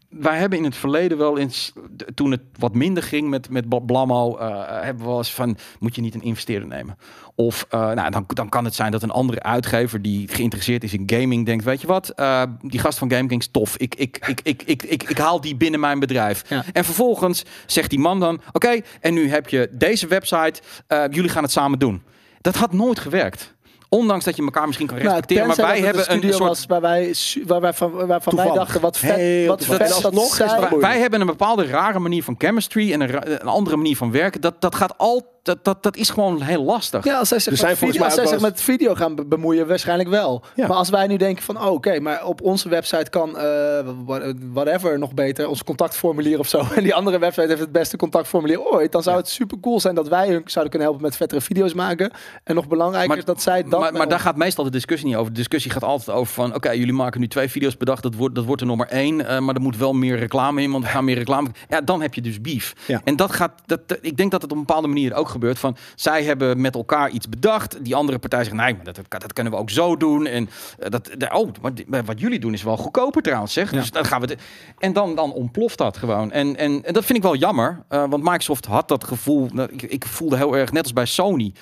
Speaker 2: Wij hebben in het verleden wel eens, d- toen het wat minder ging met, met Bob Blammo, eh, hebben we wel eens van, moet je niet een investeerder nemen? Of eh, nou, dan, dan kan het zijn dat een andere uitgever die geïnteresseerd is in gaming denkt, weet je wat, eh, die gast van GameKings, tof, ik, ik, ik, ik, ik, ik, ik haal die binnen mijn bedrijf.
Speaker 1: Ja.
Speaker 2: En vervolgens zegt die man dan, oké, en nu heb je deze website, eh, jullie gaan het samen doen. Dat had nooit gewerkt. Ondanks dat je elkaar misschien kan
Speaker 1: Nou,
Speaker 2: respecteren, maar
Speaker 1: tenzij
Speaker 2: wij
Speaker 1: dat het
Speaker 2: hebben een
Speaker 1: studio
Speaker 2: soort
Speaker 1: was waar wij, su- waar wij van, waarvan wij
Speaker 3: Toevallig.
Speaker 1: dachten wat vet,
Speaker 3: Heel
Speaker 1: wat
Speaker 3: toevallig.
Speaker 1: vet
Speaker 3: En
Speaker 1: dat
Speaker 3: alsnog is
Speaker 1: zij-
Speaker 3: dat
Speaker 2: wij,
Speaker 3: moeilijk.
Speaker 2: wij hebben een bepaalde rare manier van chemistry en een, ra- een andere manier van werken. Dat, dat gaat al. Dat, dat, dat is gewoon heel lastig.
Speaker 1: Ja, als zij zich,
Speaker 2: Dus
Speaker 3: Er zijn
Speaker 1: met,
Speaker 3: volgens
Speaker 1: video, als zij
Speaker 3: mij ook
Speaker 1: zich met
Speaker 3: wel
Speaker 1: video gaan be- bemoeien, waarschijnlijk wel.
Speaker 3: Ja.
Speaker 1: Maar als wij nu denken van, oh, oké, maar op onze website kan eh, wha- whatever nog beter, ons contactformulier of zo. En die andere website heeft het beste contactformulier ooit. Dan zou het super cool zijn dat wij hun zouden kunnen helpen met vettere video's maken. En nog belangrijker is dat zij dat
Speaker 2: maar,
Speaker 1: met
Speaker 2: maar daar
Speaker 1: ons-
Speaker 2: gaat meestal de discussie niet over. De discussie gaat altijd over van... oké, jullie maken nu twee video's per dag. Dat wordt, dat wordt er nummer één. eh, maar er moet wel meer reclame in, want we gaan meer reclame... Ja, dan heb je dus beef.
Speaker 3: Ja.
Speaker 2: En dat gaat... Dat, dat- ik denk dat het op een bepaalde manier ook gebeurt. Van, zij hebben met elkaar iets bedacht. Die andere partij zegt... nee, maar dat, dat, dat kunnen we ook zo doen. En eh, dat... daar- oh, maar dit- maar wat jullie doen is wel goedkoper trouwens, zeg. Dus dan gaan we... dit- En dan, dan ontploft dat gewoon. En, en, en dat vind ik wel jammer. eh, want Microsoft had dat gevoel... nou, ik, ik voelde heel erg, net als bij Sony...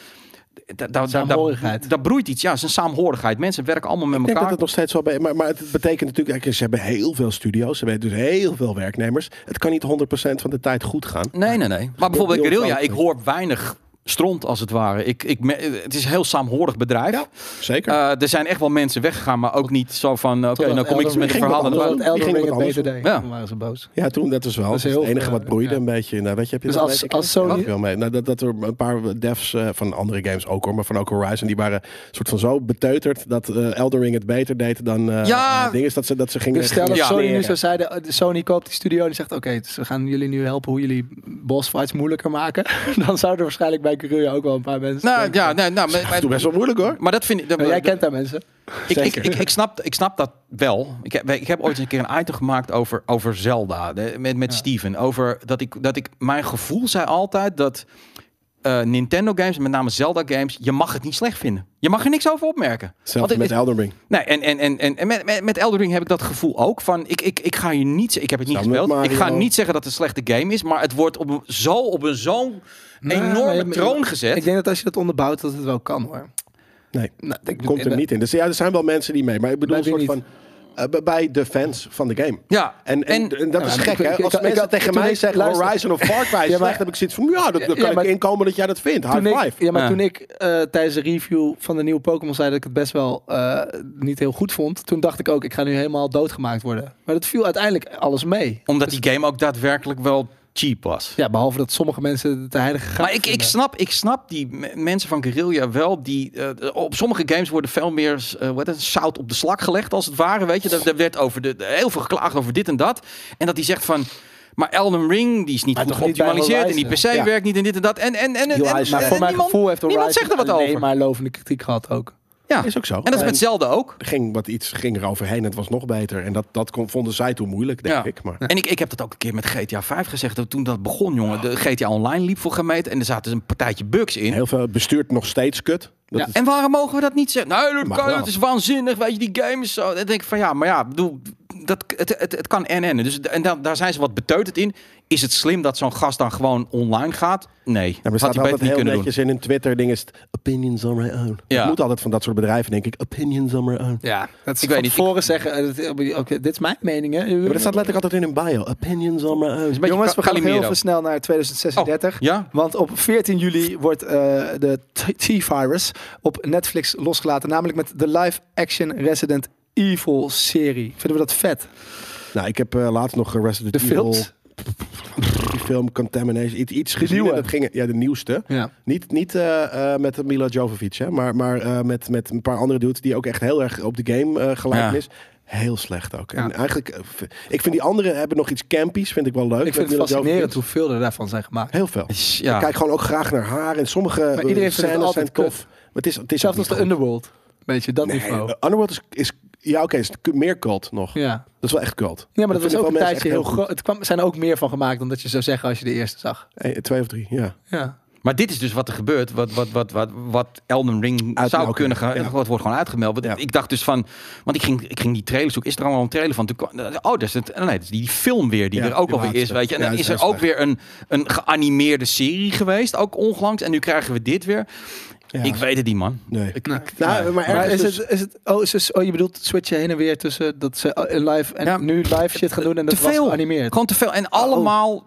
Speaker 2: Da, da, da,
Speaker 1: Saamhorigheid.
Speaker 2: daar broeit iets. Ja, het is een saamhorigheid. Mensen werken allemaal met
Speaker 3: Ik denk dat
Speaker 2: elkaar.
Speaker 3: het nog steeds wel bij. Maar, maar het betekent natuurlijk, kijk, ze hebben heel veel studio's, ze hebben dus heel veel werknemers. Het kan niet 100% van de tijd goed gaan.
Speaker 2: Nee, nee, nee. Maar bijvoorbeeld bij
Speaker 3: heel
Speaker 2: Guerrilla, ik
Speaker 3: fout.
Speaker 2: hoor weinig stront als het ware. Ik, ik, me- het is een heel saamhorig bedrijf.
Speaker 3: Zeker.
Speaker 2: Eh, er zijn echt wel mensen weggegaan, maar ook niet zo van... Oké,
Speaker 1: Totdat
Speaker 2: nou kom ik eens
Speaker 1: Elden
Speaker 2: met een
Speaker 1: Ring-
Speaker 2: verhaal.
Speaker 3: ging
Speaker 2: dat-
Speaker 1: Totdat
Speaker 3: Die gingen
Speaker 1: Elden Ring
Speaker 3: wat
Speaker 1: het beter
Speaker 3: anders
Speaker 1: deed.
Speaker 2: Ja.
Speaker 1: Toen waren ze boos.
Speaker 3: ja, toen dat is wel.
Speaker 1: Dat
Speaker 3: Dat
Speaker 1: is
Speaker 3: is het
Speaker 1: heel
Speaker 3: enige
Speaker 1: veel,
Speaker 3: wat broeide
Speaker 1: ja.
Speaker 3: een beetje. Nou, weet je, heb je
Speaker 1: Dus
Speaker 3: dat
Speaker 1: als-
Speaker 3: weet ik
Speaker 1: als
Speaker 3: niet.
Speaker 1: Sony-
Speaker 3: Wat wel mee. Nou, dat, dat er een paar devs eh, van andere games ook hoor, maar van ook Horizon, die waren soort van zo beteuterd dat eh Elden Ring het beter deed dan eh
Speaker 2: Ja.
Speaker 3: eh, ding is dat ze dat ze gingen.
Speaker 1: Dus stel dat
Speaker 2: Ja.
Speaker 1: Sony nu
Speaker 3: leren.
Speaker 1: zo zeiden, eh, Sony koopt die studio en die zegt, oké, dus we gaan jullie nu helpen hoe jullie boss fights moeilijker maken. Dan zouden er waarschijnlijk bij Guerrilla ook wel een paar mensen
Speaker 2: Nou,
Speaker 1: denken.
Speaker 2: ja, nee, nou, maar,
Speaker 3: Doe
Speaker 2: maar,
Speaker 3: best wel moeilijk hoor.
Speaker 2: maar dat vind ik... dat-
Speaker 1: Maar jij kent daar mensen.
Speaker 2: ik, ik,
Speaker 3: Zeker.
Speaker 2: ik, ik, snap, ik snap dat wel. Ik heb, ik heb ooit eens een keer een item gemaakt over, over Zelda. de- met met Steven. Over dat ik, dat ik... Mijn gevoel zei altijd dat... eh, Nintendo games, en met name Zelda games, je mag het niet slecht vinden. Je mag er niks over opmerken. Want
Speaker 3: Zelfs
Speaker 2: het
Speaker 3: met
Speaker 2: is-
Speaker 3: Elden Ring.
Speaker 2: Nee, en, en, en, en, en met, met, met Elden Ring heb ik dat gevoel ook. Van ik, ik, ik ga je niet. ze- Ik heb het niet
Speaker 3: Samen met
Speaker 2: gespeeld. Ik ga
Speaker 3: Mario.
Speaker 2: niet zeggen dat het een slechte game is. Maar het wordt op een, zo op een zo'n
Speaker 1: Ah, Maar
Speaker 2: enorme
Speaker 1: je-
Speaker 2: troon gezet.
Speaker 1: Ik denk dat als je dat onderbouwt, dat het wel kan hoor.
Speaker 3: Nee.
Speaker 1: Nou, ik-
Speaker 3: komt er
Speaker 1: eh,
Speaker 3: niet in. Dus ja, er zijn wel mensen die mee. Maar ik bedoel,
Speaker 1: Bij
Speaker 3: een soort
Speaker 1: wie
Speaker 3: van. eh, bij- bij de fans van de game.
Speaker 2: Ja,
Speaker 3: En, en,
Speaker 2: en-
Speaker 3: en dat is
Speaker 1: maar
Speaker 3: gek,
Speaker 1: ik-
Speaker 3: hè?
Speaker 1: ik-
Speaker 3: Als
Speaker 1: ik- ik
Speaker 3: mensen
Speaker 1: had-
Speaker 3: tegen
Speaker 1: toen
Speaker 3: mij
Speaker 1: ik-
Speaker 3: zeggen
Speaker 1: luister-
Speaker 3: Horizon of Far Cry is
Speaker 1: Ja, maar-
Speaker 3: slecht, heb ik zoiets van... Ja, dat, dat
Speaker 1: Ja,
Speaker 3: kan
Speaker 1: maar-
Speaker 3: ik inkomen dat jij dat vindt. High
Speaker 1: Toen ik,
Speaker 3: five.
Speaker 1: ja, maar
Speaker 2: Ja.
Speaker 1: toen ik eh, tijdens de review van de nieuwe Pokémon zei dat ik het best wel eh, niet heel goed vond, toen dacht ik ook, ik ga nu helemaal doodgemaakt worden. Maar dat viel uiteindelijk alles mee.
Speaker 2: Omdat die game ook daadwerkelijk wel cheap was.
Speaker 1: Ja, behalve dat sommige mensen het de heilige graal
Speaker 2: Maar ik, ik,
Speaker 1: vinden.
Speaker 2: snap, ik snap die me- mensen van Guerrilla wel. Die, eh, op sommige games worden veel meer eh, wat is het, zout op de slak gelegd, als het ware. Weet je, daar, daar werd over de, de- heel veel geklaagd over dit en dat. En dat die zegt van. Maar Elden Ring die is niet
Speaker 1: Maar
Speaker 2: goed
Speaker 1: toch niet bij
Speaker 2: geoptimaliseerd. En die PC
Speaker 1: Horizon.
Speaker 3: Ja.
Speaker 2: werkt niet en dit en dat. En, en, en, en,
Speaker 3: Heel
Speaker 2: en,
Speaker 3: ijs-
Speaker 1: maar
Speaker 2: en
Speaker 1: voor mijn
Speaker 2: niemand,
Speaker 1: gevoel heeft Horizon
Speaker 2: niemand zegt er wat
Speaker 1: alleen
Speaker 2: over.
Speaker 1: maar lovende kritiek gehad ook.
Speaker 2: Ja.
Speaker 3: Is ook zo.
Speaker 2: En dat is met Zelda ook.
Speaker 3: ging wat iets ging er overheen en het was nog beter. En dat, dat kon, vonden zij toen moeilijk, denk
Speaker 2: Ja.
Speaker 3: ik. Maar
Speaker 2: En ik, ik heb dat ook een keer met GTA 5 gezegd. dat Toen dat begon, jongen. De GTA Online liep voor gemeten. En er zaten een partijtje bugs in.
Speaker 3: heel veel bestuurt nog steeds kut. Dat
Speaker 1: Ja.
Speaker 3: is-
Speaker 2: En waarom mogen we dat niet zeggen? Nou, dat,
Speaker 3: Mag
Speaker 2: kan-
Speaker 3: wel.
Speaker 2: dat is waanzinnig, weet je, die game is zo. Dan denk ik van ja, maar ja, ik bedoel, dat, het, het, het kan en en. Dus, en daar daar zijn ze wat beteuterd in. Is het slim dat zo'n gast dan gewoon online gaat? Nee,
Speaker 3: Ja, maar
Speaker 2: had
Speaker 3: staat
Speaker 2: je
Speaker 3: altijd
Speaker 2: beter niet
Speaker 3: heel
Speaker 2: kunnen doen.
Speaker 3: netjes in hun Twitter ding is het, opinions on my own.
Speaker 2: Ja.
Speaker 3: Het moet altijd van dat soort bedrijven, denk ik. Opinions on my own.
Speaker 2: Ja,
Speaker 1: Dat is
Speaker 2: ik weet niet. Ik-
Speaker 1: voren zeggen, eh, dat- eh, oké, dit is mijn mening hè.
Speaker 3: Maar dat staat letterlijk altijd in hun bio. Opinions on my own.
Speaker 2: beetje
Speaker 1: Jongens, we gaan nog heel
Speaker 2: Calimero.
Speaker 1: even snel naar 2036.
Speaker 2: Oh, ja?
Speaker 1: Want op 14 juli wordt eh, de T- T-Virus op Netflix losgelaten. Namelijk met de live-action Resident Evil serie. Vinden we dat vet?
Speaker 3: Nou, ik heb eh, laatst nog eh, Resident
Speaker 1: De
Speaker 3: Evil...
Speaker 1: films?
Speaker 3: Die film Contamination, iets, iets gezien.
Speaker 1: nieuwe.
Speaker 3: en Dat ging, ja, de nieuwste.
Speaker 1: Ja.
Speaker 3: Niet, niet eh, eh, met Mila Jovovich, hè, maar, maar eh, met, met een paar andere dudes die ook echt heel erg op de game eh gelijk
Speaker 2: Ja.
Speaker 3: is. Heel slecht ook.
Speaker 1: Ja.
Speaker 3: En eigenlijk, eh, v- ik vind die anderen hebben nog iets campies, vind ik wel leuk.
Speaker 1: Ik
Speaker 3: met
Speaker 1: vind het
Speaker 3: Mila
Speaker 1: fascinerend
Speaker 3: Jovovich.
Speaker 1: hoeveel er daarvan zijn gemaakt.
Speaker 3: Heel veel.
Speaker 2: Ja.
Speaker 3: Ik kijk gewoon ook graag naar haar. En sommige eh,
Speaker 1: iedereen vindt het
Speaker 3: scènes
Speaker 1: altijd
Speaker 3: zijn
Speaker 1: kut.
Speaker 3: tof. Maar het is, het is
Speaker 1: Zelfs
Speaker 3: ook
Speaker 1: als
Speaker 3: niet
Speaker 1: de
Speaker 3: goed.
Speaker 1: Underworld. Weet je, dat
Speaker 3: Nee,
Speaker 1: niveau.
Speaker 3: eh, Underworld is, is ja oké, is cu- meer cult nog.
Speaker 1: Ja.
Speaker 3: Dat is wel echt cult.
Speaker 1: Ja, maar dat,
Speaker 3: vinden
Speaker 1: was ook
Speaker 3: wel
Speaker 1: een
Speaker 3: mensen
Speaker 1: tijdje
Speaker 3: echt
Speaker 1: heel
Speaker 3: goed.
Speaker 1: groot. Het kwam, zijn er ook meer van gemaakt dan dat je zou zeggen als je de eerste zag.
Speaker 3: Eh, twee of drie, ja.
Speaker 1: Ja.
Speaker 2: Maar dit is dus wat er gebeurt, wat, wat, wat, wat, wat Elden Ring zou
Speaker 3: Uitmelken.
Speaker 2: kunnen gaan.
Speaker 3: Ja.
Speaker 2: Dat wordt gewoon uitgemeld. Want
Speaker 3: Ja.
Speaker 2: Ik dacht dus van, want ik ging, ik ging die trailer zoeken. Is er allemaal een trailer van? Toen kwam- oh, dat is het, nee, dat is die film weer die
Speaker 3: Ja,
Speaker 2: er ook
Speaker 3: die
Speaker 2: alweer is,
Speaker 3: laatste.
Speaker 2: weet je. En
Speaker 3: Ja,
Speaker 2: dan
Speaker 3: dat
Speaker 2: is
Speaker 3: is
Speaker 2: er
Speaker 3: heel
Speaker 2: ook
Speaker 3: slecht.
Speaker 2: weer een, een geanimeerde serie geweest, ook onlangs. En nu krijgen we dit weer.
Speaker 3: Ja.
Speaker 2: Ik weet het niet, man.
Speaker 3: Nee.
Speaker 2: Ik-
Speaker 3: Nou, maar
Speaker 1: Maar
Speaker 3: ergens
Speaker 1: is
Speaker 3: dus-
Speaker 1: het, is het, oh, is het- oh, je bedoelt switchen heen en weer tussen dat ze eh, live en
Speaker 2: Ja.
Speaker 1: nu live shit gaan doen en dat
Speaker 2: te veel.
Speaker 1: was geanimeerd.
Speaker 2: Gewoon te veel. En allemaal
Speaker 3: Oh.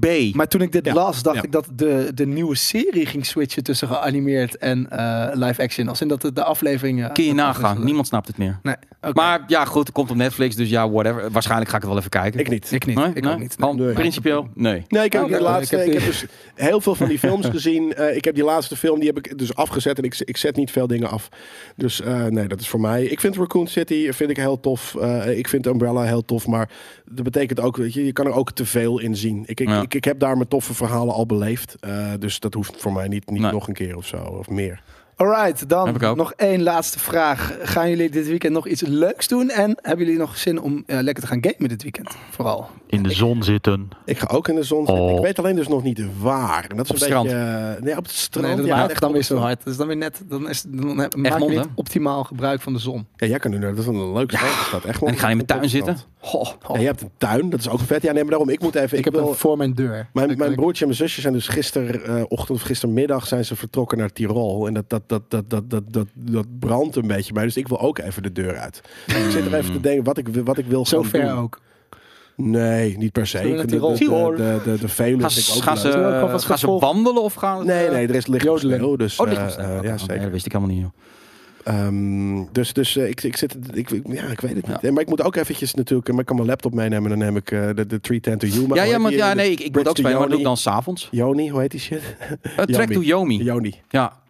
Speaker 2: B.
Speaker 1: Maar toen ik dit
Speaker 3: Ja.
Speaker 1: las, dacht
Speaker 3: Ja.
Speaker 1: ik dat de, de nieuwe serie ging switchen tussen geanimeerd en eh, live action. Als in dat de, de afleveringen... eh,
Speaker 2: Kun je
Speaker 1: dat- dat-
Speaker 2: nagaan.
Speaker 1: dat-
Speaker 2: Niemand snapt het meer.
Speaker 1: Nee, oké.
Speaker 2: Maar ja, goed, het komt op Netflix, dus ja, whatever. Waarschijnlijk ga ik het wel even kijken.
Speaker 3: Ik niet.
Speaker 1: Ik niet.
Speaker 2: Nee,
Speaker 1: ik
Speaker 2: nee?
Speaker 1: ook niet.
Speaker 2: Gewoon
Speaker 3: Nee.
Speaker 2: Principieel? Nee.
Speaker 3: Nee, ik heb,
Speaker 1: Oké.
Speaker 3: die laatste,
Speaker 1: Ik
Speaker 3: ik
Speaker 1: heb
Speaker 3: heb,
Speaker 1: die-
Speaker 3: dus heel veel van die films gezien. Eh, ik heb die laatste film, die heb ik dus afgezet. En ik, ik zet niet veel dingen af. Dus eh, nee, dat is voor mij. Ik vind Raccoon City vind ik heel tof. Eh, ik vind Umbrella heel tof. Maar dat betekent ook, weet je, je kan er ook te veel in zien. Ik, ik,
Speaker 2: Ja.
Speaker 3: ik, ik heb daar mijn toffe verhalen al beleefd. Eh, dus dat hoeft voor mij niet, niet
Speaker 2: Nee.
Speaker 3: nog een keer of zo. Of meer.
Speaker 1: Alright, dan
Speaker 2: Heb ik ook.
Speaker 1: nog één laatste vraag. Gaan jullie dit weekend nog iets leuks doen? En hebben jullie nog zin om eh, lekker te gaan gamen dit weekend? Vooral.
Speaker 8: In de zon zitten.
Speaker 3: Ik ga ook in de zon zitten.
Speaker 8: Oh.
Speaker 3: Ik weet alleen dus nog niet waar. En dat is
Speaker 2: Op
Speaker 3: een
Speaker 2: het
Speaker 3: beetje... eh, nee, op het strand.
Speaker 1: Nee, dat
Speaker 3: ja,
Speaker 1: maakt
Speaker 3: echt
Speaker 1: dan
Speaker 3: op
Speaker 1: weer
Speaker 3: het
Speaker 1: zo
Speaker 3: strand.
Speaker 1: hard. Dus dan weer net, dan, is, dan heb- maak je
Speaker 2: Egmond,
Speaker 1: niet
Speaker 2: hè?
Speaker 1: optimaal gebruik van de zon.
Speaker 3: Ja, jij kan nu naar... Dat is een leuk strand. is dat, Egmond.
Speaker 2: En ik ga in mijn tuin
Speaker 3: Een
Speaker 2: zitten.
Speaker 3: strand.
Speaker 2: Goh.
Speaker 3: Ja, je hebt een tuin, dat is ook vet. Ja, nee, maar daarom, ik moet even...
Speaker 1: Ik,
Speaker 3: ik
Speaker 1: heb
Speaker 3: wil-
Speaker 1: hem voor mijn deur.
Speaker 3: Mijn,
Speaker 1: Ik-
Speaker 3: mijn
Speaker 1: ik-
Speaker 3: broertje en mijn zusje zijn dus gisterochtend of gistermiddag zijn ze vertrokken naar Tirol. En dat, dat, dat, dat, dat, dat, dat, dat brandt een beetje bij. Dus ik wil ook even de deur uit. ik zit er even te denken wat ik, wil- wat ik wil
Speaker 1: Zo
Speaker 3: gaan doen.
Speaker 1: ver ook.
Speaker 3: Nee, niet per se.
Speaker 1: Zullen we
Speaker 3: Ik vind
Speaker 1: naar
Speaker 3: de,
Speaker 1: Tirol?
Speaker 3: de, de, de, de Veluwe
Speaker 2: Gaan
Speaker 3: vind ik
Speaker 2: ze,
Speaker 3: ook
Speaker 2: gaan
Speaker 3: leuk.
Speaker 2: ze,
Speaker 1: Zullen we ook alvast
Speaker 2: gaan ze
Speaker 1: wat
Speaker 2: wandelen of gaan
Speaker 3: Nee, nee, er is licht nog
Speaker 1: Jodelen.
Speaker 3: sneeuw, dus,
Speaker 2: Oh, ligt
Speaker 3: eh,
Speaker 2: nog
Speaker 3: eh,
Speaker 2: steeds.
Speaker 3: ja,
Speaker 2: Ja,
Speaker 3: zeker.
Speaker 2: dat wist ik helemaal niet. joh.
Speaker 3: Ehm, dus dus eh, ik, ik, zit, ik, ik- ja, ik weet het niet. En, maar ik moet ook eventjes natuurlijk... eh, Maar ik kan mijn laptop meenemen en dan neem ik eh, de, de 310 to Yuma.
Speaker 2: Ja,
Speaker 3: Hoe
Speaker 2: ja,
Speaker 3: heet
Speaker 2: maar,
Speaker 3: die,
Speaker 2: ja
Speaker 3: eh,
Speaker 2: nee, ik, ik moet
Speaker 3: Bridge
Speaker 2: ook
Speaker 3: to
Speaker 2: spelen, maar dat doe
Speaker 3: Yoni?
Speaker 2: ik dan s'avonds.
Speaker 3: Yoni, hoe heet die shit?
Speaker 2: Een track to Yomi.
Speaker 3: Yoni.
Speaker 2: Ja.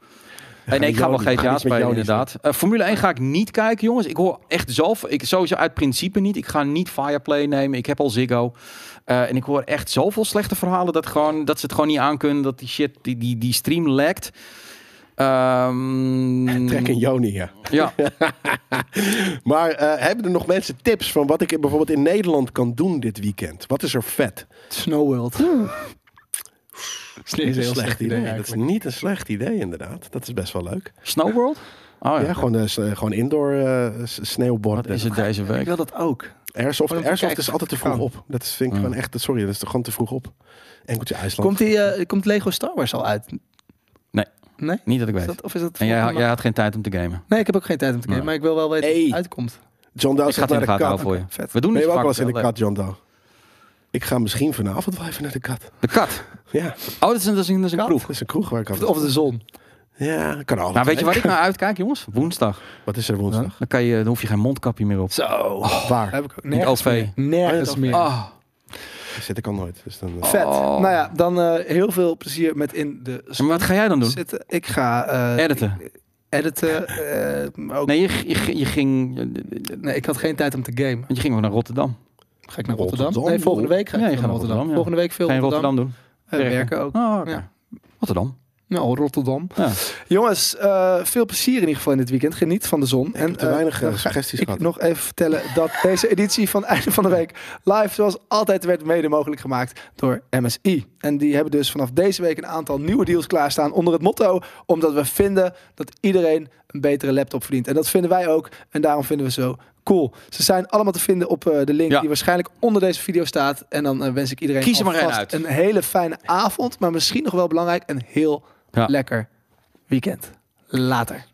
Speaker 2: En nee, ik ga wel
Speaker 3: Joni. Ga
Speaker 2: GTA
Speaker 3: niet met
Speaker 2: spelen,
Speaker 3: Joni
Speaker 2: inderdaad. Eh, Formule 1 ga ik niet kijken, jongens. Ik hoor echt zelf, ik, sowieso uit principe niet. Ik ga niet Fireplay nemen. Ik heb al Ziggo. Eh, en ik hoor echt zoveel slechte verhalen dat, gewoon, dat ze het gewoon niet aankunnen. Dat die shit, die, die, die stream lekt. Ehm,
Speaker 3: Trek en Joni, ja.
Speaker 2: Ja.
Speaker 3: Maar eh, hebben er nog mensen tips van wat ik bijvoorbeeld in Nederland kan doen dit weekend? Wat is er vet?
Speaker 1: Snow World.
Speaker 3: Dat is een
Speaker 1: heel slecht idee
Speaker 3: Dat is
Speaker 1: eigenlijk.
Speaker 3: niet een slecht idee, inderdaad. Dat is best wel leuk.
Speaker 2: Snow World? Oh
Speaker 3: Ja,
Speaker 2: ja.
Speaker 3: gewoon, eh, s- eh, gewoon indoor eh, s-
Speaker 2: Wat
Speaker 3: sneeuwborden.
Speaker 2: is het deze
Speaker 1: Ik
Speaker 2: week?
Speaker 1: wil dat ook.
Speaker 3: Airsoft,
Speaker 1: Om te
Speaker 3: airsoft
Speaker 1: kijken
Speaker 3: is altijd te
Speaker 1: wat
Speaker 3: vroeg
Speaker 1: kan.
Speaker 3: op. Dat vind ik gewoon echt... Sorry, dat is toch gewoon te vroeg op. Enkeltje IJsland.
Speaker 1: Komt, die, eh, komt Lego Star Wars al uit?
Speaker 2: Nee.
Speaker 1: Nee?
Speaker 2: Niet dat ik
Speaker 1: Is
Speaker 2: weet.
Speaker 1: dat, of is dat
Speaker 2: En jij,
Speaker 1: volgende Oh,
Speaker 2: jij
Speaker 1: maand?
Speaker 2: had geen tijd om te gamen.
Speaker 1: Nee, ik heb ook geen tijd om te kijken,
Speaker 2: Nee.
Speaker 1: maar ik wil wel weten
Speaker 3: Hey.
Speaker 1: hoe het uitkomt.
Speaker 3: John Doe
Speaker 2: Ik ga het in
Speaker 3: gaat
Speaker 2: de
Speaker 3: naar de
Speaker 2: gaten
Speaker 3: kat.
Speaker 2: houden voor je.
Speaker 1: Vet.
Speaker 2: We doen
Speaker 3: Ben
Speaker 2: dit
Speaker 3: je ook
Speaker 2: vaak
Speaker 3: wel eens in de
Speaker 2: wel,
Speaker 3: kat, John Doe? Ik ga misschien vanavond wel even naar de kat.
Speaker 2: leuk. Eh, De kat.
Speaker 3: Ja,
Speaker 2: Oh, dat is een, dat is een, dat is een
Speaker 1: Kat?
Speaker 2: kroeg.
Speaker 3: dat is een kroeg waar ik
Speaker 1: Of
Speaker 3: altijd...
Speaker 1: de- Of de zon.
Speaker 3: Ja, kan altijd.
Speaker 2: Nou, weet je waar ik naar uitkijk, jongens? Woensdag.
Speaker 3: Wat is er woensdag?
Speaker 2: Dan, kan je, dan hoef je geen mondkapje meer op.
Speaker 1: Zo.
Speaker 3: Waar?
Speaker 1: Heb ik ook
Speaker 2: In het
Speaker 1: nergens
Speaker 2: OV.
Speaker 1: meer. Nergens meer.
Speaker 2: Ah,
Speaker 3: Zit ik al nooit. Dus dan, eh,
Speaker 1: Oh. Vet.
Speaker 2: Oh.
Speaker 1: Nou ja, dan eh, heel veel plezier met in de
Speaker 2: Maar wat ga jij dan doen?
Speaker 1: zitten. Ik ga eh,
Speaker 2: Editen.
Speaker 1: editen. eh, maar ook, nee.
Speaker 2: Nee, je, je, je ging. Want
Speaker 1: ik had geen tijd om te gamen.
Speaker 2: je ging wel naar Rotterdam.
Speaker 1: Ga ik naar Rotterdam?
Speaker 3: Rotterdam,
Speaker 1: Nee, volgende week ga ik
Speaker 2: Ja, je
Speaker 1: naar
Speaker 2: gaat
Speaker 1: Rotterdam.
Speaker 2: naar
Speaker 1: Volgende
Speaker 2: Rotterdam, ja.
Speaker 1: week veel
Speaker 2: Ga je in
Speaker 1: Rotterdam.
Speaker 2: Rotterdam doen?
Speaker 1: Eh, werken ook.
Speaker 2: Oh, oké.
Speaker 1: Ja.
Speaker 2: Rotterdam.
Speaker 1: Nou, Rotterdam.
Speaker 2: Ja.
Speaker 1: Jongens, eh, veel plezier in ieder geval in dit weekend. Geniet van de zon.
Speaker 3: ik heb te
Speaker 1: eh,
Speaker 3: weinig eh,
Speaker 1: dan ga
Speaker 3: suggesties
Speaker 1: ik
Speaker 3: gehad.
Speaker 1: nog even vertellen dat deze editie van Einde van de Week live zoals altijd werd mede mogelijk gemaakt door MSI. En die hebben dus vanaf deze week een aantal nieuwe deals klaarstaan onder het motto omdat we vinden dat iedereen een betere laptop verdient. En dat vinden wij ook en daarom vinden we zo cool. Ze zijn allemaal te vinden op eh, de link
Speaker 2: Ja.
Speaker 1: die waarschijnlijk onder deze video staat. En dan eh, wens ik iedereen
Speaker 2: Kies er maar één
Speaker 1: alvast
Speaker 2: uit.
Speaker 1: een hele fijne avond, maar misschien nog wel belangrijk een heel
Speaker 2: Ja.
Speaker 1: lekker weekend. Later.